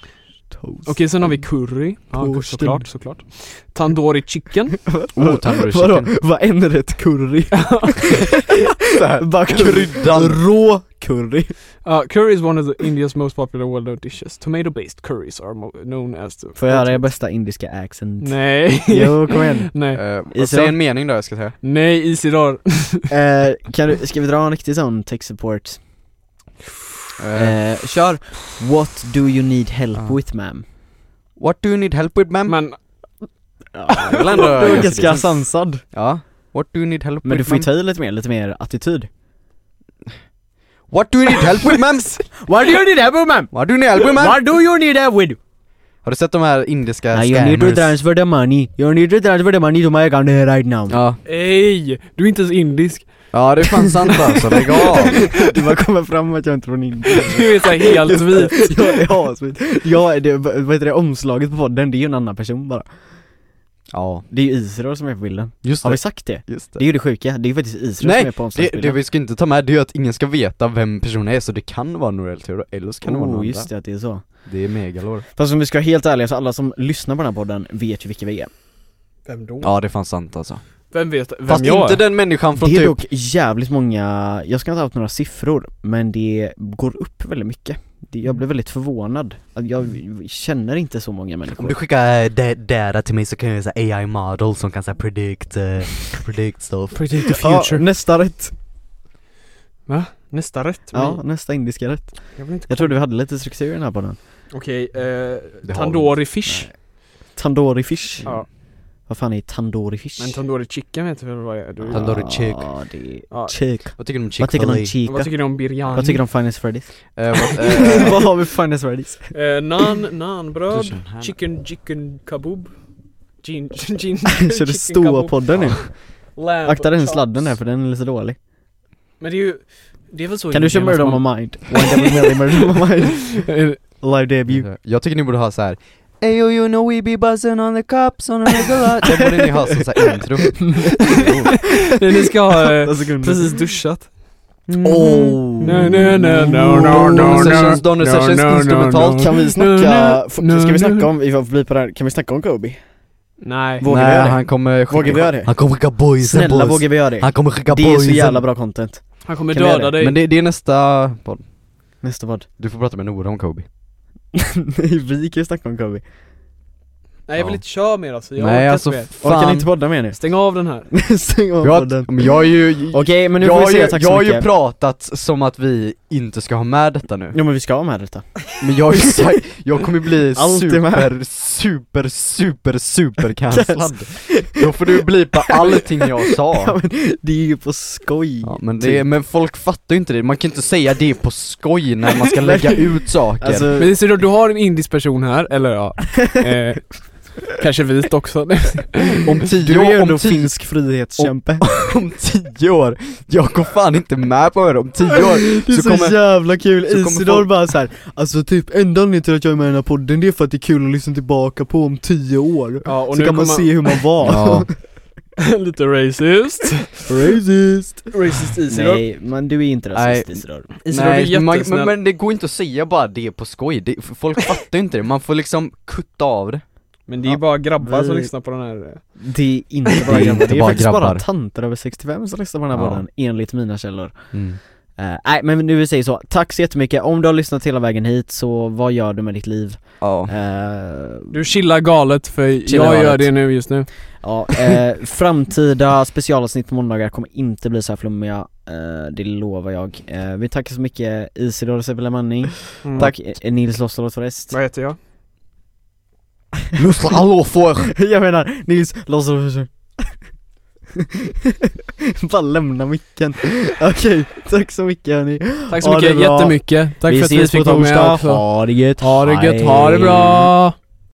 Speaker 4: Toast
Speaker 1: sen har vi
Speaker 4: Mm.
Speaker 1: curry. Ja,
Speaker 4: Toasted.
Speaker 1: såklart, såklart. Tandoori chicken.
Speaker 2: Oh, tandoori
Speaker 4: Vadå?
Speaker 2: chicken.
Speaker 4: Vad en rätt curry? Bara
Speaker 2: Kryddan!
Speaker 4: Rå curry
Speaker 1: Uh, curry is one of the India's most popular well-known dishes. Tomato-based curries are mo- known as the...
Speaker 4: Får jag höra er bästa indiska accent?
Speaker 1: Nej.
Speaker 4: Jo, kom igen
Speaker 1: Nej.
Speaker 2: Uh, säg en mening då jag ska säga
Speaker 1: Nej, Isidor.
Speaker 4: eh, kan du, Ska vi dra en riktig sån tech support?
Speaker 2: Eh,
Speaker 4: Eh, kör What do you need help
Speaker 2: Ja.
Speaker 4: with ma'am?
Speaker 2: What do you need help with
Speaker 4: Mm.
Speaker 2: ma'am?
Speaker 1: Men
Speaker 4: Ja,
Speaker 2: Jag liksom- vill ändå-
Speaker 4: du är ganska sansad
Speaker 2: Ja, what do you need help
Speaker 4: Men du
Speaker 2: with
Speaker 4: får ju
Speaker 2: ma'am?
Speaker 4: ta i lite mer, lite mer attityd
Speaker 2: What do you need help with ma'am?
Speaker 4: What do you need help with ma'am?
Speaker 2: What do you need help with ma'am?
Speaker 4: What do you need help with?
Speaker 2: Har du sett de här indiska
Speaker 4: Nej, you need to
Speaker 2: scammers?
Speaker 4: transfer the money You need to transfer the money to my account right now
Speaker 2: Ja,
Speaker 1: ej! Du är inte ens indisk.
Speaker 2: ja det är fan sant alltså, lägg av!
Speaker 4: Du bara kommer fram att jag inte är från Indien
Speaker 1: Du är såhär helt vit.
Speaker 4: Jag är asvit. Jag är, det, vad heter det, omslaget på podden, det är ju en annan person bara
Speaker 2: Ja,
Speaker 4: Det är ju Israel som är på bilden
Speaker 2: just
Speaker 4: Har vi
Speaker 2: det,
Speaker 4: sagt det?
Speaker 2: just
Speaker 4: Det är ju det sjuka, det är ju faktiskt Israel
Speaker 2: Nej,
Speaker 4: som är på
Speaker 2: Det, det
Speaker 4: omslagsbilden
Speaker 2: vi ska inte ta med det är ju att ingen ska veta vem personen är så det kan vara Norell Theodor eller så kan det vara någon
Speaker 4: oh,
Speaker 2: annan
Speaker 4: just det, att det är så
Speaker 2: Det är megalor
Speaker 4: Fast om vi ska vara helt ärliga så alla som lyssnar på den här podden vet ju vilka vi är
Speaker 1: Vem då?
Speaker 2: Ja det är fan sant alltså
Speaker 1: Vem vet vem
Speaker 2: Fast
Speaker 1: jag
Speaker 2: inte
Speaker 1: är?
Speaker 2: den människan från
Speaker 4: Det är
Speaker 2: typ
Speaker 4: dock jävligt många, jag ska inte ha haft några siffror, men det går upp väldigt mycket Det- jag blev väldigt förvånad, Att jag känner inte så många människor
Speaker 2: skickar data till mig så kan jag säga AI model som kan säga predict, eh, predict stuff
Speaker 1: Predict the
Speaker 4: Ja, nästa rätt!
Speaker 1: Nästa rätt.
Speaker 4: Ja, nästa indiska rätt
Speaker 1: Jag vill inte...
Speaker 4: Jag trodde vi hade lite struktur i den här podden
Speaker 1: Okej, eh,
Speaker 2: vi
Speaker 1: tandoori fish.
Speaker 4: Tandoori fish
Speaker 1: Ja,
Speaker 4: Vad fan är tandoori fish?
Speaker 1: men tandoori chicken vet du väl vad det är? Du-
Speaker 2: Tandoori- chick.
Speaker 4: Ja, det är
Speaker 1: Ja.
Speaker 4: chick
Speaker 2: Vad tycker du om
Speaker 4: Vad tycker du om
Speaker 2: Chick-fil-A?
Speaker 1: Vad
Speaker 4: chica?
Speaker 1: tycker du om biryani?
Speaker 4: Vad tycker du om Finest Freddy's?
Speaker 2: Eh, vad- eh,
Speaker 4: Vad har vi för Finest Freddy's?
Speaker 1: Eh, nan, nanbröd.
Speaker 2: tusen här.
Speaker 1: Chicken, chicken kaboob. Gin, gin,
Speaker 4: Kör du
Speaker 1: chicken kaboob.
Speaker 4: ståa-podden nu?
Speaker 1: Lamb
Speaker 4: Akta den
Speaker 1: chops.
Speaker 4: sladden här för den är lite dålig
Speaker 1: Men det är ju, det är väl så
Speaker 4: Kan du köra Murder on my mind? One Devil Mary Murder on my mind Live debut
Speaker 2: eh, Jag tycker ni borde ha så här. Ayo you know we be buzzing on the cops on a regular Det borde ni ha som såhär intro
Speaker 1: Nej, ni ska ha eh,
Speaker 4: Åtta sekunder
Speaker 1: precis duschat.
Speaker 4: Oh.
Speaker 1: Nej, nej, nej, no, no, no,
Speaker 2: Donor
Speaker 1: no.
Speaker 2: sessions, donor
Speaker 1: No,
Speaker 2: sessions,
Speaker 1: no, no,
Speaker 2: instrumentalt
Speaker 1: no.
Speaker 4: Kan vi snacka,
Speaker 1: Nu, nu,
Speaker 4: ska vi
Speaker 1: nu.
Speaker 4: snacka om, vi var förbi på det här, kan vi snacka om Kobe?
Speaker 1: Nej.
Speaker 4: Vågar vi
Speaker 2: Nej,
Speaker 4: göra det?
Speaker 2: han kommer skicka,
Speaker 4: Vågar vi göra det?
Speaker 2: Han kommer skicka boys
Speaker 4: Snälla
Speaker 2: boys.
Speaker 4: vågar vi göra det?
Speaker 2: Han kommer skicka
Speaker 4: Det
Speaker 2: boys
Speaker 4: är så jävla bra content
Speaker 1: Han kommer
Speaker 4: Kan vi göra
Speaker 1: döda
Speaker 4: det?
Speaker 1: dig.
Speaker 2: Men det, det är nästa podd.
Speaker 4: Nästa podd
Speaker 2: Du får prata med Nora om Kobe
Speaker 4: Nej vi kan ju snacka om Kobe
Speaker 1: Nej jag vill
Speaker 2: Ja.
Speaker 1: inte köra mer alltså, jag
Speaker 2: Nej
Speaker 1: orkar
Speaker 2: alltså
Speaker 1: inte mer.
Speaker 4: Orkar ni
Speaker 2: fan
Speaker 4: inte podda mer nu?
Speaker 1: Stäng av den här.
Speaker 4: Stäng av
Speaker 2: jag,
Speaker 4: podden
Speaker 2: men jag är ju
Speaker 4: Okej men nu
Speaker 2: jag,
Speaker 4: får vi
Speaker 2: har ju-
Speaker 4: säga tack
Speaker 2: jag
Speaker 4: så
Speaker 2: har ju
Speaker 4: mycket
Speaker 2: pratat som att vi inte ska ha med detta nu
Speaker 4: Jo men vi ska ha med detta
Speaker 2: Men jag har ju sagt, jag kommer bli
Speaker 4: Allt är med.
Speaker 2: super, super, super, super cancellad Då får du blipa allting jag sa
Speaker 4: Ja, men typ. det är ju på skoj
Speaker 2: ja, men, det, men folk fattar ju inte det, man kan ju inte säga det på skoj när man ska lägga ut saker
Speaker 4: Alltså,
Speaker 1: Men Isidor, du har en indisk person här, eller ja, eh, kanske vit också.
Speaker 2: Om tio,
Speaker 4: du är ju
Speaker 2: år-
Speaker 4: ändå
Speaker 2: om, tio,
Speaker 4: finsk frihetskämpe
Speaker 2: om tio år, jag går fan inte med på det om tio år
Speaker 4: Det är så,
Speaker 2: så kommer
Speaker 4: jävla kul,
Speaker 2: så kommer
Speaker 4: Isidor
Speaker 2: folk-
Speaker 4: bara såhär Alltså typ enda anledningen till att jag är med i den här podden det är för att det är kul att lyssna tillbaka på om tio år
Speaker 1: Ja, och
Speaker 4: Så
Speaker 1: nu
Speaker 4: kan man se
Speaker 1: kommer
Speaker 4: hur man var
Speaker 2: Ja,
Speaker 1: lite racist.
Speaker 4: Racist
Speaker 1: Racist Isidor.
Speaker 4: Nej men du är inte
Speaker 2: rasist,
Speaker 4: rasist
Speaker 2: Nej.
Speaker 4: Isidor
Speaker 1: Isidor du är
Speaker 2: Nej, man,
Speaker 1: jättesnäll.
Speaker 2: men, men det går inte att säga bara det på skoj, det, folk fattar ju inte det, man får liksom kutta av det
Speaker 1: Men det är ju bara grabbar som
Speaker 4: Vi-
Speaker 1: lyssnar på den här. eh.
Speaker 4: Det är inte
Speaker 2: Det
Speaker 4: bara
Speaker 2: är
Speaker 4: grabbar,
Speaker 2: inte
Speaker 4: det är
Speaker 2: bara
Speaker 4: faktiskt
Speaker 2: grabbar.
Speaker 4: bara tanter över 65 som lyssnar på den här
Speaker 2: Ja.
Speaker 4: podden enligt mina källor Eh, nej men nu vi säger så, tack så jättemycket. Om du har lyssnat hela vägen hit så vad gör du med ditt liv?
Speaker 2: Ja.
Speaker 4: Eh,
Speaker 1: Du chillar galet för
Speaker 4: Chillar
Speaker 1: jag gör
Speaker 4: galet.
Speaker 1: det nu just nu.
Speaker 4: Ja, eh, framtida specialavsnitt på måndagar kommer inte bli så här flummiga, eh, det lovar jag. Eh, vi tackar så mycket Isidor Sebelemani, tack eh, Nils Lossola Torrest.
Speaker 1: Mm. Vad heter jag?
Speaker 2: Lustra hallå för!
Speaker 4: jag menar Nils Lossola Bara lämna micken. Okej, tack så mycket hörni.
Speaker 1: Tack så
Speaker 4: Ha det
Speaker 1: mycket,
Speaker 4: bra.
Speaker 1: jättemycket. Tack
Speaker 4: vi
Speaker 1: för att vi
Speaker 4: ses på
Speaker 1: fick vara med
Speaker 4: torsdag,
Speaker 1: också.
Speaker 4: ha det gött.
Speaker 1: Ha det gött, ha det bra!